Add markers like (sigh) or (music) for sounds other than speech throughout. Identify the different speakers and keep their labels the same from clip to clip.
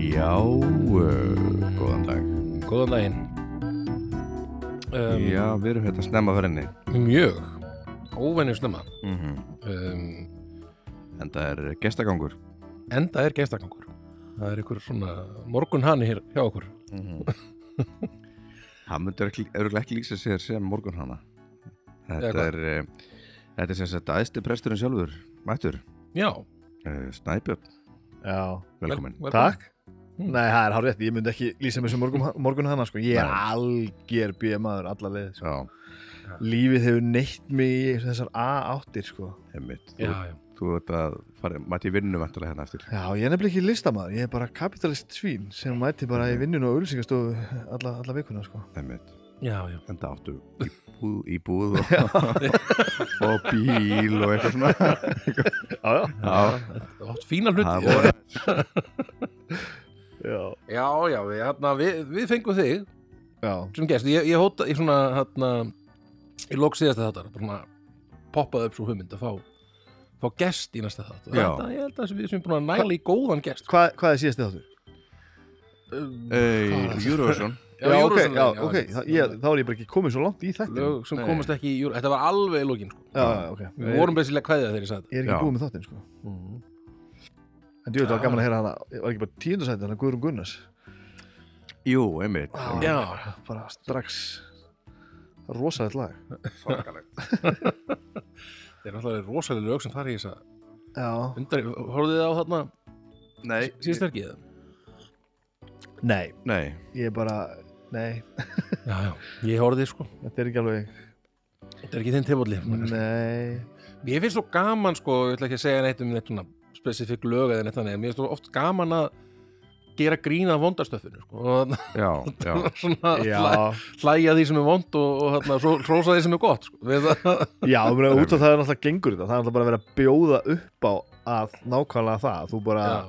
Speaker 1: Já, uh, góðan dag
Speaker 2: Góðan daginn um,
Speaker 1: Já, við erum hérna snemma fyrir henni
Speaker 2: Mjög Óvenju snemma
Speaker 1: mm
Speaker 2: um,
Speaker 1: En það er gestagangur
Speaker 2: Enda er gestakangur Það er ykkur svona morgun hann hér hjá okkur
Speaker 1: mm -hmm. Hann myndur örgulega ekki lýsa sér sem morgun hana Þetta
Speaker 2: Eða hvað?
Speaker 1: er eh, Þetta er sem sagt aðstu presturinn sjálfur Mættur,
Speaker 2: Já,
Speaker 1: uh, Snæbjörn
Speaker 3: Já,
Speaker 1: Velkomin
Speaker 2: vel-
Speaker 3: takk
Speaker 2: Mm.
Speaker 3: Nei, það er hár rétt, ég myndi ekki lýsa mér sem morgun, morgun hana sko. Ég er
Speaker 1: Nei.
Speaker 3: algjör bíðamaður alla leið sko.
Speaker 1: Já,
Speaker 3: Lífið hefur neitt mig í þessar A8 sko.
Speaker 1: einmitt Þú,
Speaker 2: já, já
Speaker 1: þú ert að fara, mætti í vinnu vantulega hérna eftir
Speaker 3: Já, ég er nefnilega ekki listamaður Ég er bara kapitalist svín sem mæti bara í vinnun og auðlýsingastofu alla, alla vikuna sko.
Speaker 1: Einmitt,
Speaker 2: Já, já,
Speaker 1: en það áttu íbúð, íbúð og, og bíl og eitthvað svona
Speaker 3: Já,
Speaker 1: Já,
Speaker 2: Þetta átt fína
Speaker 1: það
Speaker 2: hluti
Speaker 1: voru
Speaker 3: já,
Speaker 2: (laughs) Já, já, við, hérna, við, við fengum þig
Speaker 3: já.
Speaker 2: sem gest, ég, ég hóta í svona hérna, í lók síðasta þáttar bara svona poppaði upp svo hugmynd að fá fá gest í næsta þátt
Speaker 1: Já.
Speaker 2: Þetta- Ég held að við sem búin að næla í góðan gest
Speaker 3: Hva, Hvað er síðast þáttur?
Speaker 2: Já,
Speaker 1: Hey, Eurovision
Speaker 3: ok,
Speaker 2: Eurovision-
Speaker 3: já, ok Þa, ég, Þá er ég bara ekki komið svo langt í þetta
Speaker 2: lög sem
Speaker 1: Nei.
Speaker 2: komast ekki í júr þetta var alveg í lokin sko.
Speaker 3: Já, já, ok
Speaker 2: við vorum besilega kveðið þegar ég sagði
Speaker 3: Ég er ekki
Speaker 1: Já.
Speaker 3: búið með þáttinn sko En djúið, það var
Speaker 2: Já.
Speaker 3: gaman að heyra hana Var ekki bara tíundasæti hana Guðrún Gunnars
Speaker 1: Jú, einmitt
Speaker 2: þetta já,
Speaker 3: Bara strax Rosalegt lag
Speaker 1: Svakalegt
Speaker 2: þetta er náttúrulega rosalega lög sem þar í þess að
Speaker 3: Já
Speaker 2: undar, horfðu þið á þarna
Speaker 1: Nei,
Speaker 2: síðast er ekki það
Speaker 3: Nei,
Speaker 1: Nei,
Speaker 3: ég er bara Nei,
Speaker 2: já, já, ég horfði sko,
Speaker 3: þetta er ekki alveg
Speaker 2: þetta er ekki þinn tilbúðli
Speaker 3: Nei
Speaker 2: ég finnst svo gaman sko, ég ætla ekki að segja neitt um neitt svona spesifik lög eða neitt þannig, en mér finnst svo oft gaman að gera grína vondastöfinu sko, og
Speaker 1: já, já
Speaker 2: (laughs) svona hlæ,
Speaker 3: Já,
Speaker 2: hlæja því sem er vond og, og hérna, svo hrósa því sem er gott sko. Við það-
Speaker 3: já, um að út af það er náttúrulega gengur þetta Það er náttúrulega bara að vera að bjóða upp á að nákvæmlega það Þú bara
Speaker 2: (laughs) já,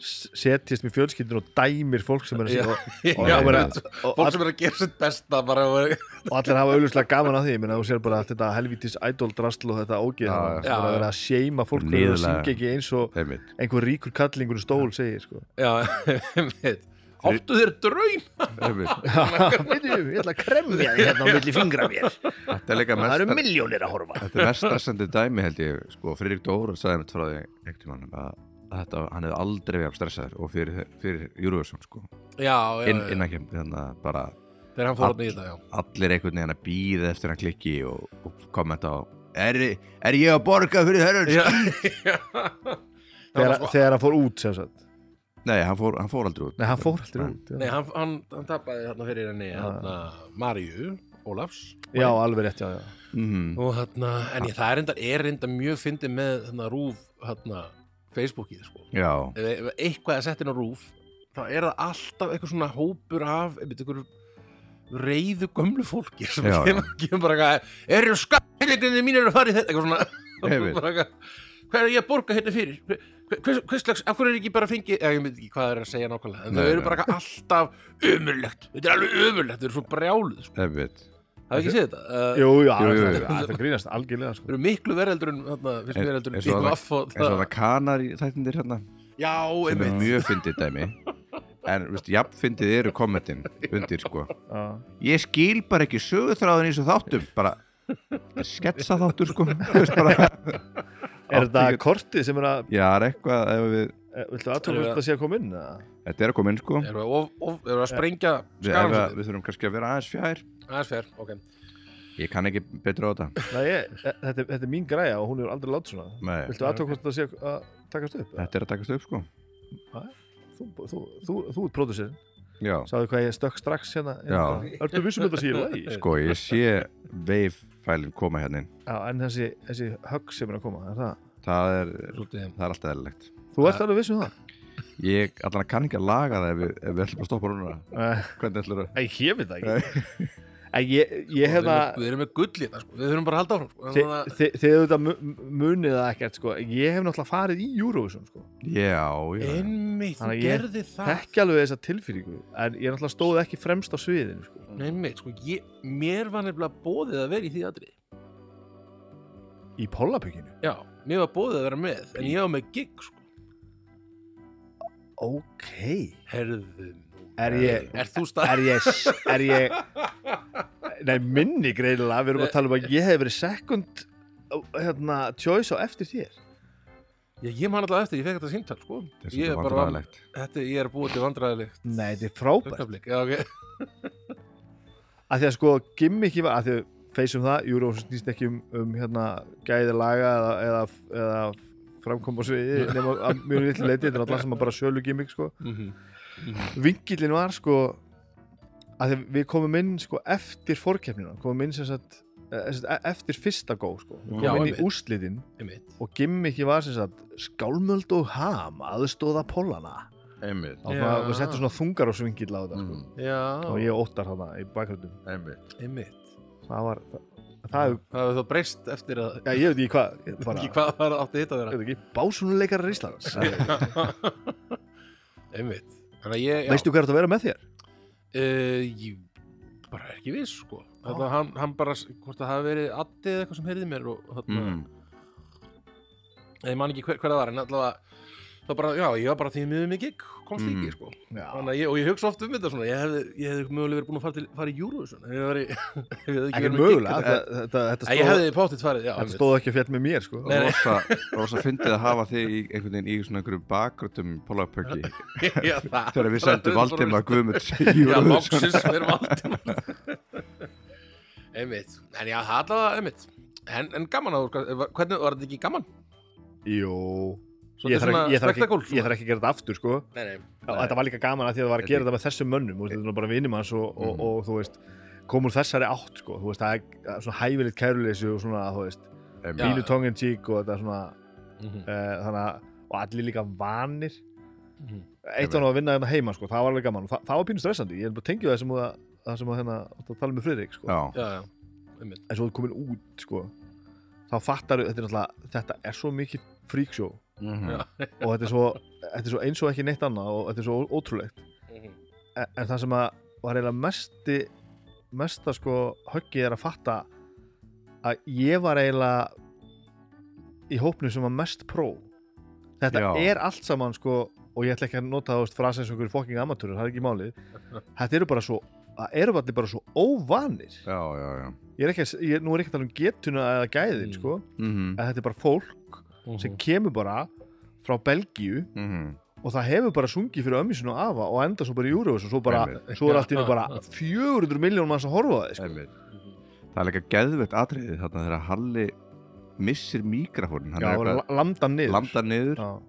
Speaker 3: s- setjist með fjölskyldin og dæmir fólk sem er að
Speaker 2: Já.
Speaker 3: og, og,
Speaker 2: já,
Speaker 3: og,
Speaker 2: bara,
Speaker 3: og, og,
Speaker 2: fólk sem er að gera sitt besta bara,
Speaker 3: og allir hafa auðvitað gaman að því ég meina þú sér bara allt þetta helvítis idol-drastl og þetta ógeð
Speaker 1: Já,
Speaker 3: það
Speaker 2: já.
Speaker 3: er bara að vera að seima fólk fyrir að
Speaker 1: Niðurlægja.
Speaker 3: syngja ekki eins og
Speaker 1: Einmitt
Speaker 3: einhver ríkur kallingur í stól segir sko
Speaker 2: já, (laughs) einmitt. áttu þér draum
Speaker 1: Einmitt
Speaker 3: Bíddu, ég ætla að kremja þig hérna á milli fingra (laughs) mér
Speaker 1: Þetta er líka
Speaker 3: það eru
Speaker 1: mest
Speaker 3: miljónir að horfa
Speaker 1: Þetta er mest stressandi dæmi held ég Sko, Friðrik Dóra sagði mitt frá því Ekkert mann að þetta, hann hefði aldrei verið stressaður og fyrir, fyrir Eurovision sko
Speaker 2: já, já,
Speaker 1: Inn,
Speaker 2: já,
Speaker 1: innan kem, þannig að bara
Speaker 2: þegar hann fór hann í þetta, já
Speaker 1: allir einhvern veginn að býða eftir hann klikki og, og kommenta á er, er ég að borga fyrir hörun?
Speaker 2: (laughs) Já,
Speaker 3: þegar,
Speaker 2: sko-
Speaker 3: þegar hann fór út sem sagt
Speaker 1: Nei, hann fór, hann fór aldrei út
Speaker 3: nei hann fór aldrei út
Speaker 2: Nei,
Speaker 3: já,
Speaker 2: hann, hann, hann tapaði hérna fyrir henni
Speaker 3: Ah.
Speaker 2: hérna, Maríu Ólafs
Speaker 3: já alveg rétt já, já.
Speaker 1: mm.
Speaker 2: og hérna, en ég, það er enda, er enda mjög fyndið með hérna rúf hérna Facebookið, sko
Speaker 1: Já,
Speaker 2: ef, ef eitthvað er sett inn á rúf þá er það alltaf eitthvað svona hópur af einmitt einhver reyðu gömlu fólki sem
Speaker 1: Já, já.
Speaker 2: kemur, kemur bara eitthvað eru skattlíkandi mín eru að fara í þetta eitthvað svona
Speaker 1: Einmitt.
Speaker 2: (laughs) Bara eitthvað, hvað er ég að borga hérna fyrir Hver- hvers, hvers slags, af hverju er ekki bara að fengi ég veit ekki hvað það er að segja nákvæmlega en
Speaker 1: Nei,
Speaker 2: það eru
Speaker 1: nei.
Speaker 2: bara eitthvað alltaf umurlegt þetta er alveg umurlegt, þau eru svo brjáluð sko.
Speaker 1: einmitt
Speaker 2: það er ekki séð þetta uh,
Speaker 3: jú, já,
Speaker 1: Jú, jú, jú.
Speaker 3: það grínast algjörlega
Speaker 2: þau
Speaker 3: sko.
Speaker 2: eru miklu vereldur en þarna, finnst
Speaker 1: En-
Speaker 2: mér heldur en
Speaker 1: eins og
Speaker 2: DVF og
Speaker 1: eins og
Speaker 2: það
Speaker 1: það kanar í þættindir hérna
Speaker 2: já,
Speaker 1: sem er
Speaker 2: einmitt,
Speaker 1: mjög fyndið dæmi en veist, jafn fyndið eru kommentin undir sko
Speaker 3: Já.
Speaker 1: ég skil bara ekki sögutráðin í þessu þáttum bara sketsa þáttur sko (laughs) Þú veist, bara,
Speaker 3: er þetta kortið sem er að
Speaker 1: já, það er eitthvað ef við,
Speaker 3: eh, viltu aðtöku hvort það sé að koma inn eða?
Speaker 1: þetta er að koma inn sko við,
Speaker 2: eru að of- of- eru að sprengja sko.
Speaker 1: ef,
Speaker 2: skarans
Speaker 1: að- við þurfum kannski að vera aðeins fjær
Speaker 2: aðeins fer, ok
Speaker 1: ég kann ekki betra á þetta
Speaker 3: Nei, ég, eh, þetta, er- þetta er mín græja og hún er aldrei látt svona
Speaker 1: Nei,
Speaker 3: viltu aðtöku hvort það sé að takast upp eða?
Speaker 1: þetta er að takast upp sko
Speaker 3: þú, þú, þú, þú, þú ert pródusir
Speaker 1: já,
Speaker 3: Sáðu hvað ég stökk strax hérna
Speaker 1: Já.
Speaker 3: Ertu vissum þetta sér lagi?
Speaker 1: sko ég sé veifælin koma hérna inn.
Speaker 3: Já, en þessi, þessi högg sem er að koma er það,
Speaker 1: það er,
Speaker 2: Svolítið,
Speaker 1: það er alltaf eðlilegt
Speaker 3: Þú ert alveg vissum það?
Speaker 1: ég allan kann ekki að laga það ef við, ef við ætlum að stoppa núna
Speaker 3: Nei,
Speaker 1: hvernig ætlum við
Speaker 3: ég veit það ekki (laughs) En ég,
Speaker 2: Sko,
Speaker 3: ég hef það
Speaker 2: Við erum með gull í þetta sko, við þurfum bara að halda áfram sko.
Speaker 3: Þi- þi- Þið hefur þetta mu- munið það ekkert sko. Ég hef náttúrulega farið í Eurovision sko.
Speaker 1: já, já,
Speaker 2: Einmitt, þú
Speaker 3: Þannig að ég-
Speaker 2: gerði það
Speaker 3: Ekki alveg þessa tilfýringu En ég náttúrulega stóð ekki fremst á sviðinu sko.
Speaker 2: Einmitt, sko, ég, mér var nefnilega bóðið að vera í því aðri
Speaker 3: Í Pollapökinu
Speaker 2: Já, mér var bóðið að vera með En ég var með gig sko
Speaker 3: ok
Speaker 2: herðu
Speaker 3: er ég,
Speaker 2: Er þú stað?
Speaker 3: er ég, er ég nei, minni greinilega við erum að tala um að ég hef verið second hérna, choice á eftir þér
Speaker 2: Ég, ég man alltaf eftir, ég fekk þetta síntal, sko.
Speaker 1: þetta er
Speaker 2: Ég
Speaker 1: svolítið
Speaker 2: bara-
Speaker 1: vandræðilegt
Speaker 2: Þetta, ég er búið til vandræðilegt
Speaker 3: nei, þetta er frábært
Speaker 2: augnablik. Já, ok.
Speaker 3: að því að sko gimmiki var að því að feysum það, Eurovision snýst ekki um, um hérna gæði laga eða, eða, eða framkoma sviði nema að mjög litlu leiti, þetta er alltaf sem að bara sjölu gimmik sko.
Speaker 2: (laughs) Mhm.
Speaker 3: vingillin var sko að því að við komum inn sko eftir fórkeppnina, komum inn sem sagt eh, sem sagt, e- eftir fyrsta gó sko við komum
Speaker 2: Já,
Speaker 3: inn í
Speaker 2: einmitt.
Speaker 3: úslitin
Speaker 2: Einmitt.
Speaker 3: og gimmiki var sem sagt skálmöld og ham aðstóða pollana
Speaker 1: einmitt
Speaker 3: og
Speaker 2: Já.
Speaker 3: við settum svona þungar á svingill á þetta sko.
Speaker 1: Mm,
Speaker 2: Já,
Speaker 3: og ég óttar hana í bakgröndum
Speaker 1: einmitt
Speaker 2: einmitt.
Speaker 3: það var, það, það er
Speaker 2: Það hefur þá breyst eftir að,
Speaker 3: Já, ég veit ekki hvað ég bara,
Speaker 2: ekki hvað það átti hitt að
Speaker 3: ég
Speaker 2: vera.
Speaker 3: veit ekki, básunuleikarar Íslands Það-
Speaker 2: Einmitt. Þannig að ég, já.
Speaker 3: Veistu hvað er þetta að vera með þér?
Speaker 2: Uh, ég bara er ekki viss, sko. Þetta, hann, hann bara, hvort það hafi verið addið eða eitthvað sem heyrði mér og þarna.
Speaker 1: mm.
Speaker 2: Ég man ekki hver, hver það var, en allavega, það bara, já, ég var bara því miður mig gig, komst
Speaker 1: Mm.
Speaker 2: ekki, sko.
Speaker 3: Já,
Speaker 2: Þannig að ég, og ég hugsa oft um þetta svona, ég hefði, ég hefði mögulega verið búin að fara, til, fara í Eurovision, ef ég var í, (laughs) ef ég hefði ekki
Speaker 3: ekki
Speaker 2: verið með gig
Speaker 3: mögulega
Speaker 2: þetta-
Speaker 3: Þetta, þetta, þetta,
Speaker 2: Ég
Speaker 3: stóð,
Speaker 2: hefði pátitt farið, já.
Speaker 3: þetta
Speaker 2: einmitt.
Speaker 3: stóð ekki að fjall með mér sko.
Speaker 2: Nei, nei.
Speaker 1: rosa, rosa fyndið að hafa þig í einhvern veginn í svona einhverju bakgrötum polapöki
Speaker 2: (laughs) Já, það-
Speaker 1: (laughs) þegar við
Speaker 2: það
Speaker 1: sendum
Speaker 2: er
Speaker 1: Valdimar Guðmunds í
Speaker 2: Já,
Speaker 1: Eurovision.
Speaker 2: loksins fyrir Valdimar
Speaker 1: (laughs)
Speaker 2: Einmitt En já, það allavega, einmitt En, en gaman að, þú- hvernig var þetta ekki gaman?
Speaker 3: Jú
Speaker 2: Svolítið
Speaker 3: Ég þarf
Speaker 2: svona
Speaker 3: ekki, ég þarf ekki,
Speaker 2: spektakúl, svona.
Speaker 3: ég þarf ekki að gera þetta aftur sko.
Speaker 2: Nei, nei,
Speaker 3: og Þetta var líka gaman að því að það var að gera þetta með þessum mönnum og þetta er nú bara vinum hans og, og,
Speaker 2: Mm.
Speaker 1: Mhm.
Speaker 3: og, þú veist komur þessari átt sko. þú veist, það er það er svona hæfilegt kæruleysi og svona þú veist,
Speaker 1: Einmitt.
Speaker 2: Já.
Speaker 3: pínu tongue in cheek og þetta er svona
Speaker 2: Mhm,
Speaker 1: Eh.
Speaker 3: uh, þannig að og allir líka vanir
Speaker 2: mhm.
Speaker 3: eitt var nú að vinna hérna heima sko, það var alveg gaman og það, það var pínu stressandi, ég er bara að tengja það sem að, það sem að hérna, átti að tala með Friðrik sko.
Speaker 1: Já.
Speaker 2: Já, já, einmitt
Speaker 3: en svo þú komin út sko, þá fattar þetta er náttúrulega, þetta er svo mikið fríksjó og
Speaker 1: Mhm.
Speaker 2: Já.
Speaker 3: þetta er, svo, þetta er svo eins og ekki neitt annað og þetta er svo ó- ótrúlegt
Speaker 1: Mhm.
Speaker 3: en, en það sem að var eiginlega mesti mesta sko höggið er að fatta að ég var eiginlega í hópnu sem var mest pró þetta
Speaker 1: Já.
Speaker 3: er allt saman sko og ég ætla ekki að nota það frasa eins og einhverju fokking amatúrur, það er ekki
Speaker 1: (laughs)
Speaker 3: málið þetta eru bara svo, það eru allir bara svo óvanir
Speaker 1: já, já, já
Speaker 3: ég er ekki að, ég, nú er ekki að tala um getuna eða gæðin
Speaker 2: Mm.
Speaker 3: sko,
Speaker 1: Mhm,
Speaker 3: að þetta er bara fólk
Speaker 2: Mhm.
Speaker 1: Mm.
Speaker 3: sem kemur bara frá Belgíu
Speaker 1: mhm.
Speaker 3: og það hefur bara sungið fyrir ömmi sinna afa og enda svo bara í Eurovision svo, bara,
Speaker 1: Einmitt.
Speaker 3: svo er allt innu bara 400 miljónum manns að horfa á þig sko.
Speaker 1: Einmitt. Það er líka geðvett atriði þarna þegar Halli missir mikrofónin, hann
Speaker 3: Já,
Speaker 1: er
Speaker 3: og
Speaker 1: eitthvað
Speaker 3: la- landa hann niður
Speaker 1: landar niður
Speaker 3: Já,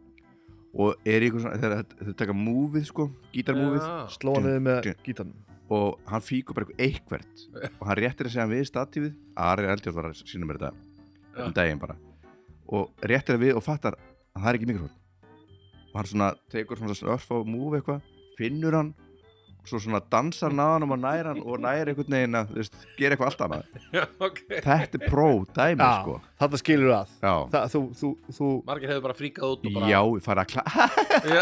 Speaker 1: og er í eitthvað svona, þegar þetta- þau taka múfið sko, gítarmúfið
Speaker 3: slóa hann niður með
Speaker 1: Dun,
Speaker 3: gítanum
Speaker 1: og hann fíkur bara
Speaker 3: (laughs)
Speaker 1: eitthvað eitthvert og hann réttir að segja hann við statífið Ari Eldjátt var að sína mér þetta um daginn bara og réttir að við og fattar að það er ekki mikrofón og hann svona tekur svona örf á múfi eitthvað finnur hann svo svona dansar náðanum og nær hann og nær einhvern veginn að þú veist, gera eitthvað allt annað
Speaker 2: (laughs) Já, ok
Speaker 1: þetta er pró dæmi
Speaker 3: Já.
Speaker 1: sko
Speaker 3: þetta skilur að
Speaker 1: já,
Speaker 3: það, þú, þú, þú,
Speaker 2: Margir hefur bara fríkað út og bara
Speaker 1: já ég fara að, kla
Speaker 2: (laughs) Já,
Speaker 1: (laughs)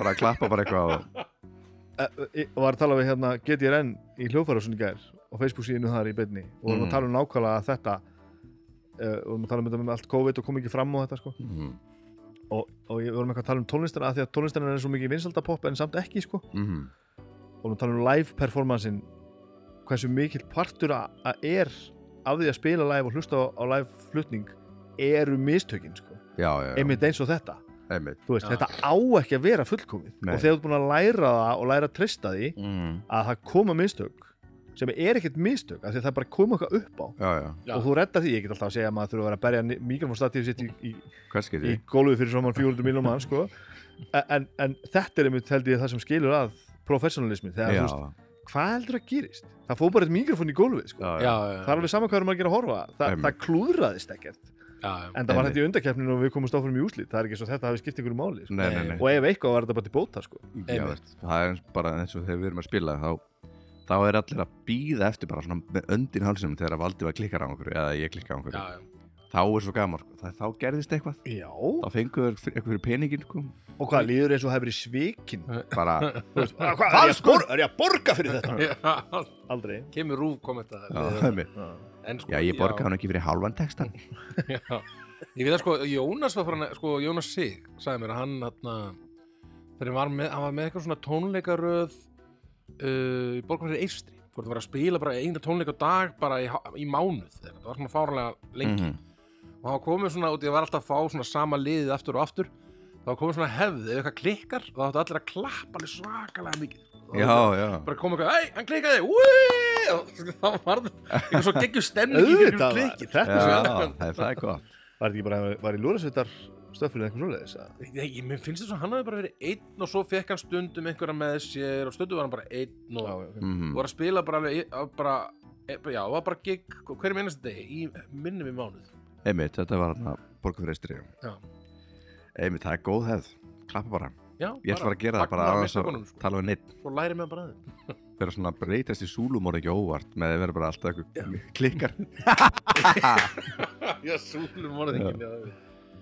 Speaker 1: fara að klappa bara eitthvað og...
Speaker 3: e, e, var að tala við hérna GTRN í hljóðfærasunni gær og Facebook síðinu þar í beinni og vorum
Speaker 1: Mm.
Speaker 3: að tala um nákvæmlega þetta e, og vorum að tala um þetta með allt COVID og kom ekki fram á þetta sko
Speaker 1: mm
Speaker 3: og, og ég vorum eitthvað að tala um tónlistina af því að tónlistina er svo mikið vinsaldapop en samt ekki sko
Speaker 1: -hmm.
Speaker 3: og vorum að tala um live performancein hversu mikill partur að að er af því að spila live og hlusta á, á live flutning eru mistökin sko,
Speaker 1: já, já, já,
Speaker 3: einmitt eins og þetta
Speaker 1: einmitt
Speaker 3: þú veist,
Speaker 2: Já.
Speaker 3: þetta á ekki að vera fullkomið
Speaker 1: Nei.
Speaker 3: og þegar þú ert búin að læra það og læra að treysta því
Speaker 1: mm.
Speaker 3: að það koma mistök sem er ekkert mistök, af því að það bara koma eitthvað upp á
Speaker 1: já, já,
Speaker 2: Já.
Speaker 3: og þú reddar því, ég get alltaf að segja að maður þurfa að vera að berja mikrofónstatífið sitt í, í,
Speaker 1: hvers
Speaker 3: í
Speaker 1: getur
Speaker 3: gólfið fyrir svona 400 miljónum mann
Speaker 1: (laughs)
Speaker 3: sko. en, en þetta er einmitt held ég það sem skilur að professionalismi þegar þú veist,
Speaker 1: já,
Speaker 3: hvað heldur að gerist það fór bara eitt mikrofón í gólfið sko.
Speaker 1: já,
Speaker 2: já,
Speaker 1: já,
Speaker 3: það er alveg saman hvað er maður að gera að horfa Þa,
Speaker 1: Einmitt.
Speaker 3: það klúðraðist ekkert
Speaker 2: já, já.
Speaker 3: en það var
Speaker 1: Einmitt.
Speaker 3: þetta í undarkeppninu og við komumst áfram í úslit það er ekki svo þetta hafi skipt einhverju máli sko.
Speaker 1: nei, nei, nei
Speaker 3: og ef eitthvað var þetta bara til bóta sko.
Speaker 1: Já,
Speaker 2: Einmitt.
Speaker 1: veist, það er eins- bara eins og þegar við erum að spila þá, þá er allir að býða eftir bara svona með öndin hálsum þegar að Valdi var klikkar á okkur eða ég klikkar á okkur
Speaker 2: já, já.
Speaker 1: þá er svo gaman, sko. það, þá gerðist eitthvað
Speaker 3: já,
Speaker 1: þá fengur við eitthvað fyrir peningin sko.
Speaker 3: og hvað líður eins og hefur verið svikin
Speaker 2: (laughs)
Speaker 1: bara,
Speaker 3: (laughs) hvað, er, ég að bor, er ég að borga fyrir þetta
Speaker 2: Já, (laughs)
Speaker 3: (laughs) aldrei
Speaker 2: Kemur rúf kommenta
Speaker 1: já, það er mér.
Speaker 2: En sko,
Speaker 1: já, ég borga hann ekki fyrir halvan textan
Speaker 2: Já. Ég veit að sko, Jónas var farin að, sko, Jónas Sig sagði mér að hann hann þegar hann var með, hann var með eitthvað svona tónleikaröð uh, í borgarfæri Eistri hvort það var að spila bara eina tónleik á dag bara í, há- í mánuð þegar það var svona fárlega lengi
Speaker 1: Mhm.
Speaker 2: og hann var komið svona út, ég var alltaf að fá svona sama liðið aftur og aftur þá var komið svona hefð, ef eitthvað klikkar þá áttu allir að klappa alveg svakalega mikið Þá
Speaker 1: Já, já
Speaker 2: bara kom eitthvað, ei, hann klikkaði úi, og það var eitthvað svo geggjur stemning í
Speaker 3: Auðvitað
Speaker 2: kringum
Speaker 3: var-
Speaker 2: klikkið
Speaker 3: þetta
Speaker 1: Já,
Speaker 3: er svo
Speaker 1: það er- það er gott
Speaker 3: Var þetta ekki bara, var í lúrasveitar stöflun eitthvað svoleiðis? að-
Speaker 2: Nei, ég- mér finnst þess að hann hafi bara verið einn og svo fekk hann stundum einhverja með sér og stundum var hann bara einn og
Speaker 3: (laughs) já.
Speaker 1: Mhm.
Speaker 2: var að spila bara, alveg- að bara e- já, var bara gig hverjum einasta degi í minnum í mánuð
Speaker 1: Einmitt, þetta var hann að borga fyrir eistri
Speaker 2: Já.
Speaker 1: Einmitt, það er góð hefð Klappa bara
Speaker 2: já,
Speaker 1: Ég ætla bara að gera það bara
Speaker 2: fagna
Speaker 1: aðeins að
Speaker 2: mistökunum, sko.
Speaker 1: tala við neitt
Speaker 2: svo læri maður bara aðeins
Speaker 1: Verða svona að breytast í súlumor ekki óvart með að vera bara alltaf eitthvað (laughs)
Speaker 3: (laughs)
Speaker 1: klikkar
Speaker 2: já, súlum morðingin já.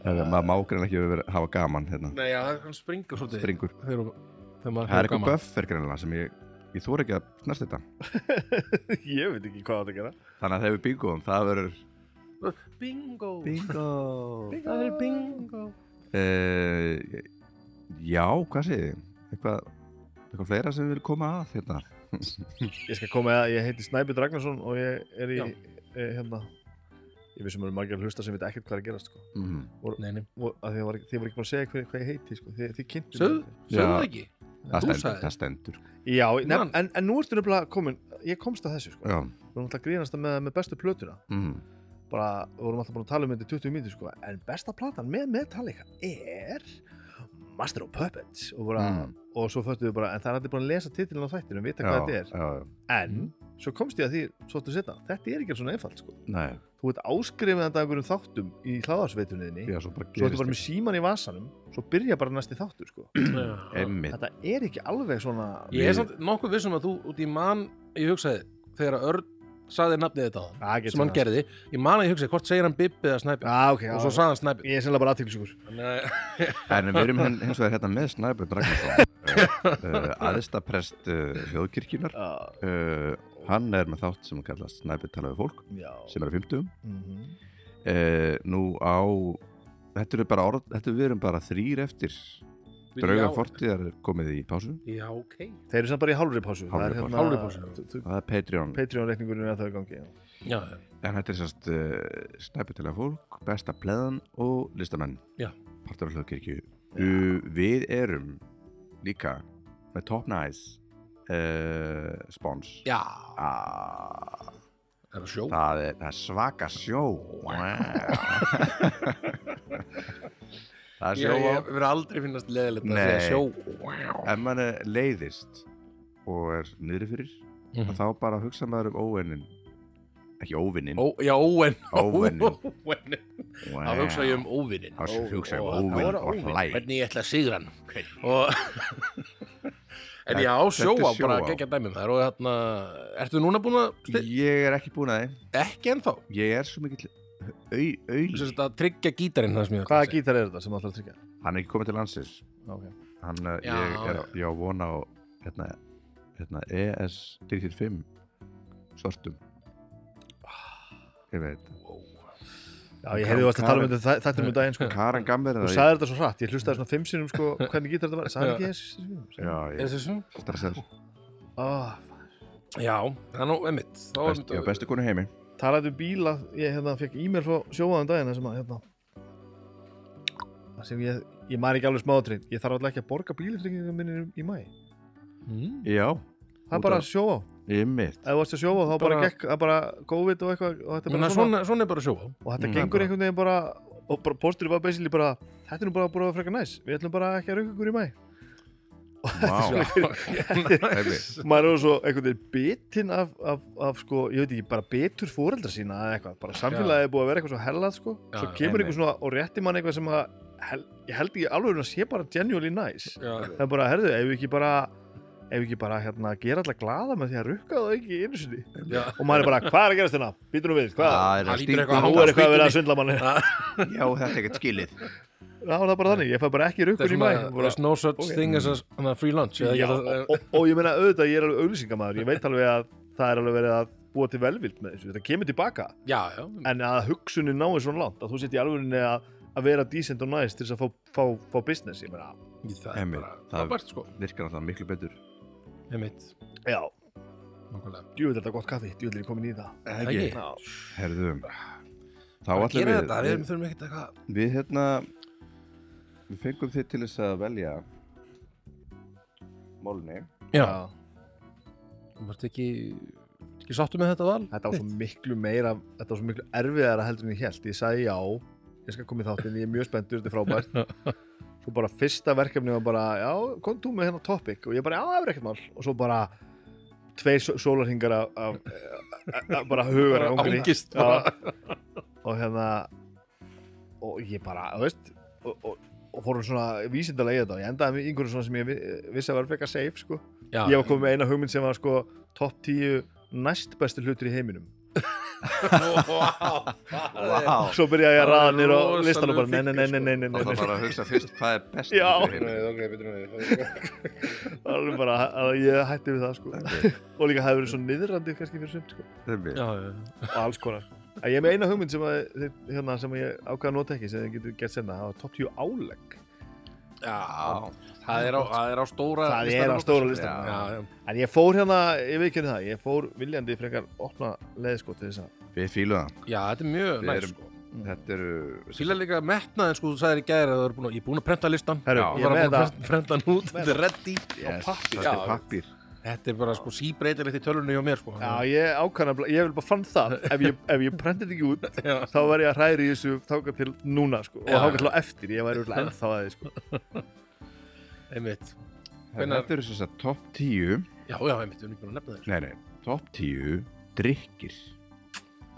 Speaker 1: Þannig að maður mágrein ekki vera, hafa gaman hérna
Speaker 2: Nei, já, hann springur svolítið
Speaker 1: Springur
Speaker 2: þegar, þegar maður
Speaker 1: Það er
Speaker 2: hefur
Speaker 1: eitthvað
Speaker 2: gaman
Speaker 1: buffer greinlega sem ég, ég þóra ekki að snart þetta
Speaker 3: Ég veit ekki hvað þetta gera.
Speaker 1: Þannig að þegar við bingoðum, það verður
Speaker 2: bingo,
Speaker 1: Bingo (laughs)
Speaker 2: það er bingo
Speaker 1: uh, Já, hvað segið þið? Eitthvað, eitthvað fleira sem við viljum koma að hérna
Speaker 3: Ég skal koma að ég heiti Snæbjörn Ragnarsson og ég er í,
Speaker 2: Já.
Speaker 3: e, hérna, ég vissum að eru margir að hlusta sem veit ekkert hvað er að gerast, sko.
Speaker 1: mm.
Speaker 2: nei, nei.
Speaker 3: Og að þið var, þið var ekki bara að segja hver, hvað ég heiti, sko. Þið, þið kynntu
Speaker 2: sögðu
Speaker 1: Já.
Speaker 2: sögðu það ekki
Speaker 1: það,
Speaker 2: Þú
Speaker 1: stendur,
Speaker 2: sagðir.
Speaker 1: það stendur
Speaker 3: Já, nefn,
Speaker 2: Man.
Speaker 3: en, en nú ertu nefnilega komin, ég komst að þessu, sko.
Speaker 1: Já,
Speaker 3: Við vorum alltaf að grínast með, með bestu plötuna.
Speaker 1: mm.
Speaker 3: Bara, við vorum alltaf búin að tala um þetta í 20 mínútur, sko. En besta platan með Metallica er Master of Puppets. Og, bara,
Speaker 1: Mm.
Speaker 3: og svo föttu við bara, en það er allir búin að lesa titilin á þættinu, vita hvað þetta
Speaker 1: já,
Speaker 3: er.
Speaker 1: já,
Speaker 3: En svo komst ég að því svolítið setna, þetta er ekki svona einfalt sko.
Speaker 1: nei,
Speaker 3: Þú veit áskrifið þetta af einhverjum þáttum í hláðarsveitunniðinni,
Speaker 1: já, svo
Speaker 3: svo
Speaker 1: bara
Speaker 3: ertu bara
Speaker 1: gerist
Speaker 3: með síman í vasanum, svo byrja bara næsti þáttur sko.
Speaker 1: þetta. Einmitt,
Speaker 3: Þetta er ekki alveg svona...
Speaker 2: Ég er samt nokkuð vissum að þú út í mann ég hugsaði þegar Örn saði nafnið þetta á hann
Speaker 3: Ah,
Speaker 2: sem hann gerði, ég man að ég hugsaði hvort segir hann Bibbi eða Snæbjörn
Speaker 3: Já, ok, já.
Speaker 2: og svo saði hann Snæbjörn
Speaker 3: Ég er sennilega bara aðtilsugur.
Speaker 1: (laughs)
Speaker 2: Þannig
Speaker 1: en við erum hen- hins vegar hérna með Snæbjörn Ragnarsson uh, aðistaprest uh, þjóðkirkjunar
Speaker 3: Uh,
Speaker 1: uh, hann er með þátt sem kallast Snæbjörn talaði við fólk
Speaker 3: já.
Speaker 1: sem er á 50
Speaker 3: Mm
Speaker 1: uh, nú á þetta eru bara orð, þetta við erum bara þrýr eftir
Speaker 2: að-
Speaker 1: draugar
Speaker 2: Já,
Speaker 1: fortíðar er komið í pásu
Speaker 2: Já, ok
Speaker 3: Þeir eru samt bara í hálfri pásu. Það er
Speaker 1: Hálfri pásu.
Speaker 2: Hálfri pásu, já.
Speaker 3: Þú- þú-
Speaker 1: það er Patreon
Speaker 3: Patreon-reikningurinn er að það er í gangi. já.
Speaker 2: Já, já.
Speaker 1: en þetta er sérst uh, Snæbjörn talaði við fólk, besta pleðan og listamenn
Speaker 2: Já.
Speaker 1: partur af hljóðkirkju uh, við erum líka með Top Nice uh, spons
Speaker 2: Já,
Speaker 1: Ah,
Speaker 2: er það sjó?
Speaker 1: það er, það er svaka sjó (laughs) Það er
Speaker 2: Ég,
Speaker 1: sjó á
Speaker 2: ég verið aldrei finnast leðilegt að
Speaker 1: Nei.
Speaker 2: segja sjó
Speaker 1: Ef mann er leiðist og er niðri fyrir
Speaker 2: Mhm.
Speaker 1: þá bara hugsa maður um óvennin ekki óvinnin
Speaker 2: Ó, Já, óen (laughs)
Speaker 1: Óvinnin.
Speaker 2: Óvinnin.
Speaker 1: Wow.
Speaker 2: Þá hugsa ég um óvinnin
Speaker 1: Þá hugsa ég um
Speaker 2: Ó,
Speaker 1: óvinn
Speaker 2: þá
Speaker 1: og hlæ
Speaker 2: Hvernig ég ætla að sigra hann og... En já,
Speaker 1: þetta
Speaker 2: sjóa,
Speaker 1: er
Speaker 2: bara
Speaker 1: sjóá.
Speaker 2: geggja dæmið þær og hérna, ertu núna búin að sti-
Speaker 1: Ég er ekki búin að þið
Speaker 2: ekki ennþá
Speaker 1: Ég er svo mikill au-
Speaker 2: Þess
Speaker 1: auðlýs
Speaker 2: að tryggja gítarinn það sem ég
Speaker 3: (laughs) Hvaða gítar er þetta sem alltaf að tryggja?
Speaker 1: Hann er ekki komið til landsins
Speaker 3: Ok.
Speaker 1: Hann, eh,
Speaker 2: Já,
Speaker 1: ég er
Speaker 2: já.
Speaker 1: ég á vona á hérna, hérna ES345 svartum Ég veit
Speaker 3: Já, ég hefði vast að tala um þetta þæ- þættinum um
Speaker 1: (laughs)
Speaker 3: daginn sko.
Speaker 1: Karan Gamber
Speaker 3: Þú sagði þetta svo hratt, ég hlustaði svona fimm sinum sko, hvernig gítar þetta var, sagði ekki þessi
Speaker 1: Já,
Speaker 2: Er
Speaker 1: ég
Speaker 2: það svona?
Speaker 1: stressaður
Speaker 3: oh,
Speaker 2: Já, það er nú einmitt Þá er
Speaker 1: Best,
Speaker 2: einmitt-
Speaker 1: Já, bestu konu heimi
Speaker 3: Talaðu um bíla, ég hérna fekk e-mail frá sjóaðan daginn þar sem að hérna þar sem ég, ég maður ekki alveg smáðatrinn ég þarf alltaf ekki að borga bílutryggingum minni í mæ
Speaker 2: Mm.
Speaker 1: Já,
Speaker 3: það
Speaker 1: Út
Speaker 3: er bara
Speaker 1: af-
Speaker 3: að sjóa,
Speaker 1: ég mitt
Speaker 3: ef þú varst að sjóa þá bara,
Speaker 2: Bara-
Speaker 3: gekk, það er bara COVID og eitthvað og þetta, er
Speaker 2: Svona,
Speaker 3: bara svona,
Speaker 2: svona, svona er bara sjóa
Speaker 3: og þetta
Speaker 1: Mm.
Speaker 3: gengur einhvern veginn bara og bara, posturinn var basically bara þetta er nú bara búin að freka næs, við ætlum bara ekki að rauka ykkur í mæ
Speaker 1: Vá,
Speaker 2: Nice.
Speaker 3: maður er svo einhvern veginn bitinn af, af, af sko, ég veit ekki, bara bitur fóreldra sína eða eitthvað, bara samfélagið er búið að vera eitthvað svo hellað sko,
Speaker 2: Já,
Speaker 3: svo
Speaker 2: já,
Speaker 3: kemur
Speaker 1: einmitt.
Speaker 3: einhver svona og rétti mann eitthvað sem að hel, ég held ekki alveg að sé bara genuinely nice
Speaker 2: Já,
Speaker 3: það er bara, herðu, ef við ekki bara ef við ekki bara hérna gera alla glada með því að rukka það ekki einu sinni
Speaker 2: já
Speaker 3: og maður er bara, hvað er að gerast hérna, býtur nú við hvað,
Speaker 1: það er
Speaker 2: Hann
Speaker 1: að
Speaker 2: lítur
Speaker 1: stinga
Speaker 3: nú
Speaker 2: eitthvað á-
Speaker 1: út.
Speaker 3: er eitthvað að vera að svindla manni
Speaker 1: Já, þetta er ekkert skilið
Speaker 3: það var það bara þannig, ég fæ bara ekki
Speaker 2: Það er
Speaker 3: rukkur í mæ
Speaker 2: svona,
Speaker 3: bara,
Speaker 2: there's no such
Speaker 3: ok.
Speaker 2: thing as a svona free lunch eða
Speaker 3: Já,
Speaker 2: ekki
Speaker 3: og,
Speaker 2: það-
Speaker 3: og, og ég meina auðvitað ég er alveg auglýsingamæður ég veit alveg að það er alveg verið að búa til velvild með þessu, þetta kemur tilbaka
Speaker 2: Já, já
Speaker 3: en að hugsunin náir svona langt að þú setji alveg að að vera decent og nice til þess að fá, fá, fá business ég meina,
Speaker 2: það er
Speaker 1: Einmitt,
Speaker 2: bara
Speaker 1: það-
Speaker 2: frábært sko
Speaker 1: virkar alltaf miklu betur
Speaker 2: einmitt,
Speaker 3: já,
Speaker 2: nákvæmlega
Speaker 3: djúvill er þetta gott kaffi, djúvill er ég komin í það
Speaker 2: ekki?
Speaker 3: já,
Speaker 1: herðum þá
Speaker 2: Bara
Speaker 1: allir
Speaker 2: gera
Speaker 1: við,
Speaker 2: þetta, við
Speaker 1: við,
Speaker 2: þurfum ekkert eitthvað
Speaker 1: við hérna við fengum þið til þess að velja málni
Speaker 2: já,
Speaker 3: já.
Speaker 2: þú ert ekki ekki sáttu með þetta val
Speaker 3: þetta var svo miklu meira þetta var svo miklu erfiðara heldur en ég held ég sagði já, ég skal koma í þáttinn ég er mjög spenntur, þetta er frábært svo bara fyrsta verkefni var bara já, kom þú með hennar topic og ég bara já, það er ekkert mál og svo bara tveir só- sólarhingar af, af, af, af bara hugar
Speaker 2: Angist bara.
Speaker 3: já, og hérna og ég bara, þú veist og, og, og fórum svona vísindalega í þetta og ég endaði með einhverju svona sem ég vi- vissi að vera frekar safe sko
Speaker 2: já,
Speaker 3: ég var komið með eina hugmynd sem var sko topp 10 næst bestu hlutur í heiminum
Speaker 1: Vá.
Speaker 3: svo byrjaði ég að
Speaker 2: Það
Speaker 3: ræða
Speaker 2: er
Speaker 3: niður og listan og bara nei,
Speaker 2: rosalegur
Speaker 3: nei, nei, nei, nei, nei,
Speaker 1: og það
Speaker 3: nei.
Speaker 1: bara að hugsa fyrst hvað er best
Speaker 3: (laughs) Já.
Speaker 1: í
Speaker 2: sko.
Speaker 1: heiminum.
Speaker 3: (laughs) það var bara að ég hætti við það sko og líka hefði verið svo niðrandi kannski fyrir sumt sko
Speaker 1: Einmitt.
Speaker 2: já, já.
Speaker 3: og alls konar En ég er með eina hugmynd sem, að, þið- hérna, sem ég ákveða að nota ekki sem þið getur gert senna, það var topp 10 álegg
Speaker 2: já. Það, er á, það er á stóra
Speaker 3: það er
Speaker 2: listanum
Speaker 3: á stóra
Speaker 2: okkar.
Speaker 3: listan
Speaker 2: já, já.
Speaker 3: en ég fór hérna, ég veit ekki það ég fór viljandi frekar opna leið sko til þess að
Speaker 1: við fílum það
Speaker 2: já, þetta er mjög
Speaker 1: Við
Speaker 2: næst
Speaker 1: erum-
Speaker 2: sko.
Speaker 1: Mm. þetta eru
Speaker 2: Fýla líka metnaðin sko, þú sagðir í gæri að það er búin að, ég er búin að prenta listan
Speaker 3: Herru,
Speaker 1: Já.
Speaker 3: ég
Speaker 2: ég
Speaker 3: er
Speaker 2: var
Speaker 3: með
Speaker 2: að
Speaker 3: það
Speaker 2: prenta- prenta hann út, þetta er ready
Speaker 1: yes,
Speaker 3: pappír.
Speaker 1: þetta er
Speaker 2: Já.
Speaker 1: pappir
Speaker 2: Þetta er bara sko síbreytilegt í tölunni hjá mér sko
Speaker 3: Já, ég ákvæmna, ég vil bara fann það ef ég, ef ég prentið ekki út
Speaker 2: Já.
Speaker 3: þá var ég að hræri í þessu þáka til núna sko, og
Speaker 2: Já.
Speaker 3: þáka til á eftir, ég væri örugglega ennþá að því sko.
Speaker 2: einmitt Hvenær-
Speaker 1: þetta eru þess að topp 10
Speaker 2: Já, já, einmitt, við erum ekki búin að nefna þeir
Speaker 1: Nei, nei, topp 10 drikkir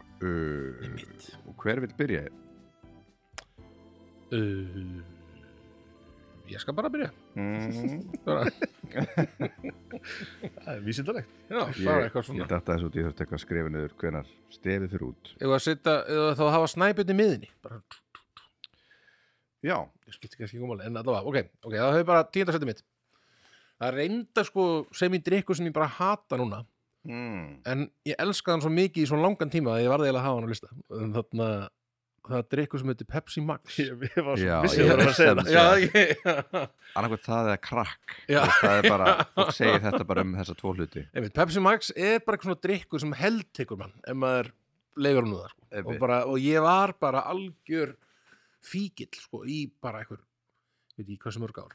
Speaker 1: uh,
Speaker 2: Einmitt
Speaker 1: og hver vil byrja?
Speaker 2: uh, Ég skal bara byrja
Speaker 1: (laughs) Mm,
Speaker 3: (laughs)
Speaker 2: bara,
Speaker 3: það er vísindalegt
Speaker 2: Já, bara
Speaker 1: ég
Speaker 2: eitthvað svona
Speaker 1: ég datta þessu út, ég þurfti eitthvað að skrifa niður hvenar stefið fyrir út
Speaker 2: Ef að setja, eða þá að hafa snæpinn í miðinni bara,
Speaker 1: Já,
Speaker 2: Ég skipti kannski ekki komalega, en allavega Ok, ok, það hefur bara tíðan að setja mitt Það er reynda sko sem í drikku sem ég bara hata núna
Speaker 1: mm.
Speaker 2: en ég elska hann svo mikið í svo langan tíma að ég varði eiginlega að hafa hann á lista en þarna, það er drikku sem heitir Pepsi Max
Speaker 3: ég, (laughs) ég var
Speaker 1: Já,
Speaker 3: svo vissi
Speaker 1: ég
Speaker 3: að það var að segja
Speaker 1: vissi
Speaker 3: það
Speaker 1: Já,
Speaker 2: ég, (laughs)
Speaker 1: annarkvæmt það eða krakk
Speaker 2: Já.
Speaker 1: Þú veist, það er bara, fólk segir þetta bara um þessa tvo hluti
Speaker 2: Einmitt, Pepsi Max er bara eitthvað svona drikkur sem heldtekur mann ef maður leifur hann úr það sko. og,
Speaker 1: Einmitt.
Speaker 2: bara, og ég var bara algjör fíkil sko, í bara einhver veit ég hversu mörg ár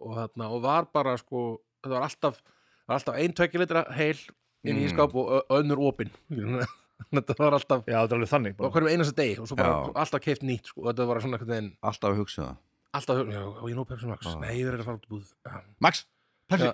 Speaker 2: og, þarna, og var bara sko þetta var alltaf, var alltaf ein tvekki litra heil inn í
Speaker 1: Mm.
Speaker 2: skáp og ö- önnur opin (laughs) þetta var alltaf
Speaker 3: Já, þetta er alveg þannig
Speaker 2: á
Speaker 3: bara.
Speaker 2: hverjum einasta degi og svo bara
Speaker 1: Já.
Speaker 2: alltaf keift nýtt sko, og þetta var svona einhvern veginn
Speaker 1: Alltaf að hugsa um það
Speaker 2: alltaf, já, og ég er nóg Pepsi Max
Speaker 1: Ah.
Speaker 2: nei, ég verður að fara út í búð Já.
Speaker 1: Max, Pepsi
Speaker 2: Já.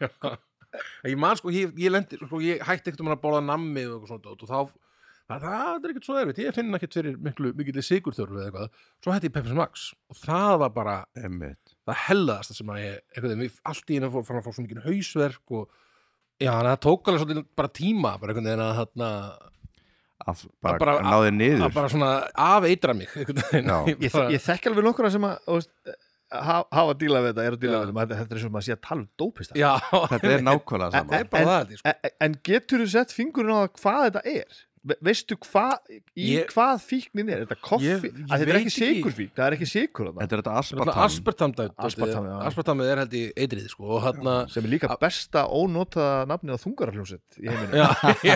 Speaker 2: En ég man sko, ég, ég lendi sko, ég hætti ekkert um að borða nammi og eitthvað svona dót og þá, það, það er ekkert svo erfitt ég finn ekkert fyrir miklu, mikilli sigurþörf eða eitthvað, svo hætti ég Pepsi Max og það var bara
Speaker 1: Emmitt
Speaker 2: það hellaðasta sem að ég, eitthvað, mér, allt í henni fór fann að fá svo mikið hausverk og já, þannig að það tók alveg svolítið bara tíma, bara einhvern veginn að þarna
Speaker 1: að bara,
Speaker 2: bara-
Speaker 1: að náði niður
Speaker 2: að bara svona afeitra mig einhvern (laughs) veginn
Speaker 1: Já.
Speaker 3: ég, þek- ég þekki alveg nokkura sem að þú veist, eh, ha- hafa dílað við þetta, er að díla
Speaker 2: Já.
Speaker 3: við þetta Maður- þetta er svo maður sé að tala um dópist
Speaker 2: já,
Speaker 1: Þetta er nákvæmlega
Speaker 2: það
Speaker 1: saman
Speaker 2: er bara
Speaker 3: En-
Speaker 2: það held ég, sko.
Speaker 3: en, e- en getur þú sett fingurinn á það hvað þetta er? Ve veistu hvað, í
Speaker 2: Ég-
Speaker 3: hvað fíknin er? Er Þetta koffi,
Speaker 2: Ég- ég
Speaker 3: að þetta er
Speaker 2: veit
Speaker 3: ekki
Speaker 2: ekki.
Speaker 3: sigurfík, það er ekki sigur þarna
Speaker 1: Þetta er þetta
Speaker 2: Náttúrulega
Speaker 1: aspartam
Speaker 2: aspartam dæmt,
Speaker 3: Aspartam, já.
Speaker 2: aspartamið er held ég eitrið sko, og þarna
Speaker 3: sem er líka besta ónotaða nafnið á þungararhljómsett í heiminum
Speaker 1: (laughs)
Speaker 2: já, já,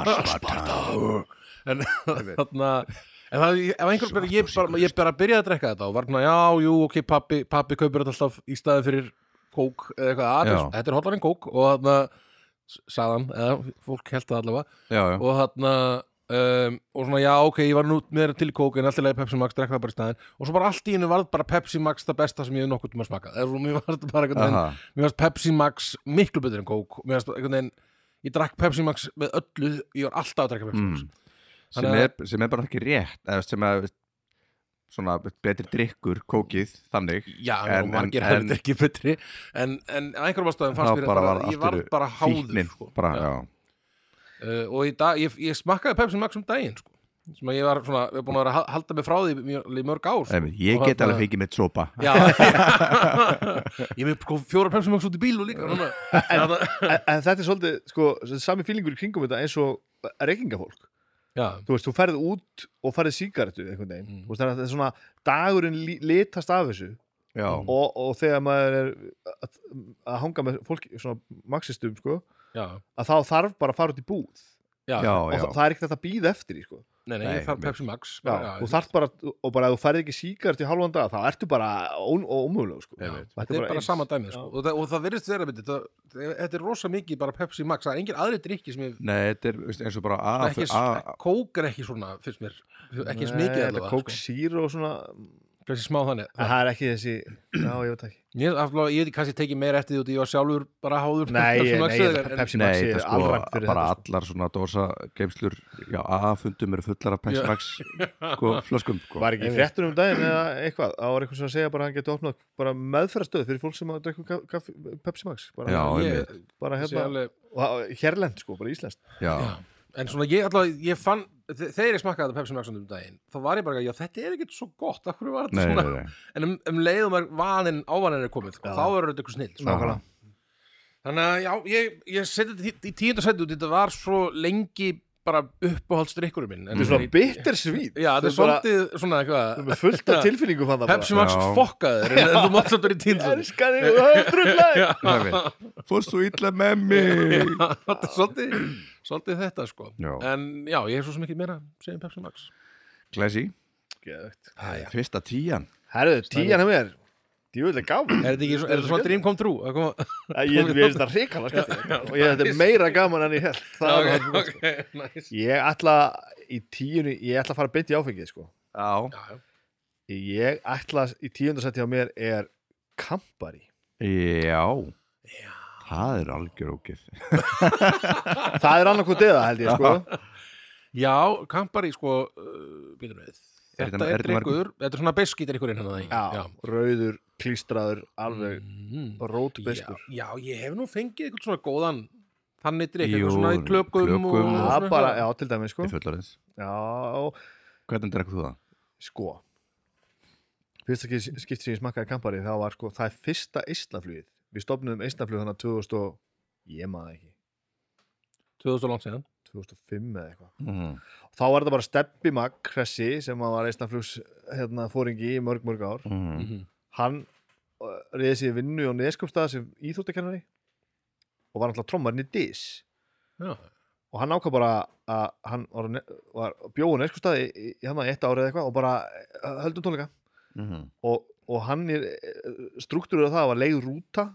Speaker 2: aspartam en þarna en það, ef einhver byrja, ég bara, ég bara byrjaði að drekka þetta og var svona, já, jú, ok, pappi pappi kaupir þetta alltaf í staði fyrir kók eða eitthvað, að,
Speaker 1: Já.
Speaker 2: þetta er hollarinn kók og þarna, saðan eða fólk held það allavega,
Speaker 1: Já, já
Speaker 2: og þarna Um, og svona já ok, ég var nú meira til í kók en alltaf leiði Pepsi Max, drekka það bara í staðin og svo bara allt í hennu varð bara Pepsi Max það besta sem ég hef nokkuð tíma að smaka, eða svo mér var þetta bara einhvern veginn
Speaker 1: Aha.
Speaker 2: mér finnst Pepsi Max miklu betur en kók mér finnst einhvern veginn ég drakk Pepsi Max með öllu ég var alltaf að drakka Pepsi Max
Speaker 1: mm. sem,
Speaker 2: Þannig
Speaker 1: er, sem er bara ekki rétt eða sem er svona betri drikkur, kókið, þannig
Speaker 2: já,
Speaker 1: En-
Speaker 2: en, margir
Speaker 1: en-
Speaker 2: hefði þetta ekki betri en, en af einhverjum ástæðum fannst
Speaker 1: Það
Speaker 2: mér
Speaker 1: bara
Speaker 2: bara,
Speaker 1: var
Speaker 2: ég var
Speaker 1: aftur
Speaker 2: bara háður
Speaker 1: fíknin,
Speaker 2: sko.
Speaker 1: bara,
Speaker 2: Já.
Speaker 1: já.
Speaker 2: uh, og í dag, ég, ég smakkaði Pepsi Max um daginn sko. sem að ég var svona, ég var búin að vera að halda mig frá því í mjög- í mörg ár sko.
Speaker 1: Ef, ég
Speaker 2: Og
Speaker 1: get
Speaker 2: þarna-
Speaker 1: alveg fengið með tsopa
Speaker 2: já,
Speaker 1: (laughs)
Speaker 2: ég er með sko, fjóra Pepsi Max út í bíl og líka
Speaker 1: (laughs)
Speaker 2: núna.
Speaker 3: en, en þetta er svolítið sko, sami fílingur í kringum þetta eins og reykingafólk
Speaker 2: já,
Speaker 3: þú veist, þú ferð út og ferð sígarettu einhvern veginn,
Speaker 2: Mm.
Speaker 3: þú veist, þannig að þetta er svona dagurinn lí- litast af þessu
Speaker 1: já,
Speaker 3: og, og þegar maður er að, að hanga með fólki, svona marxistum, sko,
Speaker 2: já,
Speaker 3: að þá þarf bara að fara út í búð
Speaker 2: já,
Speaker 1: já,
Speaker 3: og
Speaker 1: já.
Speaker 3: það, það er ekkert hægt að býða eftir í, sko
Speaker 2: nei, nei,
Speaker 1: Nei,
Speaker 2: ég þarf
Speaker 1: mér-
Speaker 2: Pepsi Max
Speaker 3: Já,
Speaker 2: bara,
Speaker 3: þú þarft bara, og bara ef þú færði ekki síkart í hálfan dag, þá ertu bara ómögulega, sko.
Speaker 2: Já,
Speaker 3: Þetta
Speaker 2: þetta er bara
Speaker 3: eins.
Speaker 2: sama dæmið sko.
Speaker 3: Já.
Speaker 2: og, það, og það virðist vera myndi, það, þetta er rosa mikið bara Pepsi Max það er engin aðri drikki sem ég
Speaker 1: Nei, þetta er veist, eins og bara
Speaker 2: það
Speaker 1: að,
Speaker 3: Ah,
Speaker 2: er ekki,
Speaker 1: að,
Speaker 2: kók er ekki svona fyrst mér, ekki eins
Speaker 3: Nei,
Speaker 2: mikið
Speaker 3: þetta
Speaker 2: allavega
Speaker 3: kók síru og svona,
Speaker 2: sko. kannski smá þannig
Speaker 3: en það er ekki þessi, já, ég (laughs) veit ekki.
Speaker 2: ég, aflá, ég veit kannski tekið meira eftir því út í ég var sjálfur bara háður
Speaker 3: Nei,
Speaker 2: Pepsi
Speaker 3: ég-
Speaker 2: Max
Speaker 3: nei, ég
Speaker 2: þegar,
Speaker 3: held að
Speaker 2: en-
Speaker 3: Pepsi
Speaker 1: Nei,
Speaker 3: Max
Speaker 1: þetta
Speaker 3: er
Speaker 1: sko,
Speaker 3: alræmt fyrir
Speaker 1: bara
Speaker 3: þetta. sko.
Speaker 1: allar svona dosa geimslur, já, aðfundum eru fullar af
Speaker 2: Já.
Speaker 1: Pepsi Max
Speaker 2: (laughs)
Speaker 1: sko, flöskum, sko.
Speaker 3: Var ekki
Speaker 2: Nei, nei.
Speaker 3: fréttur um daginn eða eitthvað, þá var eitthvað sem að segja bara að hann geti opnað bara meðferðastöð fyrir fólk sem að drekku ka- kaffi- Pepsi Max, bara,
Speaker 1: Já,
Speaker 2: ég,
Speaker 1: einmitt.
Speaker 3: bara
Speaker 2: sé
Speaker 3: hérna,
Speaker 2: alveg,
Speaker 3: og hérlend sko, bara íslenskt.
Speaker 1: já,
Speaker 2: já. en svona ég allavega, ég fann þe- þegar ég smakkaði þetta Pepsi Max um daginn þá var ég bara, já þetta er ekkert svo gott af hverju var þetta
Speaker 1: nei, nei,
Speaker 2: svona
Speaker 1: nei,
Speaker 2: en um, um leiðum er vanin ávanin er komið sko,
Speaker 3: Já.
Speaker 2: þá er þetta eitthvað snill sko.
Speaker 1: Nákvæmlega.
Speaker 2: þannig að já, ég, ég seti þetta í- í tíundasæti út þetta var svo lengi bara uppáhaldsdrykkurum minn en
Speaker 3: Þetta er svona bitter svít.
Speaker 2: já, þetta er svolítið svona eitthvað
Speaker 3: Með fullt
Speaker 2: (laughs)
Speaker 3: af tilfinningu fann það bara.
Speaker 2: Pepsi Max
Speaker 1: Já.
Speaker 2: fokkaður en þú mátt svolítið í
Speaker 3: (laughs)
Speaker 2: tíundasæti
Speaker 3: Elskar þig og það er drullæg.
Speaker 1: nei Fórst þú illa með mig
Speaker 2: (laughs) þetta er svolítið, svolítið þetta sko
Speaker 1: (laughs) Já.
Speaker 2: en já, ég er svo sem ekki meira segjum Pepsi Max
Speaker 1: Glæsi,
Speaker 2: Æja.
Speaker 1: fyrsta tíjan
Speaker 3: Herðu, hérna tíjan hjá mér. Djúvilega gáð.
Speaker 2: (laughs) er þetta ekki svo- er þetta svona dream come true að koma-
Speaker 3: Æ, Ég ég finnst það hrikala skætti og ég þetta er meira gaman en ég held
Speaker 2: Já,
Speaker 3: Það sko. er
Speaker 2: ok,
Speaker 3: það.
Speaker 2: ok, nice.
Speaker 3: Ég ætla í tíunni, ég ætla að fara beint í áfengið sko
Speaker 1: Já,
Speaker 2: Já, já.
Speaker 3: Ég ætla í tíundasætti á mér er Kampari
Speaker 1: já Það er algjör ógið
Speaker 3: Það er annarkot eða held ég
Speaker 2: (laughs)
Speaker 3: sko
Speaker 2: já, kampari sko uh, býtum við
Speaker 1: Er
Speaker 2: Þetta
Speaker 1: þetta-
Speaker 2: er
Speaker 1: er þetta marg-
Speaker 2: drikkur, þetta er svona hérna, beskít drikkurinn hann að það
Speaker 3: Já, rauður, klístraður, alveg
Speaker 2: Mm.
Speaker 3: rótbiskur
Speaker 2: já, já, ég hef nú fengið eitthvað svona góðan þannig drikk,
Speaker 1: Jú,
Speaker 2: eitthvað svona í klökum,
Speaker 1: klökum.
Speaker 2: og, og
Speaker 3: Já,
Speaker 2: svona
Speaker 3: bara,
Speaker 2: eitthvað.
Speaker 3: já, til dæmi sko
Speaker 1: Ég fullar þess
Speaker 3: Já,
Speaker 1: Hvernig drekku þú það?
Speaker 3: sko Fyrsta skipti skipti sem ég smakkaði Kampari þá var sko, það er fyrsta Íslaflugið Við stopnum Íslaflugið þannig að 2000 og, ég maður ekki
Speaker 2: 2000 langt síðan
Speaker 3: 2005 eða eitthvað
Speaker 1: Mm.
Speaker 3: þá var þetta bara Steppi Mag Kressi sem að var eisnaflugs hérna, fóringi í mörg mörg ár
Speaker 1: Mm.
Speaker 2: Mhm.
Speaker 3: hann uh, reyði sér vinnu á Neskjöpstað sem íþóttakennari og var náttúrulega trommarinn í DIS
Speaker 2: Já,
Speaker 3: og hann ákvað bara að hann var, á Ne- var bjóð á Neskjöpstaði í, hérna, í hann að eitt árið eitthvað og bara uh, höldum tónleika
Speaker 1: Mm.
Speaker 3: og, og hann er struktúrið á það var leið rúta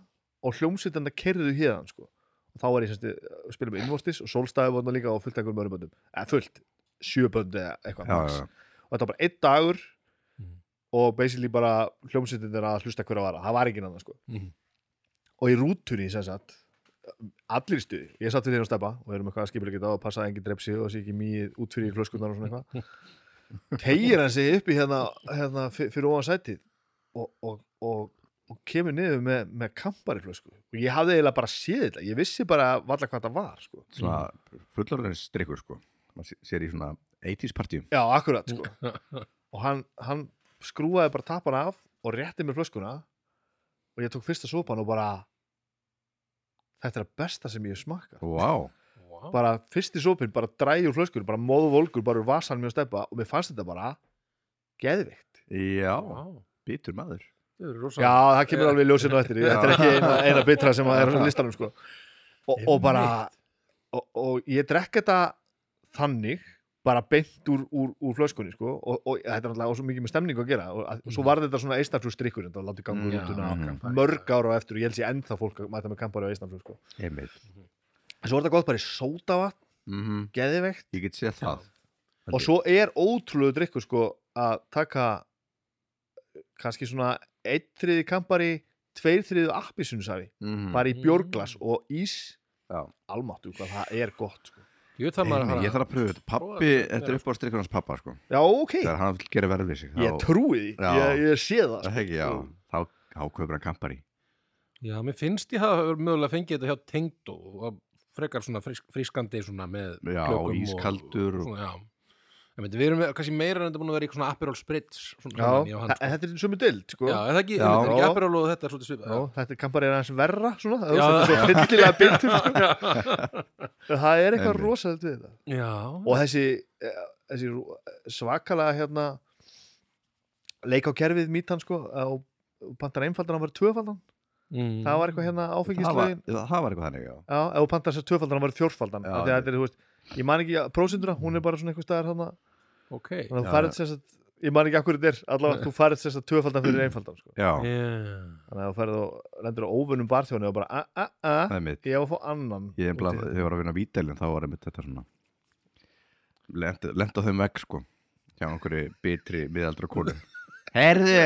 Speaker 3: og hljómsveitenda kerðu hérðan sko. og þá var ég semst að spila með innvortis og sólstæði var hann líka og fullt einhverjum mörgum böndum eða fullt, sjö bönd eða eitthvað
Speaker 1: Já,
Speaker 3: max.
Speaker 1: já,
Speaker 3: og þetta var bara einn dagur
Speaker 2: Mhm.
Speaker 3: og basically bara hljómsveitindir að hlusta hverja vara, það var ekki annað sko
Speaker 2: Mhm.
Speaker 3: og í rútunni sem sagt allir í stuði, ég satt við þeirra að steppa og við erum eitthvað að skipla geta og passa að enginn drepsi og sé ekki mýið út fyrir flöskunnar og svona eitthvað
Speaker 2: (laughs)
Speaker 3: tegir hann sig upp í hérna, hérna fyr- fyrir ofan sætið og, og, og, og kemur niður með, með kampari flösku og ég hafði eiginlega bara séð þetta, ég vissi bara varla hvað það var sko.
Speaker 1: Svona fullarins drikkur sko Man sé- sér í svona 80s partíum
Speaker 3: Já, akkurat sko. og hann, hann skrúaði bara tapan af og rétti mér flöskuna og ég tók fyrsta sopan og bara þetta er að besta sem ég hef smakað
Speaker 1: Vá,
Speaker 2: Vá.
Speaker 3: bara fyrsti sopin, bara drægjur flöskur bara móðu volgur, bara úr vasan mjög steppa og mér fannst þetta bara geðvikt
Speaker 1: já,
Speaker 2: Vá.
Speaker 1: bitur maður
Speaker 2: Þau eru rosa-
Speaker 3: Já, það kemur alveg ljósinu eftir þetta er ekki eina, eina bitra sem er á listanum sko. og, og bara og, og ég drekk þetta þannig bara beint úr, úr, úr flöskunni sko, og, og þetta er náttúrulega á svo mikið með stemningu að gera og, að, og svo var þetta svona eistaflú strikkur þetta var látið gangur
Speaker 2: Já,
Speaker 3: út unna
Speaker 2: kampari.
Speaker 3: mörg ára á eftir og ég held sér ennþá fólk að mæta með kampari á eistaflú sko.
Speaker 1: Einmitt
Speaker 3: en svo var þetta gott bara í sótavat,
Speaker 1: Mhm.
Speaker 3: geðivegt
Speaker 1: Ég get séð það
Speaker 3: og svo er ótrúlegu drikkur sko að taka eh, kannski svona einn þriði kampari, tveir þriði appisunsafi
Speaker 1: mm.
Speaker 3: bara í
Speaker 2: Mm.
Speaker 3: bjórglas og ís
Speaker 1: Já.
Speaker 3: almáttu, hvað það er gott sko.
Speaker 2: Ég veit það maður að
Speaker 1: Einmitt,
Speaker 2: fara-
Speaker 1: Ég þarf að pröfa þetta Pappi,
Speaker 2: Prófa þetta,
Speaker 1: þetta
Speaker 2: já.
Speaker 1: er upp á strikkur hans pappa sko
Speaker 3: já, ok,
Speaker 1: Þegar hann vil gera verðið sig
Speaker 3: ég trúi því
Speaker 1: Já.
Speaker 3: ég, ég sé það
Speaker 1: Það
Speaker 3: sko.
Speaker 1: hegi, já Þá, þá kaupir hann kampari
Speaker 2: Já, mér finnst ég hafa mögulega fengið þetta hjá Tengdó og frekar svona frisk, friskandi svona með
Speaker 1: Já,
Speaker 2: klökum og-
Speaker 1: ískaldur
Speaker 2: svona, já. Einmitt, við erum kannski meira en þetta búin að vera í eitthvað svona Aperol Spritz svona
Speaker 3: Já,
Speaker 2: saman í á hann,
Speaker 3: en
Speaker 2: sko.
Speaker 3: þetta er sömu dild, sko
Speaker 2: já, er það ekki,
Speaker 1: Já.
Speaker 2: já. Einmitt, er ekki Aperol og þetta er svolítið svipað
Speaker 3: Já, þetta kan bara er aðeins verra svona,
Speaker 2: Já,
Speaker 3: það er svo fyllilega
Speaker 1: (laughs)
Speaker 3: byldur sko.
Speaker 2: já,
Speaker 3: það er eitthvað
Speaker 1: Einmitt.
Speaker 3: rosalega við þetta
Speaker 2: já.
Speaker 3: og þessi, eh, þessi rú- svakalega hérna leik á kerfið mítan sko og og pantar einfaldan, hann var tvöfaldan
Speaker 2: Mm.
Speaker 3: það var eitthvað hérna
Speaker 1: það var,
Speaker 3: áfengislögin
Speaker 1: það var eitthvað þannig já.
Speaker 3: já, ef þú pantar þess að tvöfaldan, hann var fjórfaldan
Speaker 1: Já,
Speaker 3: af því að þetta er, þú veist, ég man ekki prósinduna hún er bara svona eitthvað staðar þarna
Speaker 2: ok
Speaker 3: þannig að
Speaker 1: Já,
Speaker 3: þú færið þess að ég man ekki akkur þetta er, allavega þú færið þess að tvöfaldan fyrir einfaldan sko.
Speaker 1: já,
Speaker 2: yeah.
Speaker 3: þannig að þú færið og lendur á óvunum barþjóni og bara, a, a,
Speaker 1: það
Speaker 3: a,
Speaker 1: er mitt
Speaker 3: ég á að fá annan
Speaker 1: ég er blað,
Speaker 3: Úti.
Speaker 1: þegar ég var að vinna vítelin þá var einmitt þetta svona lent, lent á þeim vegg sko hjá einhverju bitri miðaldra konu herðu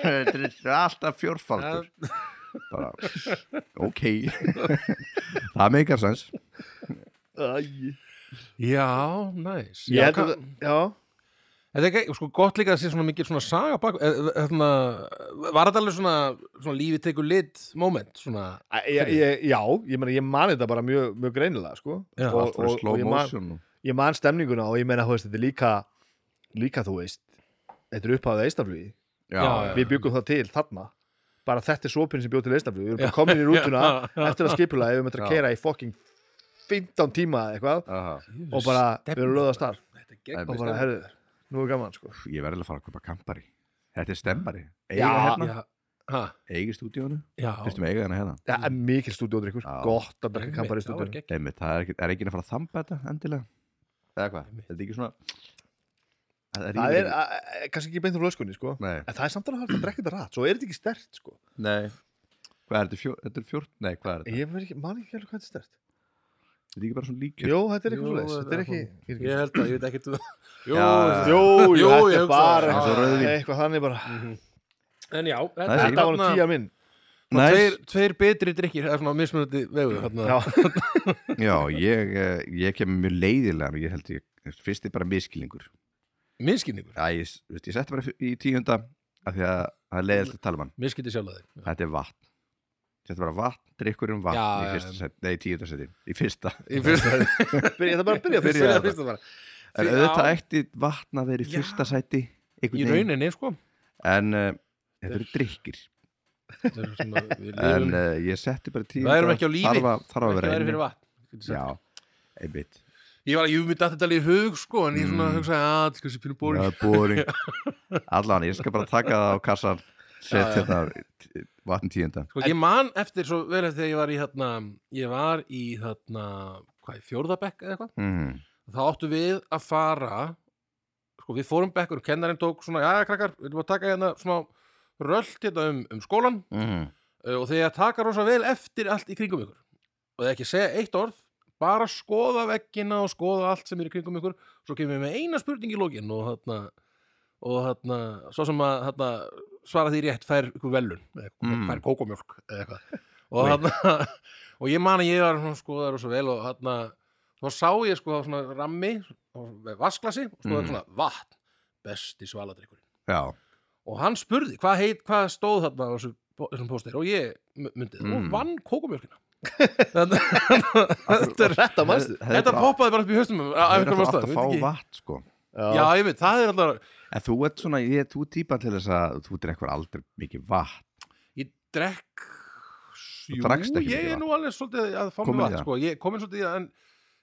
Speaker 1: þetta er alltaf fjórfaldur bara, ok (laughs) það meikar sens
Speaker 3: Æ.
Speaker 2: já, næs
Speaker 3: Ég
Speaker 2: já,
Speaker 3: held að
Speaker 2: ka-
Speaker 3: það, já
Speaker 2: Þetta er ekki, sko, gott líka að sé svona mikil svona saga bak, eh, eh, hérna, var þetta alveg svona, svona lífi tekur lit moment, svona,
Speaker 3: Æ, ég, ég, Já, ég meina, ég man þetta bara mjög, mjög greinilega, sko
Speaker 2: Já,
Speaker 3: og,
Speaker 1: allt fyrir slow
Speaker 3: ég, man,
Speaker 1: motion og-
Speaker 3: ég man stemninguna og ég meina, þú veist, þetta er líka líka, þú veist Þetta er upphafið eistaflugi,
Speaker 2: Já, já.
Speaker 3: við byggum það til þarna bara þetta er sopin sem bjóð til eistaflugi við erum bara komin í rútuna
Speaker 2: (laughs) Já.
Speaker 3: eftir að skipula ef við möttum
Speaker 1: Já.
Speaker 3: að keira í fokking 15 tíma eða eitthvað
Speaker 1: Aha.
Speaker 3: og bara, við erum löða starf
Speaker 2: Þetta er
Speaker 1: Það er
Speaker 2: gegn
Speaker 3: og bara, herðu, nú er gaman, sko
Speaker 1: ég verði að fara að kaupa kampari þetta er stemmari, eiga
Speaker 3: Já.
Speaker 1: hérna
Speaker 2: Já, ha,
Speaker 1: eigi stúdíónu,
Speaker 2: já.
Speaker 1: fyrstum eiga hérna hérna
Speaker 3: Það er mikil stúdíódrykkur,
Speaker 1: Já.
Speaker 3: gott að drekka kampar í
Speaker 2: Já, er
Speaker 3: stúdíónu
Speaker 2: gegn.
Speaker 1: Einmitt, það er, ekki, er ekki að fara að þamba þetta endilega eða hvað,
Speaker 2: Einmitt.
Speaker 1: þetta er ekki svona það er,
Speaker 3: Það er
Speaker 1: ekki-
Speaker 3: a- a- kannski ekki beint úr löskunni, sko
Speaker 1: nei,
Speaker 3: En það er samt alveg hægt að drekka þetta rætt, svo er þetta ekki stert sko.
Speaker 1: nei hvað er þetta, fjó, þetta er fjórt, nei hvað er þetta
Speaker 3: Ég man ekki, man ekki alveg hvað þetta er stert.
Speaker 1: þetta er ekki bara svona líkjör
Speaker 3: Jó, þetta er eitthvað
Speaker 2: Jú,
Speaker 3: svoleiðis, þetta er
Speaker 2: þetta
Speaker 3: ekki... ég
Speaker 2: er
Speaker 3: er ekki-
Speaker 2: Ég held að, ég veit ekkert um það. Jú,
Speaker 1: Já,
Speaker 2: já,
Speaker 3: Jú, jú,
Speaker 2: Jú,
Speaker 3: þetta
Speaker 2: ég
Speaker 3: er
Speaker 2: hugsa
Speaker 3: bara
Speaker 2: það.
Speaker 1: Eins og rauðvín.
Speaker 3: eitthvað þannig bara.
Speaker 2: en já,
Speaker 1: Það er
Speaker 3: Þetta var nú
Speaker 2: þarna-
Speaker 3: tíja minn.
Speaker 2: svona tveir, tveir betri drikkir, það er svona mismunandi vegu, þarna.
Speaker 3: Já, (laughs)
Speaker 1: já, ég, eh, ég kem mjög leiðilega ég held ég, fyrst er bara miskilningur
Speaker 2: Miskinningur,
Speaker 1: já, ég, veist, ég setti bara í tíunda af því að það er leiðilegt að tala um hann
Speaker 2: miskindi sjálf að þig.
Speaker 1: þetta er vatn Þetta er bara vatn, drikkurinn vatn
Speaker 2: Já,
Speaker 1: í
Speaker 2: já,
Speaker 1: fyrsta seti, nei, í tíunda seti, í fyrsta.
Speaker 2: Í fyrsta,
Speaker 3: byrja, þetta bara að byrja fyrst.
Speaker 1: Byrja.
Speaker 2: byrjaði fyrsta bara.
Speaker 1: En
Speaker 2: Því-
Speaker 1: auðvitað
Speaker 2: já,
Speaker 1: ætti vatn að vera í
Speaker 2: Já.
Speaker 1: fyrsta seti,
Speaker 2: Í rauninni, sko.
Speaker 1: En uh, þetta eru drikkir.
Speaker 2: Það er svona, við
Speaker 1: en
Speaker 2: lifum-
Speaker 1: uh, ég setti bara tíu
Speaker 2: Það erum ekki á lífi.
Speaker 1: þarf að, þarf að
Speaker 2: ekki
Speaker 1: vera
Speaker 2: væri fyrir
Speaker 1: inni
Speaker 2: vatn. getur sagt.
Speaker 1: já, einmitt
Speaker 2: Ég var að, jú, mér datt þetta alveg í hug, sko, en ég svona
Speaker 1: Mm.
Speaker 2: hugsaði, að, þetta er kannski pínu bóring.
Speaker 1: Já,
Speaker 2: (laughs)
Speaker 1: boring. allan, ég skal bara taka það á kassan
Speaker 2: Já,
Speaker 1: setja
Speaker 2: já.
Speaker 1: þetta t- vatn tíunda
Speaker 2: Sko, ég man eftir svo vel eftir þegar ég var í þarna, ég var í þarna, hvað, í fjórðabekk eða eitthvað?
Speaker 1: mm.
Speaker 2: Þá áttu við að fara, sko, við fórum bekkur, kennarinn tók svona, já, krakkar, við erum að taka hérna smá rölt hérna um, um skólan
Speaker 1: Mm.
Speaker 2: uh, og þegar taka rosa vel eftir allt í kringum ykkur. Og þegar ekki segja eitt orð, bara skoða veggina og skoða allt sem er í kringum ykkur, svo kemur við með eina spurning í lógin og þarna, og þarna, svo sem að þarna, svara því rétt fær ykkur velun, eða eitthvað,
Speaker 1: Mm.
Speaker 2: fær kókomjólk eða eitthvað. Og þarna, (laughs) og ég man að ég var svona skoðar og svo vel og þarna, þá sá ég sko svona rammi, og vasklasi og skoða
Speaker 1: Mm.
Speaker 2: svona vatn, besti svaladrykkurinn
Speaker 1: já,
Speaker 2: og hann spurði hvað, heit, hvað stóð þarna á þessu, po- þessum póster og ég mu- mundi það
Speaker 1: Mm.
Speaker 2: og vann
Speaker 1: (laughs)
Speaker 2: kókumjölkina þetta, þetta, er-
Speaker 3: Þetta mannstu.
Speaker 1: Hefði
Speaker 2: þetta
Speaker 1: bara-
Speaker 2: poppaði bara upp í höstum af
Speaker 1: hefði
Speaker 2: einhverjum
Speaker 1: bara átt
Speaker 2: ástæðum,
Speaker 1: að
Speaker 2: ég
Speaker 1: fá
Speaker 2: veit ekki.
Speaker 1: vatn sko
Speaker 2: Já, ég veit, það er alltaf
Speaker 1: en þú ert svona, ég, þú er típa til þess að þú drekkur aldrei mikið
Speaker 2: (laughs)
Speaker 1: vatn
Speaker 2: ég drekk
Speaker 1: drakkst
Speaker 2: jú,
Speaker 1: ekki
Speaker 2: ég
Speaker 1: mikið
Speaker 2: er nú alveg svolítið að fá
Speaker 1: Komin í
Speaker 2: mér vatn
Speaker 1: það?
Speaker 2: sko. ég er komin svolítið í það en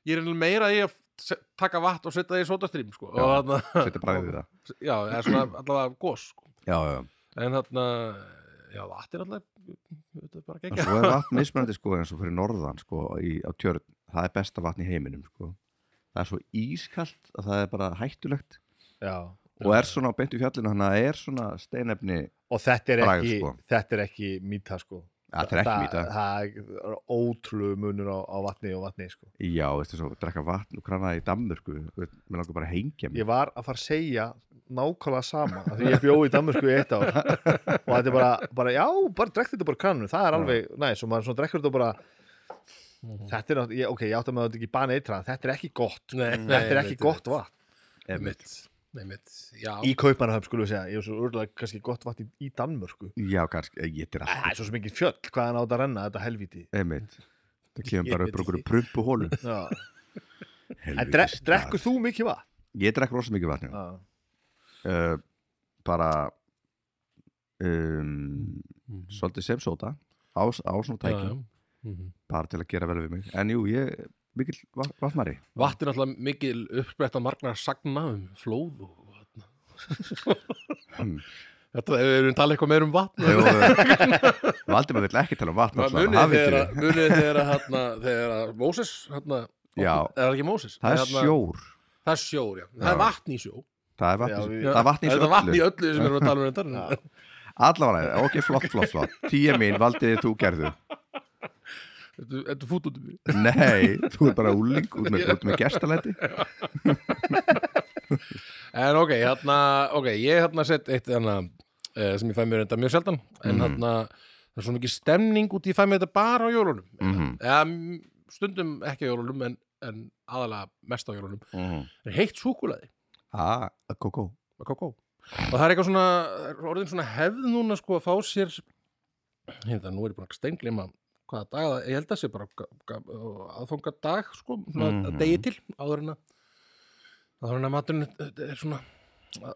Speaker 2: ég er eiginlega meira í að se- taka vatn og setja það í sótastrým sko.
Speaker 1: Já,
Speaker 2: og þarna
Speaker 1: setja bræðið í það
Speaker 2: já, eða svona allavega gos sko.
Speaker 1: já, já, já.
Speaker 2: en þarna já, vatn er allavega þetta er bara
Speaker 1: En
Speaker 2: geggjað.
Speaker 1: svo er vatn mismunandi sko eins og fyrir norðan sko í, á tjörn, það er besta vatn í heiminum sko það er svo ískalt að það er bara hættulegt
Speaker 3: Já.
Speaker 1: og er svona á beintu fjallinu þannig að það er svona steinefni
Speaker 3: Og þetta er
Speaker 1: Bragð,
Speaker 3: ekki,
Speaker 1: sko.
Speaker 3: þetta er ekki mýta sko.
Speaker 1: að það er ekki mýta
Speaker 3: Það er ótrúlega munur á, á vatni og vatni sko.
Speaker 1: já, veistu svo, drekka vatn og krana í Danmörku þú veist, mér langar bara að hengja mig
Speaker 3: Ég var að fara að segja nákvæmlega sama af því ég bjóði í Danmörku í eitt ár og þetta er bara, bara já, bara drekkt þetta bara kannum það er
Speaker 1: Já.
Speaker 3: alveg næs og maður svona drekkur þetta bara
Speaker 2: Mhm.
Speaker 3: þetta er náttúrulega, ég- ok, ég átti að maður þetta ekki bana eitra þetta er ekki gott,
Speaker 2: Nei,
Speaker 3: þetta er
Speaker 2: nei,
Speaker 3: ekki
Speaker 2: nei,
Speaker 3: gott vatn
Speaker 1: Einmitt.
Speaker 2: Einmitt, einmitt, já
Speaker 3: í Kaupmannahöfn skulum við segja, ég er svo örgulega kannski gott vatn í, í Danmörku
Speaker 1: já, kannski, eh, ég
Speaker 3: Æ,
Speaker 1: getur allt
Speaker 3: það er svo sem ekki fjöll, hvaðan á þetta að renna þetta helviti
Speaker 1: einmitt það kemur
Speaker 2: Ég
Speaker 1: bara
Speaker 2: veit
Speaker 1: upp úr
Speaker 2: ekki.
Speaker 1: okkur prumpu hólu
Speaker 3: Já. en dre, drekkur þú mikið vatn?
Speaker 1: ég drekk rosa mikið vatn já.
Speaker 3: já.
Speaker 1: uh, bara um,
Speaker 2: Mhm.
Speaker 1: svolítið sem sóta á, á svona
Speaker 2: Já,
Speaker 1: tæki,
Speaker 2: já. Mhm.
Speaker 1: bara til að gera vel við mig en jú, ég er mikill va- vatnari
Speaker 2: Vatn er alltaf mikil uppbreytta margnar sagna um flóð og vatn
Speaker 1: Hmm.
Speaker 2: Þetta ef við erum talað eitthvað meir um vatn
Speaker 1: Jú, eh, Valdimar vill ekki tala um vatn
Speaker 2: Maður
Speaker 1: alltaf,
Speaker 2: munið
Speaker 1: hann
Speaker 2: þegar
Speaker 1: vill
Speaker 2: að-
Speaker 1: ekki.
Speaker 2: munið þegar að þarna, þegar að Móses þarna,
Speaker 1: (laughs) Já.
Speaker 2: opnaði- er það ekki Móses?
Speaker 1: það er
Speaker 2: Þarna-
Speaker 1: sjór
Speaker 2: Það er sjór, já, það
Speaker 1: Já.
Speaker 2: er vatn í sjó
Speaker 1: það er
Speaker 3: Já,
Speaker 1: vatn,
Speaker 3: við-
Speaker 1: það
Speaker 2: Það
Speaker 1: er vatn í
Speaker 2: er vatn í
Speaker 1: öllu
Speaker 2: öllu sem við erum að tala um þetta
Speaker 3: Já.
Speaker 1: allavega, ok, flott, flott, flott tíu mín, valdiði þú gerðu
Speaker 2: Þetta þetta er fút út um mig
Speaker 1: nei, þú er bara úling út með, út með gestalæti
Speaker 2: En ok, hérna, ok, ég hérna sett eitt hérna, eh, sem ég fæ mér þetta mjög sjaldan en
Speaker 1: Mhm.
Speaker 2: hérna, það er svo mikið stemning út í ég fæ mér þetta bara á jólunum
Speaker 1: Mhm.
Speaker 2: eða mm, stundum ekki á jólunum en, en aðalega mest á jólunum
Speaker 1: mm.
Speaker 2: er heitt súkulaði
Speaker 1: ah, kókó
Speaker 2: með kakó og það er eitthvað svona, það er orðin svona hefð núna sko að fá sér hérna, nú er ég búin að steinglima hvaða dag, það- ég held að sé bara aðfanga dag sko, svona mm
Speaker 1: Mhm.
Speaker 2: degi til áður en að áður en að maturinn eh, er- er svona uh,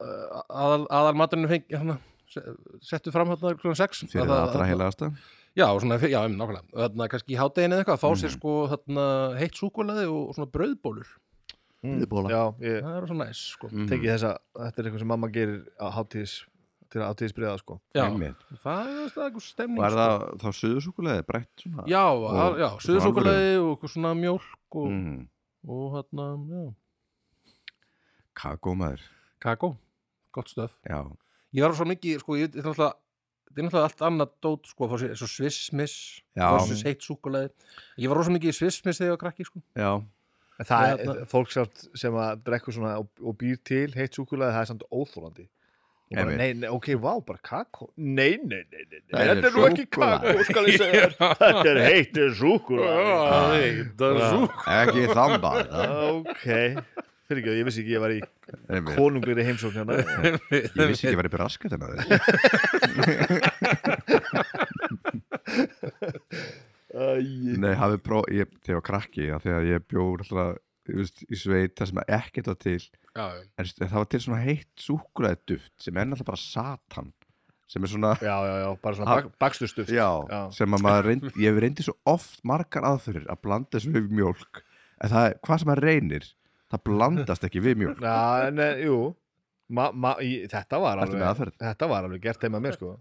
Speaker 2: aðal, aðal maturinn fengi hérna, se- settu fram hérna klukkan 6
Speaker 1: fyrir það allra heilagasta
Speaker 2: Já, svona, já, um, nákvæmlega. Og Þarna, kannski í hádeginu eða eitthvað, fá sér
Speaker 1: Mhm.
Speaker 2: sko þarna, heitt súkulaði og svona brauðbólur.
Speaker 1: Brauðbolla.
Speaker 3: Mm. já, ég
Speaker 2: Það er svo næs, sko.
Speaker 1: Mhm.
Speaker 3: teki þessa þetta er eitthvað sem mamma gerir á hátíðis til að hátíðis breyða sko
Speaker 2: Já,
Speaker 1: Einmitt.
Speaker 2: það er það er eitthvað stemning.
Speaker 1: var
Speaker 2: sko.
Speaker 1: það þá suðursúkulegði breytt svona
Speaker 2: Já, að- já, suðusúkulaði og eitthvað svona mjólk og,
Speaker 1: mm.
Speaker 2: og hérna, já,
Speaker 1: kakó maður
Speaker 2: kakó, gott stöf.
Speaker 1: já,
Speaker 2: Ég var svo mikið, sko, ég, þetta er náttúrulega, þetta er náttúrulega allt annað dót, sko, að fá sér eins og svissmiss,
Speaker 1: Já.
Speaker 2: versus heitt súkulaði. Ég var rosa mikið í svissmiss þegar ég var krakki, sko.
Speaker 1: já,
Speaker 3: en það
Speaker 2: Já,
Speaker 3: er fólk samt sem að drekkur svona og, og býr til heitt súkulega það er samt óþólandi Og bara,
Speaker 1: Einmitt.
Speaker 3: nei, nei, ok, vá, bara kakó nei, nei, nei, nei, nei.
Speaker 1: Það er
Speaker 3: þetta er nú ekki
Speaker 1: súkkulaði.
Speaker 3: kakó skal ég
Speaker 1: (laughs)
Speaker 2: (laughs)
Speaker 3: segja þér. þetta er heitt súkulega
Speaker 2: það
Speaker 3: er súkkulaði.
Speaker 1: ekki þamba það.
Speaker 3: ok, fyrir ekki, ég vissi ekki ég var í
Speaker 1: Ah. Einmitt.
Speaker 3: konunglegri heimsókn
Speaker 1: (laughs)
Speaker 3: hérna
Speaker 1: ég
Speaker 2: (laughs)
Speaker 1: vissi ekki að vera upp í raskat en að (laughs) þið
Speaker 3: Æ,
Speaker 1: nei, hafi pró, ég, þegar ég var krakki já, þegar ég bjóð alltaf þú veist, í sveit það sem ekkert var til
Speaker 2: Já, já.
Speaker 1: en st- það var til svona heitt súkulegði duft sem er alltaf bara satan sem er svona,
Speaker 3: (laughs) já, já, já, bara svona bak, bakstustuft
Speaker 1: já,
Speaker 3: Já.
Speaker 1: sem að maður reynd, ég hef reyndi svo oft margar aðferðir að blanda þessu við mjólk en það, er- hvað sem maður reynir það blandast ekki við
Speaker 3: (laughs)
Speaker 1: mjólk
Speaker 3: Já, nei, jú ma, ma, í, þetta, var
Speaker 1: Ertu með
Speaker 3: alveg,
Speaker 1: aðferð?
Speaker 3: þetta var alveg gert heima mér sko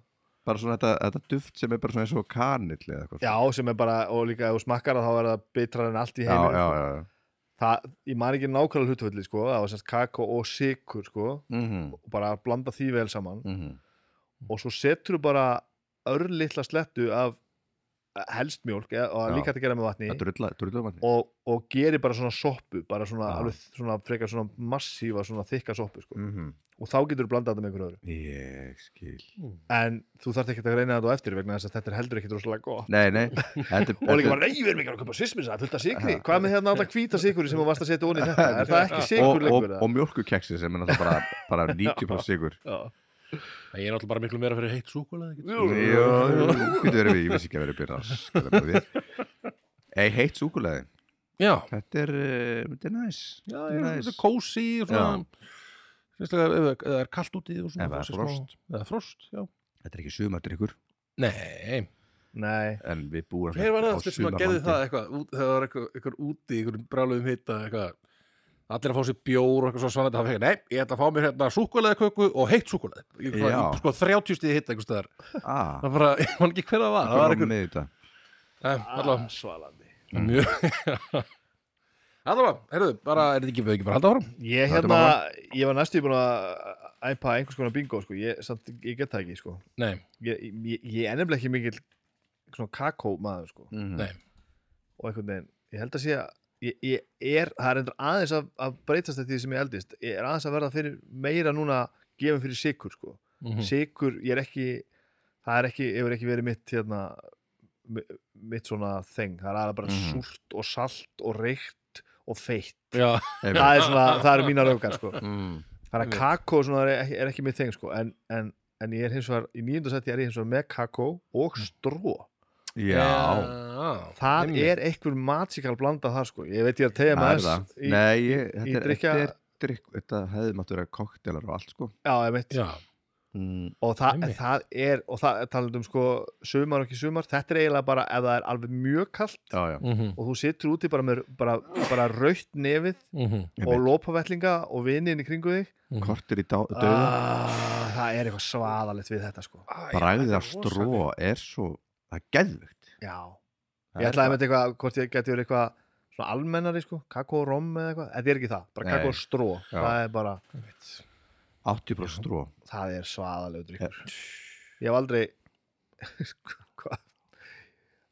Speaker 1: bara svona þetta, þetta duft sem er bara svona eins og kanill eða eitthvað
Speaker 3: Já, sem er bara, og líka ef þú smakkar það þá er það bitrar en allt í
Speaker 1: já,
Speaker 3: heiminu
Speaker 1: já,
Speaker 3: sko.
Speaker 1: já, já.
Speaker 3: Það, ég man ekki nákvæmlega hlutföldi sko, það var sérst kakó og sykur sko,
Speaker 1: Mm
Speaker 3: og bara blanda því vel saman
Speaker 1: -hmm.
Speaker 3: og svo setur þú bara örlitla slettu af eh, helst mjólk eða- og
Speaker 1: Já.
Speaker 3: líka hægt að gera með vatni
Speaker 1: það drulla, drulla um vatni
Speaker 3: og, og gerir bara svona soppu bara svona,
Speaker 1: Já.
Speaker 3: alveg, svona frekar svona massífa svona þykka soppu sko.
Speaker 1: mm -hmm.
Speaker 3: og þá getur þú blandað þetta með einhverju öðru
Speaker 1: ég skil
Speaker 3: en þú þarft ekki að reyna þetta á eftir vegna þess að þetta er heldur ekki rosalega gott
Speaker 1: nei, nei, þetta,
Speaker 3: (laughs) og líka
Speaker 1: þetta,
Speaker 3: bara, nei, við erum ekki að köpa svismis það er fullt af sykri, hvað með hérna alltaf hvíta sykri sem þú varst að setja onni (laughs) þetta, er það ekki
Speaker 1: og,
Speaker 3: sykur
Speaker 1: og,
Speaker 3: lengur
Speaker 1: og mjólkukeksi sem er náttúrulega
Speaker 3: (laughs)
Speaker 1: bara, bara 90% sigur
Speaker 3: eða?
Speaker 2: Ég er náttúrulega bara miklu meira fyrir heitt súkulaði.
Speaker 3: Jú, jú.
Speaker 1: getur verið við, ég vissi ekki að vera byrja ei, heitt súkulegði
Speaker 2: Já,
Speaker 1: þetta er, eh, þetta er næs
Speaker 2: já,
Speaker 1: Þetta
Speaker 2: já,
Speaker 1: er
Speaker 2: þetta
Speaker 1: næs.
Speaker 2: er kósi og svona, sérstaklega ef ef það er kallt úti og svona.
Speaker 1: Ef það er
Speaker 2: fá sér
Speaker 1: frost.
Speaker 2: smá- Eða frost, já.
Speaker 1: þetta er ekki sumadrykkur
Speaker 2: Nei,
Speaker 3: nei,
Speaker 1: en við búum
Speaker 2: Hver var það
Speaker 1: á
Speaker 2: aftur sem að gerði það eitthvað út, það var eitthvað, eitthvað úti, einhverjum brálöfum hitta eitthvað, allir að fá sér bjór og eitthvað svo svona, það fekk, nei, ég ætla að fá mér hérna súkulega köku og heitt súkulega
Speaker 1: Já.
Speaker 2: sko 30 stíði hitta einhvers staðar
Speaker 1: ah,
Speaker 2: það bara, (laughs) ég man ekki hver það var, það var einhver
Speaker 1: eitthvað
Speaker 2: eh, allavega,
Speaker 3: svalandi
Speaker 1: Mm.
Speaker 2: mjög (laughs) allavega, heyrðu, bara, er þetta ekki við ekki bara að halda áfram?
Speaker 3: ég
Speaker 1: Þetta
Speaker 3: hérna,
Speaker 1: var
Speaker 3: ég var næstu búin að æpa einhvers konar bingo, sko ég, samt, ég get það ekki, sko
Speaker 2: Nei,
Speaker 3: ég, ég, ég er nefnilega ekki mikill svona kakó maður, sko
Speaker 1: Mhm.
Speaker 2: nei,
Speaker 3: og einhvern veginn, ég held að sé að ég, ég er, það er endur aðeins að, að breytast þetta því sem ég eldist, ég er aðeins að verða fyrir meira núna gefum fyrir sykur sko.
Speaker 2: mhm,
Speaker 3: sigur, ég er ekki það er ekki, hefur ekki verið mitt hérna, mi- mitt svona þeng, það er aðra bara
Speaker 1: Mhm.
Speaker 3: súrt og salt og reykt og feitt
Speaker 2: já,
Speaker 1: Einmitt.
Speaker 3: það er svona, það eru mínar öfgar sko
Speaker 1: Mm.
Speaker 3: þannig að
Speaker 2: Einmitt.
Speaker 3: kakó svona er ekki, er ekki mitt þeng sko en, en, en ég er hins vegar, í nýjunda seti er ég hins vegar með kakó og stró
Speaker 1: já,
Speaker 3: það
Speaker 2: einmitt.
Speaker 3: er einhver matsikal blanda það sko, ég veit ég er að tegja
Speaker 1: það
Speaker 3: með
Speaker 1: er það
Speaker 3: þess í,
Speaker 1: nei, ég-
Speaker 3: í
Speaker 1: þetta er-
Speaker 3: drikja
Speaker 1: þetta er drikk, þetta hefði mátt vera koktelar og allt sko
Speaker 3: já, ég veit
Speaker 2: já,
Speaker 1: mm.
Speaker 3: og það,
Speaker 2: Einmitt.
Speaker 3: það er, og það talandi um sko sumar og ekki sumar, þetta er eiginlega bara ef það er alveg mjög kallt
Speaker 1: Já, já,
Speaker 2: mhm,
Speaker 3: og þú situr úti bara með bara, bara rautt nefið
Speaker 2: mhm,
Speaker 3: og
Speaker 1: og
Speaker 3: lópavellinga og vinnin í kringu þig
Speaker 2: mhm.
Speaker 1: kortir í dá, döða
Speaker 3: ah, það er eitthvað svaðalegt við þetta sko
Speaker 2: Æ,
Speaker 1: bræðið
Speaker 2: þetta er
Speaker 1: af stró er svo, það er geðvögt
Speaker 3: já, ég ætlaði með eitthvað hvort ég geti verið eitthvað svona almennari sko, kakó og rom eða eitthvað, þetta er ekki það, bara
Speaker 1: Nei.
Speaker 3: kakó og stró
Speaker 1: Já.
Speaker 3: það er bara,
Speaker 2: rosalegt.
Speaker 1: 80% stró
Speaker 3: það er svaðalegt drikkur
Speaker 1: Já.
Speaker 3: ég hef aldrei (laughs) Sko, hvað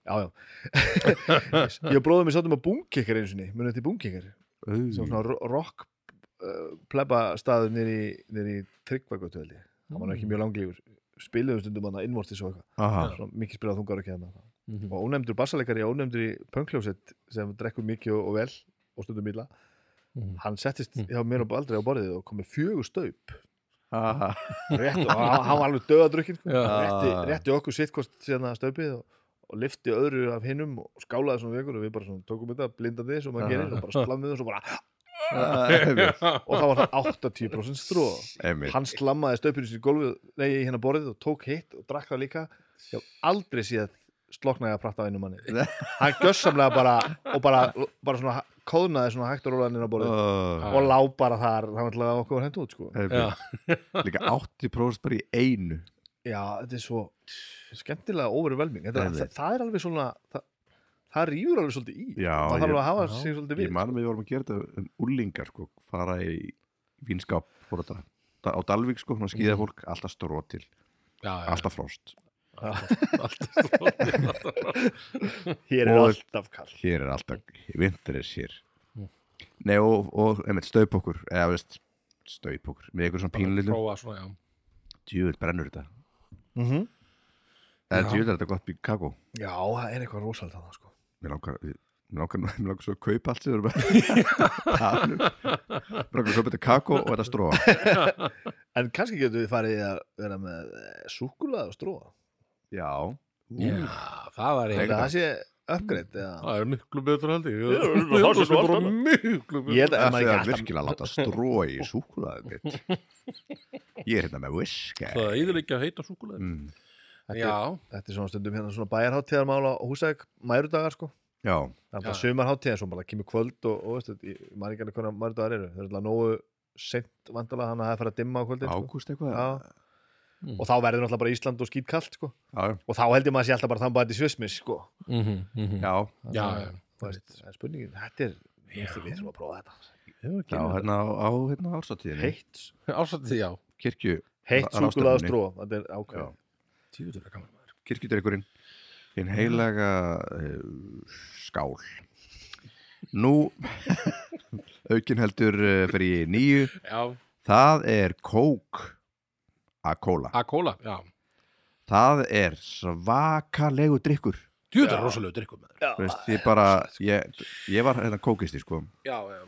Speaker 3: já, já ég bróði mér sáttum að bunkikker eins og ni munið til bunkikker sem var
Speaker 1: Au,
Speaker 3: svona ro- rock uh, plebba staður nýri, nýri tryggvagötu held ég það var nú ekki mjög langlífur spiluðum stundum hann að innvortis og eitthvað
Speaker 1: aha,
Speaker 3: Svona mikið spilað þungar ekki hann og
Speaker 2: Mhm.
Speaker 3: ónefndur bassaleikari og ónefndur pöngljósett sem drekkur mikið og, og vel og stundum illa
Speaker 2: Mhm.
Speaker 3: hann settist
Speaker 2: Mhm.
Speaker 3: hjá mér og aldrei á borðið og kom með fjögur staup
Speaker 1: aha
Speaker 3: (laughs) rétt og
Speaker 1: (laughs)
Speaker 3: hann hann var alveg döðadrukkin sko.
Speaker 2: Já.
Speaker 3: rétti, rétti okkur sitt hvort síðan að stöpið og, og lifti öðru af hinnum og skálaði svona við ykkur og við bara svona tókum þetta blindandi eins og maður gerir og bara slammiðum svo bara
Speaker 1: Einmitt,
Speaker 3: og það var það 80% stró
Speaker 1: einmitt.
Speaker 3: hann slammaði stöpinu sér í gólfið nei, í hérna borðið og tók hitt og drakk það líka ég hef aldrei síðan sloknaði að prata á einu manni
Speaker 1: Nei.
Speaker 3: hann gössamlega bara og bara, bara svona kóðnaði svona hægt og rólaði inn á borðið
Speaker 1: Ó,
Speaker 3: og lá bara þar, það var alltaf okkur var hendt út sko.
Speaker 1: einmitt. (laughs) líka 80% bara í einu
Speaker 3: Já, þetta er svo skemmtilega overvelming þetta,
Speaker 1: Nei, nei.
Speaker 3: það, það er alveg svona það, það rýfur alveg svolítið í
Speaker 1: Já,
Speaker 3: það þarf
Speaker 1: ég-
Speaker 3: alveg að hafa
Speaker 2: já.
Speaker 3: sig svolítið
Speaker 1: ég
Speaker 3: við
Speaker 1: man að við vorum að gera þetta um úlingar sko, fara í vinskap fór þetta Da- á Dalvík sko, svona
Speaker 3: Mm.
Speaker 1: skýða fólk alltaf stró til,
Speaker 2: Já, já,
Speaker 1: alltaf frost
Speaker 2: alltaf stró til, alltaf stró.
Speaker 3: hér er
Speaker 1: Og-
Speaker 3: alltaf kall
Speaker 1: hér er alltaf, vinter er hér
Speaker 3: Mm.
Speaker 1: Nei, og, og einmitt, staup okkur eða veist, staup okkur með einhver svona pínlillu,
Speaker 2: Prófa svona, já.
Speaker 1: djúður brennur þetta
Speaker 3: mm -hmm.
Speaker 1: eða
Speaker 2: Já.
Speaker 1: djúður er þetta gott bygg kakó
Speaker 3: Já, það er eitthvað rosalega þannig sko.
Speaker 1: mér langar, mér (laughs) langar, mér langar svo að kaupa allt sem við erum bara (laughs) tala um. mér langar að kaupa þetta kakó og þetta stró
Speaker 3: En kannski getur við farið að vera með súkulað og stróa
Speaker 1: já,
Speaker 2: Já, það var
Speaker 1: Nei,
Speaker 2: eitthvað.
Speaker 3: Það sé uppgreitt eða...
Speaker 2: Það er miklu betur haldi.
Speaker 3: Já, það er svo svart,
Speaker 2: bara
Speaker 3: sko.
Speaker 2: miklu
Speaker 3: Ég held
Speaker 2: betur.
Speaker 3: að
Speaker 1: Það
Speaker 3: maður
Speaker 1: er
Speaker 3: ekki alltaf
Speaker 1: virkilega að láta strói í súkulaðið mitt Ég er hérna með whisky
Speaker 2: Það er íðurleikja að heita súkulega.
Speaker 1: mm.
Speaker 3: þetta,
Speaker 2: Já,
Speaker 3: er- þetta er svona stundum hérna svona bæjarháttíðarmál á Húsæk mærudagar sko
Speaker 1: Já,
Speaker 3: Það er bara
Speaker 2: Já.
Speaker 3: sumarháttíðar svo bara kemur kvöld og, og veist, ég man ekki alveg hvernig mærudagar eru Það er alltaf nógu seint vandalega hann að það er að fara að dimma á kvöldin sko.
Speaker 1: ágúst eitthvað
Speaker 3: Já.
Speaker 2: Mm.
Speaker 3: og þá verður náttúrulega bara Ísland og skýtkallt sko.
Speaker 1: Já,
Speaker 3: og þá heldur maður sér alltaf bara þambað til svismis sko.
Speaker 2: Mhm, mhm.
Speaker 1: já,
Speaker 2: já,
Speaker 3: Það
Speaker 2: (laughs) já.
Speaker 3: er- þú veist, það er spurningin, þetta er mér finnst við þurfum að prófa þetta
Speaker 1: já hérna á, á hérna ársatíðinni
Speaker 3: heitt,
Speaker 2: Ásætti, já.
Speaker 1: Kirkju,
Speaker 3: heitt
Speaker 1: Á- á
Speaker 3: súkulað
Speaker 1: ráðstefnunni.
Speaker 3: stró þetta er ákveð
Speaker 1: já,
Speaker 2: Tíður er gaman maður.
Speaker 1: kirkjudrykkurinn Hinn heilaga uh, skál Nú (laughs) aukin heldur uh, fyrir í nýju
Speaker 2: Já,
Speaker 1: Það er kók að kóla
Speaker 2: að kóla, já.
Speaker 1: Það er svakalegu drykkur
Speaker 2: Tíður er rosalega drikkum maður.
Speaker 3: Já,
Speaker 1: Þú veist, ég bara, ég, ég var hérna kókisti sko
Speaker 2: Já, já.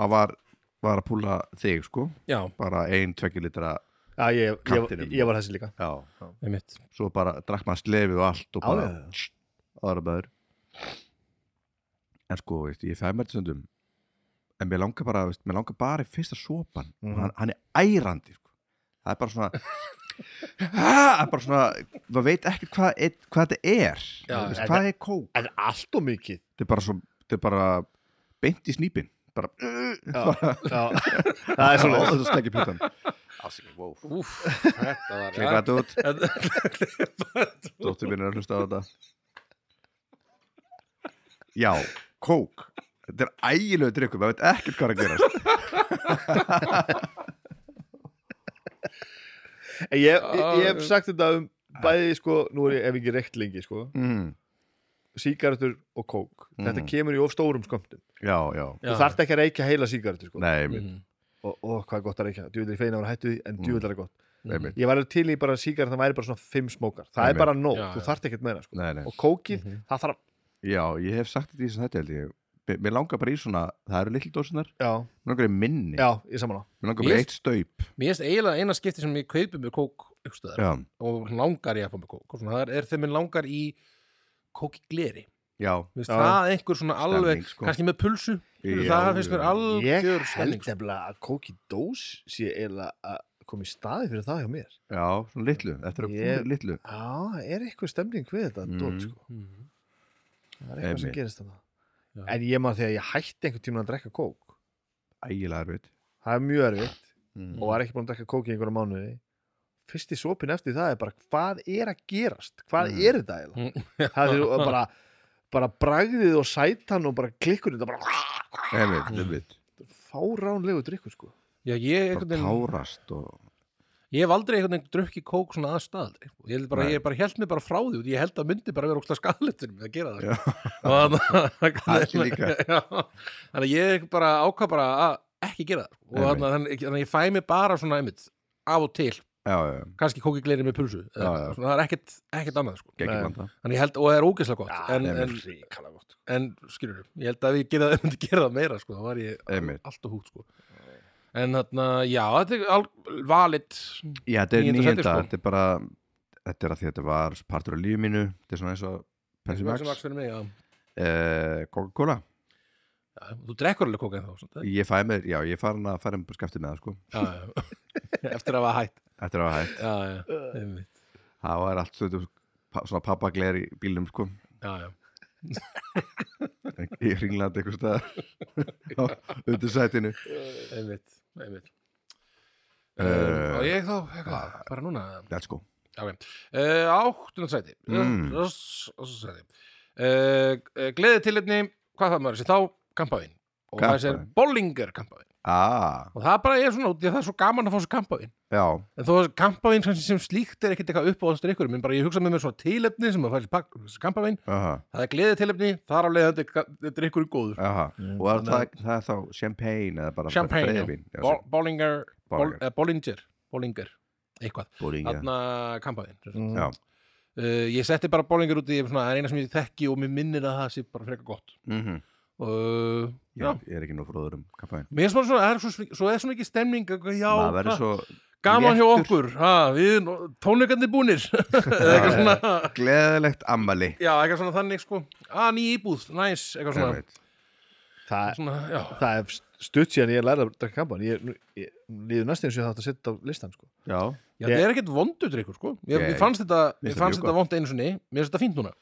Speaker 1: að var, var að púla þig sko
Speaker 2: Já,
Speaker 1: bara ein, tveggjur litra
Speaker 3: já ég, ég,
Speaker 1: Kantinum.
Speaker 3: ég var þessi líka
Speaker 1: já.
Speaker 2: einmitt.
Speaker 1: svo bara drakk maður slefið og allt og
Speaker 3: Já,
Speaker 1: bara
Speaker 3: já, já.
Speaker 1: tss, aðra bæður en sko, veist, ég fæði mér þetta stundum en mér langar bara, veist, mér langar bara í fyrsta sopan
Speaker 3: Mhm.
Speaker 1: hann, hann er ærandi sko. það er bara svona (laughs) það er bara svona maður veit ekki hvað, eitt- hvað þetta er
Speaker 2: Já,
Speaker 1: veist,
Speaker 3: já.
Speaker 1: hvað er kók
Speaker 3: en allt og mikið
Speaker 1: þetta er bara, svo, þetta er bara beint í snýpin bara, uh,
Speaker 3: já,
Speaker 1: (laughs) bara
Speaker 3: já, það er
Speaker 1: svo
Speaker 3: svona
Speaker 1: leið þetta stekki pjöntan ásikir, wow
Speaker 3: (laughs)
Speaker 2: Úf, þetta var...
Speaker 1: Klippa þetta út,
Speaker 2: þetta.
Speaker 1: dóttir mín er að hlusta á þetta Já, kók Þetta er ægilegu drikkum, maður veit ekkert hvað er að gerast
Speaker 3: ég, ég, ég hef sagt þetta um bæði sko, nú er ég ef ekki reykt lengi sko,
Speaker 1: mm.
Speaker 3: sígarettur og kók þetta
Speaker 1: Mhm.
Speaker 3: kemur í of stórum skömmtum
Speaker 1: Já, já,
Speaker 3: þú þarft ekki að reykja heila sígarettur sko.
Speaker 1: nei, einmitt,
Speaker 2: Mhm,
Speaker 3: og, og hvað er gott að reykja, djúvill er feina að vera hættu því en
Speaker 1: Mm.
Speaker 3: djúvill er það gott
Speaker 2: mhm.
Speaker 1: einmitt
Speaker 3: ég var alveg til í bara sígar það væri bara svona fimm smókar það
Speaker 1: Einmitt.
Speaker 3: er bara nóg,
Speaker 2: Já,
Speaker 3: þú
Speaker 2: já.
Speaker 3: þarft ekkert meira sko.
Speaker 1: nei, nei.
Speaker 3: og kókið,
Speaker 2: Mhm.
Speaker 3: það þarf
Speaker 1: Já, ég hef sagt þetta í þess að þetta held ég Mér- Mér langar bara í svona, það eru litlu dósinar
Speaker 3: já,
Speaker 1: Mér langar í minni,
Speaker 3: já, ég saman á
Speaker 1: mér langar bara í
Speaker 2: Mér-
Speaker 1: eitt staup
Speaker 2: Mér finnst eiginlega eina skipti sem ég kaupi með kók einhvers staðar
Speaker 1: Já,
Speaker 2: og langar ég að fá með kók. Svona, það er, er þegar minn langar í kók í gleri.
Speaker 1: já,
Speaker 2: Mér finnst
Speaker 3: Já.
Speaker 2: það einhver svona alveg,
Speaker 1: Stemning, sko.
Speaker 2: kannski með pulsu. það finnst mér
Speaker 3: Ég
Speaker 2: algjör
Speaker 3: held
Speaker 2: stemning sko.
Speaker 3: nefnilega að kóki dós sé eiginlega að koma í staði fyrir það hjá mér.
Speaker 1: Já, svona litlu, eftir að
Speaker 3: Ég-
Speaker 1: búið litlu
Speaker 3: Já, það er eitthvað stemning við þetta,
Speaker 1: Mm.
Speaker 3: dót, sko.
Speaker 2: Mhm.
Speaker 3: Það er eitthvað
Speaker 1: Einmitt.
Speaker 3: sem gerist þarna.
Speaker 2: Já.
Speaker 3: En ég maður þegar ég hætti einhvern tímann að drekka kók.
Speaker 1: Ægilega erfitt
Speaker 3: Það er mjög erfitt
Speaker 1: mm.
Speaker 3: og var ekki búin að drekka kók í einhverja mánuði. Fyrsti sopin eftir það er bara hvað er að gerast? Hvað
Speaker 1: Mm.
Speaker 3: er
Speaker 1: (laughs)
Speaker 3: þetta eiginlega? það er og bara, bara bragðið og sætan og bara klikkur þetta bara
Speaker 1: Erfitt, erfitt
Speaker 3: fáránlegu drikkur, sko.
Speaker 2: Já, ég, einhvern
Speaker 1: Bara
Speaker 2: veginn-
Speaker 1: tárast og
Speaker 2: ég hef aldrei einhvern veginn drukki kók svona aðstæðaldri ég, held bara,
Speaker 1: Nei.
Speaker 2: ég bara held mig bara frá því út. ég held að myndi bara vera ókslega skadalegt fyrir mig að gera það
Speaker 1: Já.
Speaker 2: sko. Og þarna- (laughs)
Speaker 1: Allir líka.
Speaker 2: Já. þannig að ég bara ákvað bara að ekki gera það sko. og
Speaker 1: Einmitt.
Speaker 2: þannig að- þannig að ég fæ mig bara svona einmitt af og til,
Speaker 1: Já, já, já,
Speaker 2: kannski kóki gleiri með pulsu
Speaker 1: Já, já.
Speaker 2: Eða, svona, það er ekkert, ekkert annað sko.
Speaker 1: gekk
Speaker 3: Nei.
Speaker 1: í blanda
Speaker 2: Þannig ég held, og það er sko. ógeðslega gott en,
Speaker 1: nei,
Speaker 2: en,
Speaker 3: ríkala gott.
Speaker 2: en skilur, ég held að ef ég gera, myndi gera það (laughs) meira sko, þá var ég
Speaker 1: Einmitt.
Speaker 2: alltaf hút sko. en þarna, já, þetta er al- valid
Speaker 1: Já, þetta er
Speaker 2: Níunda
Speaker 1: nýjenda,
Speaker 2: sæti, sko.
Speaker 1: þetta er bara Þetta er að því að þetta var partur af lífi mínu Þetta er svona eins og Pepsi Max
Speaker 2: fyrir mig, já
Speaker 1: eh, Coca-Cola
Speaker 2: Já, þú drekkur alveg kókain þá svona.
Speaker 1: Ég fæ mér, já, ég er farin að fara um skaftið með það sko
Speaker 2: Já, já. (laughs) eftir að hafa hætt Uh.
Speaker 1: Eftir að hafa hætt
Speaker 2: já, já, einmitt.
Speaker 1: Það var allt stundum pa- svona pappagler í bílnum sko (laughs)
Speaker 2: já, já.
Speaker 1: Í Ringlandi eitthvað (laughs) staðar Undir sætinu
Speaker 2: einmitt, einmitt.
Speaker 1: Eh,
Speaker 2: Uh, Ah. og ég þá, eitthvað, bara núna
Speaker 1: Let's go
Speaker 2: okay. uh, áttunardsæti
Speaker 1: Mm.
Speaker 2: áttunardsæti uh, gleði til einni hvað það maður sé þá, kampavín og það sé
Speaker 1: Kampavín.
Speaker 2: bollinger kampavín
Speaker 1: Ah,
Speaker 2: og það bara er svona, því að það er svo gaman að fá svo kampavín
Speaker 1: já,
Speaker 2: en þó að kampavín kannski sem slíkt er ekkit eitthvað uppáðast ykkur, menn bara ég hugsa með mér svona tilefni sem að fæli kampavín
Speaker 1: aha,
Speaker 2: það er gleði tilefni, þar af leiðandi þetta er ykkur góður
Speaker 1: aha
Speaker 3: Mm.
Speaker 1: Og er það,
Speaker 2: Þannig
Speaker 1: það er þá champagne eða bara
Speaker 2: Champagne, já.
Speaker 1: breyðvin
Speaker 2: Bo- Bollinger, Bol-
Speaker 1: Bollinger.
Speaker 2: eh, Bollinger Bollinger, eitthvað
Speaker 1: Bólinga
Speaker 2: þarna kampavín
Speaker 3: Mm.
Speaker 1: Já,
Speaker 2: uh, ég setti bara Bollinger út í svona, það er eina sem ég þekki og mér minnir að það sé bara frekar gott
Speaker 1: mhm
Speaker 2: og uh,
Speaker 1: Já,
Speaker 2: já,
Speaker 1: ég er ekki nú fróður um kampaðin
Speaker 2: mér er svona svona, það er svo, svo er svona ekki stemning eitthvað, já,
Speaker 1: maður verður
Speaker 2: hva-
Speaker 1: svo
Speaker 2: gaman hjá
Speaker 1: léttur.
Speaker 2: okkur ha, við tónleikandi búnir (laughs) eða eitthvað svona
Speaker 1: gleðilegt ammali
Speaker 2: já, eitthvað svona þannig sko, að ný íbúð, næs eitthvað svona,
Speaker 1: Einmitt.
Speaker 3: Það,
Speaker 2: svona já,
Speaker 3: það er stutt síðan ég lærði að drekka kampan ég, nú- ég líður næstu eins og ég þátt að setja á listan sko.
Speaker 1: já,
Speaker 2: já það er ekkert vondur drikkur sko, ég,
Speaker 1: Ég-
Speaker 2: ég fannst þetta
Speaker 1: finnst
Speaker 2: ég
Speaker 1: það
Speaker 2: fannst
Speaker 1: mjög
Speaker 2: þetta vond einu sinni, mér finnst þetta fínt núna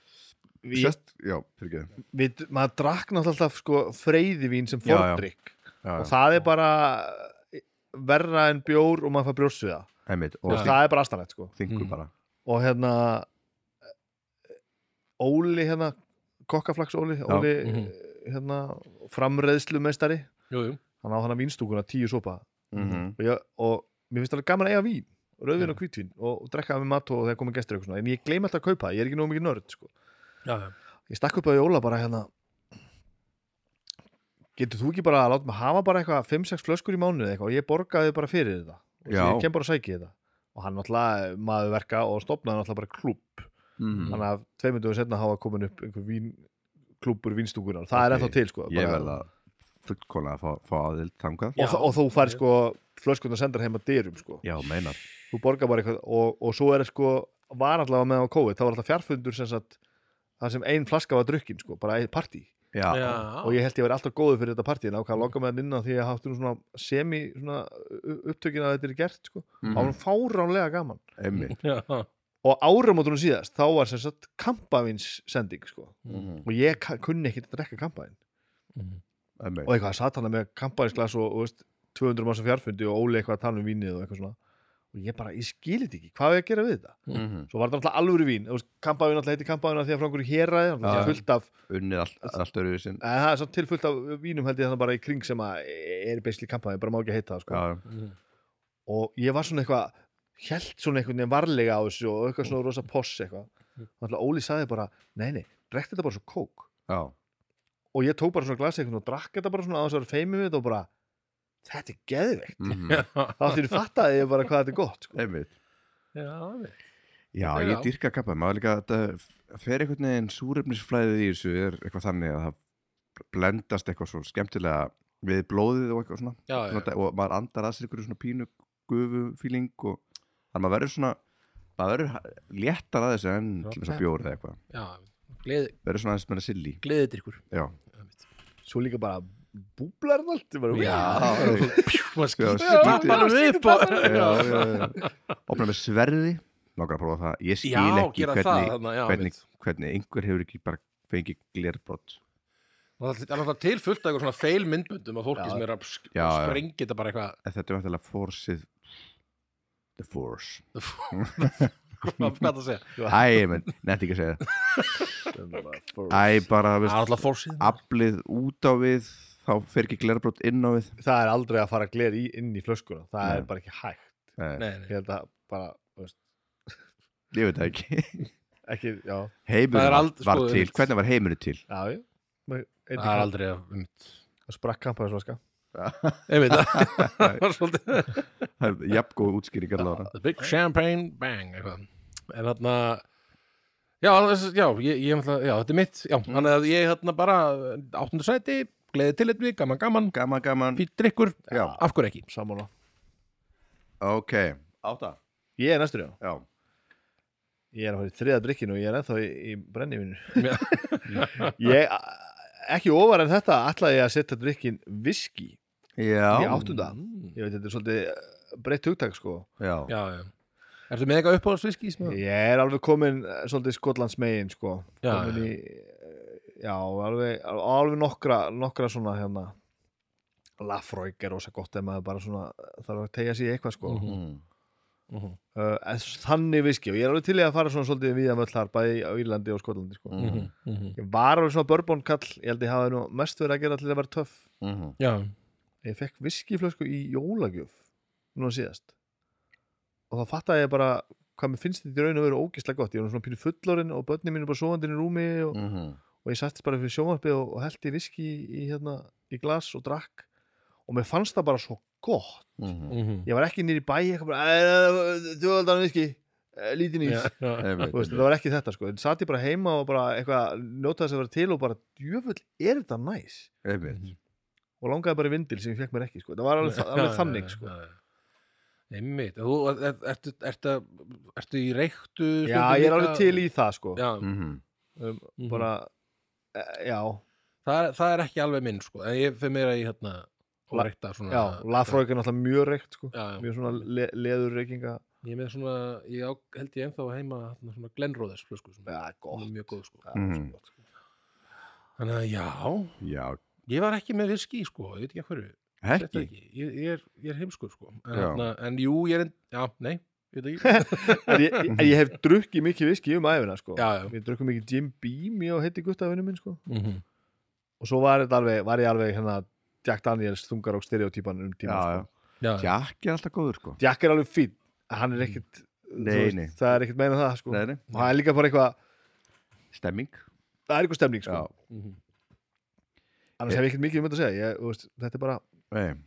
Speaker 3: við,
Speaker 1: sest, já, fyrir
Speaker 3: við, maður drakk náttúrulega alltaf sko, freyðivín sem
Speaker 1: Já, já.
Speaker 3: fordrykk og
Speaker 1: ekki
Speaker 3: það er bara verra en bjór og maður fær brjóst við það
Speaker 1: einmitt,
Speaker 3: og
Speaker 1: og
Speaker 3: það er bara astanlegt sko.
Speaker 1: þingur
Speaker 2: Mm.
Speaker 1: bara
Speaker 3: og hérna Óli hérna kokkaflags Óli, Óli
Speaker 2: Mhm.
Speaker 3: hérna, framreiðslumeistari
Speaker 2: jú, jú,
Speaker 3: hann á hana vínstúkuna tíu sopa
Speaker 1: Mhm.
Speaker 3: og, ég, og mér finnst alveg gaman að eiga vín rauðvin
Speaker 2: Já.
Speaker 3: og hvítvín og, og drekka það með mat og þegar komið gestur og eitthvað svona en ég gleym alltaf að kaupa, það, ég er ekki nóg mikið nörd sko.
Speaker 2: já, já
Speaker 3: ég stakk upp á Jóla bara hérna getur þú ekki bara að láta mig hafa bara eitthvað 5-6 flöskur í mánuði eitthvað og ég borgaði bara fyrir þetta og
Speaker 1: Já.
Speaker 3: ég kem bara að sæki þetta og hann náttúrulega maður verka og stopnaði náttúrulega bara klúb
Speaker 1: Mhm.
Speaker 3: þannig að tveimundum setna hafa komin upp einhver vín, klúbur vínstúkunar það er
Speaker 1: Ok,
Speaker 3: ennþá til sko
Speaker 1: ég
Speaker 3: bara-
Speaker 1: verð að fullkona að fá- fá aðild þangað
Speaker 2: Já.
Speaker 3: og, þa- og þú fær sko flöskunar sendar heima dyrum sko
Speaker 1: já, meinar
Speaker 3: þú borgar bara eitthvað og, og svo er sko, var allavega meðan á COVID þá var alltaf fjarfundur sem sagt það sem ein flaska var drukkin sko, bara eitt partí
Speaker 1: já, Mm.
Speaker 2: já,
Speaker 3: og ég held ég verið alltaf góður fyrir þetta partí en ákvað að loka með hann inn á því að háttu nú svona semi svona u- upptökin að þetta er gert sko, það
Speaker 1: Mhm.
Speaker 3: var nú fáránlega gaman
Speaker 1: einmitt
Speaker 2: já, já.
Speaker 3: og áramótunum síðast, þá var sem sagt kampavins sending sko,
Speaker 1: Mhm.
Speaker 3: og ég ka- kunni ekki að drekka kampavin og
Speaker 2: Mhm.
Speaker 1: einmitt,
Speaker 3: eitthvað satana með kampavinsglas og, og veist, 200 manns á fjarfundi og óli eitthvað að tala um vínið og eitthvað svona og ég bara, ég skilit ekki, hvað er að gera við þetta
Speaker 1: Mhm.
Speaker 3: svo var þetta alltaf alvöru vín Þú veist, kampavín alltaf heiti kampavín af því að frá einhverju héraði þannig að
Speaker 1: Já.
Speaker 3: fullt af,
Speaker 1: unnið allt, allt öru sin
Speaker 3: eða það er samt til fullt af vínum held ég þannig bara í kring sem að er beisli kampavín, bara má ekki heita það sko.
Speaker 1: já,
Speaker 2: Mhm.
Speaker 3: og ég var svona eitthvað held svona einhvern veginn varlega á þessu og eitthvað svona rosa poss eitthvað þannig að Óli saði bara, nei nei, drekkt þetta bara svo kók
Speaker 1: já,
Speaker 3: og ég tók bara svona glasi eitthvað og drakk þetta bara svona á þess að vera feimið við þetta og bara, þetta er geðveikt
Speaker 1: Mhm.
Speaker 3: þá áttir fattaði ég bara hvað þetta er gott sko.
Speaker 1: einmitt
Speaker 2: Já, við-
Speaker 1: já,
Speaker 2: Já.
Speaker 1: ég dyrka kappa maður líka að þetta fer einhvern veginn súrefnisflæðið í þessu er eitthvað þannig að það blendast eitthvað svo skemmtilega við blóðið og eitthvað svona
Speaker 2: já, já,
Speaker 1: svona, og maður andar að sér ykkur svona pínu gufu fíling og þannig að maður verður svona maður verður ha- léttar að þessu en
Speaker 2: Já.
Speaker 1: til þess að bjóra eða eitthvað
Speaker 2: já, gleði,
Speaker 1: verður svona aðeins meira silly
Speaker 2: gleðið ykkur
Speaker 1: já,
Speaker 3: svo líka bara búblar það allt ég bara,
Speaker 1: Já.
Speaker 2: (laughs) maður skýtur
Speaker 1: Já,
Speaker 2: tappanum
Speaker 3: skýtur
Speaker 2: upp og-
Speaker 3: tappanum.
Speaker 1: já, já, já. opna með sverði langar að prófa það, ég skil
Speaker 2: já,
Speaker 1: ekki
Speaker 2: gera það
Speaker 1: hvernig,
Speaker 2: þarna, já,
Speaker 1: hvernig,
Speaker 2: mitt.
Speaker 1: hvernig einhver hefur ekki bara fengið glerbrot
Speaker 2: það er alltaf til fullt af eitthvað svona feil myndböndum af fólki
Speaker 3: Já.
Speaker 2: sem er að sk-
Speaker 1: Já, já.
Speaker 2: sprengi þetta bara
Speaker 1: (laughs)
Speaker 2: eitthvað
Speaker 1: en þetta er vantilega forsið the force
Speaker 2: hvað það segja
Speaker 1: æ, menn, nefnt ekki að
Speaker 2: (laughs)
Speaker 1: segja það.
Speaker 3: já
Speaker 1: æ, bara,
Speaker 2: það er
Speaker 1: veist,
Speaker 2: alltaf fórsýð
Speaker 1: aflið út á við þá fer ekki glerbrot inn á við
Speaker 3: það er aldrei að fara gler í, inn í flöskuna það
Speaker 1: Nei.
Speaker 3: er bara ekki hægt
Speaker 1: Nei,
Speaker 3: ég held að bara, þú veist,
Speaker 1: ég veit það ekki
Speaker 3: ekki, já,
Speaker 1: heimurinn
Speaker 2: Það er
Speaker 1: var,
Speaker 2: ald-
Speaker 1: var
Speaker 2: sko,
Speaker 1: til, hvernig var heimurinn til
Speaker 3: já, já Maður- einnig
Speaker 2: það er
Speaker 3: hvað-
Speaker 2: aldrei að um,
Speaker 3: það sprakk kampaðisflaska
Speaker 2: ég
Speaker 1: (laughs)
Speaker 2: veit það það var svolítið
Speaker 1: það er jafngóð útskýring allavega
Speaker 2: the big champagne bang eitthvað en þarna já, þess- já, ég, ég, ætla, já þetta er mitt já,
Speaker 3: Mm.
Speaker 2: þannig að ég þarna bara eh, áttundu sæti gleðið til eitthvað, gaman gaman
Speaker 1: gaman, gaman,
Speaker 2: fyrir drikkur,
Speaker 1: já,
Speaker 2: af hverju ekki
Speaker 3: sammála
Speaker 1: ok átta,
Speaker 3: ég er næstur já
Speaker 1: já
Speaker 3: ég er að fara í þriða drikkinu og ég er ennþá í, í brennivinu
Speaker 2: Já.
Speaker 3: (laughs) ég, ekki ofar en þetta ætlaði ég að setja drikkin viski
Speaker 1: já,
Speaker 3: Í áttunda.
Speaker 2: Mm.
Speaker 3: ég veit þetta er svolítið breytt hugtak sko
Speaker 1: já.
Speaker 2: já, já Ertu með eitthvað uppáhaldsviski? sem að-
Speaker 3: ég er alveg komin eh, svolítið Skotlands megin sko
Speaker 2: Já,
Speaker 3: komin
Speaker 2: já.
Speaker 3: í eh, já, alveg, alveg nokkra nokkra svona hérna Lafroig er rosa gott ef maður bara svona þarf að tegja sér í eitthvað sko
Speaker 2: Mhm.
Speaker 1: Mm.
Speaker 2: Mhm.
Speaker 3: uh, en þannig viski og ég er alveg til í að fara svona svolítið við að möllar bæði á Írlandi og Skotlandi sko
Speaker 1: Mhm.
Speaker 2: Mhm.
Speaker 3: Ég var alveg svona börbonkall, ég held ég hafi nú mest verið að gera allir að vera töff.
Speaker 1: Mhm.
Speaker 2: Já,
Speaker 3: Ég fekk viskiflösku í jólagjöf, núna síðast. Og þá fattaði ég bara hvað mér finnst þetta í raun og veru ógislega gott. Ég var nú svona pínu fullorinn og börnin mínu bara sofandi inn í rúmi og,
Speaker 1: Mhm.
Speaker 3: og ég sattist bara fyrir sjónvarpið og, og held ég viski í, í, hérna, í glas og drakk. Og mér fannst það bara svo gott.
Speaker 1: Mhm.
Speaker 2: Mhm.
Speaker 3: Ég var ekki nýri bæ, eitthvað bara, þjóðaldan viski, eh, lítið nýs.
Speaker 2: Já, já.
Speaker 3: Þú veist,
Speaker 1: Einmitt,
Speaker 3: það
Speaker 1: einmitt.
Speaker 3: var ekki þetta sko, en satt ég bara heima og bara eitthvað njóta þess að vera til og bara djöfull er þetta næs
Speaker 1: Einmitt.
Speaker 3: og langaði bara í vindil sem ég fekk mér ekki sko, það var alveg,
Speaker 2: Já,
Speaker 3: alveg
Speaker 2: já,
Speaker 3: þannig
Speaker 2: já,
Speaker 3: sko.
Speaker 2: já, já. Einmitt, þú er- ertu, ertu, ertu í reyktu
Speaker 3: Já, ég er alveg til í það sko,
Speaker 2: já,
Speaker 1: Mhm.
Speaker 3: um,
Speaker 2: mhm.
Speaker 3: bara, e- já,
Speaker 2: það, er- það er ekki alveg minn sko. en ég fyrir mér að ég hérna
Speaker 3: La-
Speaker 2: reykta svona
Speaker 3: já, lafróik er náttúrulega mjög reykt sko,
Speaker 2: Já, já.
Speaker 3: mjög svona le leðurreykinga,
Speaker 2: ég er með svona, ég á, held ég ennþá heima hérna, svona Glenroðers flösku sem
Speaker 3: já,
Speaker 2: hún
Speaker 3: gott,
Speaker 2: er mjög góð sko.
Speaker 3: Já, svo
Speaker 1: Mhm.
Speaker 3: gott, sko.
Speaker 2: þannig að já,
Speaker 1: Já,
Speaker 2: ég var ekki með viski sko, ég veit ekki að hverju Þetta
Speaker 1: ekki
Speaker 2: ekki. Ég, ég, er, ég er heimskur sko. en,
Speaker 1: Já.
Speaker 2: hérna, en jú, ég er en, já, nei ég veit ekki
Speaker 1: (laughs)
Speaker 3: En ég, en ég hef drukkið mikið viski um æfina sko,
Speaker 2: Já, já.
Speaker 3: ég drukkið mikið Jim Beam ég og heiti guttafinu minn sko
Speaker 2: Mhm.
Speaker 3: og svo var, þetta alveg, var ég alveg hérna Jack Daniels þungar og stereotypan um tíma
Speaker 1: Já,
Speaker 3: sko.
Speaker 1: já.
Speaker 2: já, já,
Speaker 1: Jack er alltaf góður sko
Speaker 3: Jack er alveg fín hann er ekkit
Speaker 1: Nei,
Speaker 3: þú veist,
Speaker 1: nei.
Speaker 3: það er ekkit meina það sko.
Speaker 1: Nei, nei.
Speaker 3: og hann er líka bara eitthvað
Speaker 1: Stemming
Speaker 3: það er eitthvað stemning sko.
Speaker 1: Já,
Speaker 2: Mhm.
Speaker 3: annars hef ég ekkit mikið um þetta að segja ég, þú veist, þetta er bara
Speaker 1: nei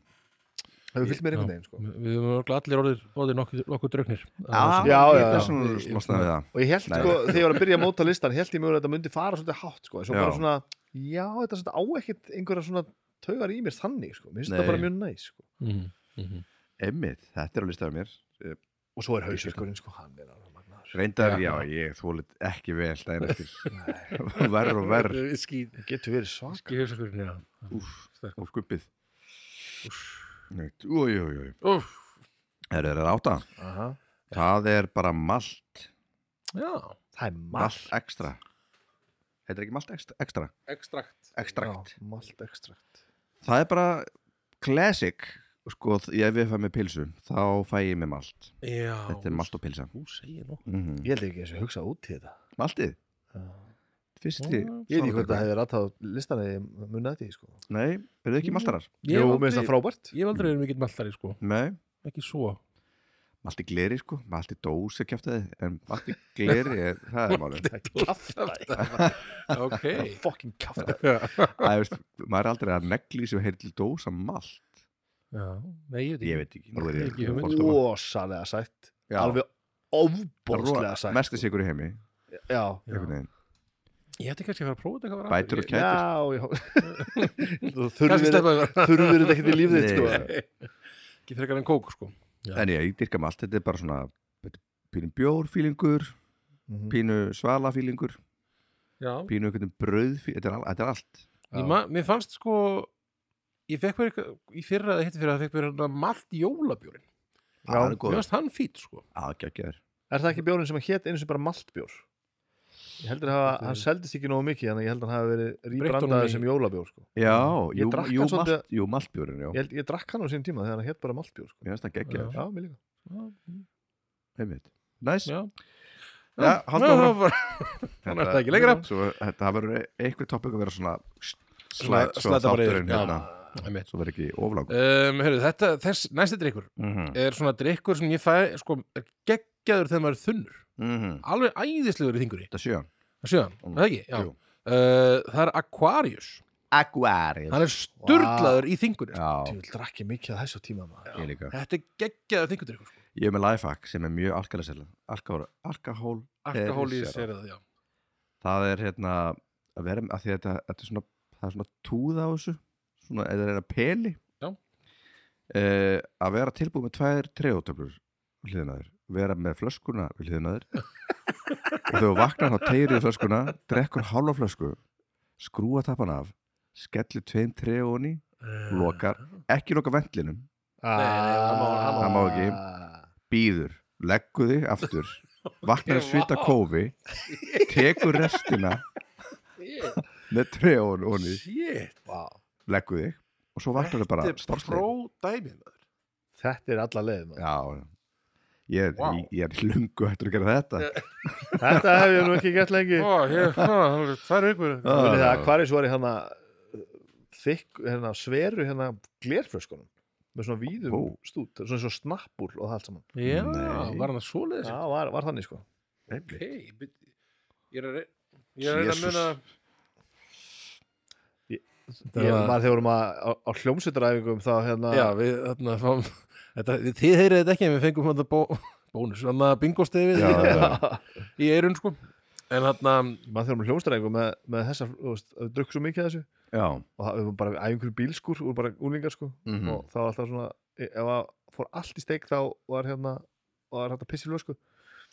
Speaker 3: hefur fyllt mér einhvern
Speaker 2: Já.
Speaker 3: veginn sko.
Speaker 2: Við við höfum örugglega allir orðir, orðir nokkuð, nokkuð drauknir
Speaker 1: Já,
Speaker 3: já,
Speaker 1: ég
Speaker 3: já,
Speaker 1: er
Speaker 3: já.
Speaker 1: svona
Speaker 2: Ég-
Speaker 1: smá snæðið það
Speaker 3: og ég held
Speaker 1: Nei.
Speaker 3: sko þegar ég var að byrja að móta listan held ég mjög að þetta myndi fara svolítið hátt sko. En svo
Speaker 1: Já.
Speaker 3: bara svona já þetta er svona á ekkit einhverja svona taugar í mér þannig sko. mér finnst
Speaker 1: Nei.
Speaker 3: þetta bara mjög næs sko.
Speaker 2: Mhm, mhm.
Speaker 1: Einmitt, þetta er á listaðu mér
Speaker 3: og svo er hausverkurinn sko hann er alveg magnaður
Speaker 1: Reyndar, já,
Speaker 2: Já.
Speaker 1: ég þólit ekki vel daginn eftir (laughs) Verr og verr
Speaker 2: Skít
Speaker 3: getur verið svak
Speaker 2: Skít hefsakurinn, já
Speaker 1: Úff,
Speaker 2: Sterk.
Speaker 1: og skubbið Neitt, Új, új, új
Speaker 2: Úff.
Speaker 1: Það er átta
Speaker 3: Aha.
Speaker 1: Það er bara malt
Speaker 2: Já,
Speaker 3: það er
Speaker 1: Malt
Speaker 3: malt
Speaker 1: ekstra Heitir ekki malt ekstra- ekstra?
Speaker 2: ekstrakt
Speaker 1: Ekstrakt
Speaker 3: Já, malt ekstrakt
Speaker 1: Það er bara classic Sko, ef ég fæ með pilsu Þá fæ ég með malt
Speaker 2: Já
Speaker 1: Þetta er malt og pilsa
Speaker 2: Þú segir nokkuð
Speaker 1: mm -hmm.
Speaker 3: ég held ekki eins og hugsa út í þetta
Speaker 1: Maltið
Speaker 3: Já.
Speaker 1: Fyrsti
Speaker 3: Ég veit ekki hvort það hefði ratað listan eða munið þetta í sko.
Speaker 1: Nei, eru þið ekki maltarar?
Speaker 2: Ég
Speaker 3: Jú,
Speaker 2: hef
Speaker 3: mér finnst það
Speaker 2: aldrei-
Speaker 3: frábært.
Speaker 2: ég hef aldrei verið mikill mallari sko
Speaker 1: Nei,
Speaker 2: Ekki svo
Speaker 1: malti gleri sko Malti dós er kjæftið En malti (laughs) gleri, er, það er málið
Speaker 2: (laughs) Ok
Speaker 3: Fucking
Speaker 2: (laughs)
Speaker 3: kafta.
Speaker 1: Það er, veist, maður er aldrei að negli sem heyrir til dós að malt
Speaker 2: Já, nei, ég veit ekki
Speaker 1: Ég veit ekki, nú er ég
Speaker 2: Ekki hugmynd.
Speaker 1: fordóma.
Speaker 3: Ósalega sætt.
Speaker 1: Já.
Speaker 3: Alveg ofbóðslega sætt.
Speaker 1: Mesti sigur í heimi
Speaker 3: sko. Já.
Speaker 2: Já.
Speaker 1: einhvern veginn.
Speaker 2: Ég ætti kannski að fara að prófa þetta eitthvað var að-
Speaker 1: Bætur og
Speaker 2: Ég-
Speaker 1: kætur
Speaker 3: Já, já. Þú
Speaker 2: Kannski
Speaker 3: þurfir
Speaker 2: sleppa yfir
Speaker 3: þurfir þetta ekkert í líf þitt
Speaker 1: Nei.
Speaker 3: sko.
Speaker 2: (laughs) Ekki frekar en kók sko
Speaker 1: En ég, ég dyrka malt, þetta er bara svona þetta er Pínu bjórfílingur,
Speaker 2: Mm.
Speaker 3: Mhm.
Speaker 1: pínu svalafílingur
Speaker 2: Já
Speaker 1: Pínu einhvern brauðfílingur, þetta, er al- þetta er allt
Speaker 2: Ég ma- Mér fannst sko ég fekk mér eitthvað- í fyrra eða hitti fyrra fekk mér hérna malt jólabjórin
Speaker 1: Já, hann er
Speaker 2: mér
Speaker 1: góður.
Speaker 2: varst hann fít sko
Speaker 1: Já, geggjaður.
Speaker 3: Er það ekki bjórin sem að hétt einu sem bara maltbjór? Ég heldur að hafa, hann seldist ekki nógu mikið þannig að ég held að hann hafi verið
Speaker 2: honum í-
Speaker 3: rýbrandaði sem jólabjór sko.
Speaker 1: Já,
Speaker 3: Ég
Speaker 2: Mm.
Speaker 1: jú,
Speaker 3: drakk
Speaker 1: jú,
Speaker 3: hann svolítið-
Speaker 1: malt, jú maltbjörn, já.
Speaker 3: Ég, held, ég drakk hann á sín tíma þegar hann hétt bara maltbjór sko.
Speaker 1: Mér finnst það geggjaður.
Speaker 3: Já, mér líka
Speaker 1: Einmitt. Næs.
Speaker 2: já,
Speaker 1: Já, halda
Speaker 2: Já,
Speaker 1: áfram.
Speaker 2: það var- þannig er þetta ekki lengra.
Speaker 1: Svo þetta verður eitthvað topic að vera svona
Speaker 2: Svona-
Speaker 1: slætt svo
Speaker 2: slæta bara yfir
Speaker 1: þátturinn hérna.
Speaker 2: já, einmitt.
Speaker 1: Svo verður ekki oflang.
Speaker 2: um, heyrðu, þetta, þess, næsti drikkur er svona drikkur sem ég fæ sko, er geggjaður þegar maður er þunnur
Speaker 1: Mhm.
Speaker 2: alveg æðislegur í þinguri
Speaker 1: Þetta sjöan.
Speaker 2: sjöðan,
Speaker 1: Mm.
Speaker 2: mm. það ekki, já
Speaker 1: Jú.
Speaker 2: uh, það er Aquarius
Speaker 1: Aquarius.
Speaker 2: hann er sturlaður í þingunni sko.
Speaker 1: Já,
Speaker 3: Tjúl, drakk ég mikið að þessu tíma maður
Speaker 1: ég líka.
Speaker 2: þetta er geggjaður þingudrykkur sko.
Speaker 1: Ég er með lifehack sem er mjög alkalisella. Alkohol, alkohol,
Speaker 2: alkohólið
Speaker 1: Perisera.
Speaker 2: sér það, já
Speaker 1: það er hérna að vera með, að því að þetta, þetta er svona, það er svona túða á þessu, svona, eða reyna peli.
Speaker 2: Já.
Speaker 1: Eh, að vera tilbúið með tvær trejótöflur hliðinaður. Vera með flöskuna hliðinaður. og þegar þú vaknar þá teyrið flöskuna, drekkur hálfa flösku, skrúa tappan af, skellir tveim trejóni,
Speaker 2: Eh,
Speaker 1: lokar, ekki loka vendlinum,
Speaker 2: nei, það má- það má-
Speaker 1: það má ekki.
Speaker 3: Ah.
Speaker 1: býður, leggur þig aftur
Speaker 3: (laughs)
Speaker 1: vaknar að svita
Speaker 2: vá.
Speaker 1: kófi tekur restina með treón honni,
Speaker 2: shit,
Speaker 3: Vá.
Speaker 1: leggur þig og svo vaknar þau bara
Speaker 2: þetta er
Speaker 1: starfslega
Speaker 2: pró-dæmið maður.
Speaker 3: Þetta er alla leið maður
Speaker 1: já, já. ég er,
Speaker 2: Vá.
Speaker 1: wow. ég er lungu eftir að gera þetta
Speaker 3: Þetta hef ég Ah. nú ekki gert lengi
Speaker 2: Ó, ég- ha, það er ykkur
Speaker 3: Munið það að Aquarius var í hana þykk, hérna sveru hérna glerflöskunum með svona víðum
Speaker 1: Ó.
Speaker 3: stút, svona eins og snappur og það allt saman
Speaker 2: já,
Speaker 1: Nei.
Speaker 2: var hann að svoleiðis
Speaker 3: Já, var, var þannig sko
Speaker 2: ok, ég byrja- ég er að rey- ég er að reyna að
Speaker 1: Jesus.
Speaker 2: muna Það
Speaker 3: Ég
Speaker 2: var-
Speaker 3: var þegar vorum að, á, á hljómsveitaræfingum þá hérna (laughs)
Speaker 2: já, við, þarna fáum þetta, við- þið heyrið þetta ekki en við fengum hann að bó, bónus, hann að bingostefið
Speaker 1: Já, já.
Speaker 2: í eirun sko en þarna,
Speaker 3: mann þegar vorum hljómsveitaræfingum með, með þessar, þú veist, að við drukk svo mikið af þessu
Speaker 1: já,
Speaker 3: og það, við vorum bara að einhverju bílskur, við vorum bara úlingar sko
Speaker 1: Mhm.
Speaker 3: og það var alltaf svona, e, ef að fór allt í steik þá var hérna var hægt að pissi lösku,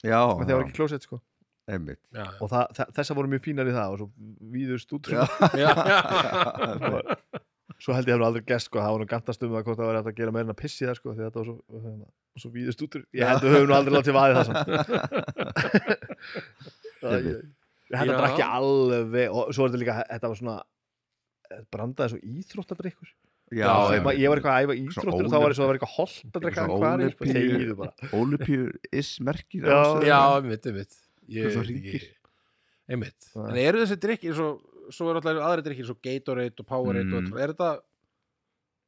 Speaker 1: já,
Speaker 3: menn þegar var ekki klósett sko (laughs)
Speaker 1: einmitt
Speaker 2: já, já,
Speaker 3: og það, þe- þessar voru mjög fínar í það og svo víður stútur
Speaker 1: Já.
Speaker 2: já, (laughs) já.
Speaker 3: svo held ég hefur aldrei gæst sko, það var nú gantast um það hvort það var hægt að gera meira en að pissi það sko, því þetta var svo, hérna, svo víðust útur ég held að höfum nú aldrei látið vaðið það
Speaker 1: (laughs)
Speaker 3: samt Það- ég, ég held
Speaker 2: Já.
Speaker 3: að drakki alveg og svo var þetta líka, þetta var svona eh, brandaði svo íþróttadrykkur
Speaker 1: já,
Speaker 2: Já,
Speaker 3: ég, ég var eitthvað að æfa íþróttur og þá var ég svo að vera eitthvað holt að drekka
Speaker 1: Svona
Speaker 3: hvað
Speaker 1: ólympíu-
Speaker 3: er bara
Speaker 1: Olupjur is merkir
Speaker 3: Já.
Speaker 2: já, einmitt, einmitt ég
Speaker 1: Hvað það
Speaker 2: veit ekki
Speaker 1: hringir?
Speaker 2: einmitt,
Speaker 3: Nei.
Speaker 2: en eru þessi drikkir svo, svo er alltaf aðri drikkir, svo Gatorade og Powerade
Speaker 1: Mm.
Speaker 2: og allt svona, er þetta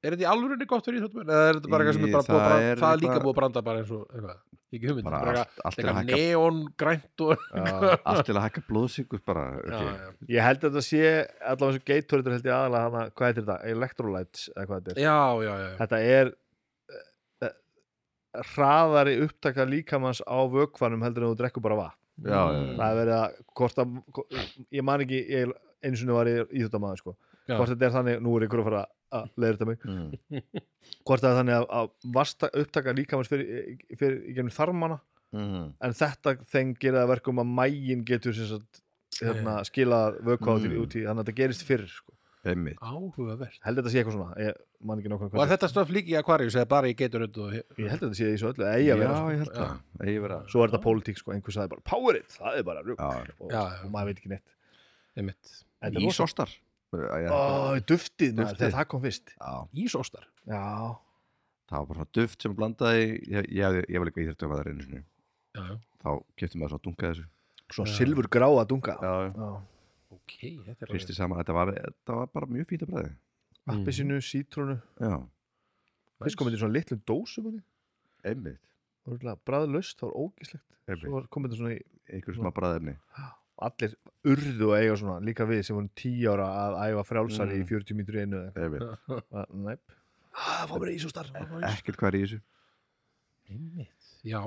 Speaker 2: er þetta í alvörinni gott fyrir íþjóttum eða er þetta bara eitthvað sem er
Speaker 1: Í-
Speaker 2: bara búið að
Speaker 1: það
Speaker 2: branda
Speaker 1: er
Speaker 2: það er líka
Speaker 1: eitthvað-
Speaker 2: búið að branda bara eins og eitthvað, ekki hugmynd,
Speaker 1: bara
Speaker 2: bara eitthvað-
Speaker 1: allt, allt til að
Speaker 2: eitthvað
Speaker 1: hækka
Speaker 2: neon grænt og
Speaker 3: Já.
Speaker 1: allt til að hækka blóðsikur bara
Speaker 2: já,
Speaker 1: okay.
Speaker 2: já.
Speaker 3: ég held að þetta sé allavega eins og geiturður held ég aðalega hana, hvað heitir þetta, electrolytes eða hvað þetta er
Speaker 2: já, já, já, já.
Speaker 3: þetta er eh, eh, hraðari upptaka líkamanns á vökvanum heldur en þú drekkur bara vatn
Speaker 1: já, já, já.
Speaker 2: Mm.
Speaker 3: það er verið að hvort að hvort- ég man ekki, ég eins og var í íþjóttamæður sko,
Speaker 2: Mm. Já.
Speaker 3: hvort þetta er þannig nú er ykkur að fara að leiður þetta mig
Speaker 1: Mm.
Speaker 3: hvort það er þannig að, að vasta, upptaka líkamanns fyrir, fyrir í gennum þarmana
Speaker 1: Mm.
Speaker 3: en þetta þeng gera það verkum að mægin getur sem sagt hérna, skila vökva út í,
Speaker 1: Mm.
Speaker 3: út í þannig að þetta gerist fyrir sko.
Speaker 1: einmitt
Speaker 2: áhugavert
Speaker 3: held þetta sé eitthvað svona, ég man ekki nákvæmlega
Speaker 2: Var
Speaker 3: hvað þetta
Speaker 2: þetta stöf líka í Aquarius eða bara í Gatorade og...
Speaker 3: er. ég held þetta sé í svo öllu, eigi að vera sko.
Speaker 1: já, ég held það eigi að vera
Speaker 3: svo er þetta pólitík sko, einhver sagði bara Powerade, það er bara rugg
Speaker 1: Já.
Speaker 3: og,
Speaker 2: Já, já.
Speaker 3: og maður veit ekki neitt
Speaker 2: Einmitt.
Speaker 3: Þetta er rosa-
Speaker 1: Ísostar
Speaker 3: Ó, duftið maður,
Speaker 1: Duftið.
Speaker 3: þegar það kom fyrst
Speaker 1: Já,
Speaker 2: Ísóstar
Speaker 3: já,
Speaker 1: það var bara svona duft sem blandaði ég, ég, hafði- ég var líka íþjóttum að það einu sinni
Speaker 2: Já, já.
Speaker 1: þá kefti maður svona dunga þessu
Speaker 3: svona
Speaker 2: Já.
Speaker 3: silfur gráa dunga já.
Speaker 1: Já,
Speaker 2: ok, þetta er
Speaker 1: hristi saman, þetta var, þetta var bara mjög fínt að bræði
Speaker 3: appisinu, sítrónu
Speaker 1: Já,
Speaker 3: fyrst kom þetta í svona litlum dósum manni.
Speaker 1: einmitt
Speaker 3: Það var örugglega bræðlaust, það var ógislegt svo
Speaker 1: einmitt,
Speaker 3: var- kom þetta svona í
Speaker 1: einhver smá bræðefni
Speaker 3: allir urðu að eiga svona líka við sem vorum 10 ára að æfa frjálsari
Speaker 1: Mm.
Speaker 3: í 40 mínútur í einu eða eitthvað.
Speaker 1: einmitt,
Speaker 2: saman
Speaker 3: Að- (laughs) Næp ah, fá mér ísóstar
Speaker 1: ekkert hvað er í þessu
Speaker 2: Já,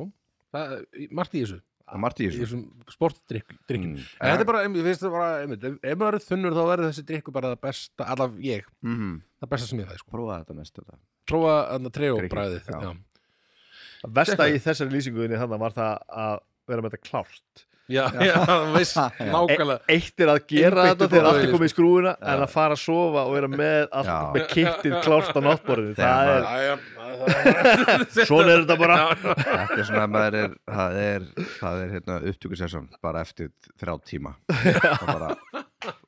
Speaker 2: það, margt í þessu
Speaker 1: Það er margt í
Speaker 2: Í
Speaker 1: þessu
Speaker 2: þessum sportdrikkin
Speaker 1: Mm.
Speaker 2: En þetta er bara, einmitt, finnst þetta bara, einmitt Ef ef maður er þunnur þá verður þessi drikku bara það besta Allaf ég,
Speaker 1: Mhm.
Speaker 2: það besta sem ég fæði sko
Speaker 1: Prófaði þetta næstu þetta
Speaker 2: Prófa þarna treo
Speaker 1: Drykkin,
Speaker 2: bræðið
Speaker 1: já.
Speaker 2: Já,
Speaker 3: Vesta í þessari lýsinguðinni þannig var það að vera með þetta klárt
Speaker 2: já, já, þú veist, nákvæmlega
Speaker 3: E- eitt er að gera
Speaker 2: Einbeittur
Speaker 3: þetta þegar allt
Speaker 2: brauðið,
Speaker 3: er komið í skrúfuna en að fara að sofa og vera með allt
Speaker 1: Já.
Speaker 3: með kittið klárt á náttborðinu
Speaker 1: Þegar
Speaker 3: það
Speaker 1: maður-
Speaker 3: er,
Speaker 2: Jæja, það- það-
Speaker 3: svona er þetta bara
Speaker 2: Já, já.
Speaker 1: Þetta er svona, maður er, það er, það er hérna, upptökusessjón bara eftir þrjá tíma. Það bara,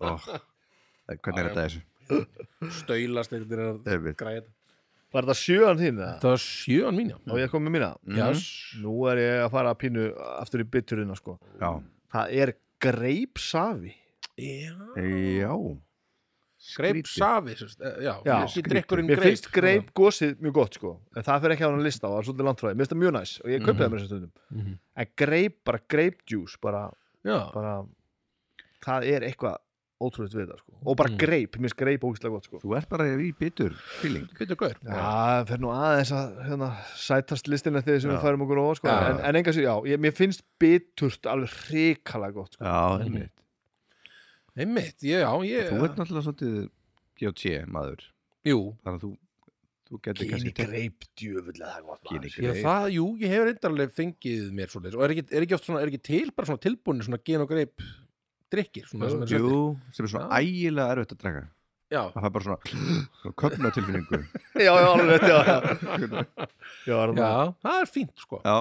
Speaker 1: ó, hvernig
Speaker 2: Já, já.
Speaker 1: er þetta þessu?
Speaker 2: staulast eitthvað er að
Speaker 1: Einmitt.
Speaker 2: græja þetta.
Speaker 3: var þetta sjöan þín eða?
Speaker 2: það var sjöan mín já
Speaker 3: og ég kom með mína
Speaker 2: Mhm. Yes.
Speaker 3: nú er ég að fara að pínu aftur í bytturina sko.
Speaker 1: Já.
Speaker 3: það er greipsafi
Speaker 2: já,
Speaker 1: Já.
Speaker 2: greip safi sérst, eh, já,
Speaker 3: Já,
Speaker 2: já
Speaker 1: skrítið.
Speaker 2: drikkurinn
Speaker 3: Mér
Speaker 2: greip
Speaker 3: finnst greip gósið mjög gott sko en það fyrir ekki á hann lista og það er svolítið landfræði Mér finnst það mjög næs og ég kaupið það mér þessum stundum
Speaker 2: Mhm.
Speaker 3: En greip, bara greipdjús bara,
Speaker 2: já,
Speaker 3: bara það er eitthvað ótrúlegt við það sko Og bara
Speaker 2: Mhm.
Speaker 3: greip, mér finnst greip ógeðslega gott sko
Speaker 1: Þú ert bara í bitur fíling.
Speaker 2: Pétur Gaur
Speaker 3: Já, það fer nú aðeins að hérna, sætast listina þegar sem
Speaker 1: Já.
Speaker 3: við færum okkur ofar sko
Speaker 2: Já.
Speaker 3: En, en enga sér, já, ég, mér finnst biturt alveg hrikalega gott sko
Speaker 1: Já, einmitt.
Speaker 2: einmitt, ég- já, ég
Speaker 1: Þú ert náttúrulega svolítið GOT maður.
Speaker 2: jú,
Speaker 1: Þannig að þú, þú getur
Speaker 3: Kyni
Speaker 1: kannski tekið
Speaker 3: greipdjöfulega það er gott
Speaker 1: Kyni
Speaker 3: maður.
Speaker 2: Já,
Speaker 1: greip.
Speaker 2: það, jú, ég hefur reyndarlega fengið mér svoleiðis og er ekki, er ekki oft svona, er ekki til bara svona tilbúinir svona gen og greip drikkir, svona sem er seldir?
Speaker 1: Jú, sem er svona
Speaker 2: Já.
Speaker 1: ægilega erfitt að draga.
Speaker 2: Já,
Speaker 1: Það fær bara svona köpna tilfinningu.
Speaker 3: (laughs) Já, já, alveg rétt, já, já.
Speaker 1: (laughs)
Speaker 3: já, er það-
Speaker 2: já, það er fínt sko
Speaker 1: Já.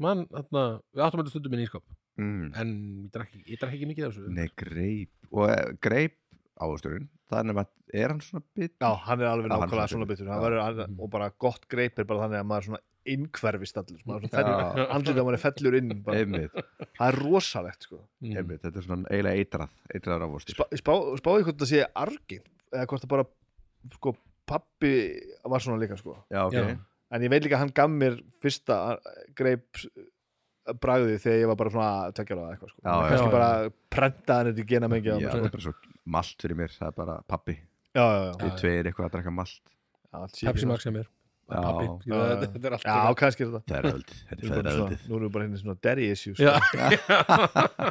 Speaker 2: Man, þarna, við áttum að stundum minn ískap
Speaker 1: Mm.
Speaker 2: en ég drakk ekki, ég drakk ekki mikið af þessu
Speaker 1: Nei, greip. Og eh, greip ávöxturinn, það er nema, er hann svona bit?
Speaker 3: Já, hann er alveg
Speaker 1: Já, hann er
Speaker 3: nákvæmlega
Speaker 1: svona
Speaker 3: svona bitur
Speaker 1: Já.
Speaker 3: verið, og bara gott greip er bara þannig að maður er svona innhverfist allur sko. maður er svona
Speaker 1: Já.
Speaker 3: fellur- andlitið á manni fellur inn bara.
Speaker 1: Einmitt,
Speaker 3: það er rosalegt sko
Speaker 2: mm.
Speaker 1: einmitt, þetta er svona eiginlega eitrað, eitrað ávöxtur.
Speaker 3: Spá- spá- spáðu hvort það sé argin eða hvort það bara sko, pappi var svona líka sko
Speaker 1: Já, ok.
Speaker 2: Já.
Speaker 3: en ég veit líka að hann gaf mér fyrsta greip bragði þegar ég var bara svona tekjala eða eitthvað sko
Speaker 1: Já,
Speaker 3: Maður
Speaker 1: já,
Speaker 3: kannski
Speaker 2: já.
Speaker 3: bara prentaði hann þetta í gena mengi
Speaker 1: Já,
Speaker 3: já, já,
Speaker 1: það er bara svo malt fyrir mér, það er bara pappi.
Speaker 3: já, já,
Speaker 1: Við tveir eitthvað að drakka malt.
Speaker 3: já, allt sé
Speaker 2: Pepsi
Speaker 3: fyrir.
Speaker 2: Max sem er
Speaker 1: Já.
Speaker 2: Pappi, jú,
Speaker 3: Já,
Speaker 2: þetta
Speaker 3: já.
Speaker 2: þetta er allt
Speaker 3: já, kannski er þetta
Speaker 1: Það er öld, þetta
Speaker 3: Nú erum við
Speaker 1: er feðra
Speaker 3: bara
Speaker 1: öldið.
Speaker 3: svona- nú erum við bara henni svona dairy issues sko. (laughs)
Speaker 2: Já.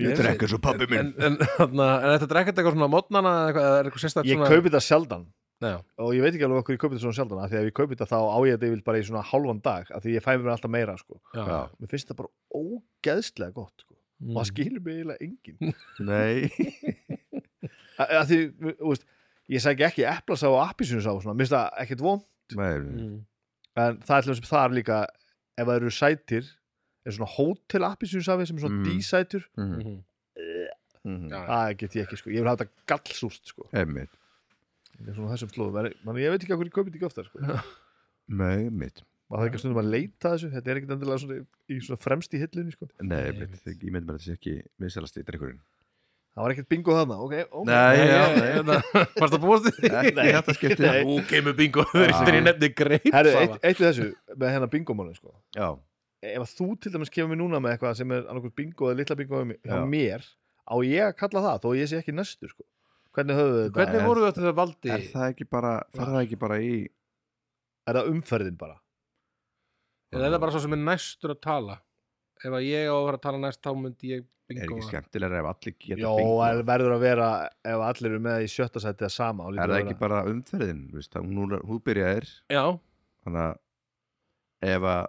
Speaker 1: Ég drekka svo pappi
Speaker 2: En,
Speaker 1: minn.
Speaker 2: en, þarna, en þetta drekka þetta eitthvað svona á modnana eða eitthvað, eða er eitthvað sérstakt
Speaker 3: ég
Speaker 2: svona
Speaker 3: kaupi þetta sjaldan
Speaker 2: Nei, já.
Speaker 3: og ég veit ekki alveg okkur ég kaupi þetta svona sjaldan af því að ef ég kaupi þetta þá á ég þetta yfir bara í svona hálfan dag af því ég fæ mér alltaf meira sko.
Speaker 2: Já.
Speaker 1: Já.
Speaker 3: mér finnst þetta bara ógeðslega gott sko.
Speaker 2: Mm.
Speaker 3: og það skilur mig eiginlega engin
Speaker 1: Nei.
Speaker 3: A- af því, þú veist, ég sagði ekki eplasafa og appisjunusá mér finnst það ekkert von
Speaker 1: (laughs) Nei,
Speaker 2: Mm.
Speaker 3: en það er til þess að það er líka ef það eru sætir er svona hótel appisjunusafi sem er svona
Speaker 1: Mm.
Speaker 3: mm. dísætur
Speaker 1: Mhm,
Speaker 2: Mhm.
Speaker 1: mhm.
Speaker 2: Já.
Speaker 3: það get ég ekki sko, ég vil hafa þetta gallsúrt sko.
Speaker 1: Einmitt,
Speaker 3: Ég er svona á þessum slóðum, en- man, ég veit ekki okkur ég kaupi þetta ekki ofta sko.
Speaker 1: nei, einmitt.
Speaker 3: maður þarf ekki að stundum að leita að þessu þetta er ekkert endilega svona, í, svona fremst í hillunni sko.
Speaker 1: Nei,
Speaker 2: Nei,
Speaker 1: einmitt,
Speaker 2: einmitt.
Speaker 1: ég myndi mér að þetta sé ekki viðsælast í drikkurinn.
Speaker 3: það var ekkert bingo þarna ok, ó,
Speaker 1: Nei,
Speaker 2: Nei,
Speaker 1: já,
Speaker 2: ég-
Speaker 1: nei.
Speaker 2: hérna, Varst það búast því?
Speaker 1: Ekki þetta skiptið.
Speaker 3: Nei.
Speaker 2: Nú kemur bingo þegar ég nefni greip
Speaker 3: Herru, eitt, eitt við þessu með hennar bingomálun sko.
Speaker 1: Já,
Speaker 3: ef að þú til dæmis kemur mér núna með eitthvað sem er annarkoð bingo eða litla bingo hjá mér- hjá
Speaker 1: Já.
Speaker 3: mér á ég að kalla það þó ég sé ekki næstur sko. hvernig höfðu þetta?
Speaker 2: Hvernig
Speaker 1: er-
Speaker 2: voru þetta þegar valdi?
Speaker 1: er það ekki bara, fer það ekki bara í...
Speaker 3: er það umferðin bara?
Speaker 2: Eða er það bara svo sem er næstur að tala? Ef að ég á að vera að tala næst þá myndi ég
Speaker 1: Er
Speaker 2: bingo
Speaker 1: ekki skemmtilega ef allir geta
Speaker 3: Jó, en verður að vera ef allir eru með í sjötta sæti að sama og
Speaker 1: Er
Speaker 3: lítur
Speaker 1: það
Speaker 3: að
Speaker 1: ekki
Speaker 3: vera-
Speaker 1: bara umferðin, veist, það- hún, er- hún byrjaðir,
Speaker 2: Já,
Speaker 1: þannig að ef að,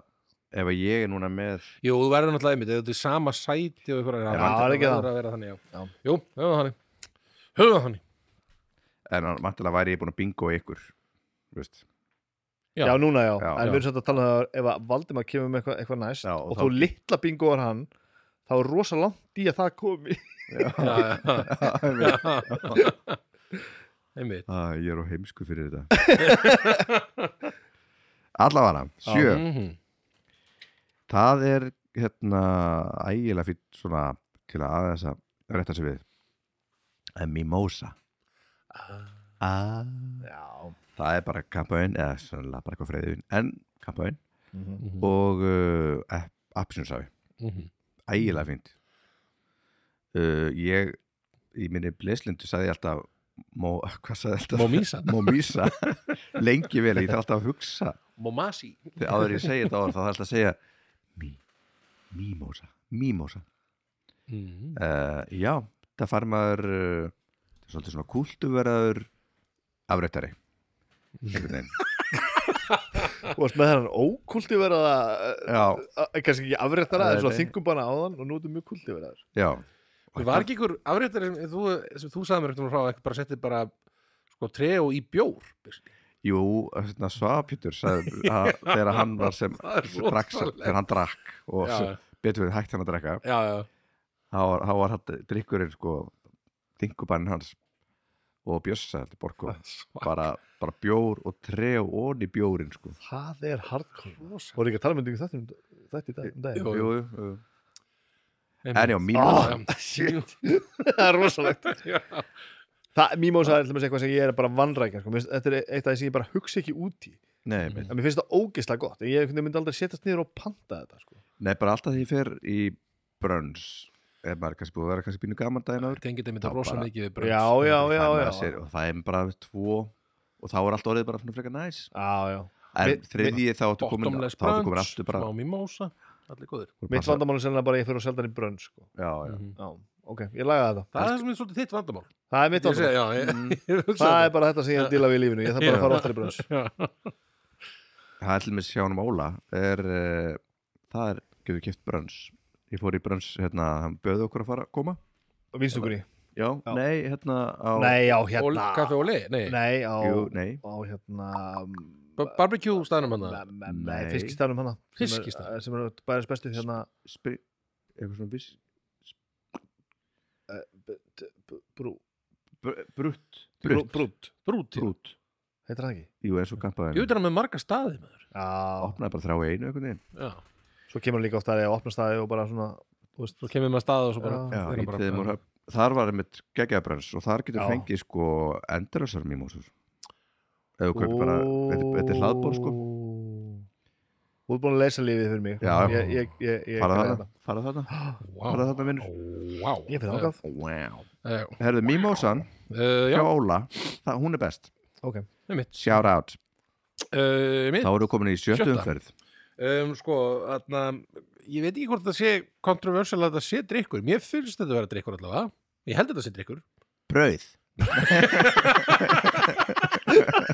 Speaker 1: ef að ég er núna með
Speaker 2: jú, þú verður náttúrulega einmitt Eða þú er sama sæti og ykkur
Speaker 3: Já,
Speaker 2: að
Speaker 3: það er ekki
Speaker 2: verður
Speaker 3: það.
Speaker 2: að vera þannig, já,
Speaker 3: Já.
Speaker 2: Jú, höfum það þannig Höfum það þannig
Speaker 1: en að vantilega væri ég búin að bingo ykkur veist.
Speaker 2: já.
Speaker 3: Já, núna já,
Speaker 1: Já,
Speaker 3: en
Speaker 2: já.
Speaker 3: við erum svolítið að tala um það ef að Valdimar kemur með eitthvað, eitthvað næst
Speaker 1: Já, og
Speaker 3: og
Speaker 1: þá-
Speaker 3: þú litla bingoar hann þá er rosa langt í að það
Speaker 1: (laughs)
Speaker 3: komi
Speaker 2: Já,
Speaker 1: Já,
Speaker 2: já, já. Einmitt
Speaker 1: Æ, ég er á heimsku fyrir þetta allavega sjö,
Speaker 2: Mhm.
Speaker 1: það er hérna ægilega fýtt svona til að aðeins að rétta sig við það er mimosa ah.
Speaker 3: Já,
Speaker 1: það er bara kampaun eða sannlega bara eitthvað freyðin en kampaun
Speaker 3: mhm.
Speaker 2: Mhm.
Speaker 1: og uh, appisunsafi
Speaker 2: Mhm.
Speaker 1: ægilega fínt uh, ég í minni bleslindu sagði ég alltaf mó, (laughs) hvað sagði ég alltaf?
Speaker 2: Momisa.
Speaker 1: Momisa lengi vel, ég þarf alltaf að hugsa
Speaker 2: Momasi
Speaker 1: þegar áður en ég segi þetta áður þá þarf alltaf að segja mí, mímósa, mímósa
Speaker 2: Mhm.
Speaker 1: uh, já, það fær maður uh, þetta er svolítið svona
Speaker 2: (laughs)
Speaker 1: kúltuveraður afrættari einhvern veginn
Speaker 3: og varst með þennan ókulti verða
Speaker 1: já,
Speaker 3: eh, kannski ekki afréttara,
Speaker 1: Nei,
Speaker 3: en svo
Speaker 1: nei.
Speaker 3: þingum bara áðan og nú er þetta mjög kulti verða
Speaker 1: já
Speaker 2: Við var ekki ykkur afréttar sem þú, sem þú sagði mér eftir frá ekki bara settið bara sko treo í bjór basically.
Speaker 1: Jú, hérna, Svapjútur sagði að þegar hann var
Speaker 2: (laughs)
Speaker 1: sem
Speaker 2: Það er svo
Speaker 1: drakk, þegar hann drakk og
Speaker 2: Já,
Speaker 1: sem, betur við hægt hann að drekka
Speaker 2: já, já,
Speaker 1: þá var, þá var hann drikkurinn sko þingubann hans og bjössa þetta borku
Speaker 2: (laughs) já
Speaker 1: bara, bara bjór og tref onni bjórin sko
Speaker 3: það er hardcore og ekki að tala með þetta um þetta í dag um daginn.
Speaker 2: Jú,
Speaker 1: jú, jú. en já, mín
Speaker 3: Ah,
Speaker 2: já.
Speaker 3: shit. (laughs) það er rosalegt
Speaker 2: (laughs) Já.
Speaker 3: það, Mímósa er til dæmis eitthvað sem ég er bara vannrækja sko. Mér finnst- þetta er eitt af því sem ég bara hugsa ekki út í
Speaker 1: nei,
Speaker 2: Mm.
Speaker 1: nei,
Speaker 3: en mér finnst það ógeðslega gott en ég einhvern veginn myndi aldrei setjast niður og panta þetta sko.
Speaker 1: nei, bara alltaf því ég fer í brönns ef maður er kannski búið að vera kannski pínu gaman daginn áður
Speaker 2: Tengið þetta
Speaker 1: Já,
Speaker 2: rosa
Speaker 1: bara-
Speaker 2: mikið við
Speaker 3: já,
Speaker 2: brönd
Speaker 3: já, já,
Speaker 1: Fær
Speaker 3: já,
Speaker 1: maður sér- og það er bara tvo og þá er allt orðið bara svona frekar næs
Speaker 3: já, já.
Speaker 1: en
Speaker 3: Mi-
Speaker 1: þriðji þá ertu komin þá
Speaker 2: Bottomless
Speaker 1: ertu komin
Speaker 2: brönd,
Speaker 1: aftur bara
Speaker 2: smá mimosa Allir góðir
Speaker 3: mitt vandamál er sennilega bara að ég fyrir að selda hann í brönn sko.
Speaker 1: já, já
Speaker 2: Mhm.
Speaker 3: já, ok, ég laga þetta
Speaker 2: Það er það sem er svolítið þitt vandamál
Speaker 3: það er mitt
Speaker 2: Ég segi,
Speaker 3: vandamál,
Speaker 2: já, ég, (laughs)
Speaker 1: Mm.
Speaker 2: ég hugsa um
Speaker 3: það er bara þetta sem ég er að díla við í lífinu ég þarf bara að fara oftar í brönn
Speaker 2: Já,
Speaker 1: Það er til með sjánum um Óla er, uh, það er, gefur kipt brönns ég fór í brönns, hérna, hann böði okkur að fara að koma
Speaker 3: og vinstugur í,
Speaker 1: já,
Speaker 3: Já.
Speaker 1: nei, hérna á,
Speaker 3: nei, já,
Speaker 2: Ól- Kaffi
Speaker 3: hérna
Speaker 2: og lei, nei,
Speaker 3: nei, á,
Speaker 1: jú, nei,
Speaker 3: á hérna
Speaker 2: Ba- Barbecue staðnum hann
Speaker 3: Me- me- Nei,
Speaker 1: Nei.
Speaker 3: fiskistanum hana sem er-
Speaker 2: Fiskistaðnum.
Speaker 3: sem er bara bestu hérna
Speaker 1: spri, eitthvað svona viss
Speaker 3: eh, b- t- b- brú,
Speaker 1: br- brutt,
Speaker 3: brú,
Speaker 1: brutt,
Speaker 3: brút
Speaker 2: Brúti
Speaker 1: brutt
Speaker 3: heitir það ekki
Speaker 1: jú, eins og
Speaker 2: Ég
Speaker 1: gampaði
Speaker 2: veit hann með marga staði með þér
Speaker 3: já,
Speaker 1: opnaði bara þrá í einu einhvern veginn
Speaker 2: Já,
Speaker 3: svo kemur hann líka ofta að ég opna staði og bara svona þú veist,
Speaker 2: svo kemur maður staði og svo
Speaker 3: Já.
Speaker 2: bara
Speaker 1: já,
Speaker 2: Það er
Speaker 1: í
Speaker 2: bara-
Speaker 1: tveimur höfn. þar var einmitt geggjabrönns og þar getur
Speaker 3: Já.
Speaker 1: fengið sko endurlösar mýmósur eða kaupir bara, þetta þetta er hlaðbór sko
Speaker 3: Þú ert búin að leysa lífið fyrir mig
Speaker 1: Já.
Speaker 3: ég, ég, ég, ég,
Speaker 1: fara
Speaker 3: græði
Speaker 1: þarna, fara þarna
Speaker 2: Vá.
Speaker 1: Bara þarna vinnur.
Speaker 2: Vá.
Speaker 3: ég fyrir ágaf
Speaker 1: wow.
Speaker 2: Eh,
Speaker 1: herðu, mýmósan
Speaker 2: eh,
Speaker 1: hjá
Speaker 2: Já,
Speaker 1: Óla, það, hún er best
Speaker 3: okay.
Speaker 2: með mitt
Speaker 1: shout out
Speaker 2: Eh, Mitt
Speaker 1: Þá eru komin í sjöttu
Speaker 2: Sjötta.
Speaker 1: umferð
Speaker 2: um, Sko, þarna Ég veit ekki hvort það sé kontroversial að það sé drikkur Mér finnst þetta að vera drikkur allavega Ég held að þetta sé drikkur
Speaker 1: Brauð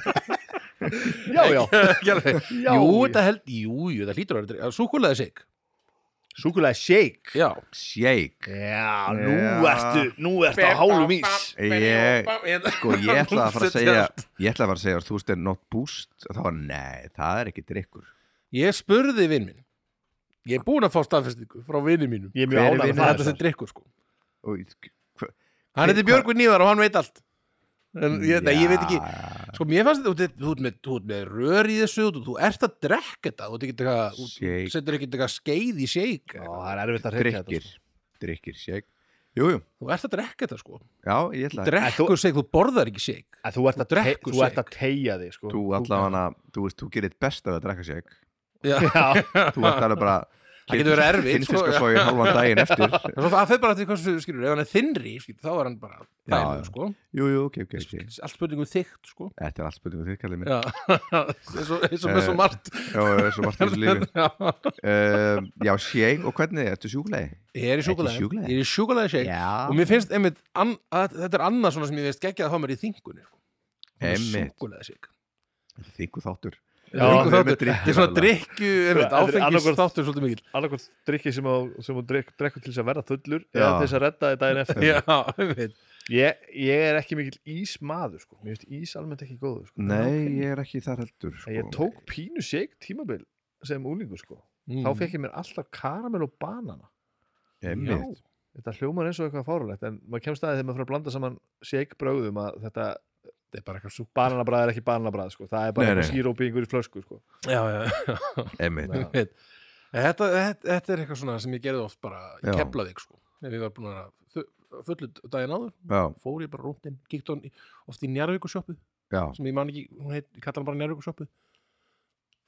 Speaker 3: já, já,
Speaker 2: (laughs)
Speaker 1: (laughs)
Speaker 2: Ekki alveg.
Speaker 3: já
Speaker 2: Jú, þetta held, jú, jú, það hlýtur að vera drikkur Súkulega sig
Speaker 3: súkulega shake
Speaker 2: Já,
Speaker 1: Shake
Speaker 3: já, nú
Speaker 1: Já.
Speaker 3: ertu nú ertu á hálum ís
Speaker 1: Ég, sko,
Speaker 2: (laughs)
Speaker 1: ég ætla að fara að
Speaker 2: Setja
Speaker 1: segja
Speaker 2: allt.
Speaker 1: Ég ætla að fara að segja Þú veist er not boost og Það var nei, það er ekki drikkur
Speaker 2: Ég spurði vinn minn Ég er búin að fá staðfestingu frá vinni mínum
Speaker 3: ég er
Speaker 1: Hver er
Speaker 3: mjög ánægð með
Speaker 2: Það er
Speaker 1: vinur
Speaker 3: það
Speaker 2: þetta sem drikkur sko
Speaker 1: Og ég-
Speaker 2: Hann
Speaker 1: Hver-
Speaker 2: heiti Björgvin Nýðar og hann veit allt
Speaker 3: Mm,
Speaker 2: En ég, nei, ég veit ekki
Speaker 1: Ja,
Speaker 2: Sko, mér fannst þetta, þú- þú ert með, þú ert með rör í þessu þú, þú ert að drekka þetta Þú ert ekki eitthvað, þú-
Speaker 1: Shake.
Speaker 2: þú setur ekki eitthvað skeið í shake
Speaker 3: Já, það er erfitt að hreykja þetta sko.
Speaker 1: Drikkir
Speaker 2: sko.
Speaker 1: Drikkir, shake Jújú, jú.
Speaker 2: Þú ert að drekka þetta sko
Speaker 1: já, ég ætla að
Speaker 2: Drekkur shake, þú borðar ekki shake
Speaker 3: að þú ert að,
Speaker 2: Þú
Speaker 3: te
Speaker 2: drekkur
Speaker 3: þú ert að
Speaker 2: shake.
Speaker 3: tegja þig sko.
Speaker 1: Þú allavega Þú veist, þú gerir þitt best af að drekka
Speaker 2: (laughs)
Speaker 1: shake
Speaker 2: Já,
Speaker 3: Já,
Speaker 1: Þú ert alveg bara
Speaker 2: Það getur verið erfitt, sko.
Speaker 1: Kynfiska svo í hálfan
Speaker 2: (laughs)
Speaker 1: daginn eftir
Speaker 2: En svo það fyrir bara til hversu, skilur, ef hann er þinnri, skilur, þá er hann bara
Speaker 1: Já,
Speaker 2: dælu,
Speaker 1: já.
Speaker 2: sko.
Speaker 1: Jú, jú, ok, ok, ok
Speaker 2: Allt spurningum þykkt, sko.
Speaker 1: Þetta er allt spurningu þitt, kallið mér
Speaker 2: Já, (laughs) eins og
Speaker 1: Eh,
Speaker 2: eins og með svo margt.
Speaker 1: Já, já, svo margt í þessu lífi
Speaker 2: (laughs) Já.
Speaker 1: um, Já, shake, og hvernig, ertu sjúkulegi?
Speaker 2: Ég er í sjúkulega.
Speaker 1: sjúkulegi?
Speaker 2: Ég er í sjúkulega shake.
Speaker 1: Já
Speaker 2: Og mér finnst, einmitt, an, að, þetta er annað svona sem ég veist geggjað að fá mér í þingunni, sko.
Speaker 1: Einmitt.
Speaker 2: Sjúkulega shake.
Speaker 1: Þingu þáttur
Speaker 3: Já,
Speaker 2: Drykku
Speaker 1: við erum með
Speaker 2: þáttur.
Speaker 1: drykki
Speaker 2: Þetta er svona drikku, einmitt,
Speaker 1: þarna.
Speaker 3: Þetta er
Speaker 2: áfengis
Speaker 3: annarkvort-
Speaker 2: þáttur svolítið mikil.
Speaker 3: annarkvæmt drikki sem þú- sem þú drek- drekkur til þess að verða fullur eða
Speaker 1: Já.
Speaker 3: til þess að redda þig daginn (laughs) eftir
Speaker 2: Já, einmitt.
Speaker 3: ég, ég er ekki mikill ísmaður sko. mér finnst ís almennt ekki góður sko.
Speaker 1: Nei, ég er ekki þar heldur sko.
Speaker 3: En ég tók pínu shake tímabil sem úlingur sko. þá
Speaker 2: Mm.
Speaker 3: fekk ég mér alltaf karamel og banana
Speaker 1: Einmitt.
Speaker 3: þetta hljómar eins og eitthvað fárulegt en maður kemst aðeins þegar maður fyrir að blanda saman shake bröðum að þetta
Speaker 2: Þetta er bara eitthvað súk.
Speaker 3: bananabræð er ekki bananabræð sko. það er
Speaker 1: Nei,
Speaker 3: bara
Speaker 1: nei.
Speaker 3: eitthvað sírópi yngur í flösku sko.
Speaker 2: Já, já,
Speaker 1: Einmitt.
Speaker 3: Já.
Speaker 2: einmitt. En Þetta, þetta, þetta er eitthvað svona sem ég gerði oft bara í
Speaker 1: Já.
Speaker 2: Keflavík, sko. Ef ég var búin að vera fullu daginn áður
Speaker 1: Já,
Speaker 2: fór ég bara rúndin, kíkti hann í- oft í njárvíkusjöpu
Speaker 1: já,
Speaker 2: sem ég man ekki, hún heit, ég kalla hann bara njárvíkusjöpu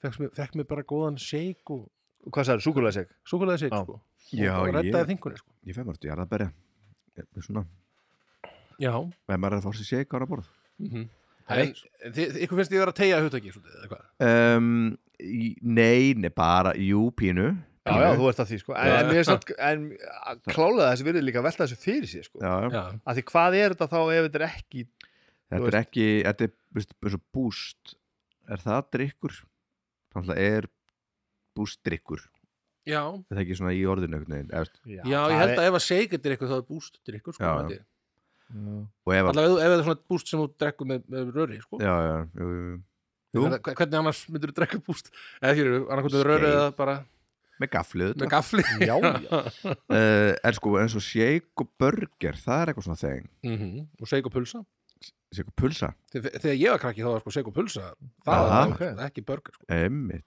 Speaker 2: fekk, mér- fekk mér bara góðan shake og
Speaker 3: hvað sagður, súkulega shake
Speaker 2: súkulega shake
Speaker 3: Já.
Speaker 2: sko.
Speaker 1: Já,
Speaker 2: og
Speaker 1: ég-
Speaker 2: reddaði þingunni sko.
Speaker 1: ég fæm orðið, ég er að berja Ég- Svona,
Speaker 2: já
Speaker 1: ef maður er að fá sér shake ára borð
Speaker 2: mm -hmm. en, en þið, þið- ykkur finnst ég vera að tegja hugtaki svolítið, eða hvað?
Speaker 1: um, í- Nei, nei, bara jú, pínu
Speaker 3: Já, já, þú ert að því sko En,
Speaker 2: Já.
Speaker 3: en, mér er samt, en að klálega þessi virðið líka að velta þessu fyrir sér sko
Speaker 1: Já, já.
Speaker 2: já,
Speaker 3: að því hvað er þetta þá ef þetta er ekki
Speaker 1: Þetta er ekki, þetta er, veist, eins og boost Er það drikkur? Þá náttúrulega er bústdrykkur
Speaker 2: já,
Speaker 1: er það ekki svona í orðinu einhvern veginn, eða, veist,
Speaker 3: Já,
Speaker 2: já ég held að ef að segjur drikkur þá er búst drikkur sko,
Speaker 1: Já,
Speaker 2: held
Speaker 1: já.
Speaker 2: ég.
Speaker 3: að
Speaker 1: og ef að
Speaker 2: allavega ef- ef það er svona búst sem þú drekkur með, með röri sko.
Speaker 1: já, já, jú, jú, jú. jú,
Speaker 2: Hver- hvernig annars myndur þú drekka búst eða hér eru annarkvæmt með röri
Speaker 1: Skeið.
Speaker 2: eða bara
Speaker 1: með gaflið
Speaker 2: með
Speaker 1: (laughs)
Speaker 2: gafli
Speaker 3: Já, já
Speaker 1: uh, en sko eins og shake og burger það er eitthvað svona þegin
Speaker 2: Mhm, og segjur pulsa
Speaker 1: shake og pulsa,
Speaker 2: þegar, þegar ég var krakki þá var sko segjur pulsa það
Speaker 1: Aha.
Speaker 2: var okay. ekki burger sko.
Speaker 1: emmitt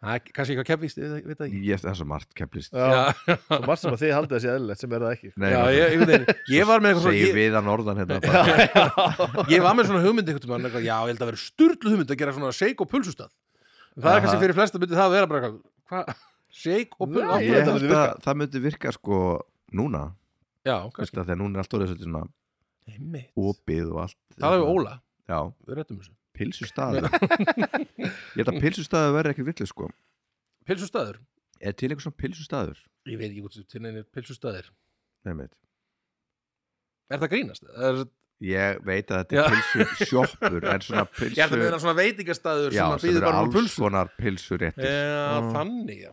Speaker 2: Það er ekki- kannski eitthvað kefvist, ég veit það ekki
Speaker 1: ég það er svo margt kemplist
Speaker 3: Já, svo margt sem að þið haldið að sé eðlilegt sem er það ekki
Speaker 2: Já, ég, ég, ég, ég var með eitthvað svona-
Speaker 1: segi
Speaker 2: ég-
Speaker 1: við að norðan hérna bara,
Speaker 2: ég var með svona hugmynd einhvern veginn, eitthvað, já, ég held að vera styrlu hugmynd að gera svona shake og pulsustað En það
Speaker 1: Aha.
Speaker 2: er kannski fyrir flesta myndi það að vera bara eitthvað, hvað, shake og
Speaker 3: Nei,
Speaker 2: pulsustað
Speaker 3: ég-
Speaker 1: ég
Speaker 3: þetta myndi
Speaker 1: held að það myndi virka sko núna,
Speaker 2: já,
Speaker 1: veist
Speaker 2: kannski
Speaker 1: það, þegar núna er allt orðið svolítið svona
Speaker 2: Einmitt.
Speaker 1: opið og allt
Speaker 2: það er við Óla,
Speaker 1: já,
Speaker 2: við réttum þessu (laughs)
Speaker 1: pilsustaður ég held að pilsustaður verði ekkert villið sko
Speaker 2: pilsustaður,
Speaker 1: er til einhver svona pilsustaður
Speaker 2: ég veit ekki hvort til neynir pilsustaðir,
Speaker 1: Einmitt.
Speaker 2: er það grínast? Er,
Speaker 1: ég veit að þetta er pilsusjoppur en svona
Speaker 2: (laughs) ég held að
Speaker 1: pilsu
Speaker 2: meina svona veitingastaður
Speaker 1: já,
Speaker 2: sem að
Speaker 1: sem
Speaker 2: býður
Speaker 1: eru
Speaker 2: bara um
Speaker 1: alls
Speaker 2: pulsu
Speaker 1: konar pilsuréttir
Speaker 2: Já,
Speaker 3: Mm.
Speaker 2: þannig, já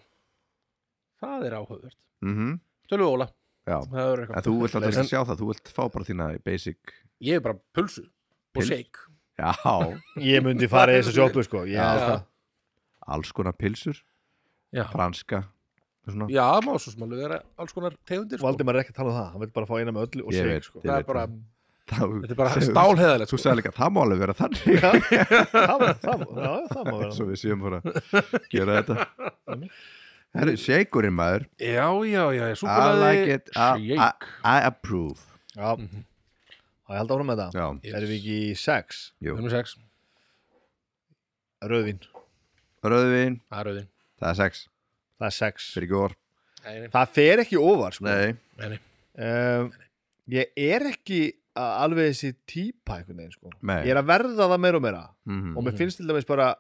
Speaker 2: það er áhugavert,
Speaker 1: mhm,
Speaker 2: tölum við Óla
Speaker 1: já
Speaker 2: það verður eitthvað.
Speaker 1: en þú vilt alltaf
Speaker 2: En-
Speaker 1: ekki sjá það, þú vilt fá bara þína basic,
Speaker 2: ég er bara pulsu og
Speaker 1: Pils-
Speaker 2: shake
Speaker 1: já,
Speaker 3: Ég myndi fara í þessa sjoppu sko Ég held
Speaker 2: Já.
Speaker 3: það.
Speaker 1: alls konar pilsur
Speaker 2: já,
Speaker 1: franska, svona
Speaker 2: já má svo sem alveg vera alls konar tegundir sko.
Speaker 3: Valdimar er ekki að tala um það, hann vil bara fá eina með öllu og
Speaker 1: Ég
Speaker 3: shake
Speaker 1: veit.
Speaker 3: sko
Speaker 1: Ég
Speaker 2: það
Speaker 1: veit
Speaker 2: er bara,
Speaker 1: Það-
Speaker 2: þetta er bara
Speaker 1: Segðu-
Speaker 2: stálheðalegt
Speaker 1: þú
Speaker 2: sko.
Speaker 1: sagði líka, það má alveg vera þannig
Speaker 3: Já, það, má- það, má- já, það má vera
Speaker 1: svo við séum bara að gera þetta herru, shakeurinn maður
Speaker 2: já, já, já, já,
Speaker 1: I
Speaker 2: súkkulaði
Speaker 1: like it, I,
Speaker 2: shake.
Speaker 1: I, I approve
Speaker 3: Já,
Speaker 2: Mhm.
Speaker 3: Á, ég held áfram með það
Speaker 1: já,
Speaker 3: Erum við ekki í sex?
Speaker 1: jú,
Speaker 2: Nummer 6,
Speaker 3: Rauðvín,
Speaker 1: rauðvin,
Speaker 2: það er rauðin
Speaker 1: það er sex
Speaker 3: það er sex
Speaker 1: fyrir ekki orð,
Speaker 2: Nei,
Speaker 3: Það fer ekki ofar sko
Speaker 1: nei,
Speaker 3: um, Ég er ekki að alveg þessi típa einhvern veginn sko
Speaker 1: nei
Speaker 3: Ég er að verða það meira og meira
Speaker 1: mhm,
Speaker 3: og mér finnst til dæmis bara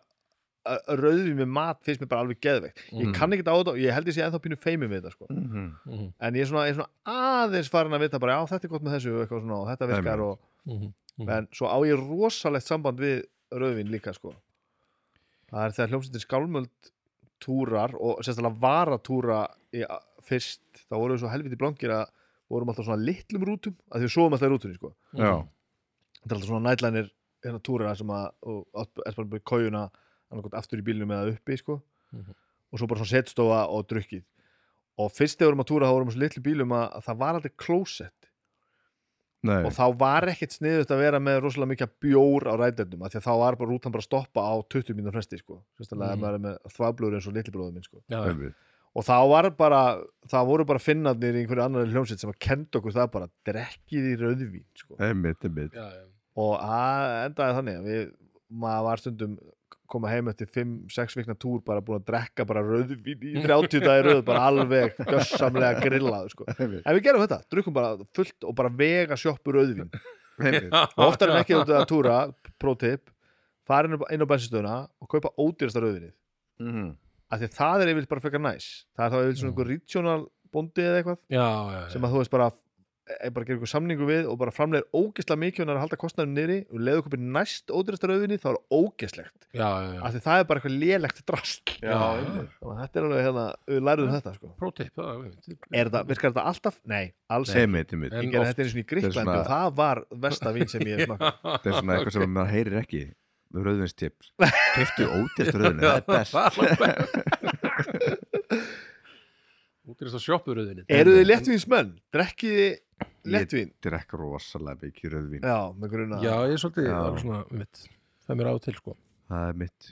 Speaker 3: að rauðvín með mat finnst mér bara alveg geðveikt Ég
Speaker 1: Mhm.
Speaker 3: kann ekkert á þetta og ég held ég sé ennþá pínu feimið við þetta sko
Speaker 1: mhm,
Speaker 2: nei.
Speaker 3: en ég er svona, ég er svona aðeins farin að vita bara já þetta er gott með þessu og eitthvað svona og þetta virkar
Speaker 1: Einmitt.
Speaker 3: og,
Speaker 2: mhm,
Speaker 1: Mhm.
Speaker 3: en svo á ég rosalegt samband við rauðvin líka sko það er þegar hljómsveitin skálmöld túrar og sérstaklega varatúra í, fyrst, þá vorum við svo helviti blankir að vorum alltaf svona litlum rútum að því við sofum alltaf í rútunni sko
Speaker 1: já,
Speaker 3: þetta er alltaf svona nætlænir hérna túrar sem að, og átt- ert bara með kójuna annarkot aftur í bílnum eða uppi sko
Speaker 2: Mhm.
Speaker 3: og svo bara svona setstofa og drukkið og fyrst þegar við vorum að túra þá vorum við svo litlu bílum að, að það var aldrei klósett
Speaker 1: nei
Speaker 3: og þá var ekkert sniðut að vera með rosalega mikið bjór á ræðendum af því að þá var bara rútan bara að stoppa á 20 mínútur fresti sko, sérstaklega mm.
Speaker 2: Mhm.
Speaker 3: ef maður er með þvablur eins og litli bróðum minn sko
Speaker 2: Já, já.
Speaker 1: einmitt.
Speaker 3: og þá var bara, það voru bara finnarnir í einhverju annari hljómsveit sem að kenda okkur það bara drekkið í rauðvín sko
Speaker 1: einmitt, einmitt
Speaker 2: Já, já.
Speaker 3: og það endaði þannig að við, maður var stundum koma heim eftir 5-6 vikna túr bara búin að drekka bara rauðvín í 30 dagi rauð bara alveg gössamlega grillað sko.
Speaker 1: einmitt,
Speaker 3: en við gerum þetta, drukum bara fullt og bara vega sjoppur rauðvín
Speaker 1: einmitt,
Speaker 3: og oftar en ekki út að túra prótip, fara inn á- inn á bensinstöðuna og kaupa ódýrasta rauðvinni
Speaker 1: mhm,
Speaker 3: af því að það er yfirleitt bara frekar næs það er þá yfirleitt svona
Speaker 2: Mm.
Speaker 3: einhver regional bondi eða eitthvað
Speaker 2: já, já, já.
Speaker 3: sem að þú veist bara er bara að gera einhver samningu við og bara framlegir ógeðslega mikið og hann er að halda kostnæðum niðri og leiðu okkur næst ódýrasta rauðvinni þá er það ógeðslegt
Speaker 2: já, já, já.
Speaker 3: af því það er bara eitthvað lélegt drast
Speaker 2: Já, einmitt.
Speaker 3: þannig að þetta er alveg hérna, við lærum þetta sko
Speaker 2: Prótip, já, ég veit.
Speaker 3: er það, virkar þetta alltaf? Nei, alls ekki
Speaker 1: einmitt, einmitt
Speaker 2: En
Speaker 3: ég gerði
Speaker 2: oft.
Speaker 3: þetta eins og í
Speaker 1: er
Speaker 3: Gríklandi
Speaker 1: svona-
Speaker 3: og það var versta vín sem ég
Speaker 2: (laughs)
Speaker 3: smakka
Speaker 1: það er svona eitthvað sem maður heyrir ekki með rauðvinstips keftu ótist rauðvinni, það er
Speaker 2: (laughs)
Speaker 1: best
Speaker 2: Útrýst að sjoppu rauðinni
Speaker 3: Eru þið léttvínsmenn? Drekkiði léttvín?
Speaker 1: ég drekk rosalega mikið rauðvin
Speaker 3: Já, með gruna
Speaker 2: Já, ég er svolítið
Speaker 1: Já.
Speaker 2: alveg svona, mitt Það er mér á og til, sko
Speaker 1: það er mitt,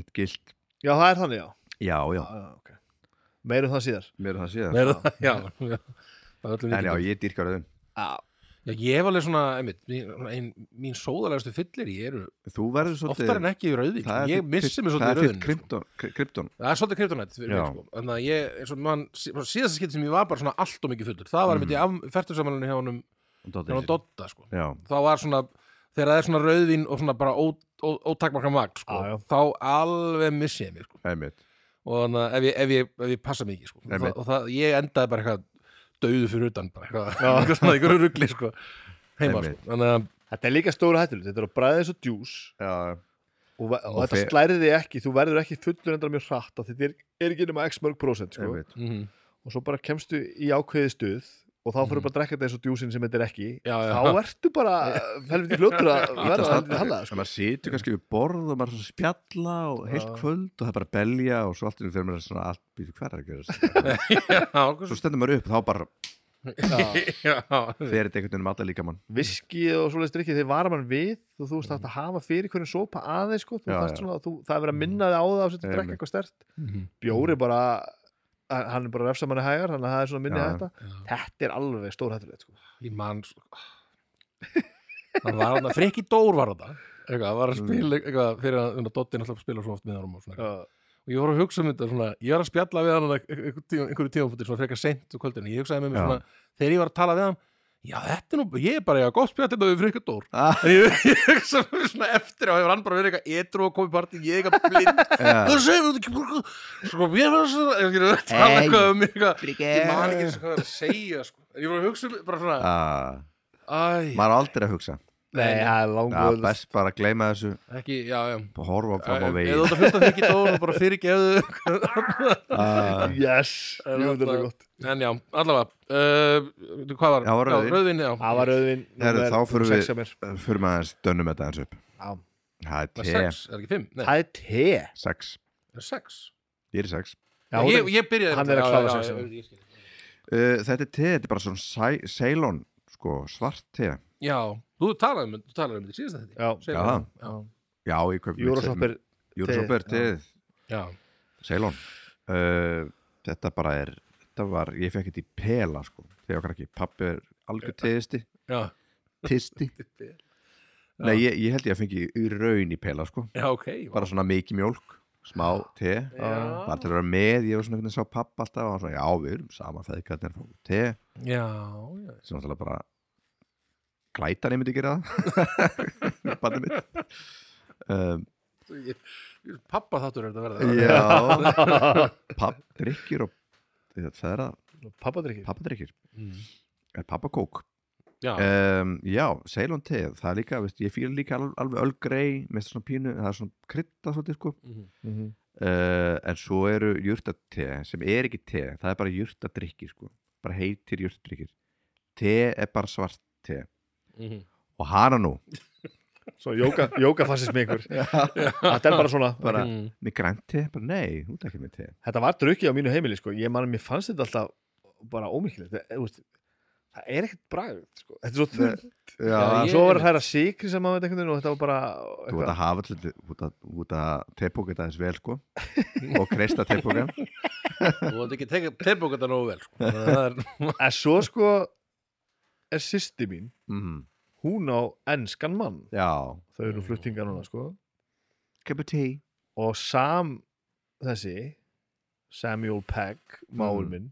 Speaker 1: mitt gilt
Speaker 3: Já, það er þannig, já,
Speaker 1: já, já,
Speaker 3: já. já okay. Meirum það síðar
Speaker 1: meira það síðan
Speaker 2: Nei, er það, já, já. Það er öllum
Speaker 1: en já,
Speaker 2: líkindum.
Speaker 1: ég dýrka rauðvin
Speaker 3: Já,
Speaker 2: Já, ég var alveg svona, einmitt, mín, svona ein, mín sóðalegastu fyllir ég eru
Speaker 1: þú verður svolítið
Speaker 2: oftar en ekki í rauðvín,
Speaker 1: það er
Speaker 2: ég
Speaker 1: þitt-
Speaker 2: missi mig svolítið í
Speaker 1: það
Speaker 2: sko.
Speaker 1: er þitt
Speaker 2: rauðin
Speaker 1: krypton, kry- krypton.
Speaker 2: Það er svolítið kryptonætt fyrir
Speaker 1: Já.
Speaker 2: mig, sko Þannig að ég, eins og mann, sí- bara síðasta skipti sem ég var bara svona allt og mikið fullur Það var
Speaker 3: Mm.
Speaker 2: einmitt í færtursamalunni hjá honum, hjá honum Dotta, sko
Speaker 1: já,
Speaker 2: Það var svona, þegar það er svona rauðvín og svona bara ó- ó- ótakmarka magt, sko
Speaker 3: Já, já.
Speaker 2: Þá alveg missi ég mig, sko
Speaker 1: einmitt
Speaker 2: Og þannig að ef ég, ef ég, ef ég passa mikið, sko
Speaker 1: Einmitt.
Speaker 2: það, Og það, ég endaði bara eitthvað döðu fyrir utan, bara eitthvað
Speaker 3: Já.
Speaker 2: (laughs) Eitthvað svona, eitthvað rugli, sko Heima,
Speaker 1: Einmitt.
Speaker 2: sko Þannig að,
Speaker 3: þetta er líka stóra hættulut Þetta er að bræða þessu djús
Speaker 1: já,
Speaker 3: og, ve- og
Speaker 1: Og
Speaker 3: þetta
Speaker 1: fe-
Speaker 3: slærir þig ekki, þú verður ekki fullur endra mjög hratt af því þetta er, er ekki nema x mörg prósent sko.
Speaker 1: Einmitt.
Speaker 2: mm
Speaker 3: og svo bara kemstu í ákveðið stuð og þá fyrir
Speaker 2: Mhm.
Speaker 3: bara að drekka þetta eins og djúsin sem þetta er ekki
Speaker 2: Já, já.
Speaker 3: þá ertu bara
Speaker 1: (laughs)
Speaker 3: helviti hljóttur að verða sko. helviti
Speaker 1: Þannig
Speaker 3: hallað
Speaker 1: að maður situr kannski við borð og maður svona spjalla og heilt
Speaker 3: Já.
Speaker 1: kvöld og það er bara að belja og svo allt um fyrir maður svona allt býtu hver er að gera
Speaker 2: (laughs) já,
Speaker 1: (laughs) svo stendur maður upp og þá bara
Speaker 3: sko.
Speaker 2: (laughs) já,
Speaker 1: fer þetta einhvern veginn um alla líka mann
Speaker 3: viski og svoleiðist drikki þeir vara mann við og þú veist að hafa fyrir hvernig sopa aðeins sko. þú
Speaker 1: Já,
Speaker 3: þarft
Speaker 1: já. Mhm.
Speaker 3: svona, að þú, það er verið að minna þig á það og setja að drekka
Speaker 1: Einmitt. Mhm.
Speaker 3: eitthvað stert bjóri bara, hann er bara refsa manni hægar þannig að það er svona minni
Speaker 1: Já, já.
Speaker 3: hætta þetta er alveg stórhættulegt sko.
Speaker 2: ég man svo- hann var hann að frikki Dór var þetta eitthvað, það var að
Speaker 1: Mm.
Speaker 2: spila eitthvað fyrir að þannig að Dotti náttúrulega spila svo oft með hann og svona
Speaker 3: Já.
Speaker 2: og ég voru að hugsa um þetta svona, ég var að spjalla við hann á einhver tíma- einhverju tímafóti svona frekar seint og kvöldinu, ég hugsaði með mér
Speaker 1: Já.
Speaker 2: svona þegar ég var að tala við hann, já þetta er nú ég er bara eitthvað gott spjall þetta við frikka Dór
Speaker 1: Ah,
Speaker 2: en ég, (laughs) ég hugsaði með mér svona eftir og hefur hann bara verið eitthvað etru og komið partí, ég eitthvað blind
Speaker 1: (laughs) ja.
Speaker 2: það segir þetta ekki bara sko mér var svona, ég er að tala
Speaker 1: Hey.
Speaker 2: eitthvað um eitthvað ég man ekki
Speaker 1: Ah,
Speaker 2: eins og hvað það er að segja sko. en ég voru að hugsa um bara svona æ,
Speaker 1: maður á aldrei að hugsa
Speaker 3: Nei, það er
Speaker 1: ja,
Speaker 3: langvöld
Speaker 1: best bara að gleyma þessu
Speaker 2: ekki, já, já
Speaker 1: og horfa
Speaker 2: Æ,
Speaker 1: fram
Speaker 2: eða
Speaker 1: á
Speaker 2: þú
Speaker 1: vegi
Speaker 2: ert að hlusta fyrir ekki Dór og bara fyrir
Speaker 1: (laughs) Ah,
Speaker 3: Yes,
Speaker 2: (laughs) En
Speaker 3: jú, þetta
Speaker 2: þarna-
Speaker 3: er gott
Speaker 2: En já, allavega uh, Hvað var?
Speaker 1: Já, var rauðvín.
Speaker 2: rauðvín, já.
Speaker 3: Það var auðvinn
Speaker 1: Herru, þá förum við-
Speaker 3: mér.
Speaker 1: fyrir maður aðeins dönnum þetta eins upp
Speaker 3: Já.
Speaker 1: það
Speaker 2: Það
Speaker 1: er
Speaker 2: er
Speaker 1: te,
Speaker 2: sex, er ekki fimm? Nei,
Speaker 3: Það er te Já,
Speaker 1: sex
Speaker 2: það er sex
Speaker 1: ég er í sex
Speaker 2: já, ég, ég byrjaði
Speaker 3: hann
Speaker 2: þetta,
Speaker 3: er að
Speaker 2: já,
Speaker 3: klára
Speaker 2: já,
Speaker 3: sex,
Speaker 2: já,
Speaker 3: já.
Speaker 2: ég skil.
Speaker 1: uh, þetta er te, þetta er bara svona sæ- Ceylon sko, svart te
Speaker 2: Já, þú talaði um þetta, þú talaði um þetta síðast þetta
Speaker 3: Já.
Speaker 1: Já. já, ég kaupi mitt
Speaker 3: Júrasop er
Speaker 1: Júrasop er
Speaker 3: teið,
Speaker 1: teið
Speaker 2: já,
Speaker 1: Ceylon uh, Þetta bara er þetta var, ég fekk þetta í pela sko, þegar okkar ekki, pappi er algjör teðisti
Speaker 2: já,
Speaker 1: tisti, nei ég, ég held ég að fengi í raun í pela sko,
Speaker 2: já, ok
Speaker 1: bara svona mikið mjólk smá te, bara
Speaker 2: Já,
Speaker 1: til að vera með ég var svona einhvern veginn sá pappa alltaf og hann svona, já við erum sama feðgarnir fá te,
Speaker 2: já, já.
Speaker 1: sem náttúrulega bara glætan ég myndi gera það (laughs) banni mitt um,
Speaker 2: Pappa þáttur er þetta að verða
Speaker 1: já (laughs) pappdrykkir og það er að
Speaker 3: Pappadrykki
Speaker 1: pappdrykkir,
Speaker 2: Mm.
Speaker 1: er pappakók
Speaker 2: Já,
Speaker 1: um, já, Ceylon te það er líka, veist, ég fýla líka alveg, alveg Earl Grey með svona pínu, það er svona krydda svolítið sko,
Speaker 2: Mhm.
Speaker 1: uh, en svo eru jurtate sem er ekki te, það er bara jurtadrykki sko, bara heitir jurtadrykkir te er bara svart te
Speaker 2: Mhm.
Speaker 1: og hana nú,
Speaker 3: Svo (laughs) jóka, jóka fassist með ykkur
Speaker 2: (laughs)
Speaker 3: Þetta er bara svona
Speaker 1: bara
Speaker 2: Mhm.
Speaker 1: með grænt te, bara nei, þú ert ekki með te
Speaker 3: Þetta var drukkið á mínu heimili sko. Ég man að mér fannst þetta alltaf bara ómikilegt Það, veist, það er ekkert bragð sko. Þetta er svo þurr
Speaker 2: Já, ég-
Speaker 3: Svo var það að sikri sem maður veit einhvern veginn og þetta var bara
Speaker 1: þú ert
Speaker 3: eitthvað.
Speaker 1: að hafa alltaf út að, út að tepóka þetta eins vel sko og kreista tepóka
Speaker 2: (laughs) Þú vart ekki tebúk þetta nógu vel sko.
Speaker 1: (laughs)
Speaker 2: Það er,
Speaker 3: En svo sko er sýsti mín
Speaker 1: mm,
Speaker 3: hún á enskan mann
Speaker 1: já,
Speaker 3: þau eru fluttingar núna sko
Speaker 1: kemur te
Speaker 3: og Sam þessi Samuel Pegg, máur
Speaker 1: Mm.
Speaker 3: minn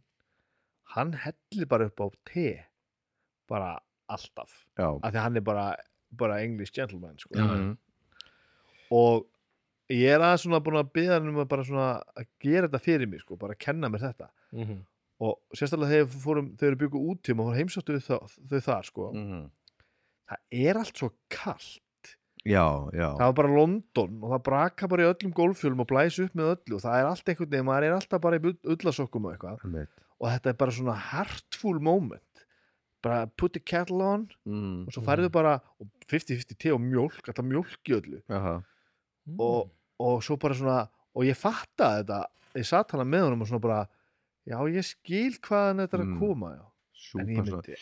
Speaker 3: hann hellir bara upp á te bara alltaf
Speaker 1: já,
Speaker 3: af því að hann er bara, bara English gentleman sko.
Speaker 2: Já.
Speaker 1: Mhm.
Speaker 3: og ég er aðeins svona búin að byggja hann um að bara svona að gera þetta fyrir mig sko, bara að kenna mér þetta
Speaker 2: Mhm.
Speaker 3: og sérstaklega þegar við fórum, þau eru byggu út tíma og fórum heimsáttu þau, þau þar sko.
Speaker 1: Mhm.
Speaker 3: það er allt svo kallt
Speaker 1: já, já
Speaker 3: það var bara London og það braka bara í öllum golffjölum og blæs upp með öllu og það er allt einhvern veginn, maður er alltaf bara í ullasokkum og eitthvað
Speaker 1: Einmitt.
Speaker 3: og þetta er bara svona heartful moment bara put the kettle on
Speaker 1: Mm.
Speaker 3: og svo færðu bara og 50-50 te og mjólk, alltaf mjólk í öllu
Speaker 1: Jaha. Mm.
Speaker 3: Og- og svo bara svona, og ég fattaði þetta ég satt hana með honum og svona bara já, ég skil hvaðan þetta er að
Speaker 1: Mm.
Speaker 3: koma já. en ég
Speaker 1: Súpa svo
Speaker 3: myndi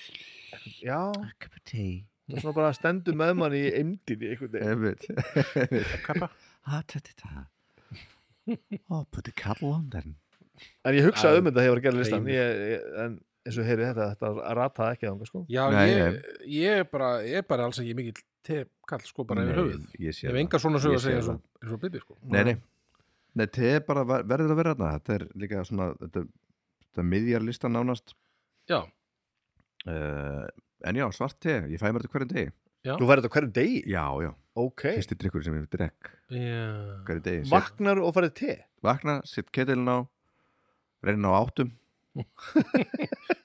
Speaker 3: já,
Speaker 1: Cup of tea
Speaker 3: og svona bara stendur með mann í eimdin í einhvern veginn
Speaker 1: Einmitt (laughs)
Speaker 2: Kappa.
Speaker 1: Ha-ta-ta-ta Oh, put the kettle on then
Speaker 3: en ég hugsaði um
Speaker 2: Æ,
Speaker 3: þetta þegar ég var að gera listan
Speaker 2: heimur.
Speaker 3: ég, ég, en eins og heyrið þetta, þetta rataði ekki þangað sko
Speaker 2: Já,
Speaker 1: Nei,
Speaker 2: ég, ég, er bara, ég er bara alls ekki mikill tekall sko bara yfir höfuð.
Speaker 1: Ég sé
Speaker 2: Ég hef
Speaker 1: það.
Speaker 2: enga svona sögur að
Speaker 1: Ég sé
Speaker 2: segja
Speaker 1: það.
Speaker 2: eins og, eins og Bibi sko.
Speaker 1: Nei, nei Nei, te er bara ver- verður að vera þarna Þetta er líka svona Þetta, þetta miðjar listan nánast
Speaker 2: Já,
Speaker 1: uh, En já, svart te Ég fæ mér þetta hverjum degi
Speaker 3: Þú færði þetta á hverjum degi?
Speaker 1: Já, já
Speaker 3: Ok,
Speaker 1: Fyrsti drikkur sem ég drekk
Speaker 2: já.
Speaker 1: hverjum degi Set,
Speaker 3: vaknar og færði te
Speaker 1: Vakna, sitt ketilin á Reyna á áttum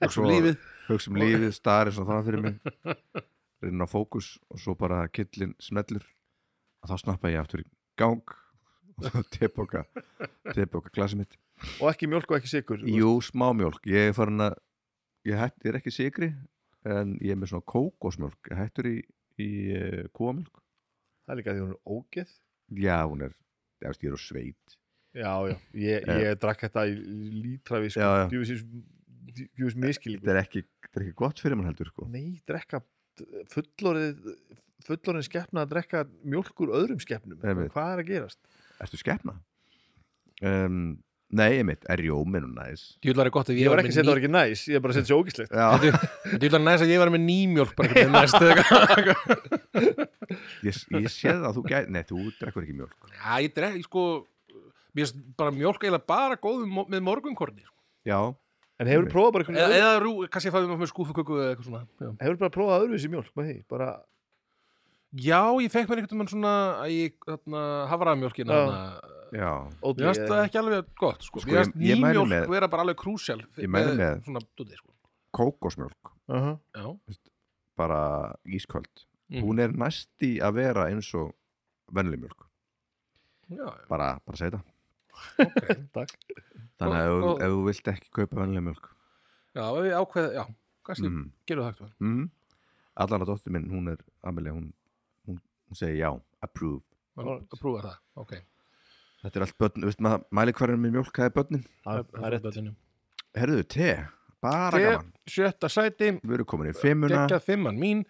Speaker 1: Og
Speaker 2: Svo lífið
Speaker 1: Hugsa um lífið, starið svona fram fyrir mig Reyna á fókus Og svo bara kittlin smellur Og þá snappa ég aftur í gang (laughs) og teboka teboka glasið mitt
Speaker 3: og ekki mjölk og ekki sigur
Speaker 1: Jú, smámjólk, ég er farin að ég, hætt, ég er ekki sigri en ég er með svona kókosmjólk ég hættur í, í uh, kúamjólk
Speaker 3: það er líka því hún er ógeð
Speaker 1: Já, hún er, ég veist, ég er á sveit
Speaker 3: já, já, ég,
Speaker 1: Já.
Speaker 3: ég drakk þetta í lítra við sko,
Speaker 1: Já, já.
Speaker 3: djúfisins djúfis miskilíku
Speaker 1: Þetta er ekki, þetta er ekki gott fyrir mann heldur sko.
Speaker 3: nei, drekka fullorið fullorinn skeppna að drekka mjölk úr öðrum skeppnum
Speaker 1: Einmitt.
Speaker 3: hvað er að gerast?
Speaker 1: Ertu skepna? Um, nei, einmitt, er rjómin og næs
Speaker 2: Djúlar er gott ef
Speaker 3: Ég,
Speaker 2: ég
Speaker 3: var ekki að setja það var ekki næs, ég er bara að setja þessi ógíslegt
Speaker 1: Já,
Speaker 2: Djúlar er næst að ég var með nýmjólk bara ekki næst (laughs)
Speaker 1: ég, ég sé það að þú gæt Nei, þú drekkur ekki mjólk
Speaker 2: Já, ég drekk, sko Mér finnst bara mjólk eiginlega bara góð með mo- með morgunkorni sko.
Speaker 1: Já,
Speaker 3: en hefur
Speaker 1: Einmitt.
Speaker 3: prófað bara einhvern
Speaker 2: eða,
Speaker 3: öðru-
Speaker 2: eða rú, kannski ég fæði með skúfuköku eða eitthvað svona Já,
Speaker 3: hefur bara prófað öðru þessi mjölk með því, bara
Speaker 2: Já ég fekk mér einhvern veginn svona að ég þarna, hafraði mjólkina
Speaker 3: Já.
Speaker 1: já
Speaker 2: Mér
Speaker 3: ódýr
Speaker 2: finnst það ekki alveg gott sko.
Speaker 1: Sko,
Speaker 2: Mér finnst
Speaker 1: ég- ég mæli
Speaker 2: nýmjólk
Speaker 1: með-
Speaker 2: vera bara alveg krúsjál
Speaker 1: Ég mæli með-
Speaker 2: Svona dúti, sko
Speaker 1: Kókosmjólk,
Speaker 3: uh
Speaker 2: Já,
Speaker 1: bara ísköld
Speaker 2: Mhm.
Speaker 1: Hún er næsti að vera eins og venli mjólk
Speaker 2: já,
Speaker 1: Bara, bara segja þetta
Speaker 2: (laughs) ok
Speaker 3: takk
Speaker 1: Þannig að
Speaker 2: Og-
Speaker 1: ef, þú-
Speaker 2: og-
Speaker 1: ef þú vilt ekki kaupa venli mjólk
Speaker 2: Já, við ákveð, já, kannski
Speaker 1: mm.
Speaker 2: gerum það eitthvað
Speaker 1: mm. Allan að dóttir minn, hún er Amelia, hún, hún, hún segir já Approve
Speaker 2: Maður
Speaker 3: Alright.
Speaker 2: prófa það, ok
Speaker 1: Þetta er allt börn, veist maður, mæli hverjum með mjólk, það er börnin
Speaker 3: það það er rétt
Speaker 2: börnunum.
Speaker 1: Herðu, te, bara
Speaker 2: Te.
Speaker 1: gaman
Speaker 2: Sjötta sæti,
Speaker 1: Við erum komin í fimmuna
Speaker 2: geggjað fimmann mín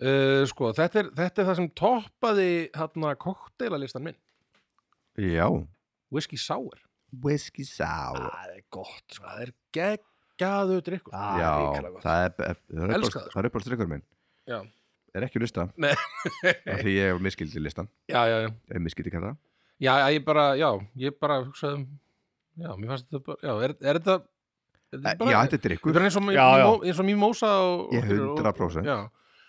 Speaker 2: uh, Sko, þetta er, þetta er það sem toppaði Þarna kokteilistan minn
Speaker 1: Já,
Speaker 2: Whisky Sour
Speaker 1: whisky sour
Speaker 3: það er gott sko.
Speaker 2: Það er geggjaðu drikkur
Speaker 3: það
Speaker 1: Já,
Speaker 3: er hrikalega gott
Speaker 1: það er, er, það er,
Speaker 2: Elska
Speaker 1: uppáhalds-
Speaker 2: það,
Speaker 1: það er uppáhaldsdrykkur minn
Speaker 2: Já.
Speaker 1: Er ekki á lista
Speaker 2: Nei.
Speaker 1: Af Því ég er miskildi listan
Speaker 2: Já, já, já
Speaker 1: Ef miskildi kalla
Speaker 2: Já, já, ég bara, já, ég bara hugsaði um Já, mér fannst þetta bara, já, er, er þetta þetta er
Speaker 1: það Eh, Já, þetta er drykkur
Speaker 2: Þetta er eins og, já,
Speaker 3: Já, já.
Speaker 2: eins og mjög mósa og,
Speaker 1: Ég 100%
Speaker 2: Já,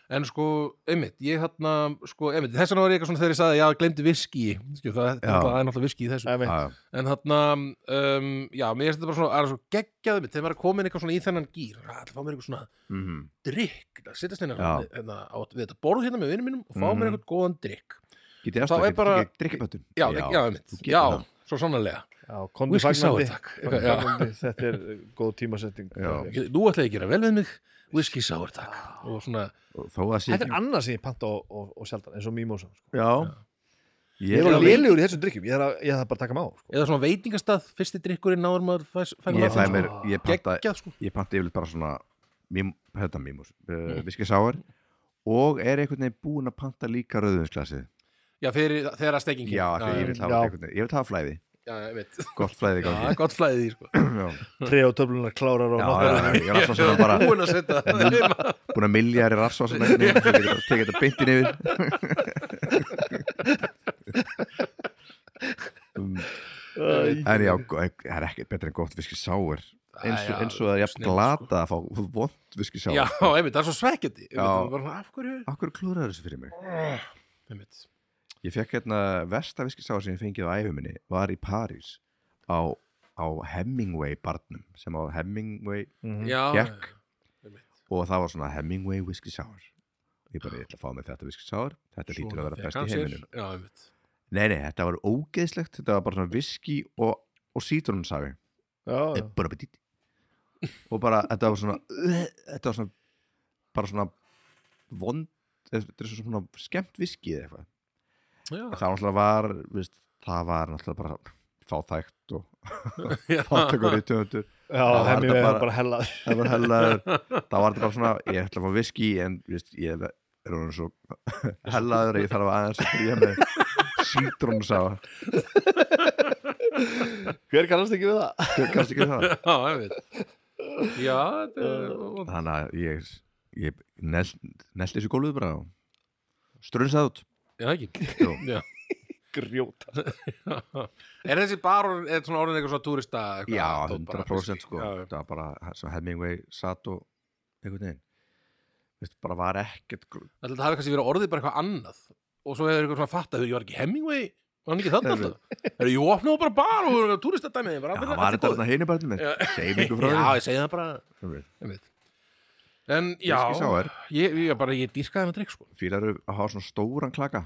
Speaker 2: en sko, einmitt, ég hérna, sko, einmitt, þess vegna var ég eitthvað svona þegar ég sagði, já, glemdi viski, skjum, það,
Speaker 1: Já.
Speaker 2: það er náttúrulega viski í þessu.
Speaker 3: Það er mitt.
Speaker 1: Já,
Speaker 2: En þarna, um, já, mér finnst þetta bara svona, það er svo geggjaði mitt, þegar maður er komin eitthvað svona í þennan gýr, það er að fá mér eitthvað svona
Speaker 1: mhm.
Speaker 2: drikk, að sittast hérna
Speaker 1: Já.
Speaker 2: hérna, á við þetta borð hérna með vinnum mínum og fá
Speaker 1: Mhm.
Speaker 2: mér eitthvað góðan drikk.
Speaker 1: Getið
Speaker 2: Þá er
Speaker 1: afstakir,
Speaker 2: bara-
Speaker 1: bara... drikkbötun
Speaker 2: Já, já, já, einmitt,
Speaker 1: þú getur
Speaker 2: já,
Speaker 1: það.
Speaker 2: svo sannarlega.
Speaker 3: Já, komdu
Speaker 2: Whisky sour,
Speaker 3: fagnandi
Speaker 2: takk.
Speaker 3: Komdu
Speaker 2: Já.
Speaker 3: fagnandi. þetta er uh, góð tímasetting
Speaker 1: Já.
Speaker 3: Þetta er-
Speaker 2: Ég- Nú ætla ég að gera vel við mig, whisky sour, takk. Og svona,
Speaker 1: Og Þó að sé
Speaker 3: Þetta er
Speaker 1: ekki
Speaker 3: annað sem ég panta og, og, og sjaldan eins og mimosa sko.
Speaker 1: Já
Speaker 3: Ég
Speaker 1: Ég
Speaker 3: er
Speaker 1: er
Speaker 3: alveg
Speaker 1: alveg
Speaker 3: lélugur í þessum drikkjum Ég þarf að- ég þarf bara að taka maður sko.
Speaker 2: eða svona veitingastað, fyrsti drikkurinn náður maður fæs,
Speaker 1: Ég fæ mér,
Speaker 3: Ah.
Speaker 1: ég panta
Speaker 2: geggjað sko
Speaker 1: Ég panta yfirleitt bara svona mím, Þetta mímus, uh, viski sáar Og er einhvern veginn búin að panta líka rauðvinsglasið
Speaker 2: já, fyrir, þegar að stekkingin
Speaker 1: Já, af því
Speaker 2: já,
Speaker 1: ég vil hafa
Speaker 3: Já.
Speaker 1: einhvern veginn Ég vil hafa flæði,
Speaker 2: já, ég veit.
Speaker 1: gott flæði í
Speaker 2: já,
Speaker 1: gangi.
Speaker 2: gott flæðið í því, sko
Speaker 1: Já,
Speaker 3: Tre og töflunar klárar og
Speaker 1: (laughs) já,
Speaker 3: nokkrar
Speaker 1: já, já, ég var svona svona bara
Speaker 2: búin að setja það heima.
Speaker 1: búin að milja þér rafsvá sem ekki nefnir, sem getur tekið þetta beintin yfir Um,
Speaker 3: Æ,
Speaker 1: en já, go- það er ekkert betra en gott viski sáur eins,
Speaker 2: Já, já,
Speaker 1: og- eins og það er jafn
Speaker 2: snill, sko.
Speaker 1: glata að fá vond viski
Speaker 2: já,
Speaker 1: sáur
Speaker 2: einmitt, það er svo svekkjandi
Speaker 1: Já.
Speaker 2: af hverju
Speaker 1: Akkur klúraður þessu fyrir mig
Speaker 2: einmitt.
Speaker 1: Ég fekk hérna versta viski sáur sem ég fengið á æfi minni var í París á, á Hemingway barnum sem á Hemingway
Speaker 3: mhm.
Speaker 2: já,
Speaker 1: Mm. Gekk.
Speaker 2: einmitt.
Speaker 1: og það var svona Hemingway whisky sour ég bara, ég ætla að fá mig þetta whisky sour þetta lítur að
Speaker 2: Svona
Speaker 1: vera
Speaker 2: fekk
Speaker 1: best
Speaker 2: hann
Speaker 1: í
Speaker 2: sér.
Speaker 1: heiminum
Speaker 2: já, einmitt
Speaker 1: Nei, nei, þetta var ógeðslegt Þetta var bara svona viski og, og sítrónsafi
Speaker 3: já, já.
Speaker 1: Bara petit Og bara, þetta var svona eh, Þetta var svona Bara svona vond Þetta er svona skemmt viski eða eitthvað
Speaker 2: já,
Speaker 1: Það náttúrulega var, viðst, það var náttúrulega bara fátækt og (laughs)
Speaker 2: já,
Speaker 1: fátækur í tjóðundur
Speaker 3: já
Speaker 1: Það var
Speaker 3: hemmi
Speaker 1: þetta
Speaker 3: við
Speaker 1: bara-
Speaker 3: bara, bara hella
Speaker 1: það var hellaður það var þetta bara svona, ég ætla að fá viski en viðst, ég er hún svo hellaður, ég þarf aðeins að byrja með sítrónsafa
Speaker 3: Hver kannast ekki við það?
Speaker 1: Kannst ekki við það?
Speaker 2: (laughs) já, einmitt já, þetta er
Speaker 1: þannig að ég, ég nelt nelt þessu gólfið bara og strunsaði út
Speaker 2: já, ekki
Speaker 1: Jú.
Speaker 2: (laughs) já.
Speaker 3: Grjóta
Speaker 2: er þessi bara er svona orðin eitthvað svona túrista eitthvað
Speaker 1: já,
Speaker 2: dót bara,
Speaker 1: 100% sko
Speaker 2: já, já.
Speaker 1: það var bara sem Hemingway satt og einhvern veginn Vist, bara var ekkert gr-
Speaker 2: Það held að það hafi kannski verið orðið bara eitthvað annað og svo hefur eitthvað svona fattað, ég var ekki Hemingway var hann ekki þarna
Speaker 1: Heyrðu.
Speaker 2: alltaf Heru, Jú, opnaðu bara bar og turistadæmið
Speaker 1: já, það var þetta hérna hinu barnum minn
Speaker 2: Já.
Speaker 1: segjum ykkur
Speaker 2: (laughs)
Speaker 1: frá
Speaker 2: Já,
Speaker 1: því
Speaker 2: ég segi það bara
Speaker 1: Þú veist,
Speaker 2: einmitt. En já,
Speaker 1: Whisky sour.
Speaker 2: ég, ég bara ég dýrkaði með drikk sko
Speaker 1: fílar eru að hafa svona stóran klaka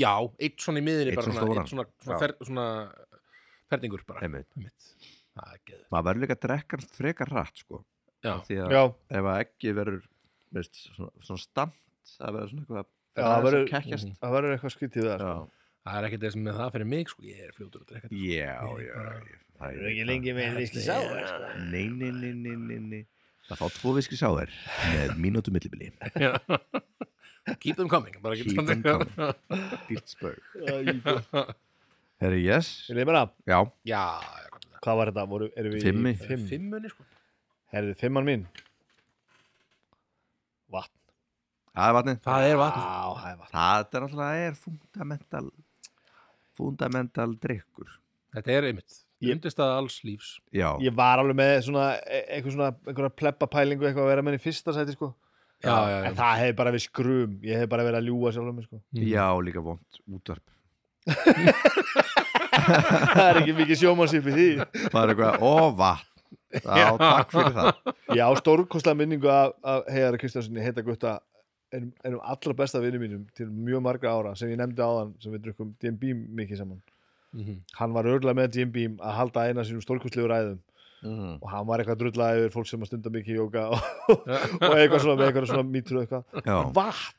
Speaker 2: já, eitt svona í miðinni
Speaker 1: Einn
Speaker 2: bara
Speaker 1: svona
Speaker 2: svona,
Speaker 1: stóran.
Speaker 2: eitt svona, svona,
Speaker 1: Já.
Speaker 2: fer, svona ferningur bara
Speaker 1: einmitt.
Speaker 2: Einmitt. það er geður
Speaker 1: maður verður líka að drekka hann frekar rætt sko.
Speaker 2: Já.
Speaker 1: Af því að
Speaker 3: já,
Speaker 1: ef að ekki verður veist, svona, svona stamt að verður svona eitthvað
Speaker 3: Já,
Speaker 1: aðeins
Speaker 3: verður- Mhm.
Speaker 1: að kekkjast
Speaker 3: það sko. verður eitthvað skrítið þar
Speaker 1: já,
Speaker 2: það er ekkert þess með það fyrir mig sko, ég er fljótur að drekka
Speaker 1: já,
Speaker 2: Ég
Speaker 1: já
Speaker 2: bara-
Speaker 1: ég- það
Speaker 3: Verður ekki lengi með viski sáður sko.
Speaker 1: nei, nei, nei, nei, nei, nei. það fá tvo viski sáður með mínútu millibili
Speaker 2: Já. keep them coming bara
Speaker 1: Keep
Speaker 2: getur
Speaker 1: them coming. dýrt spög herri, yes,
Speaker 3: Vil ég meina,
Speaker 1: já,
Speaker 2: (laughs) já, já, hvað er
Speaker 3: hvað var þetta? Voru, erum við í-
Speaker 1: Fimmi.
Speaker 2: það?
Speaker 3: Fimm.
Speaker 2: fimmunni sko
Speaker 3: Herðu, fimman mín Vatn
Speaker 1: það er vatnið
Speaker 2: það er vatn
Speaker 3: Á, það er vatn
Speaker 1: það er alltaf, það er fundamental fundamental drikkur
Speaker 2: þetta er einmitt,
Speaker 3: Ég-
Speaker 2: undirstaða alls lífs
Speaker 1: já,
Speaker 3: Ég var alveg með svona, e- eitthvað svona einhverja plebbapælingu eitthvað að vera með henni í fyrsta sæti sko.
Speaker 2: já, já, Mhm. já,
Speaker 3: En það hefði bara verið skrum Ég hefði bara verið að ljúga sjálfum mér, sko. (laughs)
Speaker 1: já, líka vond útvarp
Speaker 3: Það er ekki mikið sjómansip í því
Speaker 1: það er eitthvað, ó
Speaker 2: (laughs)
Speaker 1: vatn já,
Speaker 2: Já.
Speaker 1: takk fyrir það
Speaker 3: Ég á stórkostlega minningu af, af Heiðar Kristjánssoni, heita gutta einum, einum allra besta vinnu mínum til mjög margra ára sem ég nefndi áðan sem við drukkum DMB mikið saman
Speaker 2: Mhm.
Speaker 3: Hann var örglega með DMB að halda eina sínum stórkostlegu ræðum
Speaker 1: mm.
Speaker 3: og hann var eitthvað að drulla yfir fólk sem að stunda mikið jóka
Speaker 2: (laughs)
Speaker 3: og, og eitthvað svona með eitthvað svona mítur og eitthvað
Speaker 1: já,
Speaker 3: vatn,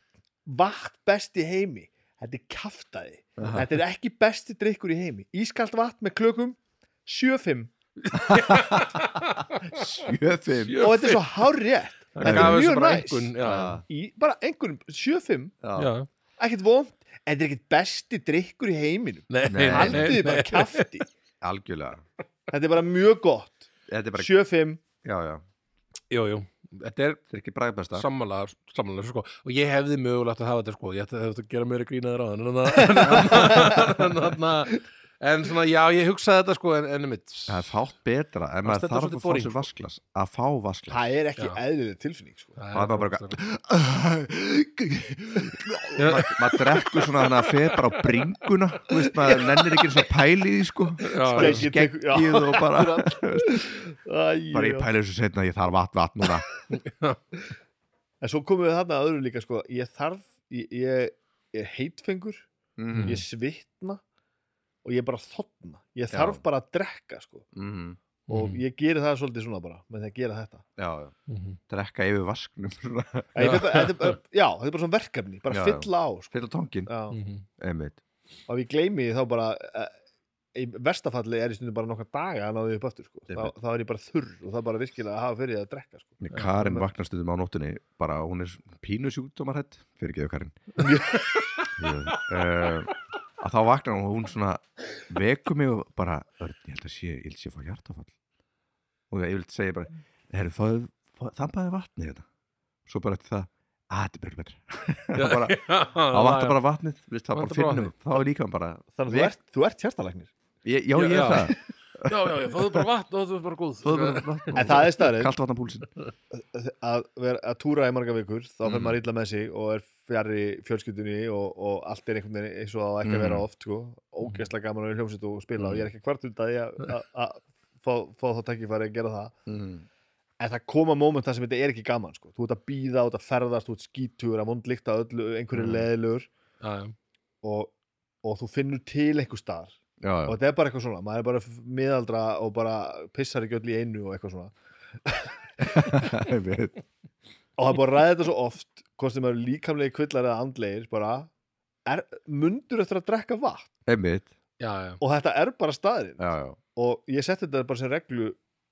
Speaker 3: vatn best í heimi þetta er kaftaði
Speaker 1: Aha.
Speaker 3: þetta er ekki besti drikkur í heimi ískalt vatn með klökum 7-5
Speaker 1: sjöfum
Speaker 3: og þetta er svo hárrétt
Speaker 2: Það
Speaker 3: þetta er
Speaker 2: gaf þessu
Speaker 3: mjög
Speaker 2: bara
Speaker 3: næs
Speaker 2: einkunn, já,
Speaker 3: í bara einhverjum 7-5
Speaker 1: já,
Speaker 2: já.
Speaker 3: ekkert vond þetta er ekkert besti drikkur í heiminum
Speaker 2: Nei,
Speaker 1: Nei, nei,
Speaker 3: haldið þið bara kafti
Speaker 1: algjörlega
Speaker 3: þetta er bara mjög gott
Speaker 1: þetta er bara,
Speaker 3: 7-5
Speaker 1: já, já,
Speaker 2: Jú, jú, þetta er
Speaker 1: þetta er ekki bræðbesta
Speaker 2: sammála, sammála sko. og ég hefði mögulegt að hafa þetta sko. ég hefði hefði að gera meira grínaður á þann en, þarna- (laughs) en, þarna- en svona, já, ég hugsaði þetta sko, en, en mitt
Speaker 1: það er fátt betra en
Speaker 2: Það
Speaker 1: maður
Speaker 2: stendur svolítið
Speaker 1: þarf að fá
Speaker 2: boring,
Speaker 1: sér
Speaker 2: sko.
Speaker 1: vasklas að fá vasklas
Speaker 3: það er ekki
Speaker 2: Já.
Speaker 3: eðlileg tilfinning sko.
Speaker 1: það var bara (laughs)
Speaker 2: Já.
Speaker 1: eitthvað Ma- maður drekkur svona þannig að fer bara á bringuna þú veist, maður nennir ekki eins og pæli í því sko bara í
Speaker 2: bara
Speaker 3: Ég tek- já.
Speaker 1: skeggið og bara
Speaker 3: Æ,
Speaker 1: bara
Speaker 3: já.
Speaker 1: ég pæli þessu setna ég þarf vatn vatn núna
Speaker 3: En svo komum við þarna að öðru líka sko, ég þarf, ég, ég, ég er heitfengur,
Speaker 1: Mhm,
Speaker 3: ég svitna og ég bara þotna. Ég þarf bara að drekka sko
Speaker 1: mhm,
Speaker 3: og ég geri það svolítið svona bara með því að gera þetta.
Speaker 1: já, já,
Speaker 2: Mhm.
Speaker 1: drekka yfir vasknum svona,
Speaker 3: En ég, þetta, þetta er (laughs) bara, já, þetta er bara svona verkefni, bara
Speaker 1: Já, já.
Speaker 3: fylla á sko.
Speaker 1: fyrir tónkin
Speaker 3: Já.
Speaker 2: Mhm.
Speaker 1: einmitt
Speaker 3: Og ef ég gleymi því þá bara, eh, í verstafalli er ég stundum bara nokkra daga að náðu upp aftur sko. Þá,
Speaker 1: Einmitt.
Speaker 3: þá er ég bara þurr og það er bara virkilega að hafa fyrir því að drekka sko.
Speaker 1: Nei,
Speaker 2: Eh,
Speaker 1: Karin
Speaker 3: einmitt.
Speaker 1: vaknar stundum á nóttunni bara hún er pínu sjúkdómarhætt fyrir
Speaker 2: (laughs)
Speaker 1: geðu Karin Ég, eh, að þá vaknar hún og hún svona vekur mig og bara Örn, ég held að sé, ég held að sé að fá hjartafall og það yfirleitt segja bara herru, fáðu, fáðu, þambaði vatnið þetta svo bara eftir það, að þetta er bara betra Það
Speaker 2: (laughs)
Speaker 1: bara- það vantar bara vatnið, veist, það bara
Speaker 2: Ah, Vantar bara
Speaker 1: finnum þá er líka bara,
Speaker 3: Þannig að þú
Speaker 1: Vek-
Speaker 3: ert, þú ert hjartalæknir.
Speaker 1: ég, já,
Speaker 2: Já,
Speaker 1: ég
Speaker 2: já.
Speaker 1: er það
Speaker 2: já, já, já, fóðu bara vatn og þú er bara góð
Speaker 1: þú
Speaker 2: (laughs)
Speaker 1: er bara vatn
Speaker 3: En það er staðreynd.
Speaker 1: kallt vatn á púlsin
Speaker 3: að, vera, að túra í marga vikur þá fer
Speaker 1: Mhm.
Speaker 3: maður illa með sig og er fjarri fjölskyldunni og, og allt er einhvern veginn eins og það á ekki að vera
Speaker 1: Mhm.
Speaker 3: oft sko. ógæslega gaman að vera í hljómsveit og spila og
Speaker 1: Mhm.
Speaker 3: ég er ekki kvart út að
Speaker 1: (laughs)
Speaker 3: ég að- að fá, fá þá takkifæri að gera það
Speaker 1: mm.
Speaker 3: en það koma móment þar sem þetta er ekki gaman sko. þú ert að býða, þú ert að ferðast, þú ert skítur að vondlíkta öllu, einhverju
Speaker 1: Mhm.
Speaker 3: mm. leðilur
Speaker 2: Já, já.
Speaker 3: og, og þú finnur til einhver staðar
Speaker 1: já,
Speaker 3: og
Speaker 1: já,
Speaker 3: þetta er bara eitthvað svona, maður er bara miðaldra og bara pissar ekki öll í einu og eitthvað svona
Speaker 1: (laughs) ég veit
Speaker 3: og það er bara að ræða þetta svo oft hvort sem eru líkamlegi kvillar eða andlegir bara, er, mundur eftir að drekka vatn
Speaker 1: einmitt,
Speaker 2: já, já.
Speaker 3: og þetta er bara staðurinn
Speaker 1: já, já
Speaker 3: og ég setti þetta bara sem reglu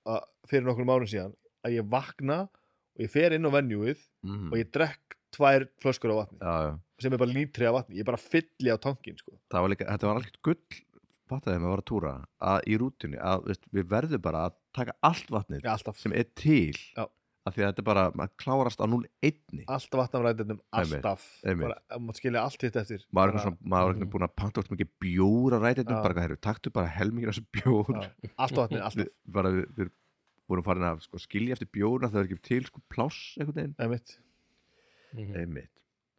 Speaker 3: að, fyrir nokkrum árum síðan að ég vakna og ég fer inn á venjúið
Speaker 1: mm.
Speaker 3: og ég drekk tvær flöskur á vatni
Speaker 1: já, já
Speaker 3: sem er bara lítri af vatni, ég bara fylli á tankin sko.
Speaker 1: það var líka, þetta var alveg gull fattaði þegar maður var að túra að í rútunni að veist, við verðum bara að taka allt vatnið
Speaker 3: ég, alltaf,
Speaker 1: sem er til
Speaker 3: Já.
Speaker 1: af því að þetta er bara, maður klárast á 0-1
Speaker 3: alltaf vatn af ræðinum
Speaker 1: Einmitt,
Speaker 3: alltaf,
Speaker 1: einmitt.
Speaker 3: bara, maður skilja allt hitt eftir
Speaker 1: maður
Speaker 3: Bara Mhm.
Speaker 1: er eitthvað svona- maður er eitthvað búin að panta út mikið bjór að ræta
Speaker 3: Já.
Speaker 1: þetta bara, herru, taktu bara helmingin af þessu bjór
Speaker 3: Já. allt á vatni,
Speaker 1: (laughs) við,
Speaker 3: alltaf
Speaker 1: bara, við, við vorum farin að sko, skilja eftir bjórna það er ekki til sko, pláss einhvern veginn
Speaker 3: Einmitt.
Speaker 2: Mhm.
Speaker 1: einmitt,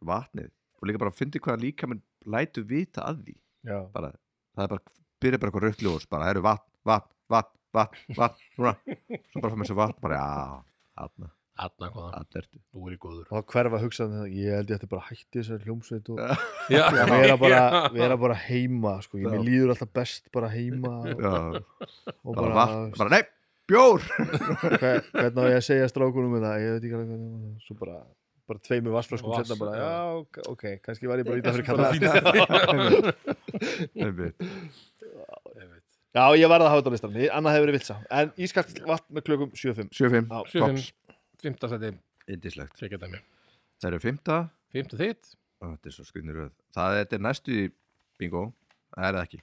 Speaker 1: vatnið og líka bara fyndi hvað líka minn lætu vita að því
Speaker 3: Já.
Speaker 1: bara, það er bara, byrja bara eitthvað rautt ljós bara, heyrðu, vatn, vatn, vatn, vatn, vatn núna, svo bara fara með þessu vatn bara, já, vatna
Speaker 2: Atna hvaða,
Speaker 1: Þarna ertu.
Speaker 2: nú er ég góður
Speaker 3: og þá hverfa að hugsa um þetta, ég held ég ætti bara að hætti þessari hljómsveit og
Speaker 2: Já,
Speaker 3: og vera bara, vera bara heima sko. ég,
Speaker 1: Já.
Speaker 3: mér líður alltaf best bara heima og,
Speaker 1: Já,
Speaker 3: og
Speaker 1: bara
Speaker 3: bara,
Speaker 1: vatn,
Speaker 3: (laughs)
Speaker 1: bara nei, bjór
Speaker 3: hver, hvernig á ég að segja strákunum um þetta ég veit ekki alveg hvernig svo bara, bara tveimur vassflöskum
Speaker 2: Vass,
Speaker 3: setna bara,
Speaker 2: já.
Speaker 3: já, ok- ok, kannski var ég bara ítla fyrir
Speaker 2: Bara
Speaker 3: kalla (laughs)
Speaker 2: fínt.
Speaker 1: Einmitt.
Speaker 2: Einmitt.
Speaker 3: já, ég varða að hafa þetta á listan, Ég- annað hefur verið vilsa en ískalt vatn með klökum 7.5
Speaker 1: 7-5,
Speaker 3: Já,
Speaker 2: 7-5,
Speaker 1: tops.
Speaker 2: Fimmta sæti,
Speaker 1: Indislegt
Speaker 2: tveikja dæmi
Speaker 1: Það eru fymta
Speaker 2: Fimmta þitt,
Speaker 1: Ó, Þetta er svo skunnir röð Það þetta er næstu í bingo Það er það ekki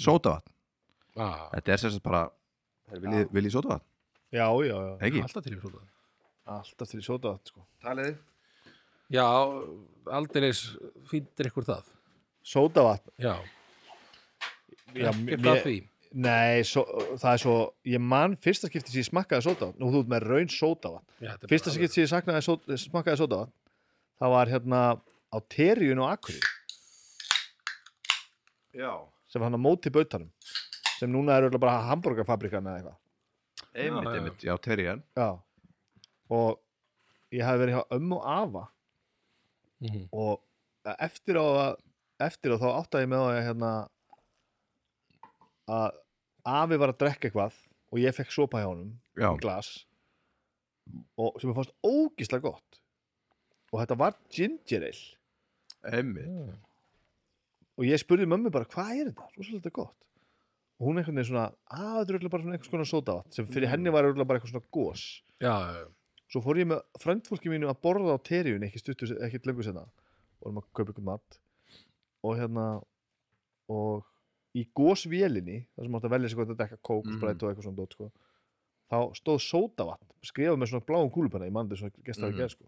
Speaker 1: Sótavatn
Speaker 2: ah,
Speaker 1: Þetta er sérstætt bara Viljið vilji sótavatn?
Speaker 3: já, já, já,
Speaker 1: Ekki?
Speaker 2: alltaf til í svona
Speaker 3: alltaf til í sota sko.
Speaker 1: Talið
Speaker 2: Já, aldeilis fíndir ykkur það
Speaker 3: sota vatn
Speaker 2: Já,
Speaker 3: já,
Speaker 2: ekkert að
Speaker 3: mér-
Speaker 2: því
Speaker 3: nei, so, það er svo ég man fyrsta skipti sem ég smakkaði sota vatn og þú ert með raun sota vatn
Speaker 2: Já, þetta er
Speaker 3: Fyrsta
Speaker 2: bara
Speaker 3: skipt sem ég saknaði sót, smakkaði sótavatn það var hérna á Terjun og Akureyri
Speaker 1: Já
Speaker 3: sem var hann á móti bautanum sem núna er örugglega bara hambúrgarfabrikan eða eitthvað
Speaker 1: Einmitt,
Speaker 2: Já, já.
Speaker 1: einmitt Já, Terjan
Speaker 3: Já. og ég hafi verið hjá ömmu og afa
Speaker 2: alveg- Mhm.
Speaker 3: og e, eftir á að- eftir á þá áttaði ég með að hérna að afi var að drekka eitthvað og ég fekk sopa hjá honum
Speaker 1: Já,
Speaker 3: í glas og sem ég fannst ógislega gott og þetta var ginger ale
Speaker 1: einmitt
Speaker 2: Mm.
Speaker 3: og ég spurði mömmu bara hvað er þetta, svo svolítið gott og hún einhvern veginn svona, að þetta er örugglega bara svona einhvers konar sótavatn sem fyrir henni var örugglega bara eitthvað svona gos
Speaker 2: Já, já,
Speaker 3: svo fór ég með frendfólki mínu að borða á terjun ekki stuttu, ekki lengur senna og erum að kaupa ykkur mat og hérna og í gosvélinni, þar sem átti að velja sig hvað þetta dekka kók, mm.
Speaker 1: Mhm.
Speaker 3: sprætt og eitthvað svona dót, sko, þá stóð sótavatn skrifað með svona bláum kúlupenna, ég mandi svona gestaði mm.
Speaker 1: Mhm.
Speaker 3: gerð, sko,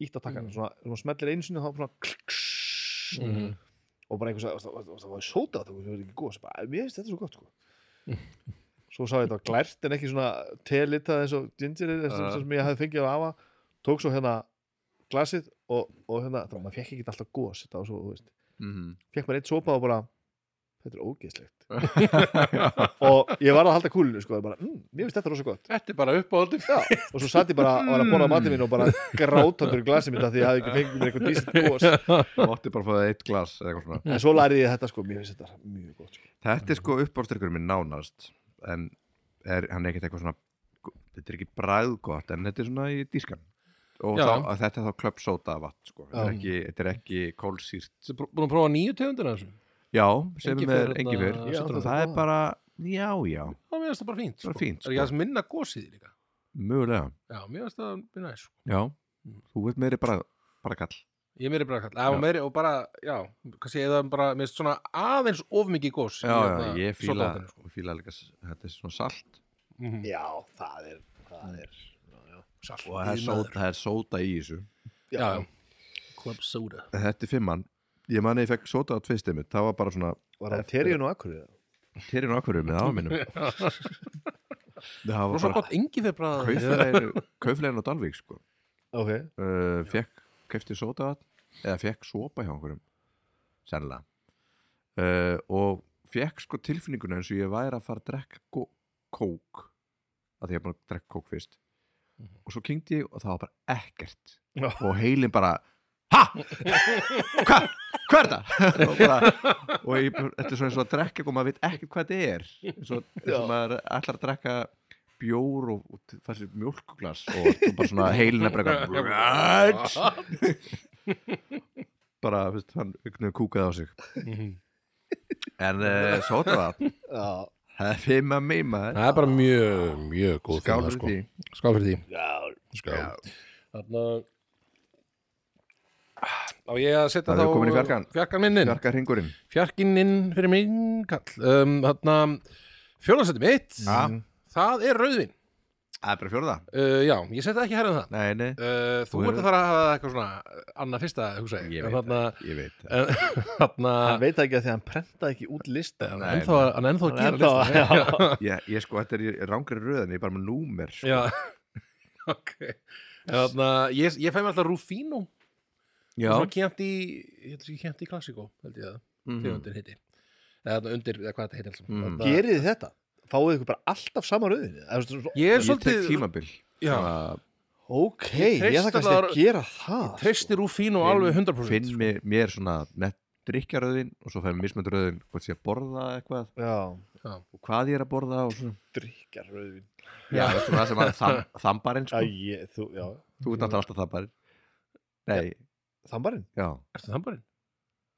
Speaker 3: ítt að takka
Speaker 2: Mhm.
Speaker 3: mm. svona, svona smellir einu sinni og þá bara svona
Speaker 2: Mhm.
Speaker 3: og bara einhvers að það var- það var sóta það var ekki góð, bara, mér finnst þetta svo gott sko. svo sá ég þetta var glært en ekki svona telitað eins og ginger ale, eins og
Speaker 1: Ah.
Speaker 3: sem ég hafði fengið á afa tók svo hérna glasið og, og hérna, það var maður fekk ekki alltaf góð þetta var svo, þú veist,
Speaker 1: Mhm.
Speaker 3: fekk maður eitt sopa og bara þetta er ógeðslegt
Speaker 1: Já.
Speaker 3: og ég var að halda kúlinu sko, bara, mm, mér finnst þetta rosa gott
Speaker 2: Þetta er bara (laughs) uppáhaldum
Speaker 3: Já, og svo satt ég bara og var að borða matið mín og bara grátandur í glasið mitt af því að ég hafði ekki fengið mér eitthvað dísitt
Speaker 2: (laughs)
Speaker 3: góð
Speaker 1: Þú átti bara að fá það eitt glas eða eitthvað svona
Speaker 3: en svo lærið ég þetta sko, mér finnst þetta mjög gott sko.
Speaker 1: Þetta er sko uppástyrkur minn nánast en er, hann er ekkert eitthvað svona þetta er ekki bræðgott en þetta er svona í dískan og
Speaker 2: Já.
Speaker 1: þá, að þetta er þá klöpp sóta vatn sko. þetta, er
Speaker 3: Já.
Speaker 1: ekki, þetta er ekki kólsýrt
Speaker 2: Þú er búin að prófa nýju tegundina þessu
Speaker 1: Já, sem
Speaker 2: Engifer
Speaker 1: er
Speaker 2: þarna,
Speaker 1: engi fyrr
Speaker 2: Já,
Speaker 1: það,
Speaker 3: þetta er
Speaker 1: er
Speaker 3: góða.
Speaker 1: bara, já, já
Speaker 2: Já, mér finnst það bara fínt
Speaker 1: Bara
Speaker 2: Er ekki
Speaker 1: fínt, sko.
Speaker 2: aðeins minna gósið í líka
Speaker 1: mögulega,
Speaker 2: Já, mér finnst það mjög næs sko.
Speaker 1: já
Speaker 2: Mm.
Speaker 1: þú veit meiri bara, bara kall
Speaker 2: Ég er meiri bara kall Já,
Speaker 1: Já.
Speaker 2: meiri og bara, já Kansi eða bara, mér finnst svona aðeins of mikið hérna gós
Speaker 1: Já, já, ég fíla,
Speaker 2: sko.
Speaker 1: fíla líka, s- þetta er svona salt
Speaker 2: Mhm.
Speaker 3: já, það er, það er já, já.
Speaker 1: og það er, sóta, það er sóta í þessu
Speaker 2: Já, já Club soda
Speaker 1: Þetta er fimmann, ég mani ég fekk sóta á tveist einmitt, það var bara svona
Speaker 3: Var það Terjun og Akureyri?
Speaker 1: Terjun og Akvarum með aðminnum Það var
Speaker 2: Rosa
Speaker 1: bara
Speaker 2: gott engi fyrir bara
Speaker 1: kauflegin, kauflegin á Dalvík sko.
Speaker 3: Ok,
Speaker 1: uh, Fekk, kefti sótavatn eða fekk sopa hjá einhverjum sennilega uh, og fekk sko tilfinninguna eins og ég væri að fara að drekka gó- kók að því ég er búin að drekka kók fyrst og svo kynnti ég og það var bara ekkert
Speaker 3: Mhm. Já.
Speaker 1: og heilin bara ha, hva, hvað er það (laughs) og, bara, og ég, þetta er svona eins og að drekka og maður veit ekkert hvað þetta er eins og, eins
Speaker 3: Já.
Speaker 1: og maður ætlar að drekka bjór og, og t- fær sér mjólkuglas og þú bara svona heilin er
Speaker 2: (laughs)
Speaker 1: bara eitthvað, "What?" bara, veist, hann einhvern veginn kúkaði á sig
Speaker 2: Mhm.
Speaker 1: en
Speaker 2: (laughs)
Speaker 1: uh, sótavatn,
Speaker 3: já,
Speaker 2: Ah.
Speaker 1: það er fimm að meima
Speaker 2: Það er bara mjög, mjög góð
Speaker 1: skálur
Speaker 2: sko.
Speaker 1: því
Speaker 2: Skál fyrir því
Speaker 3: já,
Speaker 2: Skál Þarna Á ég að setja
Speaker 1: Það
Speaker 2: þá
Speaker 1: er komin í fjarkann.
Speaker 2: Fjarkan minn inn
Speaker 1: Bjarga hringurinn
Speaker 2: Fjarkinninn fyrir minn kall um, Þarna Fjóðarsætti mitt
Speaker 1: Já,
Speaker 2: Það er rauðvin
Speaker 1: það er bara fjórða
Speaker 2: uh, Já, ég setja ekki hærðan það
Speaker 1: Nei, nei,
Speaker 2: uh, Þú
Speaker 1: Þú
Speaker 2: ert
Speaker 1: hefur-
Speaker 2: að fara að hafa eitthvað svona Anna fyrsta, hugsa
Speaker 1: Ég
Speaker 2: En
Speaker 1: veit
Speaker 2: þarna,
Speaker 1: ég veit það.
Speaker 2: en, þarna
Speaker 3: hann veit það ekki að því að hann prentaði ekki út lista
Speaker 2: Hann
Speaker 1: Nei,
Speaker 2: ennþá, hann ennþá
Speaker 3: Hann
Speaker 2: að gera
Speaker 3: ennþá, já.
Speaker 2: listan.
Speaker 1: (laughs) ég, ég sko, þetta er í rángri röðin Ég er bara með númer
Speaker 2: (laughs)
Speaker 1: sko.
Speaker 2: Já, ok En Þarna, ég, ég fæ mér alltaf Rufino Svona kjent í, ég held að ég kjent í klassíkó Held ég það,
Speaker 1: Mhm.
Speaker 2: tegundir heiti Eða þarna undir, eða hvað þetta heiti alls
Speaker 1: Mhm.
Speaker 2: Þarna-
Speaker 3: Gerið þið þetta? Fáið ykkur bara alltaf sama rauðin?
Speaker 2: Ég er
Speaker 1: Ég tek
Speaker 2: svolítið
Speaker 1: tímabil
Speaker 2: Já.
Speaker 1: svona
Speaker 3: ok,
Speaker 2: Ég
Speaker 3: ég,
Speaker 2: treysti
Speaker 3: þarf kannski að
Speaker 2: þar-
Speaker 3: gera það
Speaker 2: treystir úr fínu alveg 100%
Speaker 1: finn
Speaker 2: sko.
Speaker 1: mér, mér svona nett drikjaröðin og svo fæ mér mismönduröðin hvort sé að borða eitthvað
Speaker 3: sko. já,
Speaker 1: og hvað ég er að borða og svona
Speaker 3: drikkar rauðvin
Speaker 1: já, það er svona það sem að þam,
Speaker 3: já,
Speaker 1: þambarinn sko.
Speaker 3: ég, þú, já,
Speaker 1: þú ert náttúrulega alltaf þambarinn nei,
Speaker 3: þambarinn
Speaker 1: já,
Speaker 2: Ertu þambarinn?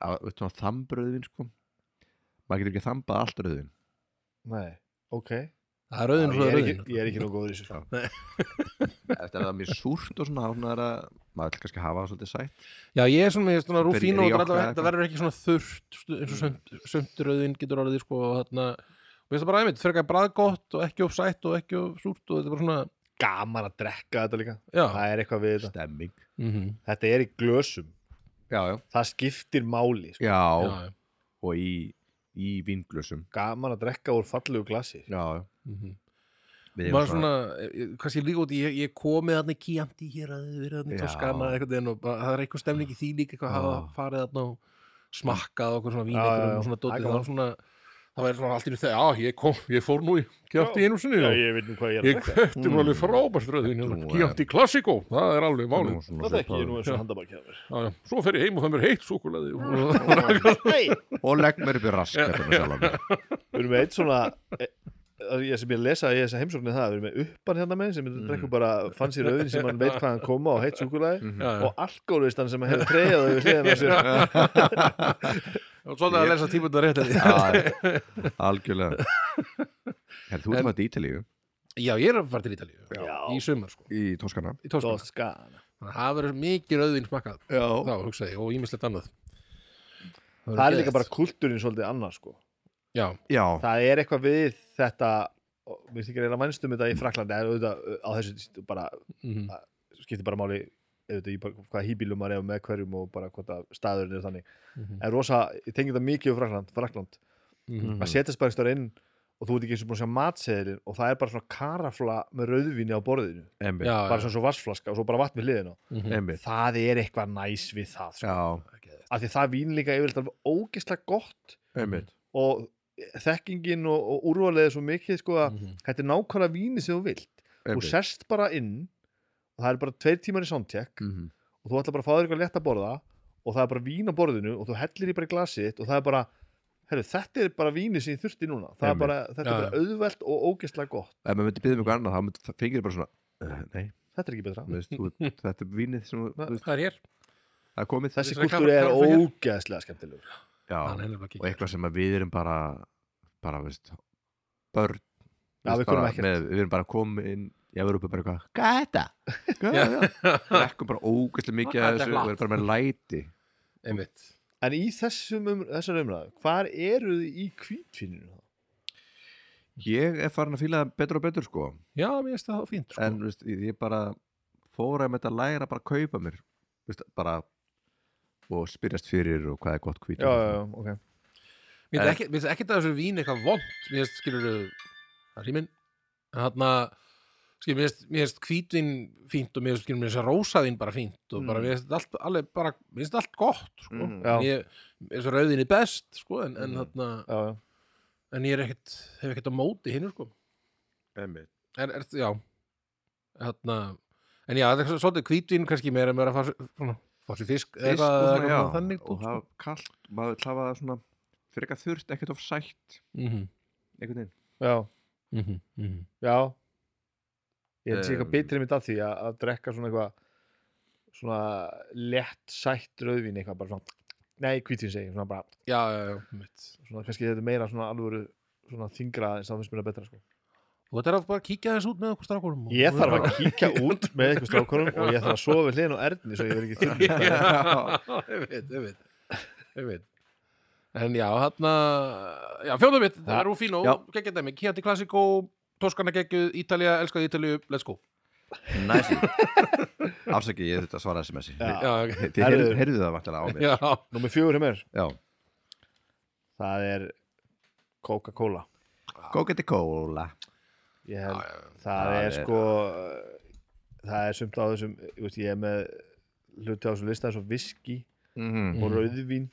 Speaker 1: að, veitum að þambröðin sko maður getur ekki þambað allt röðin
Speaker 3: nei, ok
Speaker 2: Það er rauðin
Speaker 3: Já, ég,
Speaker 2: svo
Speaker 3: er
Speaker 2: rauðin
Speaker 3: ekki, ég er ekki nóg góður í þessu
Speaker 1: Já. eftir að það er mjög súrt og svona, þá svona er að, maður vil kannski hafa það svolítið sætt
Speaker 2: Já, ég er svona með svona
Speaker 1: Fer í
Speaker 2: rúfínu og
Speaker 1: rjóka
Speaker 2: allavega
Speaker 1: eða
Speaker 2: þetta verður ekki svona þurrt stu- eins og sömt, sömtröðin getur orðið sko og þarna og veist það bara einmitt, frekar bræðgott og ekki of sætt og ekki of súrt og þetta er bara svona
Speaker 3: gaman að drekka þetta líka
Speaker 2: já,
Speaker 3: það er eitthvað við þetta
Speaker 1: stemming
Speaker 2: mm -hmm.
Speaker 3: þetta er í glösum,
Speaker 1: já, já,
Speaker 3: það skiptir máli sko.
Speaker 1: já,
Speaker 2: já, já.
Speaker 1: og í, í vinglusum
Speaker 3: gaman að drekka úr fallegu glasi
Speaker 1: já, já
Speaker 2: Mm -hmm.
Speaker 1: Við erum
Speaker 2: maður svona, svona kannski líka út, í- ég, ég komið þarna í Chianti hér að þið verið þarna í
Speaker 1: Já.
Speaker 2: Toskana eitthvað en og bara, það er eitthvað stemning í því líka eitthvað að hafa
Speaker 1: Já.
Speaker 2: farið þarna og smakkað okkur svona vín
Speaker 3: Já, já,
Speaker 2: eitthvað
Speaker 3: já.
Speaker 2: og svona
Speaker 3: Það er
Speaker 2: dótið,
Speaker 3: gaman.
Speaker 2: það var svona það væri svona allt í nú þegar, já, ég kom, ég fór nú í Chianti
Speaker 3: Já.
Speaker 2: einu sinni og
Speaker 3: ég veit nú hvað
Speaker 2: ég kefti
Speaker 1: Mm.
Speaker 2: mér alveg frábært röðin
Speaker 1: Nú, eh.
Speaker 2: Chianti Classico, það er alveg málið
Speaker 1: Nú, svona
Speaker 3: þetta er ekki, ég er nú
Speaker 1: svipaður.
Speaker 3: eins og
Speaker 2: Já.
Speaker 3: handabakið að
Speaker 2: (laughs)
Speaker 3: mér
Speaker 2: Já, já. svo fer ég heim og það mér heitt (laughs) súkulaði
Speaker 3: Nei,
Speaker 1: og legg mér upp í rask eftir mig sjálfan mig.
Speaker 3: við erum með eitt svona e, að ég sem ég lesa í þessa heimsóknir það, við erum með uppan hérna með sem
Speaker 1: Mhm.
Speaker 3: drekkur bara fann sér auðin sem hann veit hvað hann koma og heitt súkulæði
Speaker 1: Mhm.
Speaker 2: og
Speaker 3: og alkoholistan sem hefur treyjað yfir hliðina á sér
Speaker 2: svona að lesa tímundar rétt held ég.
Speaker 1: Já, algjörlega Her, þú ert maður í Ítalíu
Speaker 2: já, ég er að fara til Ítalíu
Speaker 3: Já.
Speaker 2: í sumar sko,
Speaker 1: í Toskana
Speaker 2: í Toskana
Speaker 3: Toskana.
Speaker 2: Þannig að það verður mikið rauðvin smakkað
Speaker 1: já,
Speaker 2: þá, hugsaði, ég, og ímislegt annað
Speaker 3: það er líka bara kultúrin svolítið annars sko.
Speaker 2: já,
Speaker 1: já,
Speaker 3: það er eitthvað við þetta og mér þykir eiginlega mannstum þetta í Fraklandi en auðvitað uh, á þessu st- bara,
Speaker 2: mhm,
Speaker 3: skiptir bara máli auðvitað, í bara, hvað hýbílum maður er og með hverjum og bara hvort að staðurinn er þannig
Speaker 2: mhm,
Speaker 3: en rosa, ég tengi þetta mikið um Frakland, Frakland
Speaker 2: mhm.
Speaker 3: að setjast bara einhverjum inn og þú ert ekki eins og búin að sjá matseðilinn og það er bara svona karafla með rauðvíni á borðinu
Speaker 1: emmi
Speaker 2: já, Mhm.
Speaker 3: bara svona svo vassflaska og svo bara vatn við hliðina
Speaker 2: svona
Speaker 1: emmi,
Speaker 3: það er eitthvað næs við það sko.
Speaker 1: já,
Speaker 3: af því það vín líka yfirleitt alveg ógeðslega gott
Speaker 1: emmi
Speaker 3: og þekkingin og, og úrvalið er svo mikið sko
Speaker 2: Mm.
Speaker 3: að
Speaker 2: Mhm.
Speaker 3: þetta er nákvæmlega víni sem þú vilt þú
Speaker 1: emmi
Speaker 3: sest bara inn og það er bara tveir tímar í soundcheck
Speaker 1: Mhm.
Speaker 3: og þú ætlar bara að fá þér eitthvað létt að borða og það er bara vín á borðinu og þú hellir í bara í glasið þitt og það er bara, herru, þetta er bara víni sem ég þurfti núna, það er
Speaker 1: Einmitt.
Speaker 3: bara, þetta er
Speaker 2: Já,
Speaker 3: bara auðvelt og ógeðslega gott,
Speaker 1: ef maður myndi byggja mig eitthvað annað þá myndi það fengir bara svona eh, nei,
Speaker 3: þetta er ekki betra
Speaker 1: þú veist, þú,
Speaker 3: (laughs)
Speaker 1: þetta er vínið sem þú- þú veist,
Speaker 2: það er hér
Speaker 1: það er komið
Speaker 3: þessi
Speaker 2: Þetta er
Speaker 3: kultúri er
Speaker 2: klár- klár fyrir
Speaker 3: ógeðslega skemmtilegur
Speaker 1: já,
Speaker 2: Hann er nefnilega ekki-
Speaker 1: og eitthvað sem að við erum bara bara, veist, börn
Speaker 3: Já,
Speaker 1: veist,
Speaker 3: við kunnum
Speaker 1: bara
Speaker 3: ekkert.
Speaker 1: með, við erum bara komin inn ég verður bara eitthvað, hvað er
Speaker 3: (laughs)
Speaker 1: þetta? Hvað er þetta? Lekkum bara ógæslega mikið
Speaker 2: Þetta
Speaker 1: af
Speaker 2: er
Speaker 1: þessu
Speaker 2: glatt.
Speaker 1: og erum bara með læti
Speaker 2: einmitt
Speaker 3: en í þessum um, þessar umræðu, hvar eru þið í kvítvininu?
Speaker 1: ég er farin að fíla það betur og betur sko
Speaker 2: já, mér finnst það fínt sko.
Speaker 1: en veist, ég bara fóra með þetta að læra bara að kaupa mér veist, bara og spyrjast fyrir og hvað er gott
Speaker 3: Já,
Speaker 1: hvítum
Speaker 3: já, já, ok
Speaker 2: Mér
Speaker 1: En-
Speaker 2: finnst ekki- mér finnst ekkert að þessu vín eitthvað vond Mér finnst, skilur það er síminn En þarna, skilur, mér finnst- mér finnst hvítvin fínt og mér finnst, skilur, mér finnst rósaðin bara fínt og bara,
Speaker 3: Mm.
Speaker 2: mér finnst allt, alveg bara mér finnst allt gott, sko
Speaker 1: Mm.
Speaker 3: Já.
Speaker 2: Ég, mér finnst rauðin er best, sko en, en
Speaker 1: Mm.
Speaker 2: þarna,
Speaker 3: já, já.
Speaker 2: en ég er ekkert hef ekkert á móti hinn, sko
Speaker 1: Einmitt.
Speaker 2: En, er, já þarna, en já, það er svo- svolítið hvítvin kannski meira meira að fá sér- svona, fá sér fisk,
Speaker 1: Fisk
Speaker 2: eða
Speaker 1: og svona,
Speaker 2: eitthvað
Speaker 1: já,
Speaker 2: þannig,
Speaker 1: og það
Speaker 2: sko
Speaker 1: var kallt maður vill hafa það svona fyrir eitthvað þurft, ekkert of sætt
Speaker 2: Mhm,
Speaker 1: einhvern veginn
Speaker 3: já,
Speaker 2: mhm, mhm.
Speaker 3: já ég held sér
Speaker 1: Um.
Speaker 3: eitthvað betri mitt að því að, að drekka svona eitthvað svona lett sætt rauðvín eitthvað bara svona, nei, kvítvin segi ég, svona bara,
Speaker 2: Já, já, já, mitt
Speaker 3: svona kannski þetta er meira svona alvöru svona þingra en það finnst mér það betra sko.
Speaker 2: Þú ætlar að bara kíkja þess út með okkur strákurum og-
Speaker 3: ég þarf að kíkja út með eitthvað strákunum og ég þarf að sofa við hliðin á erðni svo ég verð ekki þurr
Speaker 1: (laughs)
Speaker 2: Já, ég veit, ég veit, ég veit. En já, þarna Já, fjóðum mitt, það
Speaker 3: Já.
Speaker 2: er Rúfino
Speaker 1: Já.
Speaker 2: Gekkja dæmi, Kiati Classico Toskana geggjuð, Ítalía, elskaði Ítalíu, let's go
Speaker 1: (laughs) næsi afsaki, ég þetta svara sms-i
Speaker 3: Já.
Speaker 2: Já, ok.
Speaker 1: (laughs) þið heyrðu,
Speaker 3: Herðu.
Speaker 1: heyrðu það vantilega á mér
Speaker 2: já,
Speaker 3: Númer fjögur hjá mér,
Speaker 1: já.
Speaker 3: það er Coca-Cola
Speaker 1: Coca-Cola
Speaker 3: ég
Speaker 2: já,
Speaker 3: held,
Speaker 2: já.
Speaker 3: það
Speaker 1: Það
Speaker 3: er
Speaker 1: er-
Speaker 3: sko það er sumt á þessum ég, veist, ég er með hluti á þessum lista eins og viski
Speaker 1: mm.
Speaker 3: og
Speaker 2: Mhm.
Speaker 3: rauðvín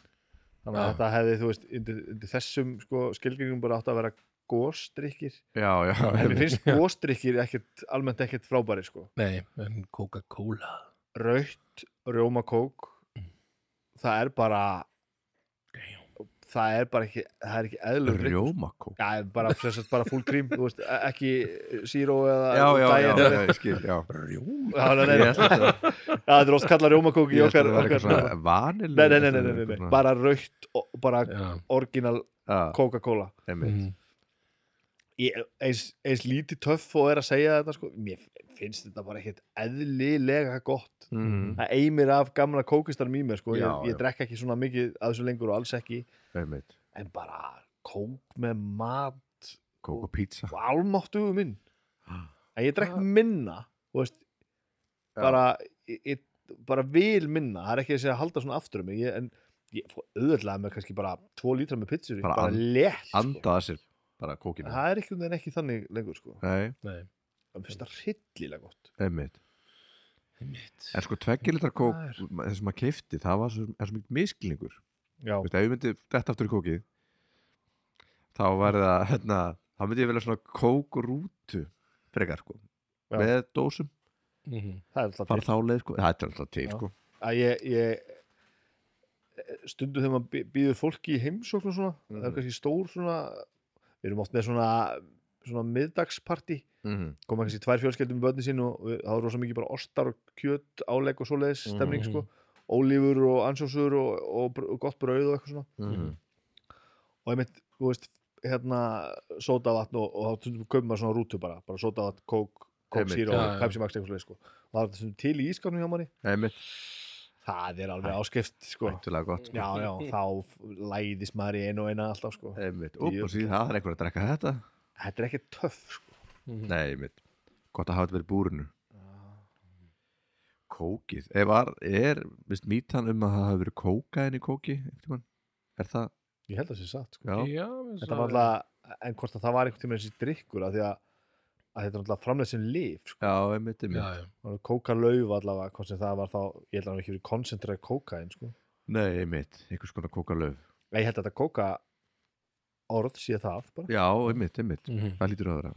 Speaker 3: þannig að
Speaker 2: Já.
Speaker 3: þetta hefði þú veist undir, undir þessum sko, skilgjöngum bara átt að vera góstrykkir
Speaker 1: já, (laughs) já,
Speaker 3: en mér
Speaker 1: einmitt.
Speaker 3: finnst góstrykkir ekkert, almennt ekkert frábæri sko
Speaker 2: Nei, en Coca-Cola
Speaker 3: rautt rjómakók
Speaker 1: Mm.
Speaker 3: það er bara það er bara ekki það er ekki eðlur
Speaker 1: Rjómakók
Speaker 3: Já, bara, sem sagt, bara full cream, þú veist, e- ekki zero eða
Speaker 1: Já, já, já,
Speaker 3: diet
Speaker 1: já,
Speaker 3: eða-
Speaker 1: ég skil, já
Speaker 2: Rjúm
Speaker 3: Já, (laughs) nei, nei,
Speaker 1: Ég
Speaker 3: nei.
Speaker 1: ætla að-
Speaker 3: Já, þetta er oft kallað rjómakók (laughs) í
Speaker 1: ég ætla
Speaker 3: okkar,
Speaker 1: að vera
Speaker 3: okkar
Speaker 1: eitthvað svona vanil
Speaker 3: nei, nei, nei, nei, nei, nei, nei, bara raukt og bara
Speaker 2: Já, Mhm.
Speaker 3: orginal
Speaker 1: Já,
Speaker 3: Coca-Cola
Speaker 1: Ah, einmitt
Speaker 3: Ég- eins, eins lítið töff og er að segja þetta sko, mér finnst þetta bara ekkert eðlilega gott
Speaker 1: Mhm.
Speaker 3: það eimir af gamla kókistar mér sko,
Speaker 1: Já,
Speaker 3: ég,
Speaker 1: já.
Speaker 3: ég drekk ekki svona mikið að þessu lengur og alls ekki
Speaker 1: Einmitt,
Speaker 3: en bara kók með mat
Speaker 1: kók og pizza
Speaker 3: og almáttuðu minn að ég drekk minna þú veist,
Speaker 1: Ah. Já.
Speaker 3: bara, ég, ég bara vil minna það er ekki að segja að halda svona aftur um mig ég, en ég fór auðvitað með kannski bara tvo lítra með pizzur,
Speaker 1: Bara
Speaker 3: bara, bara
Speaker 1: and-
Speaker 3: létt sko.
Speaker 1: Anda að sér bara kókinu
Speaker 3: það er ekki, ekki þannig lengur sko.
Speaker 1: Nei,
Speaker 2: nei
Speaker 3: það finnst það hryllilega gott
Speaker 1: einmitt
Speaker 2: Mitt
Speaker 1: En sko tveggjilitrar kók,
Speaker 2: Það
Speaker 1: þessi maður keifti það var svo, er svo mikið miskilningur
Speaker 3: já,
Speaker 1: Þú veist, ef ég myndi þetta aftur í kókið þá væri það, hérna þá myndi ég velja svona kókurútu frekar, sko,
Speaker 3: Já.
Speaker 1: með dósum
Speaker 2: Mhm.
Speaker 3: það er alltaf
Speaker 1: fara
Speaker 3: til
Speaker 1: þá leið, sko, það er alltaf til,
Speaker 3: Já.
Speaker 1: sko
Speaker 3: að ég, ég stundu þegar maður bí- býður fólki í heimsókn og svona, það er
Speaker 1: Mhm.
Speaker 3: kannski stór svona við erum oft með svona svona miðdagsparti
Speaker 1: Mhm.
Speaker 3: koma kannski tvær fjölskeldum með börni sín og við- það var rosa mikið bara ostar og kjöt álegg og svoleiðis stemning
Speaker 2: Mhm.
Speaker 3: sko ólífur og ansjósur og, og, br- og gott brauð og eitthvað svona
Speaker 1: Mhm.
Speaker 3: og einmitt, þú veist, hérna sódavatn og, og þá stundum kaupum maður svona rútu bara, bara sódavatn, kók, kók
Speaker 1: Einmitt.
Speaker 3: sír
Speaker 2: Já,
Speaker 3: og
Speaker 2: já.
Speaker 3: pepsi max eitthvað svoleiðis sko og það var stundum til í ískanum hjá manni
Speaker 1: einmitt,
Speaker 3: það er alveg áskrift sko
Speaker 1: hættulega gott, sko
Speaker 3: já, já, þá f- læðist maður í einu og eina alltaf sko
Speaker 1: einmitt, úp og síðan það er einhver að drekka þetta
Speaker 3: þetta er ekki töff sko
Speaker 2: Mhm.
Speaker 1: nei, einmitt, gott að hafa þetta verið í búrinu kókið, ef var, er vist mítan um að það hafi verið kókaðin í kóki einhvern tímann, er það,
Speaker 3: ég held að það sé satt sko
Speaker 1: já
Speaker 2: Já,
Speaker 3: þetta var alltaf, en hvort að það var einhvern tíma þessi drikkur af því að, að þetta er alltaf framlega sem lif sko.
Speaker 1: já, einmitt,
Speaker 2: Já,
Speaker 1: einmitt,
Speaker 2: já
Speaker 3: Og kóka lauf allavega, hvort sem það var þá ég held að hann ekki verið koncentrað kókain sko.
Speaker 1: nei, einmitt einhvers konar kókalöf,
Speaker 3: Nei, ég held að þetta kóka orð sé það bara.
Speaker 1: já, einmitt, einmitt
Speaker 2: Mhm.
Speaker 1: Það lítur að vera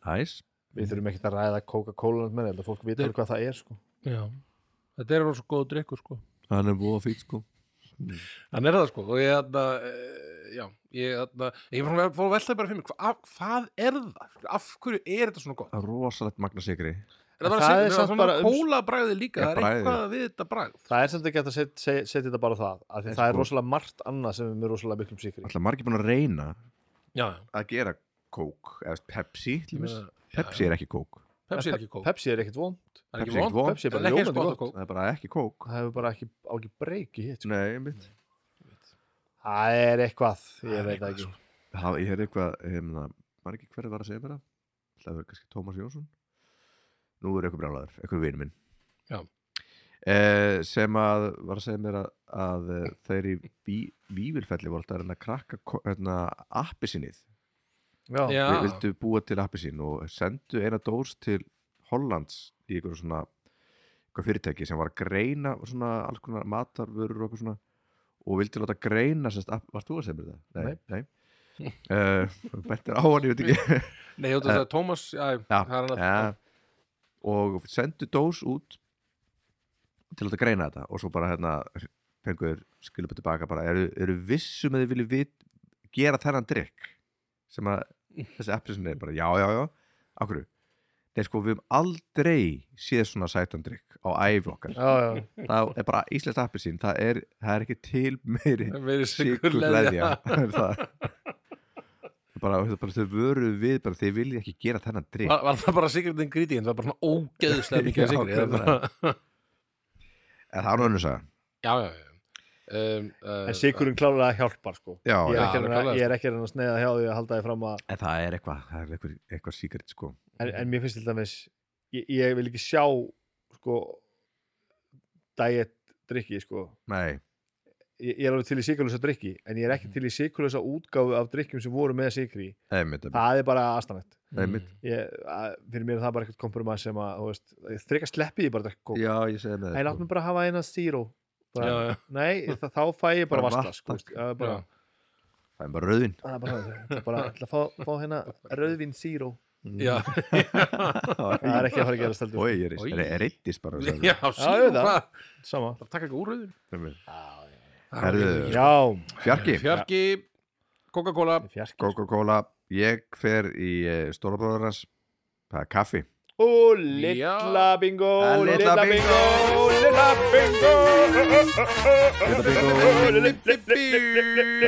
Speaker 1: Næs
Speaker 3: við þurfum ekkert að ræða Coca-Cola með þetta, fólk vita alveg hvað það er sko.
Speaker 2: Já Þetta er rosa góð drikkur sko
Speaker 1: Hann er búið fýt sko
Speaker 2: Hann er það sko og ég þarna eh, já, ég þarna ég fór að- fór að velta bara fyrir mér hva, af, hvað er það? Af hverju er þetta svona gott?
Speaker 1: Það er rosalegt magna sigri
Speaker 2: Er
Speaker 3: En
Speaker 2: það bara
Speaker 3: það
Speaker 2: að
Speaker 3: er
Speaker 2: segja,
Speaker 3: samt
Speaker 2: það er
Speaker 3: bara
Speaker 2: svona
Speaker 3: um-
Speaker 2: kóla bræði líka,
Speaker 1: Já,
Speaker 2: það er
Speaker 1: bragðið.
Speaker 2: eitthvað við þetta bræð
Speaker 3: það er samt ekki hægt að set- se- setja þetta bara á það af því
Speaker 1: En
Speaker 3: það er
Speaker 1: sko-
Speaker 3: rosalega margt annað sem er með rosalega miklum sikri
Speaker 1: Alltaf margir búin að reyna
Speaker 2: Já,
Speaker 1: að gera kók eða veist, Pepsi til
Speaker 2: já,
Speaker 1: dæmis.
Speaker 2: já
Speaker 1: Pepsi er ekki kók
Speaker 2: Pepsi er ekki kók
Speaker 3: Pepsi er ekkert vond,
Speaker 2: Það er
Speaker 1: Pepsi er
Speaker 2: ekki
Speaker 1: ekki
Speaker 2: vond
Speaker 1: vond.
Speaker 3: Pepsi er
Speaker 2: Það er
Speaker 3: bara
Speaker 2: ekki
Speaker 3: ljómandi
Speaker 2: eins gott
Speaker 3: gott
Speaker 2: að kók
Speaker 1: Það er bara ekki kók
Speaker 3: sko. það hefur bara ekki, á ekki breyki hitt sko.
Speaker 1: Nei, einmitt
Speaker 3: það er eitthvað,
Speaker 2: Það
Speaker 3: ég
Speaker 2: er
Speaker 3: veit
Speaker 2: eitthvað,
Speaker 3: það ekki
Speaker 2: sko.
Speaker 1: Það ég er eitthvað hefna, Man ekki hverju var að segja mér það Það var kannski Tómas Jónsson Nú er eitthvað brjálaður, eitthvað vinn minn
Speaker 2: Já.
Speaker 1: Eh, sem að var að segja mér að, að eh, þeir í ví, vívilfelli voru alltaf að reyna að krakka ko- hérna, appi
Speaker 3: já,
Speaker 2: Já,
Speaker 1: við vildu búa til appelsín og sendu eina dós til Hollands í einhverju svona einhver fyrirtæki sem var að greina svona alls konar matarvörur og eitthvað svona og vildi láta greina sérst, app, varst þú að segja mér það? nei, (laughs) nei. Uh, bentir á hann, ég veit ekki
Speaker 2: Nei, ég
Speaker 3: Eh.
Speaker 2: veit að Thomas, já,
Speaker 1: Já,
Speaker 2: það er hann
Speaker 1: ja,
Speaker 2: að
Speaker 1: og sendu dós út til að láta greina þetta og svo bara hérna fengur skilupið tilbaka bara eru, eru vissum að þið viljið vit, gera þennan drikk sem að þessi appelsin er bara já, já, já, okkur Nei, sko, við höfum aldrei séð svona sætan drikk á æfi okkar
Speaker 3: já, já.
Speaker 1: það er bara íslenskt appelsín það er, það er ekki til meiri
Speaker 2: Verið
Speaker 1: sykurleðja
Speaker 2: sykurleðja
Speaker 1: það er það bara, bara þau vöru við bara þið viljið ekki gera þennan drikk
Speaker 2: Var, var það bara sikrið ingredient, það var bara svona
Speaker 3: (laughs)
Speaker 2: ógeðslega mikið hérna.
Speaker 1: Já,
Speaker 2: sikrið
Speaker 1: hvernig en það er nú önnur saga
Speaker 2: Já, já, já um, uh,
Speaker 3: en sikurinn klálega hjálpar sko.
Speaker 1: já,
Speaker 3: ég, er
Speaker 1: já.
Speaker 3: ekki að
Speaker 2: alveg
Speaker 3: reyna-
Speaker 2: klárlega,
Speaker 3: ég er ekki að reyna að sneiða hjá því að halda því fram að
Speaker 1: en það er eitthvað það er eitthvað, eitthvað síkert sko
Speaker 3: en, en mér finnst til dæmis ég, ég vil ekki sjá sko diet drikki sko
Speaker 1: nei,
Speaker 3: ég, ég er alveg til í sikurlösa drikki en ég er ekki til í sikurlösa útgáfu af drikkjum sem voru með sikri
Speaker 1: einmitt, einmitt,
Speaker 3: það er bara astanett
Speaker 2: mm,
Speaker 1: einmitt.
Speaker 3: ég, að, fyrir mér er það bara eitthvað kompromat sem að þú veist, þrika sleppi ég bara að drekka kók
Speaker 1: já, ég segi með sko.
Speaker 3: en látt mér bara hafa eina zero
Speaker 2: Já,
Speaker 3: bara,
Speaker 2: já,
Speaker 3: nei, það, þá fæ ég bara
Speaker 1: Bara
Speaker 3: vasta
Speaker 1: vatn,
Speaker 3: sko,
Speaker 1: takk.
Speaker 3: veist, að bara,
Speaker 2: já
Speaker 1: það er bara rauðin
Speaker 3: Það er bara, það er bara ætla að fá, fá hérna rauðvin zero
Speaker 2: já,
Speaker 3: (laughs) Það er ekki að fara að gera stöldur
Speaker 1: Oi, ég
Speaker 2: Oj.
Speaker 1: er
Speaker 2: (laughs)
Speaker 1: reytist bara sagði
Speaker 2: já,
Speaker 3: ég
Speaker 2: síðan
Speaker 3: veit það.
Speaker 2: hvað
Speaker 3: Sama
Speaker 2: bara taka eitthvað úr rauðin
Speaker 1: hann.
Speaker 2: Það er
Speaker 1: Herðu.
Speaker 2: rauður.
Speaker 3: Já,
Speaker 1: Fjarki,
Speaker 2: Fjarki, (laughs) Coca-Cola
Speaker 1: sko
Speaker 3: fjarki
Speaker 1: Coca-Cola Ég fer í eh, stórabróður hans Það er kaffi
Speaker 3: Ó,
Speaker 2: litla
Speaker 3: litla bingo
Speaker 1: Það er litla litla
Speaker 3: Litla bingo
Speaker 1: bingo,
Speaker 3: Litla bingo
Speaker 1: Litla bingo. Það
Speaker 2: Fjarki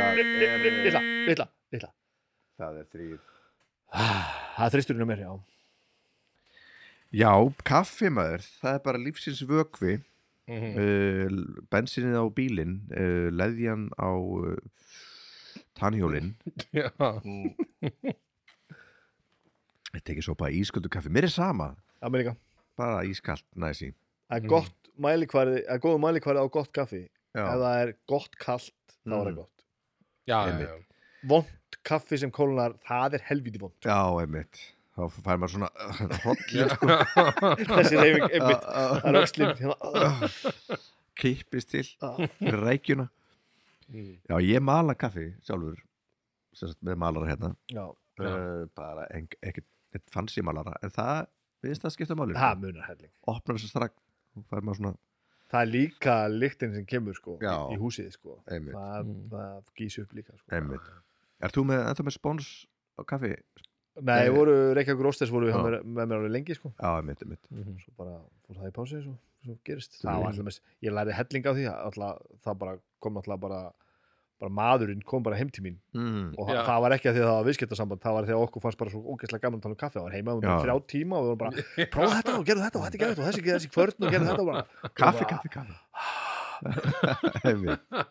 Speaker 1: er-
Speaker 3: Litla, litla, litla Ah,
Speaker 1: Það er þrýr
Speaker 3: Það er þristurinn á mér, já
Speaker 1: Já, kaffi maður, það er bara lífsins vökvi
Speaker 3: Mm.
Speaker 1: uh, bensinnið á bílinn uh, leðjan á uh, tannhjólinn Þetta ekki sopa ísköldu kaffi, mér er sama
Speaker 3: Það mér líka
Speaker 1: bara ískalt, næsi
Speaker 3: Það
Speaker 2: Mm.
Speaker 3: er gott mælikvarði, það er góð mælikvarði á gott kaffi Ef það er gott kallt, þá er
Speaker 1: Mm.
Speaker 3: það gott
Speaker 2: já, já,
Speaker 1: Einmitt.
Speaker 2: já.
Speaker 3: Vont kaffi sem kólnar, það er helviti vont
Speaker 1: Já, einmitt þá fær maður svona uh, hérna, hotli
Speaker 3: Þessi reyfing, einmitt Það er
Speaker 1: (laughs)
Speaker 3: öxlinn hérna.
Speaker 1: Uh, kippist til
Speaker 3: Ah.
Speaker 1: fyrir rækjuna
Speaker 2: Mm.
Speaker 1: Já, ég mala kaffi sjálfur sem sagt, með malara hérna
Speaker 3: Já,
Speaker 2: Já.
Speaker 1: uh, bara en- ekkert ekkert fancy malara en það, við finnst það skipta máli sko.
Speaker 3: það munar helling
Speaker 1: opnar þessu strak og fær maður svona
Speaker 3: Það er líka lyktin sem kemur sko
Speaker 1: Já.
Speaker 3: í, í húsið sko
Speaker 1: einmitt,
Speaker 3: það,
Speaker 2: Mm.
Speaker 3: það gís upp líka sko.
Speaker 1: einmitt. Er þú með, ennþá með spons á kaffi?
Speaker 3: Nei,
Speaker 1: Nei.
Speaker 3: voru Reykjavík Róstes voru
Speaker 1: Já.
Speaker 3: með, með mér alveg lengi sko
Speaker 1: Já, einmitt, einmitt
Speaker 2: Mhm.
Speaker 3: svo bara fór það í pási svo, svo gerist
Speaker 1: Það
Speaker 3: það
Speaker 1: var-
Speaker 3: var alltaf mest, ég læri helling á því alltaf, það bara kom alltaf bara bara maðurinn kom bara heim til mín
Speaker 1: mm.
Speaker 3: og Já.
Speaker 2: Já.
Speaker 3: það var ekki að því að það var viðskiptasamband það var því að okkur fannst bara svo ógeðslega gaman að tala um kaffi það var heima um
Speaker 1: Já.
Speaker 3: þrjá tíma og við vorum bara prófa þetta og gerðu þetta og þetta gerðu þetta og þessi, þessi kvörn og gerðu þetta og, bara,
Speaker 1: Kaffi, kaffi, kaffi Einmitt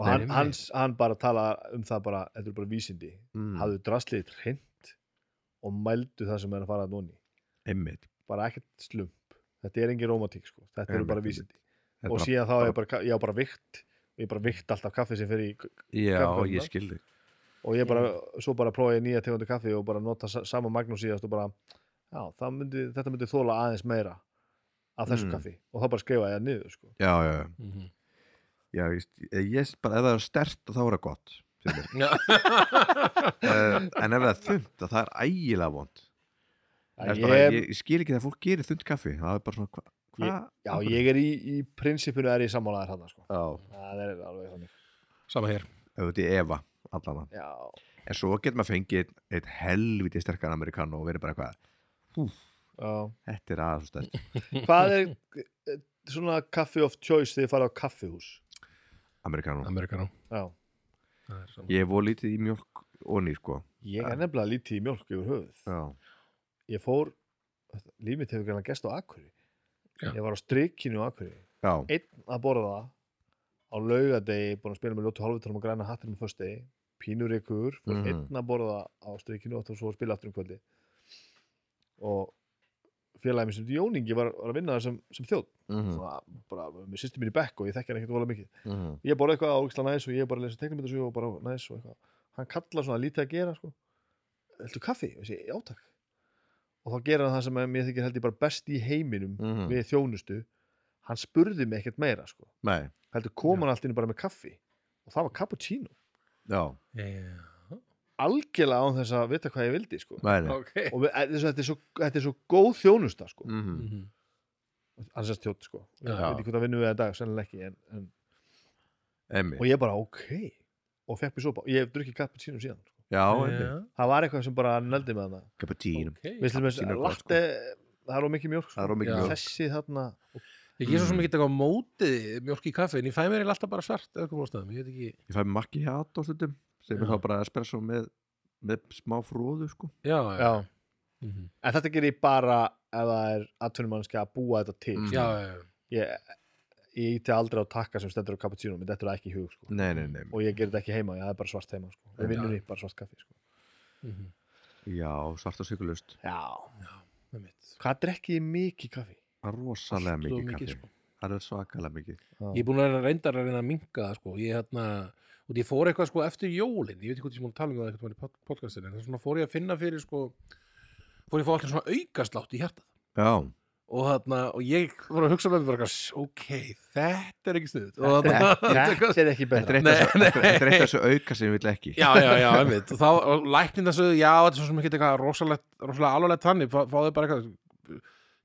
Speaker 3: og
Speaker 1: Nei,
Speaker 3: hann,
Speaker 2: nei.
Speaker 3: hans, hann bara tala um það bara, þetta er bara vísindi
Speaker 1: mm.
Speaker 3: hafðu draslið hreint og mældu það sem er að fara að nóni
Speaker 1: Einmitt
Speaker 3: bara ekkert slump þetta er engin romantík sko, þetta eru
Speaker 1: Einmitt,
Speaker 3: bara
Speaker 1: einmitt.
Speaker 3: vísindi
Speaker 1: Þetta er
Speaker 3: og
Speaker 1: bara-
Speaker 3: síðan þá er ég bara, ka- ég á bara vikt ég bara vikt alltaf kaffi sem fyrir í-
Speaker 1: Já,
Speaker 3: kaffi-
Speaker 1: ég skildi
Speaker 3: og ég bara, svo bara prófa ég nýja tegundu kaffi og bara nota sa- sama magnum síðast og bara já, það myndi, þetta myndi þóla aðeins meira af þessu
Speaker 1: Mm.
Speaker 3: kaffi og þá bara skrifa ég það niður sko
Speaker 1: Já, já, já,
Speaker 2: Mhm.
Speaker 1: já ég, ég, bara, ef það er stert þá er það gott fyrir
Speaker 3: (laughs)
Speaker 1: mér.
Speaker 2: Já.
Speaker 1: uh, En ef það er þund að það er ægilega vond
Speaker 3: Að
Speaker 1: ég, bara,
Speaker 3: ég,
Speaker 1: ég, ég skil ekki þegar fólk gerir þund kaffi það er bara svona hva, hva?
Speaker 3: já, ég er í, í prinsipinu er ég sammálaðar hann sko.
Speaker 1: Já,
Speaker 3: það er alveg þannig
Speaker 2: sama hér
Speaker 1: auðvitað í Eva allan
Speaker 3: já,
Speaker 1: en svo getur maður fengið einn- einn helviti sterkan amerikanu og verið bara eitthvað
Speaker 3: já
Speaker 1: þetta er aðeins stærkt
Speaker 3: hvað er eh, svona kaffi of choice þegar þið farið á kaffihús
Speaker 1: amerikanu
Speaker 2: Amerikanu
Speaker 3: já.
Speaker 2: Það er sama.
Speaker 1: ég er voru lítið í mjölk og ný sko
Speaker 3: ég er nefnilega lítið í mjölk yfir höfuð
Speaker 1: já,
Speaker 3: ég fór, líf mitt hefur gæla gæst á Akurey
Speaker 2: Já.
Speaker 3: ég var á strikinu á Akurey
Speaker 1: já,
Speaker 3: einn að borða það á laugadegi, búin að spila með ljótu hálfutunum og græna hattinum á föstudegi, pínur ykkur fór
Speaker 1: Mhm.
Speaker 3: einn að borða það á strikinu og þá svo að spila aftur um kvöldi og félagið mér sem Jóningi var, var að vinna þar sem, sem þjóð
Speaker 1: mhm,
Speaker 3: svona, bara með sýstum mín í bekk og ég þekki hann ekkert vola mikið
Speaker 1: mhm,
Speaker 3: ég borða eitthvað ágislega næs og ég bara lesa teknumyndasögu og bara næs og eitthvað hann kallar svona lítið að gera sko Viltu kaffi? Og ég segi, já takk og þá gerir hann það sem að mér þykir held ég bara best í heiminum
Speaker 1: mhm
Speaker 3: við þjónustu hann spurði mig ekkert meira sko
Speaker 1: nei,
Speaker 3: heldur kom hann allt innu bara með kaffi og það var cappuccino
Speaker 1: já,
Speaker 2: Já.
Speaker 3: algjörlega án þess að vita hvað ég vildi sko
Speaker 1: nei, nei
Speaker 2: ok
Speaker 3: og við, þetta, er svo, þetta, er svo, þetta er svo góð þjónusta sko
Speaker 1: mhm,
Speaker 2: Mhm.
Speaker 3: hann sérst þjótt sko ég
Speaker 2: Já.
Speaker 3: veit ekki hvað það vinnum við það í dag, sennilega ekki en, en, og
Speaker 1: emmi,
Speaker 3: ég bara ok og fekk mér sopa, ég hef drukkið cappuccino síðan sko.
Speaker 1: já, emmi
Speaker 2: Já.
Speaker 3: það var eitthvað sem bara nöldi með hana
Speaker 1: cappuccino,
Speaker 2: Ok.
Speaker 3: við slum þess
Speaker 1: Cappuccino er
Speaker 3: að
Speaker 1: gott, sko.
Speaker 3: latte það er á mikið mjólk sko.
Speaker 1: það er
Speaker 2: Já.
Speaker 1: ómikið mjölk
Speaker 3: þessi þarna
Speaker 2: Ég er svo sem
Speaker 1: Mm.
Speaker 2: ekki eitthvað á mótið mjölk í kaffi en ég fæ mér eiginlega alltaf bara svart eða eitthvað ástæðum, ég veit ekki
Speaker 1: ég fæ makki hjá aðt á stundum sem er
Speaker 2: Já.
Speaker 1: þá bara espresso með með smá fróðu sko
Speaker 2: Já,
Speaker 3: já.
Speaker 2: Mhm.
Speaker 3: en þetta ger ég bara ef það er atvinnumannski að búa þetta til
Speaker 1: Mm.
Speaker 2: já, já, já.
Speaker 3: ég, ég íti aldrei á takka sem stendur á cappuccino minn þetta er ekki í hug sko.
Speaker 1: nei, nei, nei,
Speaker 3: og ég ger þetta ekki heima, ég það er bara svart heima sko.
Speaker 1: Já.
Speaker 3: við vinnum í bara svart kaffi sko.
Speaker 2: Mhm.
Speaker 1: já, svart og sykulust
Speaker 3: já,
Speaker 2: Með mitt.
Speaker 3: hvað drekki ég mikið kaffi?
Speaker 1: rosalega
Speaker 2: Allt of
Speaker 1: mikið kaffi
Speaker 2: sko.
Speaker 1: það er svakalega mikið
Speaker 3: Já.
Speaker 2: Ég er búin að reyna reyndar að reyna að minka það sko. Ég hérna og ég fór eitthvað sko eftir jólin ég veit ekki hvað ég múin að tala um það eitthvað í pod- podcastinu en svona fór ég að finna fyrir sko fór ég að fá allir svona aukaslátt í hjartað
Speaker 1: já,
Speaker 2: og, þarna, og ég var að hugsa með mér bara eitthvað, ok, þetta er ekki
Speaker 3: (laughs)
Speaker 2: sniðut og hérna, þarna,
Speaker 3: Þetta er ekki
Speaker 1: Þetta
Speaker 3: betra
Speaker 1: er eitt af þessu-
Speaker 2: Nei,
Speaker 1: þetta er eitt af þessu auka sem ég vil ekki
Speaker 2: já, já, já, einmitt og þá, og læknin þessu, já, þetta er svo sem ekki eitthvað rosalegt, rosalega alvarlegt þannig fá- fáðu bara eitthvað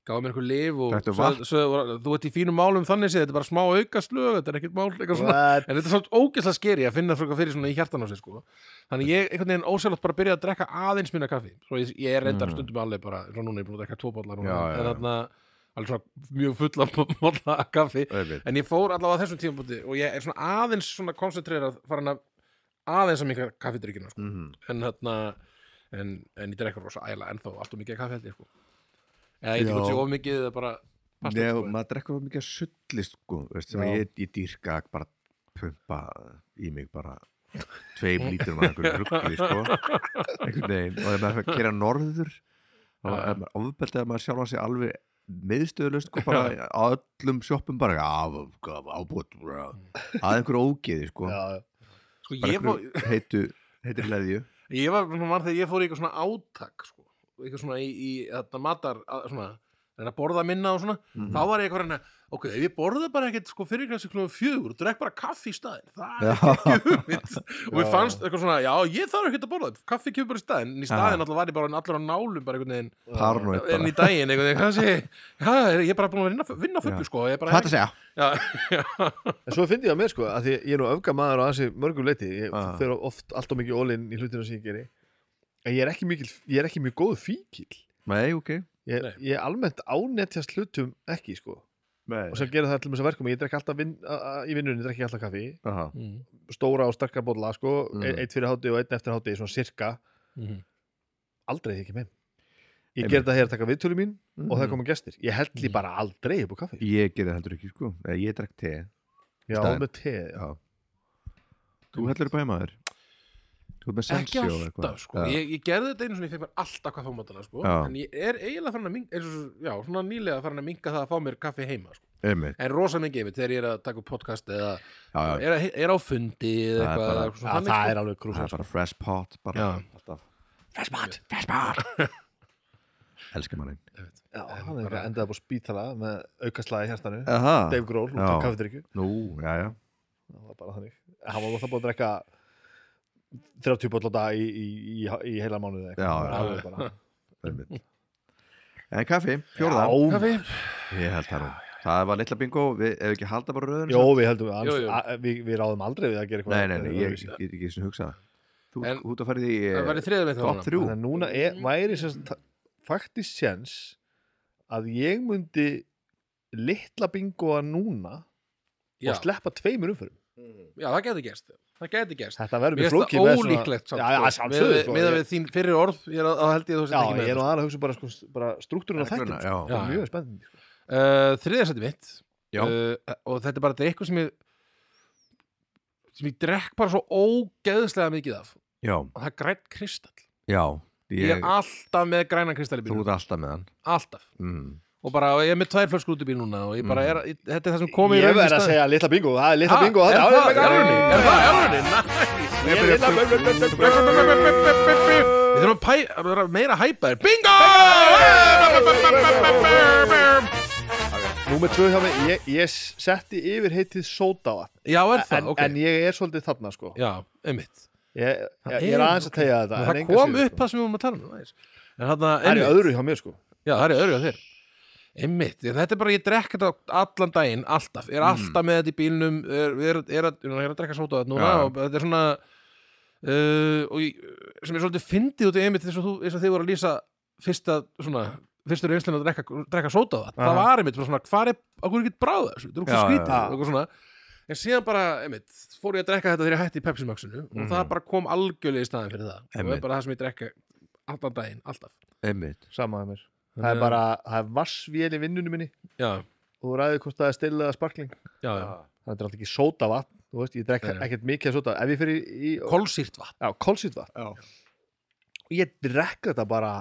Speaker 2: gáðu mér eitthvað lif og
Speaker 1: Drektu
Speaker 2: sögðu- sögðu- þú ert í fínum málum þannig séð, þetta er bara smá aukaslög þetta er ekkert mál, eitthvað svona
Speaker 3: What?
Speaker 2: En þetta er svolítið ógeðslega skeri að finna fröka fyrir svona í hjartan á sig sko. Þannig ég einhvern veginn ósjálfátt bara byrjaði að drekka aðeins minna kaffi Svo ég, ég er reyndar
Speaker 1: Mm.
Speaker 2: stundum alveg bara Svo núna ég er búin að drekka tvo bollar núna,
Speaker 1: Já, já,
Speaker 2: En
Speaker 1: já.
Speaker 2: þarna alveg svona mjög fulla bolla af (laughs) kaffi
Speaker 1: Auðvitað.
Speaker 2: En ég fór allavega á þessum tímabúti Og ég er svona aðeins svona koncentrerað Farin að aðeins að minka kaffidrykkina sko.
Speaker 1: Mhm.
Speaker 2: En þarna en, en ég drekka rosa æla ennþá allt og mikið af kaffi held ég sko. Eða ég
Speaker 1: Já.
Speaker 2: veit ekki hvort sé of mikið eða bara fast
Speaker 1: Nei,
Speaker 2: ekki,
Speaker 1: og
Speaker 2: sko.
Speaker 1: maður drekkur mikið af sulli sko, veist, sem
Speaker 3: Já.
Speaker 1: ég, ég dýrka að bara pumpa í mig bara tveim lítrum af einhverju ruggli (laughs) sko, einhvern veginn og ef maður fyrir að kera norður þá
Speaker 2: Já.
Speaker 1: er maður ofbeldið að maður sjálfa sig alveg meðstöðlust sko, bara á öllum sjoppum bara ábútt að einhverju ógeði sko,
Speaker 3: Já, já.
Speaker 2: Sko
Speaker 1: bara
Speaker 2: ég fór
Speaker 1: einhverju heitu heitir leðju
Speaker 2: Ég var, maður mann þegar ég fór í eitthvað svona átak sko, eitthvað svona í, í þetta matar að, svona, reyna að borða minna og svona
Speaker 1: Mhm.
Speaker 2: þá var ég eitthvað reyna, ok, ef ég borða bara ekkert sko fyrir klassi klúðum fjögur, drekk bara kaffi í staðin það er
Speaker 1: Já.
Speaker 2: ekki
Speaker 1: (laughs)
Speaker 2: hugmynd og mér
Speaker 3: Já.
Speaker 2: fannst eitthvað svona, já, ég þarf ekkert að borða kaffi kemur bara í staðin, en í staðin alltaf var ég bara allar á nálum bara einhvern veginn
Speaker 1: paranoid
Speaker 2: en
Speaker 1: bara,
Speaker 2: í daginn, einhvern veginn, hvað sé ég? já, ég er bara búin að vinna, vinna fullu
Speaker 1: Já.
Speaker 2: sko, ég er bara
Speaker 1: hvað það segja?
Speaker 2: já, já,
Speaker 3: En svo fyndi ég að mér sko, að því ég er nú öfga maður á þessi mörgum leiti, ég
Speaker 1: Ah.
Speaker 3: fer oft allt og mikið ólinn í hlutinu sem ég geri en ég er ekki, mikil, ég er ekki mjög góð fíkil
Speaker 1: nei, ok
Speaker 3: ég,
Speaker 2: Nei.
Speaker 3: ég er almennt ánetjast hlutum ekki sko,
Speaker 1: nei.
Speaker 3: og sem gerir það til þess að verkum að ég drekk alltaf vin, a, a, í vinnunni, drekk ég alltaf kaffi
Speaker 1: Aha.
Speaker 2: Mm,
Speaker 3: stóra og starka bolla sko,
Speaker 1: Mm.
Speaker 3: mm. eitt fyrir hátti og einn eftir hátti svona sirka,
Speaker 2: mhm.
Speaker 3: aldrei ekki með ég
Speaker 1: Einmitt.
Speaker 3: ger það hér að taka viðtölu mín og það
Speaker 1: Mhm.
Speaker 3: koma gestir, ég held því
Speaker 2: Mm.
Speaker 3: bara aldrei upp á kaffi,
Speaker 1: ég gerði það heldur ekki sko, Nei, ég drekk te
Speaker 3: já,
Speaker 1: staðinn.
Speaker 3: með te já.
Speaker 1: Já. Þú heldur upp heimaður? Þú ert með
Speaker 2: ekki
Speaker 1: sensjó
Speaker 2: alltaf sko.
Speaker 1: Já.
Speaker 2: ég, ég gerði þetta einu svona, ég fekk mér alltaf kaffe á mótana sko.
Speaker 1: Já.
Speaker 2: en ég er eiginlega farin að minga eins og, já, svona nýlega farin að minga það að fá mér kaffi heima sko.
Speaker 1: Einmitt.
Speaker 2: en rosa mingi yfir þegar ég er að taka upp podcast eða
Speaker 1: Já, já,
Speaker 2: er, að, er á fundi
Speaker 1: Það
Speaker 2: eða
Speaker 1: er
Speaker 2: eitthvað
Speaker 1: bara-
Speaker 2: eða
Speaker 3: Já,
Speaker 2: svona
Speaker 3: það
Speaker 2: þannig,
Speaker 3: er alveg
Speaker 1: það
Speaker 3: krúsa
Speaker 1: er bara fresh pot bara
Speaker 2: Já.
Speaker 1: alltaf
Speaker 2: Fresh pot,
Speaker 1: fresh pot Elskar manni
Speaker 3: Já,
Speaker 2: En
Speaker 3: hann er
Speaker 2: bara-
Speaker 3: endaði upp á spítala með aukaslaði hjartanu
Speaker 1: Aha,
Speaker 3: Dave Grohl út
Speaker 1: Já.
Speaker 3: af kaffedrykju
Speaker 1: nú, já, já
Speaker 3: það var bara þannig hann var alltaf búin að drekka 30 boll á dag í, í, í, í heila mánuði
Speaker 1: Já, já.
Speaker 3: já,
Speaker 1: einmitt. En kaffi, fjórða
Speaker 3: já.
Speaker 2: kaffi
Speaker 1: Ég held það nú Það var litla bingo, við ef ekki halda bara röðun
Speaker 3: Jó, við heldum að
Speaker 2: Jú, jú.
Speaker 3: annars- við, við ráðum aldrei við að gera
Speaker 1: Nei,
Speaker 3: eitthvað
Speaker 1: nei, nei, ég
Speaker 3: öðruvísi.
Speaker 1: ég get ekki sem hugsa það. Þú
Speaker 2: En-
Speaker 1: þú ert að fara í eh,
Speaker 2: það verði þriðið með
Speaker 1: topp
Speaker 2: það
Speaker 1: þrjú
Speaker 3: Þannig að núna er, væri sem sagt faktist séns að ég myndi litla bingoa núna
Speaker 2: já,
Speaker 3: og sleppa tveimur umfyrum
Speaker 2: já, það geti gerst það geti gerst
Speaker 3: Þetta verður
Speaker 2: Mér
Speaker 3: mjög
Speaker 2: finnst
Speaker 3: flókið
Speaker 2: það
Speaker 3: með svona-
Speaker 2: ólíklegt
Speaker 3: Já, já, sjálfsögðu sko,
Speaker 2: með að
Speaker 3: ég-
Speaker 2: við þín fyrir orð ég er að, að held ég að þú
Speaker 3: Já,
Speaker 2: sett ekki
Speaker 3: ég
Speaker 2: með
Speaker 3: er nú aðra að hugsa bara, sko, bara struktúrin á þættin
Speaker 1: Regluna, Já,
Speaker 2: Já.
Speaker 3: sko. Mjög spennandi sko.
Speaker 2: uh, þriðarsæti mitt
Speaker 1: Já.
Speaker 2: uh, og þetta er bara þetta er eitthvað sem ég sem ég drekk bara svo ógeðslega mikið af
Speaker 1: já,
Speaker 2: og það er græn kristall
Speaker 1: já
Speaker 2: ég er
Speaker 1: Ég,
Speaker 2: alltaf með grænan kristall í
Speaker 1: þú
Speaker 2: bílunum
Speaker 1: ert alltaf með hann
Speaker 2: alltaf
Speaker 1: mm.
Speaker 2: og bara og ég er með tvær flöskur út í bíl núna og ég bara
Speaker 1: Mm.
Speaker 2: er ég, þetta er það sem komið
Speaker 3: Ég verð að segja litla bingo, það er litla bingo
Speaker 2: er
Speaker 3: þarna.
Speaker 2: það
Speaker 3: Já, já,
Speaker 2: erunni?
Speaker 3: já,
Speaker 2: er
Speaker 3: já.
Speaker 2: það erunni?
Speaker 3: Ég er litla- blub, blub, blub, blub, blub, blub, blub, blub, blub, blub, blub.
Speaker 2: við þurfum að pæ- að vera meira hæpaðir bingo
Speaker 3: Númer tvö hjá mig, ég, ég setti yfir heitið sódavatn
Speaker 2: já er
Speaker 3: en,
Speaker 2: það ok
Speaker 3: en ég er svolítið þarna sko Ég,
Speaker 2: já einmitt
Speaker 3: ég, ég er aðeins að tegja þetta en
Speaker 2: það
Speaker 3: engu að
Speaker 2: kom
Speaker 3: síður,
Speaker 2: upp það sem við vorum að tala um aðeins. en þarna
Speaker 3: sko. Það er í
Speaker 2: einmitt.
Speaker 3: öðru hjá mér sko
Speaker 2: já það er í öðru á þér einmitt, Ég- þetta er bara ég drekk þetta allan daginn, alltaf, er alltaf með þetta í bílnum er, er, er, að, er að drekka sóta þetta núna
Speaker 1: Já.
Speaker 2: og þetta er svona uh, og ég, sem ég svolítið fyndið út í einmitt eins og, þú, eins og þið voru að lýsa fyrsta svona fyrstur einslan að drekka, drekka sóta það það
Speaker 3: Aha.
Speaker 2: var einmitt bara svona, hvað er, á hverju get bráða þessu, þetta er okkur
Speaker 1: Já,
Speaker 2: skrítið
Speaker 3: já.
Speaker 2: og eitthvað svona en síðan bara, einmitt, fór ég að drekka þetta þegar ég hætti í Pepsi Maxinu og það
Speaker 1: Mhm.
Speaker 2: bara kom algjörlega í staðin fyrir það og
Speaker 1: Einmitt.
Speaker 2: er bara það sem ég drekka allan daginn, alltaf
Speaker 1: Einmitt
Speaker 3: Sama hjá mér Það er bara, það er vassvél í vinnunum minni
Speaker 2: já,
Speaker 3: og þú ræðið hvort það er stilla eða sparkling
Speaker 2: já, já.
Speaker 3: Það er alltaf ekki sódavatn, þú veist, ég drekk
Speaker 2: Nei, nei.
Speaker 3: ekkert mikið af sódavatn Ef ég fer í, í
Speaker 2: kolsýrt vatn
Speaker 3: já, kolsýtvatn
Speaker 1: Já.
Speaker 3: Og ég drekk þetta bara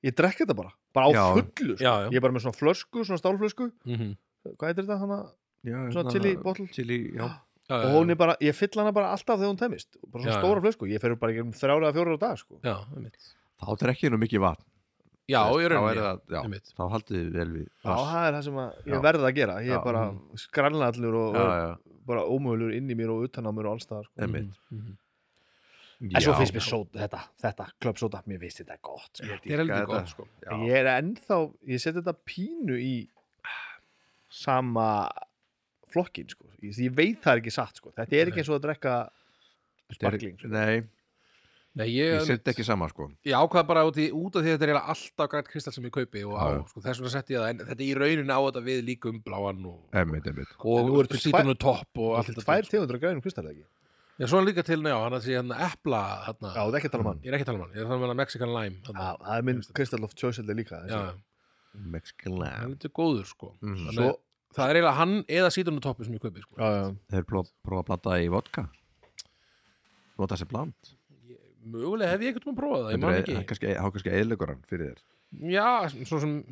Speaker 3: Ég drekk þetta bara, bara á
Speaker 1: Já.
Speaker 3: fullu sko.
Speaker 2: já, já.
Speaker 3: Ég er bara með svona flösku, svona stálflösku
Speaker 2: Mm
Speaker 3: Hvað heitir þetta hana?
Speaker 1: Já,
Speaker 3: Svona chili bottle
Speaker 1: Chili, já
Speaker 2: já,
Speaker 3: og hún er bara, ég fyll hana bara alltaf þegar hún tæmist bara svona
Speaker 2: Já, já.
Speaker 3: stóra flösku, ég fer bara ekki um þrjára eða fjóra á dag sko.
Speaker 2: já, einmitt.
Speaker 1: Þá drekk ég nú mikið vatn
Speaker 2: já,
Speaker 1: Þú
Speaker 2: í
Speaker 1: veist, þá er
Speaker 2: rauninni
Speaker 1: það, já,
Speaker 2: einmitt.
Speaker 1: þá haldið þið vel við
Speaker 3: Já,
Speaker 1: rass.
Speaker 3: það er það sem að
Speaker 1: Já.
Speaker 3: ég verð að gera Ég
Speaker 1: Já,
Speaker 3: er bara skrannallur og,
Speaker 1: já,
Speaker 3: og
Speaker 1: já,
Speaker 3: bara ómögulegur inn í mér og utan á mér og allstaðar sko.
Speaker 1: einmitt
Speaker 2: Mhm.
Speaker 3: En svo finnst
Speaker 1: Já.
Speaker 3: mér sót, þetta, þetta, klöpsóta Mér finnst þetta gott sko.
Speaker 2: Þetta er heldur
Speaker 1: Dýrka
Speaker 2: gott,
Speaker 1: þetta.
Speaker 2: sko.
Speaker 1: Já.
Speaker 3: Ég er ennþá, ég seti þetta pínu í sama flokkin sko. ég, því ég veit það er ekki satt sko. Þetta er
Speaker 2: Nei.
Speaker 3: ekki eins og að drekka
Speaker 1: Þetta er-
Speaker 3: sparkling sko.
Speaker 1: Nei,
Speaker 2: Nei, ég,
Speaker 1: ég set ekki sama sko
Speaker 2: ég ákvað bara út, í, út af því að þetta er eiginlega alltaf grænt kristall sem ég kaupi og á,
Speaker 1: Já.
Speaker 2: sko, þess vegna setti ég það en þetta í raunin á þetta við líka um bláan og,
Speaker 1: Einmitt, einmitt
Speaker 2: og
Speaker 3: En
Speaker 2: nú
Speaker 3: þú
Speaker 2: ertu
Speaker 3: ert tvær-
Speaker 2: sítunum topp og allt
Speaker 3: Til
Speaker 2: þetta
Speaker 3: Tvær tegundur af grænum kristall ekki Já,
Speaker 2: Já, svo er líka til, já, hann að sé hérna epla hérna,
Speaker 3: það er ekki að tala um hann
Speaker 2: ég er ekki að tala um hann, ég er að tala um hann Mexican Lime
Speaker 3: Já,
Speaker 2: hérna.
Speaker 3: það er minn kristall of choice heldur líka
Speaker 2: já,
Speaker 3: þessi.
Speaker 2: hann er
Speaker 1: Mexican
Speaker 2: lítið góður, sko
Speaker 1: Mhm.
Speaker 2: Þannig,
Speaker 3: Svo,
Speaker 2: það er eiginlega hann eða sítunum toppi sem ég kaupi, sko
Speaker 3: já, já.
Speaker 1: Þeir prófa prófa að blanda það í vodka Nota þessi bland
Speaker 2: mögulega hef ég ekkert um að prófa það, ég
Speaker 1: Þetta
Speaker 2: man
Speaker 1: er-
Speaker 2: ekki
Speaker 1: það er kannski- Há kannski eðlugur hann fyrir þér
Speaker 2: Já, svo sem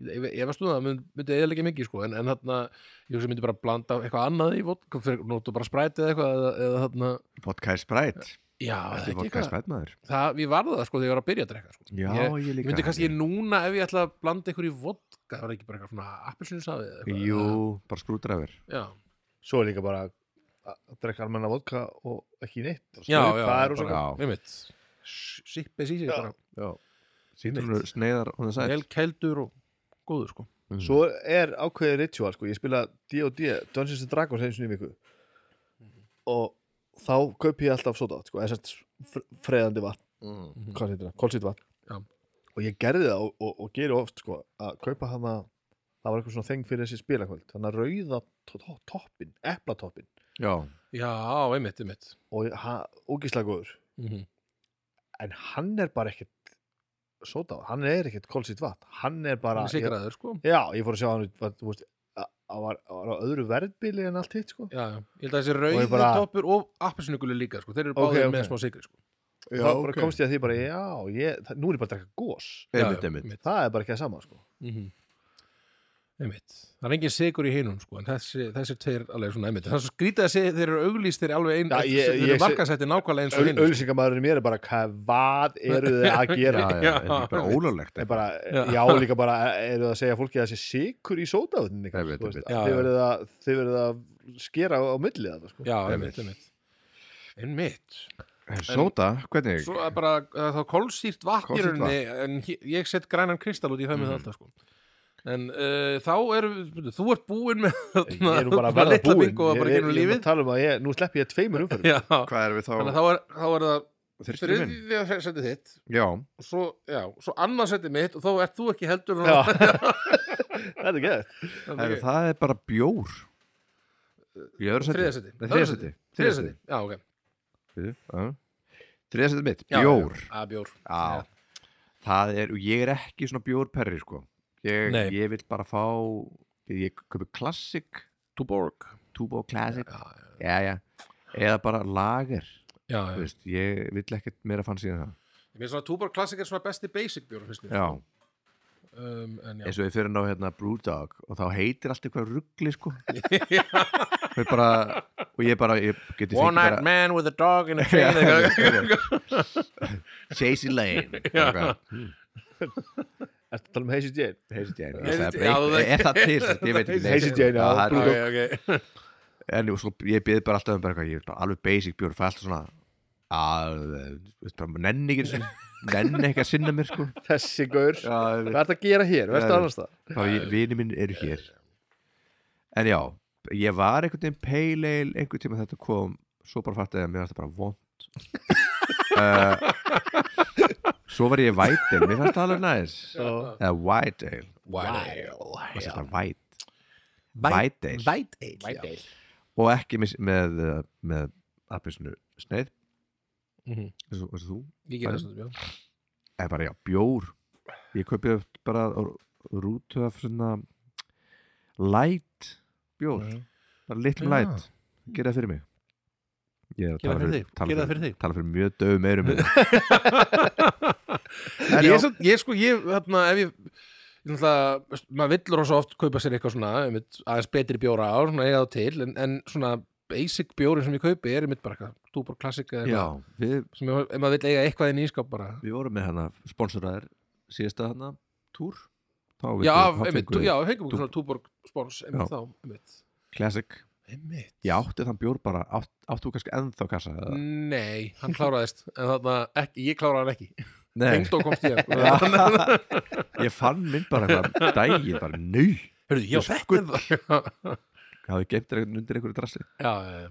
Speaker 2: ég, ég veist þú það, mynd, myndi eða ekki mikið sko, en, en þarna, ég hugsa ég myndi bara blanda eitthvað annað í vodka, fyrir nótu bara sprætið eitthvað eða, eða þarna
Speaker 1: Vodka er sprætt
Speaker 2: Já, er
Speaker 1: Þetta er
Speaker 2: ekki
Speaker 1: vodka er
Speaker 2: eitthvað,
Speaker 1: sprætt maður
Speaker 2: það, ég varði það sko þegar ég var að byrja að drekka sko.
Speaker 1: Já,
Speaker 2: ég,
Speaker 1: ég líka
Speaker 2: ég myndi kannski núna ef ég ætla að blanda ykkur í vodka, það var ekki bara eitthvað svona appelsinusafið eða eitthvað
Speaker 1: Jú, bara skrúdrafur
Speaker 2: Já,
Speaker 3: svo er líka bara að drekka almenna vodka og ekki neitt
Speaker 2: já, já,
Speaker 3: það er
Speaker 2: bara-
Speaker 3: rosa-
Speaker 1: Já.
Speaker 2: einmitt Sippið sísi,
Speaker 3: Já.
Speaker 2: bara
Speaker 1: Sýnum sneiðar og það
Speaker 2: vel keldur og góður sko
Speaker 3: Svo er ákveðið ritual sko. Ég spila D&D, Dungeons and Dragons einu sinni í viku
Speaker 2: Mhm.
Speaker 3: og þá kaupi ég alltaf soda sko, eða sett freðandi vatn
Speaker 1: sætt
Speaker 3: hvað heitir það, kolsýtt vatn
Speaker 2: Mhm. Já.
Speaker 3: og ég gerði það og, og, og geri oft sko, að kaupa hana það var eitthvað svona þeng fyrir þessi spilakvöld þannig að rauða to to toppin, eplatoppin
Speaker 1: Já,
Speaker 2: Já, einmitt, einmitt
Speaker 3: og ha- ógeðslega góður
Speaker 2: mm
Speaker 3: en hann er bara ekkert soda, hann er ekkert kolsýtt vatn hann er bara ég,
Speaker 2: Sigraður sko
Speaker 3: já, ég fór að sjá hann var, þú veist, að- að var, að var á öðru verðbili en allt hitt sko
Speaker 2: Já, já, ég held að þessi
Speaker 3: Og
Speaker 2: rauði
Speaker 3: ég bara-
Speaker 2: toppur og appelsinugulu líka, sko, þeir eru
Speaker 3: Ok,
Speaker 2: báðir
Speaker 3: ok.
Speaker 2: með smá sigri, sko.
Speaker 3: þá bara komst ég að því bara, já, ég, það, nú er ég bara að drekka gós
Speaker 1: einmitt,
Speaker 2: (laughs)
Speaker 1: einmitt
Speaker 2: einmitt.
Speaker 3: það er bara ekki að sama, sko
Speaker 2: Mhm. Einmitt. Það er engin sigur í hinum, sko, en þessi, þessi tveir alveg svona einmitt. Það er svo skrítið að segja, þeir eru auglýst, þeir eru alveg einn,
Speaker 3: Já, ég-
Speaker 2: þeir
Speaker 3: ég
Speaker 2: eru
Speaker 3: sé-
Speaker 2: markasætti nákvæmlega eins og
Speaker 3: Öl,
Speaker 2: hinum. sko.
Speaker 3: ölsingamæðurinn mér er bara, hvað eru þið að
Speaker 1: Já,
Speaker 3: gera
Speaker 2: Já,
Speaker 1: já, þetta er ekki bara
Speaker 2: einmitt.
Speaker 1: ólöglegt
Speaker 3: Er bara, já.
Speaker 2: Já.
Speaker 3: líka bara, eru það að segja fólki að það sé sikur í sódavatninni
Speaker 1: Einmitt,
Speaker 3: kannski, þú veist,
Speaker 1: einmitt.
Speaker 2: Já,
Speaker 3: þið
Speaker 2: já.
Speaker 3: verðið að- þið verðið að skera á milli það, sko
Speaker 2: Já,
Speaker 1: Einmitt.
Speaker 2: einmitt, einmitt. Einmitt.
Speaker 1: Sóta, Eh, hvernig?
Speaker 2: Svo er bara, það er þá kolsýrt vatn í
Speaker 1: Kolsýrt
Speaker 2: rauninni, en hé- ég set grænan kristall út í höfum mm
Speaker 1: Mhm.
Speaker 2: alltaf, sko. En uh, þá eru, þú ert búinn með, (laughs)
Speaker 3: Ég er nú bara að
Speaker 2: bara
Speaker 3: verða
Speaker 2: litla
Speaker 3: búinn
Speaker 2: bingo og bara
Speaker 3: Ég- ég- ég er
Speaker 2: gerum
Speaker 3: nú
Speaker 2: lífið.
Speaker 3: að tala um að ég, nú slepp ég tveimur umferðum
Speaker 2: Já,
Speaker 1: Hvað erum við
Speaker 2: þannig að
Speaker 1: þá?
Speaker 2: þá er, þá er það
Speaker 1: Þristurinn minn?
Speaker 2: þriðja setið þitt
Speaker 1: Já,
Speaker 2: og svo, já, svo annað setið mitt og þá ert þú ekki heldur
Speaker 3: Já. (laughs) Þetta er geðvægt
Speaker 1: Heru, það er bara bjór Í öðru seti
Speaker 2: þriðja seti
Speaker 1: Þriða seti
Speaker 2: þriðja seti, já, ok
Speaker 1: Þriða seti mitt,
Speaker 2: já,
Speaker 1: bjór
Speaker 2: já, já, að bjór
Speaker 1: Já, það er, og ég er ekki svona bjórperri sko Ég,
Speaker 2: Nei.
Speaker 1: ég vil bara fá Ég köpi Classic,
Speaker 2: Tuborg
Speaker 1: Tubo Classic
Speaker 2: já,
Speaker 1: Já, já, eða bara lager
Speaker 2: já,
Speaker 1: Þú
Speaker 2: já.
Speaker 1: veist, Ég vil ekkert meira fann síðan það
Speaker 2: ég finnst svona Tuborg Classic er svona besti basic bjór finnst mér
Speaker 1: Já,
Speaker 2: um, en já,
Speaker 1: eins og við fyrir ná hérna Brewdog og þá heitir allt eitthvað ruggli
Speaker 2: (laughs)
Speaker 1: sko Við bara, Og ég bara, ég geti
Speaker 2: one
Speaker 1: fengið
Speaker 2: night
Speaker 1: bara
Speaker 2: man with a dog in a
Speaker 1: (laughs) Já,
Speaker 2: chain
Speaker 1: einmitt, einmitt. Chasey Lane eitthvað.
Speaker 3: Ertu að tala um Hazy Jane?
Speaker 1: Hazy Jane
Speaker 2: Hazy
Speaker 1: ég sagði
Speaker 2: Jane,
Speaker 1: bara
Speaker 2: já,
Speaker 1: eitt-
Speaker 2: það-
Speaker 1: Er það til? sem sagt, Ég veit ekki neitt.
Speaker 3: Hazy Jane, já,
Speaker 1: það er-
Speaker 3: Blue
Speaker 2: ok, ok
Speaker 1: En svo, ég byrði bara alltaf um bara eitthvað Ég er bara alveg basic bjór Fæ alltaf svona að, þú veist, bara Nenni ekki einu sinni- Nenni ekki að sinna mér sko
Speaker 3: Þessi gaur
Speaker 1: Já,
Speaker 3: Hvað ertu að gera hér? Vertu
Speaker 1: Já.
Speaker 3: annars það?
Speaker 1: Vini minn eru hér En já, ég var einhvern veginn pale ale einhvern tíma þetta kom svo bara fattaði ég að mér var þetta bara (laughs) vond uh, Svo var ég white ale, mér fannst það alveg næs eða white ale Hvað sem það white White ale
Speaker 2: White ale White ale
Speaker 1: og ekki mis- með, uh, með appisnu sneið
Speaker 2: Mhm.
Speaker 1: eins og eins og þú
Speaker 2: ég ger það svona bjór
Speaker 1: eða bara já, bjór ég kaupi oft bara r- rútu af svona light bjór bara litlum
Speaker 2: Mhm. Já.
Speaker 1: light, gera það fyrir mig ég er að
Speaker 2: Gera
Speaker 1: tala
Speaker 2: það fyrir
Speaker 1: fyrir,
Speaker 2: þig,
Speaker 1: tala
Speaker 2: gera það fyrir þig.
Speaker 1: tala fyrir mjög hérna. döfum eirum
Speaker 2: (laughs) En ég, samt, ég sko, ég, þarna, ef ég ég náttúrulega, veist, maður villur hans oft kaupa sér eitthvað svona, einmitt, aðeins betri bjóra á svona eiga þá til, en, en svona basic bjórin sem ég kaupi er einmitt bara eitthvað túbor klassik eða
Speaker 1: já,
Speaker 2: eitthvað,
Speaker 1: við,
Speaker 2: sem ég, ef maður vill eiga eitthvað inn í skáp bara,
Speaker 1: við vorum með hana hérna sponsoraðir síðasta þarna túr þá við
Speaker 2: já,
Speaker 1: þá
Speaker 2: einmitt,
Speaker 1: fengum við
Speaker 2: já, fengum okkur
Speaker 1: Túborg.
Speaker 2: svona túborg spons einmitt
Speaker 1: Já.
Speaker 2: þá, einmitt
Speaker 1: classic
Speaker 2: einmitt,
Speaker 1: ég átti þann bjór bara átt, áttu kannski ennþá kassa eða?
Speaker 2: nei, hann kláraðist en þarna, ekki, ég kláraði hann ekki
Speaker 1: Nei,
Speaker 2: Engdó komst
Speaker 1: (laughs)
Speaker 2: ég
Speaker 1: ég fann mynd bara eitthvað dægi bara nau
Speaker 2: hörðu, já, þetta er það (laughs)
Speaker 1: hafði geimt þér einhvern- undir einhverju drasli
Speaker 2: já, já, já en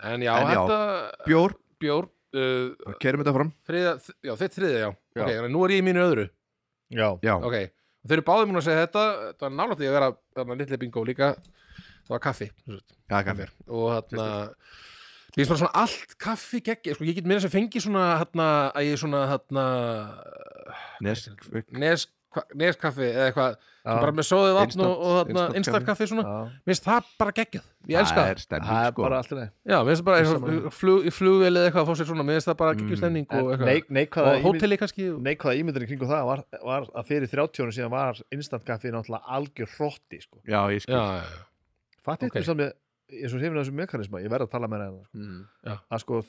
Speaker 2: já,
Speaker 1: En já.
Speaker 2: þetta
Speaker 1: bjór
Speaker 2: bjór uh,
Speaker 1: og kerum þetta fram
Speaker 2: þriða, já, þitt þriðja, já,
Speaker 1: Já.
Speaker 2: ok, en nú er ég í mínu öðru
Speaker 3: já,
Speaker 1: já,
Speaker 2: ok, þeir eru báðið múin að segja þetta þetta var nálægt því að vera þarna litli bingo líka það var kaffi sem sagt,
Speaker 1: já,
Speaker 2: hjá
Speaker 1: kaffi
Speaker 2: mér. og þarna ég finnst bara svona allt kaffi gegg sko, ég get meira sem fengi svona þarna að ég svona þarna
Speaker 1: nes,
Speaker 2: nes, hva, neskaffi eða eitthvað
Speaker 3: já,
Speaker 2: bara með sóðið vatn
Speaker 1: Instant-
Speaker 2: og, og þarna
Speaker 1: instant
Speaker 2: instant kaffi svona
Speaker 3: já.
Speaker 2: mér finnst það bara geggjað, ég elska
Speaker 1: það
Speaker 2: það
Speaker 1: er stemning
Speaker 3: það er
Speaker 1: sko
Speaker 3: bara allt í leið
Speaker 2: já, mér finnst bara
Speaker 3: Ég sammála.
Speaker 2: eins og flug, í flugveli eða eitthvað að fá sér svona, mér finnst það bara
Speaker 1: Mm.
Speaker 2: geggjum stemning og
Speaker 3: En
Speaker 2: Sko, eitthvað,
Speaker 3: neik- neikvæða
Speaker 2: og
Speaker 3: ímynd-
Speaker 2: hóteli kannski og-
Speaker 3: neikvæða ímyndinu kringu það var, var að fyrir 30 árum síðan var instant kaffi náttúrulega algjör hrotti sko.
Speaker 1: já, ég
Speaker 2: já,
Speaker 1: skil
Speaker 2: já, já.
Speaker 3: fatt
Speaker 2: Ok.
Speaker 3: eitthvað samt ég, ég er svo hefnir þessu mekanisma ég verð að tala með það sko.
Speaker 1: Mm,
Speaker 3: að sko,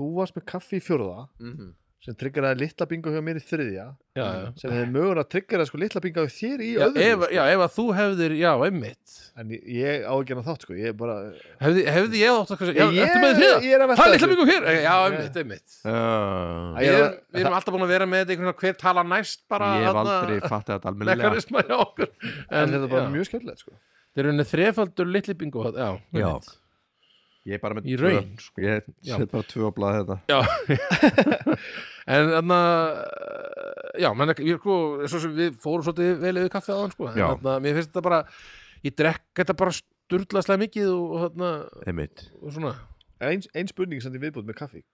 Speaker 3: þú varst með kaffi í fjórða
Speaker 1: mhm.
Speaker 3: sem triggeraði litla bingo hjá mér í þriðja
Speaker 2: já, já.
Speaker 3: sem hefði mögulega triggeraði sko litla bingo hjá þér í
Speaker 2: Já,
Speaker 3: öðru
Speaker 2: ef,
Speaker 3: sko.
Speaker 2: já, ef að þú hefðir, já, einmitt
Speaker 3: en ég, ég á ekki hana þátt sko ég er bara
Speaker 2: hefði, hefði ég átt að hversu, já,
Speaker 3: ég,
Speaker 2: ertu með þriða?
Speaker 3: ég er að velta
Speaker 2: Það er litla
Speaker 3: þessu.
Speaker 2: mjög hér, já, einmitt, einmitt
Speaker 1: Uh,
Speaker 3: Æ,
Speaker 2: Við
Speaker 3: ég er
Speaker 2: erum,
Speaker 3: að-
Speaker 2: við erum alltaf búin að vera með þetta einhvern veginn hver tala næst bara
Speaker 1: ég hef
Speaker 2: þarna,
Speaker 1: aldrei fattið þetta almennilega
Speaker 2: mekanisma hjá okkur
Speaker 3: en þetta er bara
Speaker 2: já,
Speaker 3: mjög skemmtilegt sko
Speaker 2: Þeir eru henni þrefaldur litli bingo þarna, Já,
Speaker 1: Já.
Speaker 2: einmitt.
Speaker 1: ég er bara með
Speaker 2: Í
Speaker 1: tvö.
Speaker 2: raun, sko.
Speaker 1: ég
Speaker 2: Já.
Speaker 1: set bara tvö á blað þetta
Speaker 2: En þarna Já, menn ekki, ég sko Svo sem við fórum svolítið vel yfir kaffi aðan sko En
Speaker 1: Já.
Speaker 2: þarna, mér finnst þetta bara Ég drekk þetta bara sturlaslega mikið og, og þarna,
Speaker 1: einmitt
Speaker 2: og svona
Speaker 3: ein, ein spurning sem þið viðbútt með kaffi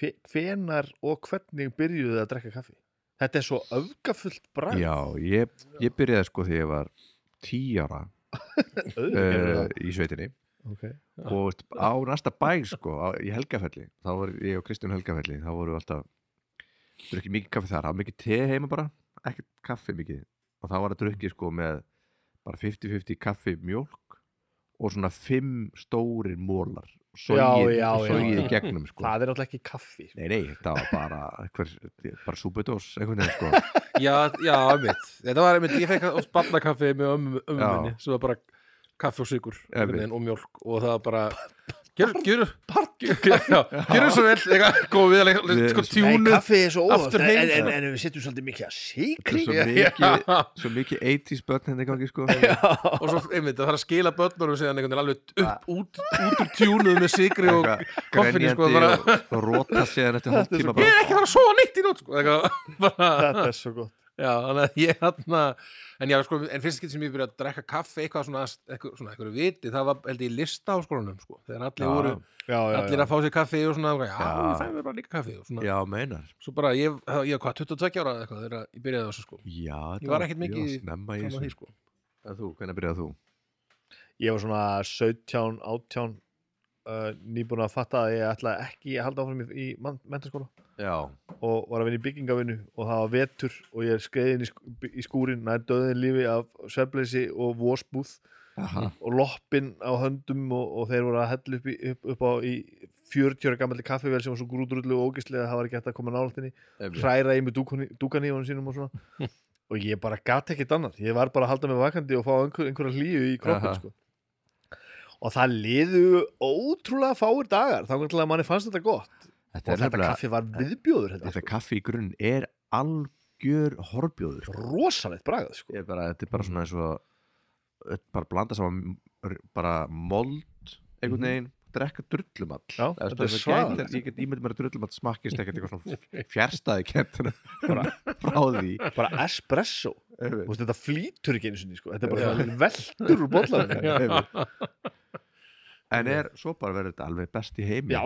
Speaker 3: Fe- hvenar og hvernig byrjuðu þið að drekka kaffi þetta er svo öfgafullt bræð
Speaker 1: já, ég, ég byrjaði sko þegar ég var tí ára uh, í sveitinni
Speaker 3: okay.
Speaker 1: og veist, á næsta bæ sko, á, í Helgafelli þá var ég og Kristján Helgafelli þá voru við alltaf drukkið mikið kaffi þar, það var mikið te heima bara ekkert kaffi mikið og þá var það drukkið sko með bara 50-50 kaffi mjólk og svona 5 stórir mólar
Speaker 3: Já, já, já.
Speaker 1: sógið í gegnum sko
Speaker 3: það er náttúrulega ekki kaffi
Speaker 1: nei, nei, þetta var bara einhver, bara súbudós einhvern veginn
Speaker 3: (laughs)
Speaker 1: sko
Speaker 2: Já, já, einmitt Þetta var einmitt, ég fekk oft barnakaffi með ömmu ömmu
Speaker 1: Já.
Speaker 2: minni sem var bara kaffi og sykur einhvern
Speaker 1: Einmitt.
Speaker 2: veginn og mjólk og það var bara Gjör, gjör, gjör, (laughs) já, gjör svo vel eitthvað, góð við að
Speaker 1: Við-
Speaker 2: leika sko,
Speaker 3: Nei,
Speaker 2: tjúnu
Speaker 3: kaffi er svo óvart
Speaker 2: Aftur
Speaker 3: en,
Speaker 2: heim. sko.
Speaker 3: en, en, en við setjum svolítið mikið að
Speaker 1: Þetta
Speaker 3: sykri
Speaker 1: er svo mikið, svo mikið 80s börn henni gangi sko
Speaker 2: og svo einmitt að fara að skila börnunum síðan einhvern veginn alveg upp, út, út úr tjúnuð með sigri og
Speaker 1: Eitthvað
Speaker 2: koffinu,
Speaker 1: grenjandi
Speaker 2: sko, bara-
Speaker 1: og, og róta séðan eftir
Speaker 3: Þetta er
Speaker 1: hálftíma
Speaker 3: svo
Speaker 2: ég
Speaker 1: bara,
Speaker 2: er ekki að fara að sofa nýtt í nótt sko, eitthvað, bara,
Speaker 3: þetta er svo gott
Speaker 2: já, þannig að ég hann en já, sko, en fyrst skilt sem ég byrja að drekka kaffi eitthvað svona, eitthvað, svona, eitthvað viti það var, held ég, í listaháskólanum, sko þegar allir
Speaker 1: Já.
Speaker 2: voru
Speaker 3: já, já,
Speaker 2: allir
Speaker 3: já.
Speaker 2: að fá sér kaffi og svona, já,
Speaker 1: Já.
Speaker 2: ég fæði mér bara líka kaffi og svona,
Speaker 1: já, meinar
Speaker 2: svo bara, ég, það- ég var hvað, 22 ára eða eitthvað þegar ég byrjaði á þessu sko
Speaker 1: Já,
Speaker 2: Ég var ekkert mikið
Speaker 1: já, snemma í
Speaker 2: fram að
Speaker 1: þessu
Speaker 2: því sko
Speaker 1: En þú, hvernig byrjaði þú?
Speaker 3: ég var svona 17, 18 uh, nýbúin að fatta að ég ætlaði ekki að halda áfram í, í mentaskóla
Speaker 1: Já,
Speaker 3: og var að vinna í byggingavinu og það var vetur og ég er skreiðin í, sk í skúrin nær döðin lífi af svefleysi og vósbúð
Speaker 1: Aha.
Speaker 3: og loppin á höndum og, og þeir voru að hella upp, í, upp, upp á í 40 ára gammalli kaffivél sem var svo grútrullu og ógislega að það var ekki hægt að koma nálaftinni hræra í með dúkanífunum sínum og svona
Speaker 1: (laughs)
Speaker 3: og ég bara gat ekkert annað ég var bara að halda mig vakandi og fá einhver, einhverja hlýju í kroppin
Speaker 1: Aha.
Speaker 3: sko. og það liðu ótrúlega fáir dagar þá kannski að manni fannst þetta gott
Speaker 1: Þetta
Speaker 3: og
Speaker 1: er
Speaker 3: þetta
Speaker 1: nefnilega,
Speaker 3: kaffi var viðbjóður held ég, sko.
Speaker 1: þetta kaffi í grunn er algjör horbjóður
Speaker 3: sko. rosalegt bragað sko.
Speaker 1: Ég er bara, þetta er bara svona eins og þetta er bara blanda saman r- bara mold, einhvern veginn drekka drullumall
Speaker 3: Já,
Speaker 1: Það
Speaker 3: þetta er
Speaker 1: svona
Speaker 3: svaðalegt.
Speaker 1: gæti- Ég get ímynd mér að drullumall smakkist ekkert eitthvað svona fjärstaði kentina bara (laughs) frá því
Speaker 3: (laughs) bara espresso Þú
Speaker 1: Einmitt.
Speaker 3: veist, þetta flýtur ekki einu sinni sko. þetta er bara svona veldur úr bollarinn
Speaker 1: Einmitt. En er svo bara verður þetta alveg best í heimi
Speaker 3: já,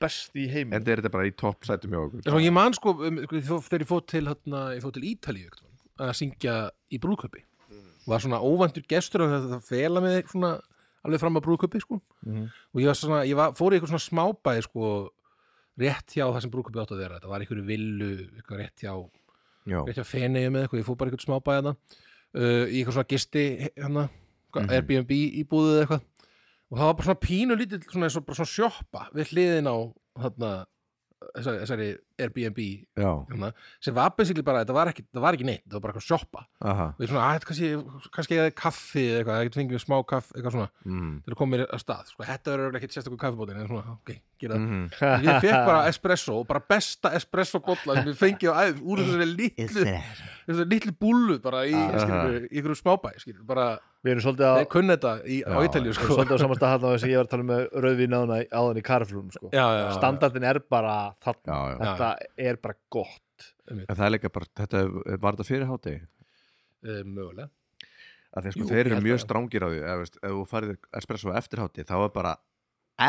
Speaker 3: best í heimi
Speaker 1: En er þetta bara í toppsætum hjá
Speaker 2: (laughs)
Speaker 1: okkur
Speaker 2: En svo ég man sko, um, sko, þó- þegar ég fóð til, hérna, ég fóð til Ítalíu einhvern tímann, að syngja í brúðköpi
Speaker 3: Mm.
Speaker 2: var svona óvæntur gestur að þetta fela mig svona alveg fram að brúðköpi sko
Speaker 3: Mhm.
Speaker 2: og ég var svona, ég var, fór í eitthvað svona smábæði sko rétt hjá það sem brúðköpi átt að vera þetta var einhverju villu, eitthvað rétt hjá
Speaker 1: Já,
Speaker 2: rétt hjá fenei með eitthvað, ég fór bara eitthvað smábæði hana uh, í eitthvað svona gisti hana,
Speaker 1: Mhm.
Speaker 2: Airbnb í búðið eða eitthvað og það var bara svona pínu lítill svona, svona, svona sjoppa við hliðin á þarna, hérna, þessari, þessari Airbnb
Speaker 1: já,
Speaker 2: hérna, sem var basically bara, þetta var ekki, það var ekki neitt það var bara eitthvað sjoppa
Speaker 1: aha
Speaker 2: og ég svona, að, kannski, kannski eða kaffi eða eitthvað, það getur fengið mér smá kaff eitthvað svona,
Speaker 1: mm.
Speaker 2: til að koma mér að stað sko, þetta verður örugglega ekkert sérstakur kaffibótin en svona, ok, gera það
Speaker 1: Mm.
Speaker 3: (laughs)
Speaker 2: ég fekk bara
Speaker 1: (laughs)
Speaker 2: espresso, bara besta espresso bolla sem ég fengið á æð úr þessari litlu, þessari litlu búllu bara í,
Speaker 3: Ah.
Speaker 2: skilur, í ykkur smábæ skilur, bara,
Speaker 3: Við erum svolítið
Speaker 2: ja.
Speaker 3: að
Speaker 2: ég kunni þetta í, á
Speaker 1: Já,
Speaker 2: Ítalíu
Speaker 3: við erum
Speaker 2: sko. (laughs)
Speaker 3: svolítið á samasta hann á þess að ég var að tala með rauðvín áðan í- áðan í karflum sko.
Speaker 2: já, já, já,
Speaker 3: Standardin er bara
Speaker 1: já,
Speaker 3: þarna
Speaker 1: já.
Speaker 3: Þetta er bara gott
Speaker 1: En það er líka bara, þetta var þetta fyrir hátegi
Speaker 2: Eh, mögulega
Speaker 1: að þeir, sko,
Speaker 2: Jú,
Speaker 1: þeir
Speaker 2: ég
Speaker 1: eru
Speaker 2: held
Speaker 1: mjög
Speaker 2: það.
Speaker 1: strángir á því eða, veist, ef þú farið espresso á eftirhátti þá er bara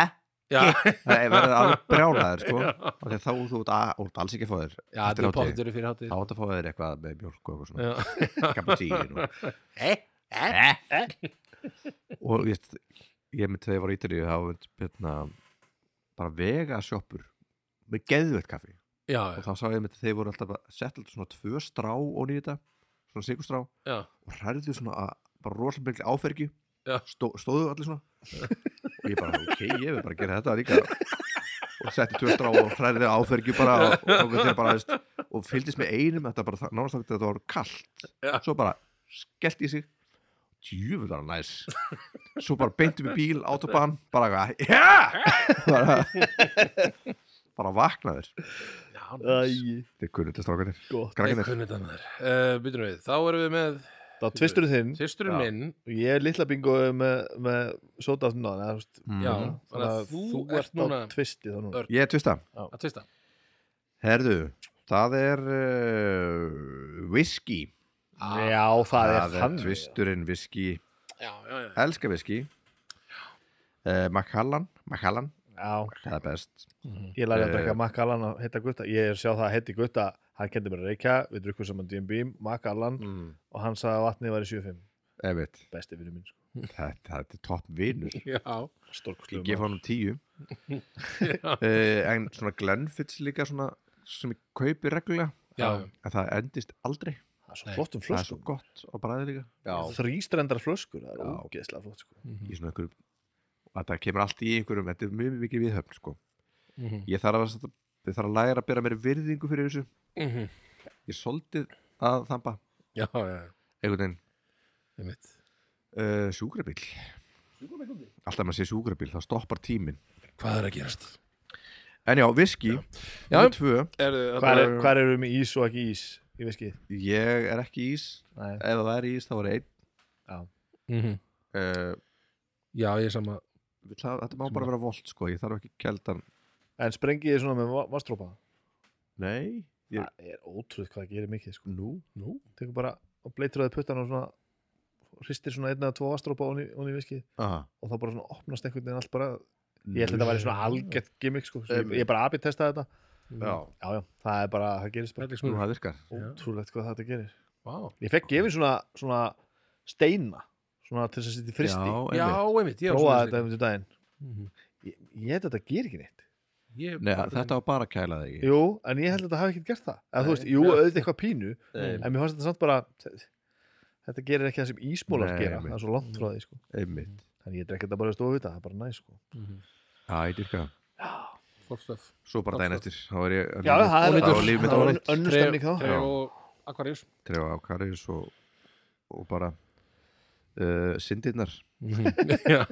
Speaker 1: eh,
Speaker 2: já,
Speaker 1: það er verið alveg brjálaðir sko.
Speaker 2: (laughs) Já.
Speaker 1: og þegar þá þú ert að- þú ert alls ekki að fá þér
Speaker 2: já þetta er
Speaker 1: hátíð.
Speaker 2: pottur fyrir hátíð
Speaker 1: þá ert að fá þér eitthvað með mjölk og eitthvað svona
Speaker 2: já, Eh?
Speaker 1: kaputín og
Speaker 2: (laughs)
Speaker 3: Eh,
Speaker 1: og ég, veist, ég myndi þegar ég var í Ítalíu þá myndi hérna, bara vega sjoppur með geðveitt kaffi
Speaker 2: já,
Speaker 1: og þá sá ég myndi þeir voru alltaf að setja alltaf svona tvö strá og nýta svona sigurstrá
Speaker 2: já,
Speaker 1: og hræðu svona að bara rosalega mikli áfergju
Speaker 2: Já.
Speaker 1: stó, stóðu allir svona og ég bara, ok, ég vil bara gera þetta líka og setti tvö strá og hræðu áfergju bara og, og, og, bara, veist, og fylgdist með einum þetta bara þa- nánast þannig að þetta var kallt
Speaker 2: Já.
Speaker 1: svo bara skellti í sig djúvel var hann næs svo bara beinti með bíl, autobahn bara, yeah! bara bara vaknaðir
Speaker 2: já nice.
Speaker 3: Æ,
Speaker 1: þeir kunnu þetta strákanir,
Speaker 3: gott
Speaker 2: Ég
Speaker 1: krakkanir
Speaker 2: kunni þetta maður. Uh, Býtum við, þá erum við með
Speaker 3: Þá tvisturinn þinn
Speaker 2: sýsturinn
Speaker 1: Já.
Speaker 2: minn.
Speaker 3: og ég er litla bingo með, með sóta aftur náðan eða, þú veist,
Speaker 1: Mhm.
Speaker 2: Já,
Speaker 3: Mhm.
Speaker 2: þannig að þú, ert núna
Speaker 3: á tvisti þá núna
Speaker 2: Örn.
Speaker 1: ég er tvista
Speaker 2: að tvista.
Speaker 1: Herðu, það er uh, whisky
Speaker 2: Já,
Speaker 3: Já, það er þannig
Speaker 1: tvisturinn whisky
Speaker 2: Ah, já, já. já.
Speaker 1: Elskar whisky uh, Macallan Macallan,
Speaker 3: Já,
Speaker 1: það er best
Speaker 3: ég lærði að
Speaker 1: Eh.
Speaker 3: drekka Mac Allan að heita Gutta ég er að sjá það að heiti Gutta, hann kendi mér að reykja við drukkum saman D&B, Mac Allan
Speaker 2: Mm.
Speaker 3: og hann sagði að vatnið var í 75
Speaker 1: Efitt,
Speaker 3: besti vinur minn, sko.
Speaker 1: þetta, þetta er topp vinur
Speaker 2: Já,
Speaker 1: Ég
Speaker 3: stórkostlegu
Speaker 1: gef honum tíu (laughs) uh, En svona Glenfitz líka svona sem ég kaupi reglulega
Speaker 2: já.
Speaker 1: en það endist aldrei
Speaker 3: það er
Speaker 2: Nei,
Speaker 3: svo flottum
Speaker 1: það er svo
Speaker 3: flöskum,
Speaker 1: gott á bræði líka
Speaker 3: þrýstrendar flöskur það er
Speaker 1: Já.
Speaker 3: ógeðslega flott sko.
Speaker 1: í svona einhverjum og þetta kemur allt í einhverjum, þetta er mjög mjög mikið viðhöfn sko.
Speaker 2: Mhm.
Speaker 1: ég þarf að, ég þarf að læra að bera mér virðingu fyrir þessu
Speaker 2: Mhm.
Speaker 1: ég er svolítið að þamba
Speaker 2: Já, já, já.
Speaker 1: einhvern veginn
Speaker 2: Ég mitt.
Speaker 1: uh, sjúkrabíl alltaf maður sé sjúkrabíl, þá stoppar tíminn
Speaker 2: Hvað er að gerast?
Speaker 1: en já, viski,
Speaker 2: Já.
Speaker 1: númer tvö
Speaker 2: Er,
Speaker 3: hvað er, hvar erum við með ís og ekki ís í viski
Speaker 1: ég er ekki ís
Speaker 3: Nei.
Speaker 1: ef það er ís, þá er einn
Speaker 2: Mhm.
Speaker 1: uh,
Speaker 2: Já, ég er sama.
Speaker 1: vill það, þetta má bara vera volt sko, ég þarf ekki keldan
Speaker 3: en sprengi ég svona með va- vatnstrópa
Speaker 1: nei, ég,
Speaker 3: það er ótrúð hvað það gerir mikið sko.
Speaker 1: nú
Speaker 2: Nú?
Speaker 3: tekur bara og bleitraði puttan og svona hristir svona einn eða tvo vatnstrópa onni, onni í viski
Speaker 1: Aha,
Speaker 3: og þá bara svona opnast einhvern veginn allt bara ég held að þetta væri svona algjört gimmick sko. Svo ég,
Speaker 1: Einmitt.
Speaker 3: ég bara abið testaði þetta
Speaker 1: já,
Speaker 3: já, já, það er bara, það gerist bara
Speaker 2: Bræðleik
Speaker 1: nú
Speaker 2: smúr.
Speaker 1: það virkar
Speaker 3: ótrúlegt hvað þetta gerir
Speaker 2: Vá.
Speaker 3: ég fekk gefið svona, svona steina svona til þess að setja í fristi
Speaker 1: já,
Speaker 2: Já,
Speaker 1: einmitt.
Speaker 2: ég mitt.
Speaker 3: prófaði þetta um til daginn
Speaker 2: Mhm.
Speaker 3: ég, ég held að þetta gerir ekki neitt
Speaker 2: Ég,
Speaker 1: Nei, þetta var bara að kæla þig
Speaker 3: jú, en ég held að þetta hafi ekkert gert það eða þú
Speaker 1: Nei.
Speaker 3: veist, jú,
Speaker 2: Já.
Speaker 3: auðvitað eitthvað pínu
Speaker 1: Nei.
Speaker 3: en mér fannst þetta samt bara þetta gerir ekki það sem ísmólar
Speaker 1: Nei,
Speaker 3: gera
Speaker 1: einmitt.
Speaker 3: það er svo langt frá því sko
Speaker 1: einmitt,
Speaker 3: þannig ég drekk þetta bara í stofu þetta, það er bara næ sko
Speaker 2: Mhm.
Speaker 1: já, ég dyrka
Speaker 2: Forstöf.
Speaker 1: svo bara daginn eftir, þá er ég
Speaker 3: já, það er
Speaker 1: þá er líf mitt
Speaker 3: það var
Speaker 1: ónýtt
Speaker 3: önnur stemning þá
Speaker 1: Já.
Speaker 2: Tref og akvarjus.
Speaker 1: trefa á karriðis og, og bara uh, syndirnar
Speaker 2: (laughs) já.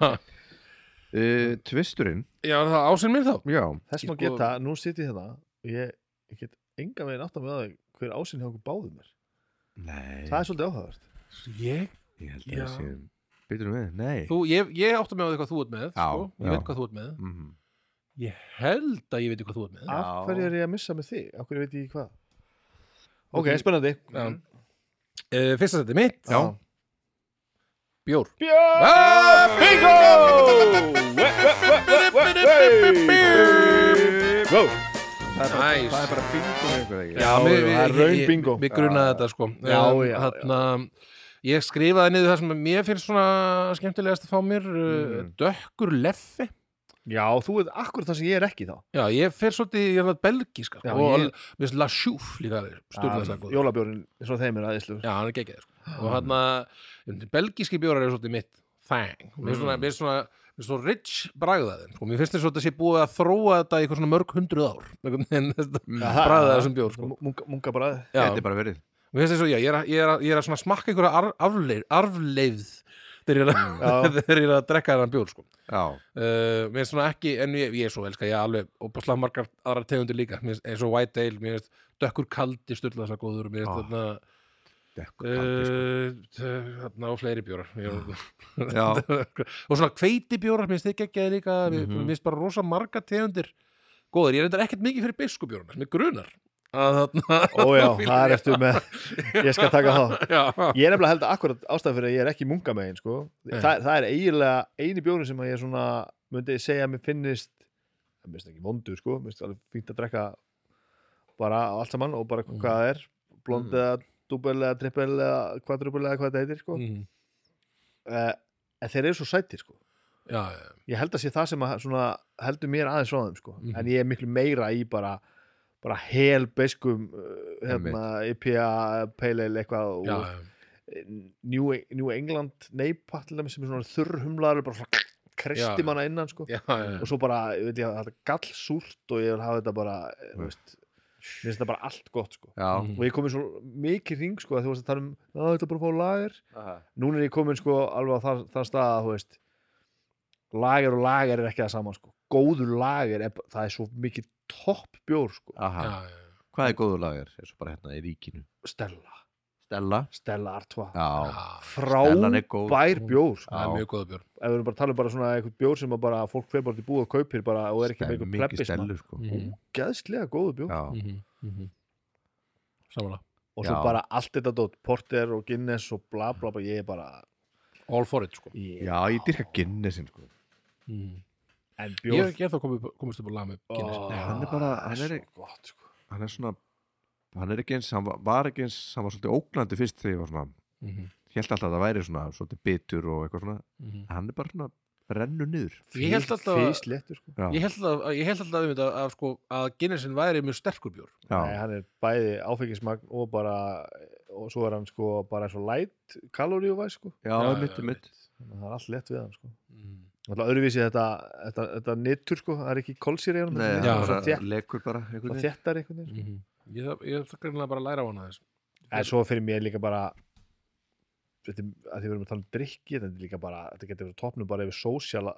Speaker 1: uh, tvisturinn,
Speaker 2: já, er það ásinn minn þá.
Speaker 1: já
Speaker 3: þess má
Speaker 2: Sko-
Speaker 3: geta, nú sit ég þetta og ég, ég get enga veginn átt að með það hver ásinn hjá okkur báðum er
Speaker 1: Nei,
Speaker 3: það er svolítið áhugavert
Speaker 2: Ég
Speaker 1: ég held að
Speaker 2: Já.
Speaker 1: það séum Býtur við, nei
Speaker 2: Þú, ég, ég átta mig á því hvað þú ert með
Speaker 1: Já,
Speaker 2: sko. Ég
Speaker 1: já.
Speaker 2: veit hvað þú ert með
Speaker 1: Mhm.
Speaker 2: Ég held að ég veit hvað þú ert með
Speaker 3: af
Speaker 1: Já.
Speaker 3: hverju er ég að missa með þig, af hverju veit ég ekki hvað ok,
Speaker 2: Þú-
Speaker 3: spennandi Mm.
Speaker 2: Já. uh, Mhm. Fyrsta seti mitt
Speaker 1: Já.
Speaker 2: Bjór
Speaker 3: Björn
Speaker 2: ah,
Speaker 3: Bingo Go
Speaker 1: Það er bara,
Speaker 2: Nice.
Speaker 1: það er bara bingo með einhver, ekki?
Speaker 2: Já,
Speaker 3: Já,
Speaker 2: mér-
Speaker 3: já, það er
Speaker 2: ég-
Speaker 3: raun
Speaker 2: ég-
Speaker 3: bingo.
Speaker 2: Mér grunaði þetta sko
Speaker 3: Já,
Speaker 2: Um,
Speaker 3: já, já.
Speaker 2: þarna, Ég skrifaði niður það sem mér finnst svona skemmtilegast að fá mér uh,
Speaker 1: Mm.
Speaker 2: dökkur leffi
Speaker 3: Já, þú veit akkur það sem ég er ekki þá
Speaker 2: Já, ég fer svolítið, ég er það belgíska
Speaker 3: Já,
Speaker 2: sko, og
Speaker 3: ég-
Speaker 2: al- mér finnst La Chouf líka stjórnlega það góð
Speaker 3: Jólabjörn, svo þeim Ah, er aðeinslu
Speaker 2: Já, hann er
Speaker 3: Ah.
Speaker 2: um,
Speaker 3: Mm.
Speaker 2: geggjað sko. og hann að belgíski bjórar er svolítið mitt þang, mér er svona, mér er svona finnst svo rich bragðaðin sko. mér finnst þess að þetta sé búið að þróa þetta í eitthvað svona mörg hundruð ár einhvern veginn þetta
Speaker 3: Aha.
Speaker 2: bragðaðið sem bjór sko.
Speaker 3: Munga, munga bræði
Speaker 2: Já.
Speaker 1: Mm. Þetta er bara verið
Speaker 2: mér finnst þess að já, ég er að, ég er að, ég er að svona smakka einhverja arf- arfleif, arfleifð þegar ég er
Speaker 1: Mm.
Speaker 2: að- (laughs) þegar ég er að drekka þennan bjór sko.
Speaker 1: Já,
Speaker 2: uh, mér finnst svona ekki en ég, ég er svo elska, ég alveg og búslega margar aðra tegundir líka, mér finnst eins og white ale mér finnst dökkur kaldi styrla þessa góður mér
Speaker 1: Ah,
Speaker 2: finnst þarna
Speaker 1: dekkur
Speaker 2: Eh.
Speaker 1: kaldi, sko.
Speaker 2: uh, þarna og fleiri bjórar ég, (laughs)
Speaker 1: Já,
Speaker 2: og svona hveitibjórar, mér finnst þið geggjaði líka mér
Speaker 1: Mhm.
Speaker 2: mér finnst bara rosa marga tegundir góður, ég er reyndar ekkert mikið fyrir biskubjórarna mér grunar að þarna (laughs)
Speaker 3: Ójá, það er eftir með Ég skal taka þá
Speaker 2: já,
Speaker 3: Ég er nefnilega held að akkurat ástæð fyrir að ég er ekki munga megin sko.
Speaker 2: Nei.
Speaker 3: það, það er eiginlega eini bjóri sem að ég svona myndi segja að mér finnist það minnst ekki vondu sko, mér finnst alveg fínt að drekka bara allt saman og bara
Speaker 2: Mm.
Speaker 3: hvað það er blond
Speaker 2: Mm.
Speaker 3: eða dúbel eða trippel eða kvadrúbel eða hvað þetta heitir sko. mm.
Speaker 2: Mhm.
Speaker 3: en þeir eru svo sætir sko.
Speaker 2: já, já,
Speaker 3: ég held að sé það sem að svona, heldur mér aðeins frá þeim sko.
Speaker 2: Mhm.
Speaker 3: en ég er miklu meira í bara bara hel beskum uh, hérna, IPA, Pale Ale eitthvað og
Speaker 2: já, já.
Speaker 3: New, E- New England neipa til dæmis sem er svona þurrhumlaður bara svona
Speaker 2: Já, já.
Speaker 3: kristi manna innan sko
Speaker 2: já, já.
Speaker 3: og svo bara, ég veit ég, þetta er gallsúrt og ég vil hafa þetta bara, eh,
Speaker 1: Mm.
Speaker 3: þú veist mér finnst þetta bara allt gott sko
Speaker 1: já
Speaker 2: Mhm.
Speaker 3: og ég komið svo mikið hring sko að þú varst að tala um að þetta er bara að fá lager
Speaker 1: Aha.
Speaker 3: núna er ég komin sko alveg á þar, þar stað að þú veist lager og lager er ekki það saman sko góður lager, er, það er svo mikið topp bjór sko,
Speaker 1: Aha.
Speaker 2: já, já.
Speaker 1: Hvað er góður lager? Er svo bara hérna í ríkinu
Speaker 3: Stella
Speaker 1: Stella
Speaker 3: Stella Artois,
Speaker 1: Já,
Speaker 2: Já,
Speaker 1: Stellan er góð.
Speaker 3: frábær bjór sko.
Speaker 2: það er
Speaker 1: Já.
Speaker 2: mjög góða björn
Speaker 3: ef við erum bara að tala um bara svona eitthvað bjór sem að bara fólk fer bara til búið og kaupir bara og er ekki með Mm.
Speaker 1: Stem-
Speaker 3: eitthvað
Speaker 1: mikið
Speaker 3: plebbis
Speaker 1: Stellu sko
Speaker 3: gæðslega góðu bjór
Speaker 1: Já,
Speaker 2: Mhm, samanlega
Speaker 3: og svo
Speaker 1: Já.
Speaker 3: bara allt þetta dót, porter og Guinness og bla bla bla, ég er bara
Speaker 2: all for it sko
Speaker 3: ég,
Speaker 1: já ég dyrka Guinnessin sko
Speaker 2: mm.
Speaker 3: en
Speaker 2: ég
Speaker 3: bjór
Speaker 2: hef ekki eftir að komast upp á lag með Guinness
Speaker 3: Ó,
Speaker 2: Nei,
Speaker 1: hann er bara- hann
Speaker 3: svo
Speaker 1: er-
Speaker 3: gott sko
Speaker 1: Hann er svona Hann er ekki eins, hann var- var ekki eins Hann var svolítið ógnandi fyrst þegar ég var svona
Speaker 2: mhm,
Speaker 1: Helt alltaf að það væri svona svolítið bitur og eitthvað svona
Speaker 2: mhm.
Speaker 1: Hann er bara svona rennu niður
Speaker 2: Ég held alltaf að-
Speaker 3: físléttur sko
Speaker 1: Já,
Speaker 2: ég held alltaf- ég held alltaf einmitt að, að, sko, að Guinnessin væri mjög sterkur bjór
Speaker 3: Nei,
Speaker 1: já,
Speaker 3: hann er bæði áfengismagn og bara og svo er hann sko bara svo light kaloríuvæs sko
Speaker 1: já,
Speaker 2: Já,
Speaker 1: mitt,
Speaker 2: já,
Speaker 1: mitt
Speaker 3: Þannig að það er allt lett við hann sko
Speaker 2: mm.
Speaker 3: alltaf öðruvísi þetta, þetta, þetta nittur sko það er ekki kolsýri í honum
Speaker 1: Nei,
Speaker 3: þetta
Speaker 2: Já,
Speaker 3: er
Speaker 1: hann
Speaker 3: bara
Speaker 1: bara
Speaker 3: þétt-
Speaker 1: lekur bara einhvern
Speaker 3: og
Speaker 1: veginn.
Speaker 3: þéttar einhvern veginn sko.
Speaker 2: -hmm. ég þarf- ég þarf greinlega bara að læra á hana þess
Speaker 3: en svo fyrir mér líka bara þetta, er- að því við erum að tala um drikki þetta er líka bara, þetta getur verið topnum bara yfir sósjala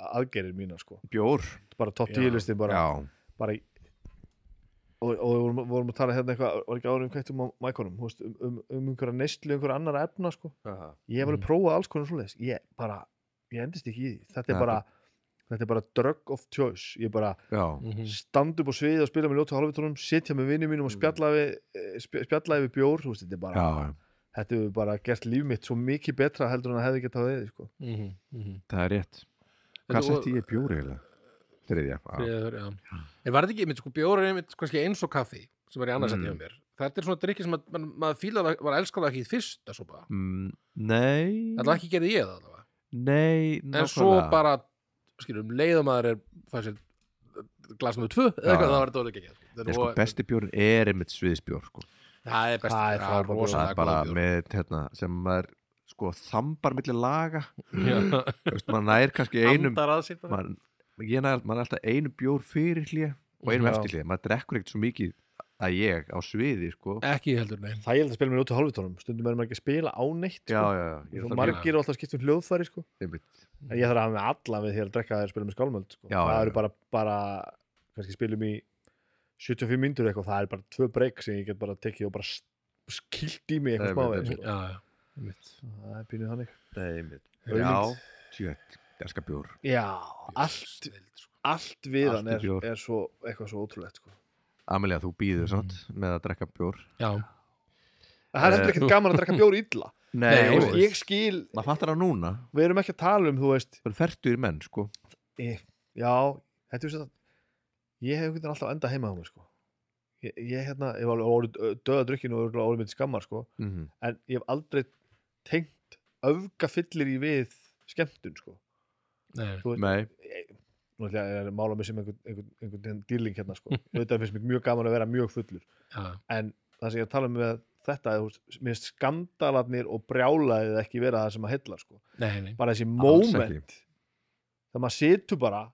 Speaker 3: aðgerir mína sko
Speaker 1: Bjór,
Speaker 3: bara topp
Speaker 2: Já.
Speaker 3: 10 listin bara,
Speaker 1: já,
Speaker 3: bara í- og, og við vorum, vorum að tala hérna eitthvað, var ekki árum kveitt um á mækonum þú veist, um, um, um einhverja neistlu, einhverja annara efna sko, ég hef alveg
Speaker 2: Mhm.
Speaker 3: prófað alls konar svoleiðis, ég bara, ég endist ekki í því þetta
Speaker 1: Nei,
Speaker 3: er bara, þetta er bara drug of choice, ég bara
Speaker 1: já
Speaker 2: Mm. Mhm,
Speaker 3: standa upp á sviði og spila með ljótu hálfutónum, sitja með vinnum mínum og
Speaker 1: Mm.
Speaker 3: spjalla við, eh, sp- spjalla yfir bjór, þú veist, þetta er bara
Speaker 1: Já,
Speaker 3: þetta hefur bara gert líf mitt svo mikið betra heldur en að hefði getað við sko.
Speaker 2: mhm,
Speaker 1: það er rétt Hvað setti ég bjór eiginlega? Þriðja, já,
Speaker 2: Friður, já. En var þetta ekki, einmitt, sko, bjór er einmitt kannski eins og kaffi sem er í annars mm.
Speaker 1: Mm.
Speaker 2: hjá mér. Þetta er svona drikki sem að, man, maður fíla var elskað ekki í fyrsta svo bara.
Speaker 1: Mm, Nei
Speaker 2: Þetta ekki gerði ég það allavega.
Speaker 1: Nei,
Speaker 2: En svo bara, skiljum, leiðum maður er fær sér eh, glas með tvö eða eitthvað
Speaker 1: Já, já.
Speaker 2: það var þetta orðið ekki. ekki. Þetta
Speaker 1: Nei, sko,
Speaker 2: og-
Speaker 1: besti bjórn er einmitt sviðisbjór sko.
Speaker 2: Það er best.
Speaker 3: Það er frábær bjór.
Speaker 1: það
Speaker 2: rosalega
Speaker 1: er bara
Speaker 2: góð bjór.
Speaker 1: með hérna, sem maður sko þambar millir laga
Speaker 2: Já.
Speaker 1: Þú veist, maður nær kannski einum
Speaker 2: Andar að sér bara.
Speaker 1: maður, ég nær, maður er alltaf einu bjór fyrir hlýja og einum
Speaker 3: Já.
Speaker 1: eftir hlýja maður drekkur ekkert svo mikið að ég á sviði sko.
Speaker 2: Ekki heldur, nei.
Speaker 3: það er að spila með ljótu hálfutónum, stundum erum ekki að spila á neitt
Speaker 1: já,
Speaker 3: sko.
Speaker 1: já, já, ég er
Speaker 3: svo
Speaker 1: alltaf
Speaker 3: margir og alltaf skipt um hljóðfæri sko.
Speaker 1: einmitt.
Speaker 3: en ég þarf að hafa með alla við því að drekka þeir spila með skálmöld sko.
Speaker 1: Já, já,
Speaker 3: það
Speaker 1: já.
Speaker 3: eru bara, bara kannski spilum í 75 myndur eitthvað, það er bara tvö breyk sem ég get bara tekið og bara s- skýlt í mig
Speaker 1: Nei,
Speaker 3: eitthvað smá
Speaker 1: einmitt,
Speaker 3: veginn,
Speaker 2: Já, já. Einmitt.
Speaker 3: sko. það er pínuð þannig
Speaker 1: Nei, einmitt.
Speaker 3: Auðlind.
Speaker 1: já, tjöld, derska bjór
Speaker 3: já, allt,
Speaker 2: Snild, sko.
Speaker 3: allt við
Speaker 1: Allt
Speaker 3: hann
Speaker 1: í
Speaker 3: er,
Speaker 1: bjór.
Speaker 3: er svo, eitthvað svo ótrúlegt sko.
Speaker 1: Amelia, þú býður samt
Speaker 3: Mm.
Speaker 1: með að drekka bjór
Speaker 2: Já.
Speaker 3: það er
Speaker 1: Eh.
Speaker 3: heldur ekkert gaman að drekka bjór illa
Speaker 2: Nei,
Speaker 3: Þú veist,
Speaker 1: þú
Speaker 3: ég
Speaker 1: veist.
Speaker 3: skil,
Speaker 1: maður fattar það núna
Speaker 3: við erum ekki að tala um þú veist
Speaker 1: það er færtur menn sko.
Speaker 3: Ég, já, þetta er svo ég hef einhvern veginn alltaf enda heima á mér sko. ég, ég hérna, ég var alveg orðið döða drukkin og örugglega orðið mitt skammar sko.
Speaker 1: mm
Speaker 3: en ég hef aldrei tengt öfgafillir í við skemmtun sko.
Speaker 2: Nei.
Speaker 3: Þú veist,
Speaker 1: Nei,
Speaker 3: nú ætla ég að mála mig sem einhvern, einhvern, einhvern, einhvern dýrling hérna sko. þetta finnst mér mjög gaman að vera mjög fullur
Speaker 2: Já.
Speaker 3: en það sem ég er að tala um með þetta er, þú veist, mér finnst skandalarnir og brjálaðið ekki vera það sem að heilla sko.
Speaker 2: Nei, nei.
Speaker 3: bara þessi
Speaker 1: Alls ekki.
Speaker 3: moment þegar maður situr bara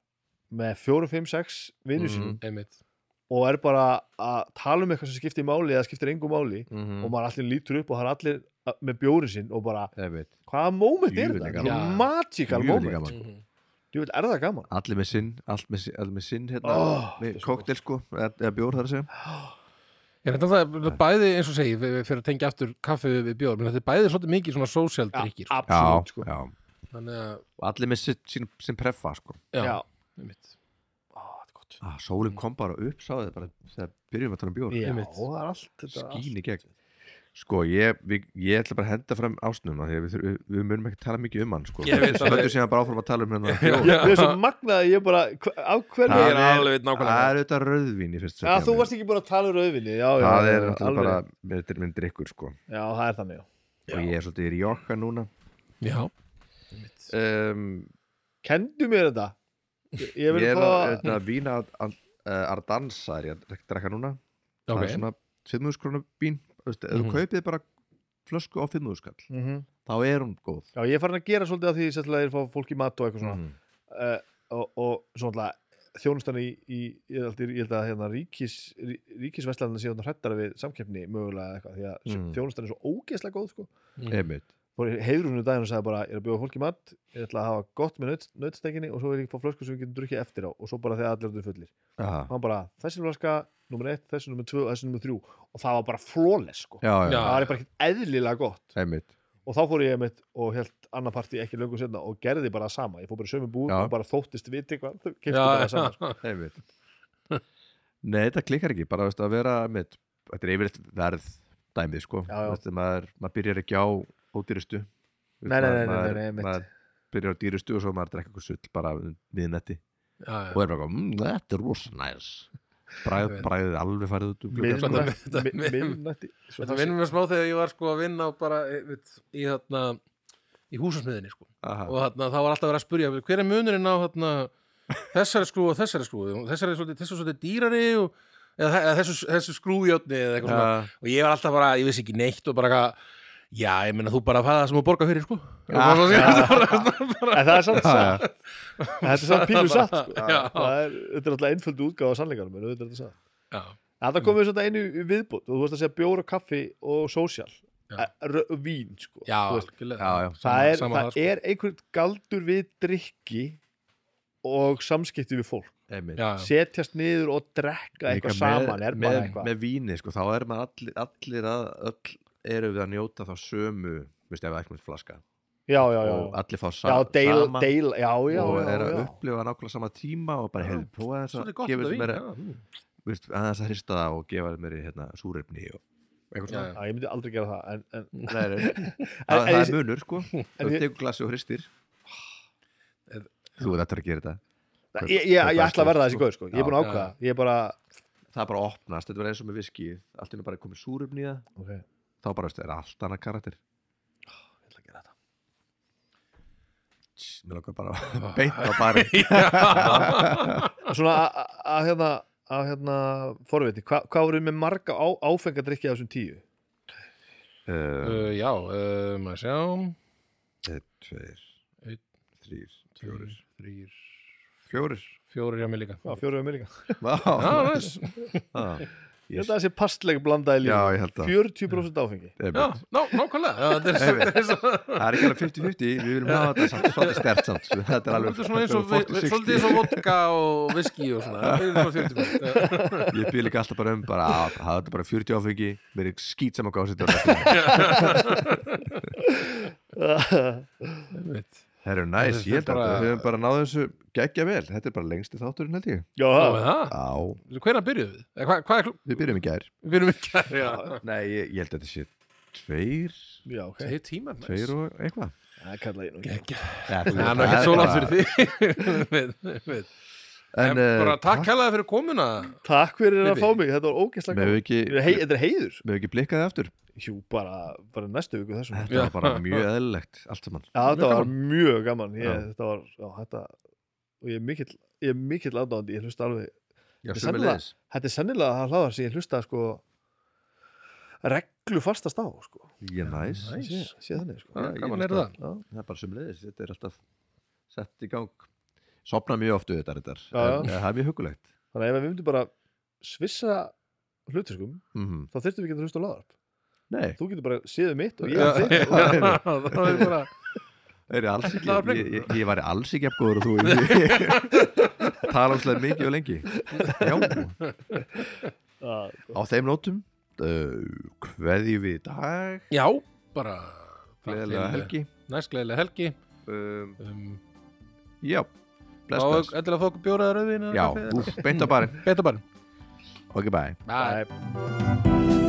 Speaker 3: með 4, 5, 6
Speaker 1: Mhm.
Speaker 3: vinnu sínum
Speaker 2: einmitt
Speaker 3: og er bara að tala um eitthvað sem skiptir máli eða skiptir engu máli
Speaker 4: Mhm.
Speaker 1: Mm.
Speaker 3: og maður allir lítur upp og það er allir að- með bjórin sinn og bara
Speaker 1: einmitt.
Speaker 3: hvaða moment er
Speaker 1: Djöfull
Speaker 3: þetta?
Speaker 1: er gaman.
Speaker 3: Þetta er
Speaker 2: Já.
Speaker 3: magical
Speaker 1: Djöfull er
Speaker 3: moment
Speaker 1: gaman.
Speaker 2: Mhm.
Speaker 3: Jú veit, er það gaman?
Speaker 1: allir með sinn, allt með, sinn- allir með sinn hérna,
Speaker 3: Oh,
Speaker 1: með
Speaker 3: þetta er svo
Speaker 1: koktel sko, eða, eða bjór þar að segja
Speaker 3: (gasps)
Speaker 2: Ég reyndar það er bæði eins og segi við- við- fyrir að tengja aftur kaffi við bjór menn þetta er bæði svolítið mikið svona social
Speaker 3: Já,
Speaker 2: drikkir
Speaker 3: Absolutt sko
Speaker 1: já,
Speaker 2: þannig að
Speaker 1: og allir með sitt, sín, sín prefa sko
Speaker 2: já,
Speaker 3: Já.
Speaker 2: einmitt
Speaker 3: Ó, þetta er gott.
Speaker 1: ah, sólinn kom bara upp, sá þið bara þegar byrjum að tala um bjór
Speaker 3: Mm. Já,
Speaker 2: Einmitt.
Speaker 3: það er allt þetta er
Speaker 1: skín í
Speaker 3: allt.
Speaker 1: gegn sko, ég, við, ég ætla bara að henda fram ásnum því að við, þurfum- við, við munum ekki tala mikið um hann sko,
Speaker 4: Ég veit
Speaker 1: við
Speaker 4: það.
Speaker 1: stöndum síðan bara áfram að tala um hérna bjór.
Speaker 3: Mér er svo magnað að ég bara hva- af
Speaker 4: Ég
Speaker 3: hverju
Speaker 1: Það
Speaker 4: er
Speaker 1: er-
Speaker 4: alveg
Speaker 1: það
Speaker 4: nákvæmlega
Speaker 1: er auðvitað rauðvín í fyrst
Speaker 3: Já, þú varst ekki bara að tala um rauðvinni Já, já,
Speaker 1: það
Speaker 3: já,
Speaker 1: er
Speaker 3: já,
Speaker 1: náttúrulega
Speaker 3: alveg
Speaker 1: bara
Speaker 3: rétt.
Speaker 1: þetta er minn drikkur sko
Speaker 3: Já, það er þannig já.
Speaker 1: og ég er svolítið í jokka núna
Speaker 2: já,
Speaker 1: um,
Speaker 3: Kendu mér þetta Ég- Ég
Speaker 1: ég
Speaker 3: vil
Speaker 1: er að,
Speaker 3: fá
Speaker 1: þetta, vína að, að, að dansa er ég að drekka núna það er
Speaker 2: ok
Speaker 1: svona 500 krónu vín þú veist, ef þú
Speaker 2: Mhm.
Speaker 1: kaupið bara flösku á 500 skall
Speaker 3: Mhm.
Speaker 1: þá er hún góð
Speaker 3: Já, ég er farin að gera svolítið af því Sérstilega ég er að fá fólk í mat og eitthvað svona
Speaker 1: Mhm.
Speaker 3: uh, og, og svona þjónustan í, í ég, held, ég held að hérna, ríkis, rí, ríkisveslanir séu hrættar við samkeppni mögulega eða eitthvað því að
Speaker 1: Mm.
Speaker 3: mm. þjónustan er svo ógeðslega góð sko.
Speaker 1: einmitt
Speaker 3: og heiðrúnu um daginn og sagði bara ég er að bjóða fólki í mat, ég ætla að hafa gott með naut, nautstekinni og svo vil ég fá flösku sem við getum drukkið eftir á og svo bara þegar allir eru fullir
Speaker 1: já,
Speaker 3: og hann bara þessi flaska, nummer 1, þessi nummer 2 og þessi nummer 3 og það var bara flóles sko.
Speaker 1: já, já,
Speaker 2: Já.
Speaker 3: það var bara ekkert eðlilega gott
Speaker 1: einmitt
Speaker 3: og þá fór ég mitt og held annar partí ekki löngu setna og gerði bara það sama, ég fór bara í sömu búð
Speaker 1: Já.
Speaker 3: og bara þóttist viti hvað, kefti bara
Speaker 2: já,
Speaker 3: það sama sko.
Speaker 2: já,
Speaker 1: einmitt nei, þetta klikkar ekki, bara veist, að vera einmitt, þetta er yfirleitt verð dæmið sko,
Speaker 3: Já, já.
Speaker 1: Veist, maður, maður byrjar ekki á ódýristu
Speaker 3: Nei, nei, nei, nei,
Speaker 1: Maður-
Speaker 3: nei, nei, einmitt.
Speaker 1: maður byrjar á dýristu og svo maður drekka eitthvað sull bara miðnetti
Speaker 2: (laughs) já.
Speaker 1: og er bara, eitthvað, mmm, þetta er rosa næs Bræð,
Speaker 2: Einmitt.
Speaker 1: bræðið alveg farið út um gluggann, sko.
Speaker 2: Miðnætti. Þetta-
Speaker 3: Mi- mi- miðnætti Svo
Speaker 2: Þetta
Speaker 3: það sé-
Speaker 2: vinnum við smá þegar ég var sko að vinna á bara eh, við, í þarna í húsasmiðinni sko
Speaker 1: Aha.
Speaker 2: og þarna þá var alltaf verið að spurja hver er munurinn á þarna þessari skrú og þessari skrú og þessari er svolítið, þessu er svolítið dýrari og eða, eða þessu, þessu skrújotni eða eitthvað svona
Speaker 1: Já.
Speaker 2: og ég var alltaf bara, ég vissi ekki neitt og bara eitthvað, já, ég meina þú bara fæða það sem þú borga fyrir sko
Speaker 1: Ah,
Speaker 2: og
Speaker 3: En það er samt
Speaker 1: Já,
Speaker 3: satt
Speaker 1: já.
Speaker 3: (laughs) Þetta er samt pínu satt sko.
Speaker 2: (laughs) já,
Speaker 3: Það er, þetta er alltaf einföldu útgáfa af sannleikanum en auðvitað er þetta satt.
Speaker 2: já,
Speaker 3: En það komið svona einu í viðbót og þú veist að segja bjór og kaffi og sósjál
Speaker 2: Já.
Speaker 3: og vín sko.
Speaker 2: já,
Speaker 3: Þú veist,
Speaker 2: algjörlega.
Speaker 1: Já, já.
Speaker 2: Sama-
Speaker 3: það, er,
Speaker 2: sama sko.
Speaker 3: það er einhvern galdur við drikki og samskipti við fólk
Speaker 1: einmitt
Speaker 2: Já, já.
Speaker 3: setjast niður og drekka
Speaker 1: Líka
Speaker 3: eitthvað
Speaker 1: með-
Speaker 3: saman er
Speaker 1: með,
Speaker 3: bara eitthvað
Speaker 1: með víni sko, þá er maður allir, allir að öll eru við að njóta þá sömu veist, ef það er eitthvað flaska
Speaker 3: já, já, já,
Speaker 1: og allir fá sa
Speaker 3: já, deil,
Speaker 1: saman
Speaker 3: deil, já, já,
Speaker 1: og
Speaker 3: já,
Speaker 1: er að
Speaker 3: já.
Speaker 1: upplifa nákvæmlega sama tíma og bara
Speaker 2: Já.
Speaker 1: hefði prófa þess að
Speaker 2: Svolítið gott
Speaker 1: gefa
Speaker 2: þetta
Speaker 1: þess
Speaker 2: vín,
Speaker 1: meira
Speaker 2: já, mm.
Speaker 1: veist, aðeins að hrista það og gefa þess meira hérna, súreifni
Speaker 3: (laughs)
Speaker 1: og
Speaker 2: Já,
Speaker 1: eitthvað svona
Speaker 2: já.
Speaker 3: Já, ég myndi aldrei gera það en, en,
Speaker 1: Nei, nei.
Speaker 3: en,
Speaker 1: það,
Speaker 3: (laughs) en
Speaker 1: það
Speaker 3: ég-
Speaker 1: er munur sko þú
Speaker 3: ég-
Speaker 1: tekur glasi og hristir þú þetta er að gera
Speaker 3: Ég,
Speaker 1: þetta
Speaker 3: ég, ég, ég ætla að verða þessi góður sko, ég er búin að
Speaker 2: Já.
Speaker 3: ákvaða Ég er bara
Speaker 1: það bara opnast, þetta var eins og með viski allt innan bara komið súreifni í það
Speaker 3: okay.
Speaker 1: þá bara veist, er allt annað karakter
Speaker 3: ég ætla að gera þetta.
Speaker 1: Tss, mér langar bara að beita bara
Speaker 3: Svona að- að- að hérna, að, hérna forvitni, hva, hvað voru með marga á, áfengadrykki af þessum tíu?
Speaker 1: uh,
Speaker 2: Uh, já, uh, maður sjá
Speaker 1: Einn, tveir,
Speaker 2: Einn,
Speaker 1: þrýr,
Speaker 2: Eh, Tveir, þrír, (laughs)
Speaker 1: fjórir
Speaker 2: fjórir hjá mér líka
Speaker 3: Já, fjóru um yringa
Speaker 1: Vá,
Speaker 2: Já, næs
Speaker 1: já,
Speaker 3: Ég held að það sé passleg blandaði
Speaker 1: já,
Speaker 3: líf
Speaker 1: ég held að
Speaker 3: 40% áfengi (laughs)
Speaker 2: Já,
Speaker 1: Einmitt.
Speaker 2: ná, nákvæmlega Já, Þetta er-
Speaker 1: Einmitt.
Speaker 2: þetta er svo-
Speaker 1: Það er ekki alveg 50-50, við viljum hafa þetta samt
Speaker 2: (laughs)
Speaker 1: svolítið stert samt Þetta er alveg
Speaker 2: þetta er svona eins og við- við-
Speaker 1: 40-60.
Speaker 2: svolítið eins og vodka og viski og svona Við erum svona 40.
Speaker 1: Ég býð líka alltaf bara um bara að hafa þetta bara 40 áfengi mér er skýt saman hvað á þetta
Speaker 2: Einmitt. (laughs)
Speaker 1: Það eru næs,
Speaker 2: Þetta er
Speaker 1: ég held að
Speaker 2: bara-
Speaker 1: við höfum bara náðu þessu geggja vel, þetta er bara lengsti þátturinn held ég
Speaker 3: Já,
Speaker 2: Já,
Speaker 3: já,
Speaker 2: er það?
Speaker 1: Já,
Speaker 2: Hvernig byrjuðu við? Eða Hvað, hvað er klú?
Speaker 1: við byrjum í gær
Speaker 2: Við byrjum ekki að já.
Speaker 1: Nei, ég, ég held að þetta sé tveir,
Speaker 3: já ok
Speaker 2: Þeir tímar næs.
Speaker 1: tveir og eitthvað
Speaker 3: Það kalla ég nú ekki
Speaker 2: Gekkja.
Speaker 1: Já, þú veist,
Speaker 2: Það er
Speaker 1: það
Speaker 2: ekki svo langt
Speaker 1: bara-
Speaker 2: fyrir
Speaker 1: (laughs)
Speaker 2: því Við- við- En
Speaker 1: eh,
Speaker 2: bara takk hella fyrir komuna
Speaker 3: Takk fyrir að
Speaker 2: Bibi.
Speaker 3: fá mig, þetta var ógeðslega gaman.
Speaker 1: Megum við ekki,
Speaker 3: Þetta er hei- Þetta er heiður
Speaker 1: megum við ekki blikkaði aftur
Speaker 3: Jú, bara, bara næstu viku þessum Já,
Speaker 1: Þetta var bara mjög eðlilegt allt saman
Speaker 3: þetta
Speaker 2: Mjög
Speaker 3: var mjög gaman ég,
Speaker 1: Já.
Speaker 3: Þetta var, já, þetta Og ég er mikill, ég er mikill aðdáðandi Ég hlusta alveg
Speaker 1: Já,
Speaker 3: Þetta er
Speaker 1: sömuleiðis.
Speaker 3: þetta er sennilega það hlaðar sem ég hlusta sko reglu fastast á sko.
Speaker 1: Ég er næs
Speaker 2: Næs.
Speaker 3: sé, sé þannig sko.
Speaker 1: Já,
Speaker 2: Já,
Speaker 1: ég
Speaker 2: Gaman er
Speaker 1: hlusta.
Speaker 2: það
Speaker 3: Já.
Speaker 1: Það er bara sömulegis, þetta er alltaf sett í gang sopna mjög oft við þetta reyndar
Speaker 3: Já, já.
Speaker 1: en, eh, það er mjög hugulegt
Speaker 3: þannig að ef við myndum bara svissa hlutiskum
Speaker 1: mm
Speaker 3: þá þurftum við ekki að hlusta á laðarp
Speaker 1: Nei,
Speaker 3: þú getur bara séðu mitt og ég
Speaker 2: Já,
Speaker 3: um
Speaker 2: (laughs)
Speaker 3: þitt
Speaker 2: já, það er bara
Speaker 1: það er alls ekki
Speaker 2: Það var
Speaker 1: ég, ég, ég væri alls ekki efgóður og (laughs) þú tala um slega mikið og lengi Já,
Speaker 3: Já,
Speaker 1: á þeim nótum uh, kveðjum við í dag
Speaker 2: Já, bara þar
Speaker 1: gleðilega
Speaker 2: til,
Speaker 1: helgi
Speaker 2: eh, Næst gleðilega helgi
Speaker 1: um,
Speaker 2: um,
Speaker 1: Já, bless,
Speaker 2: Og
Speaker 1: bless
Speaker 2: endilega fóku bjóraðar auðvín
Speaker 1: Já, úf, beint á barinn
Speaker 2: Beta bara
Speaker 1: Ok, bye
Speaker 2: Bye
Speaker 3: Bye.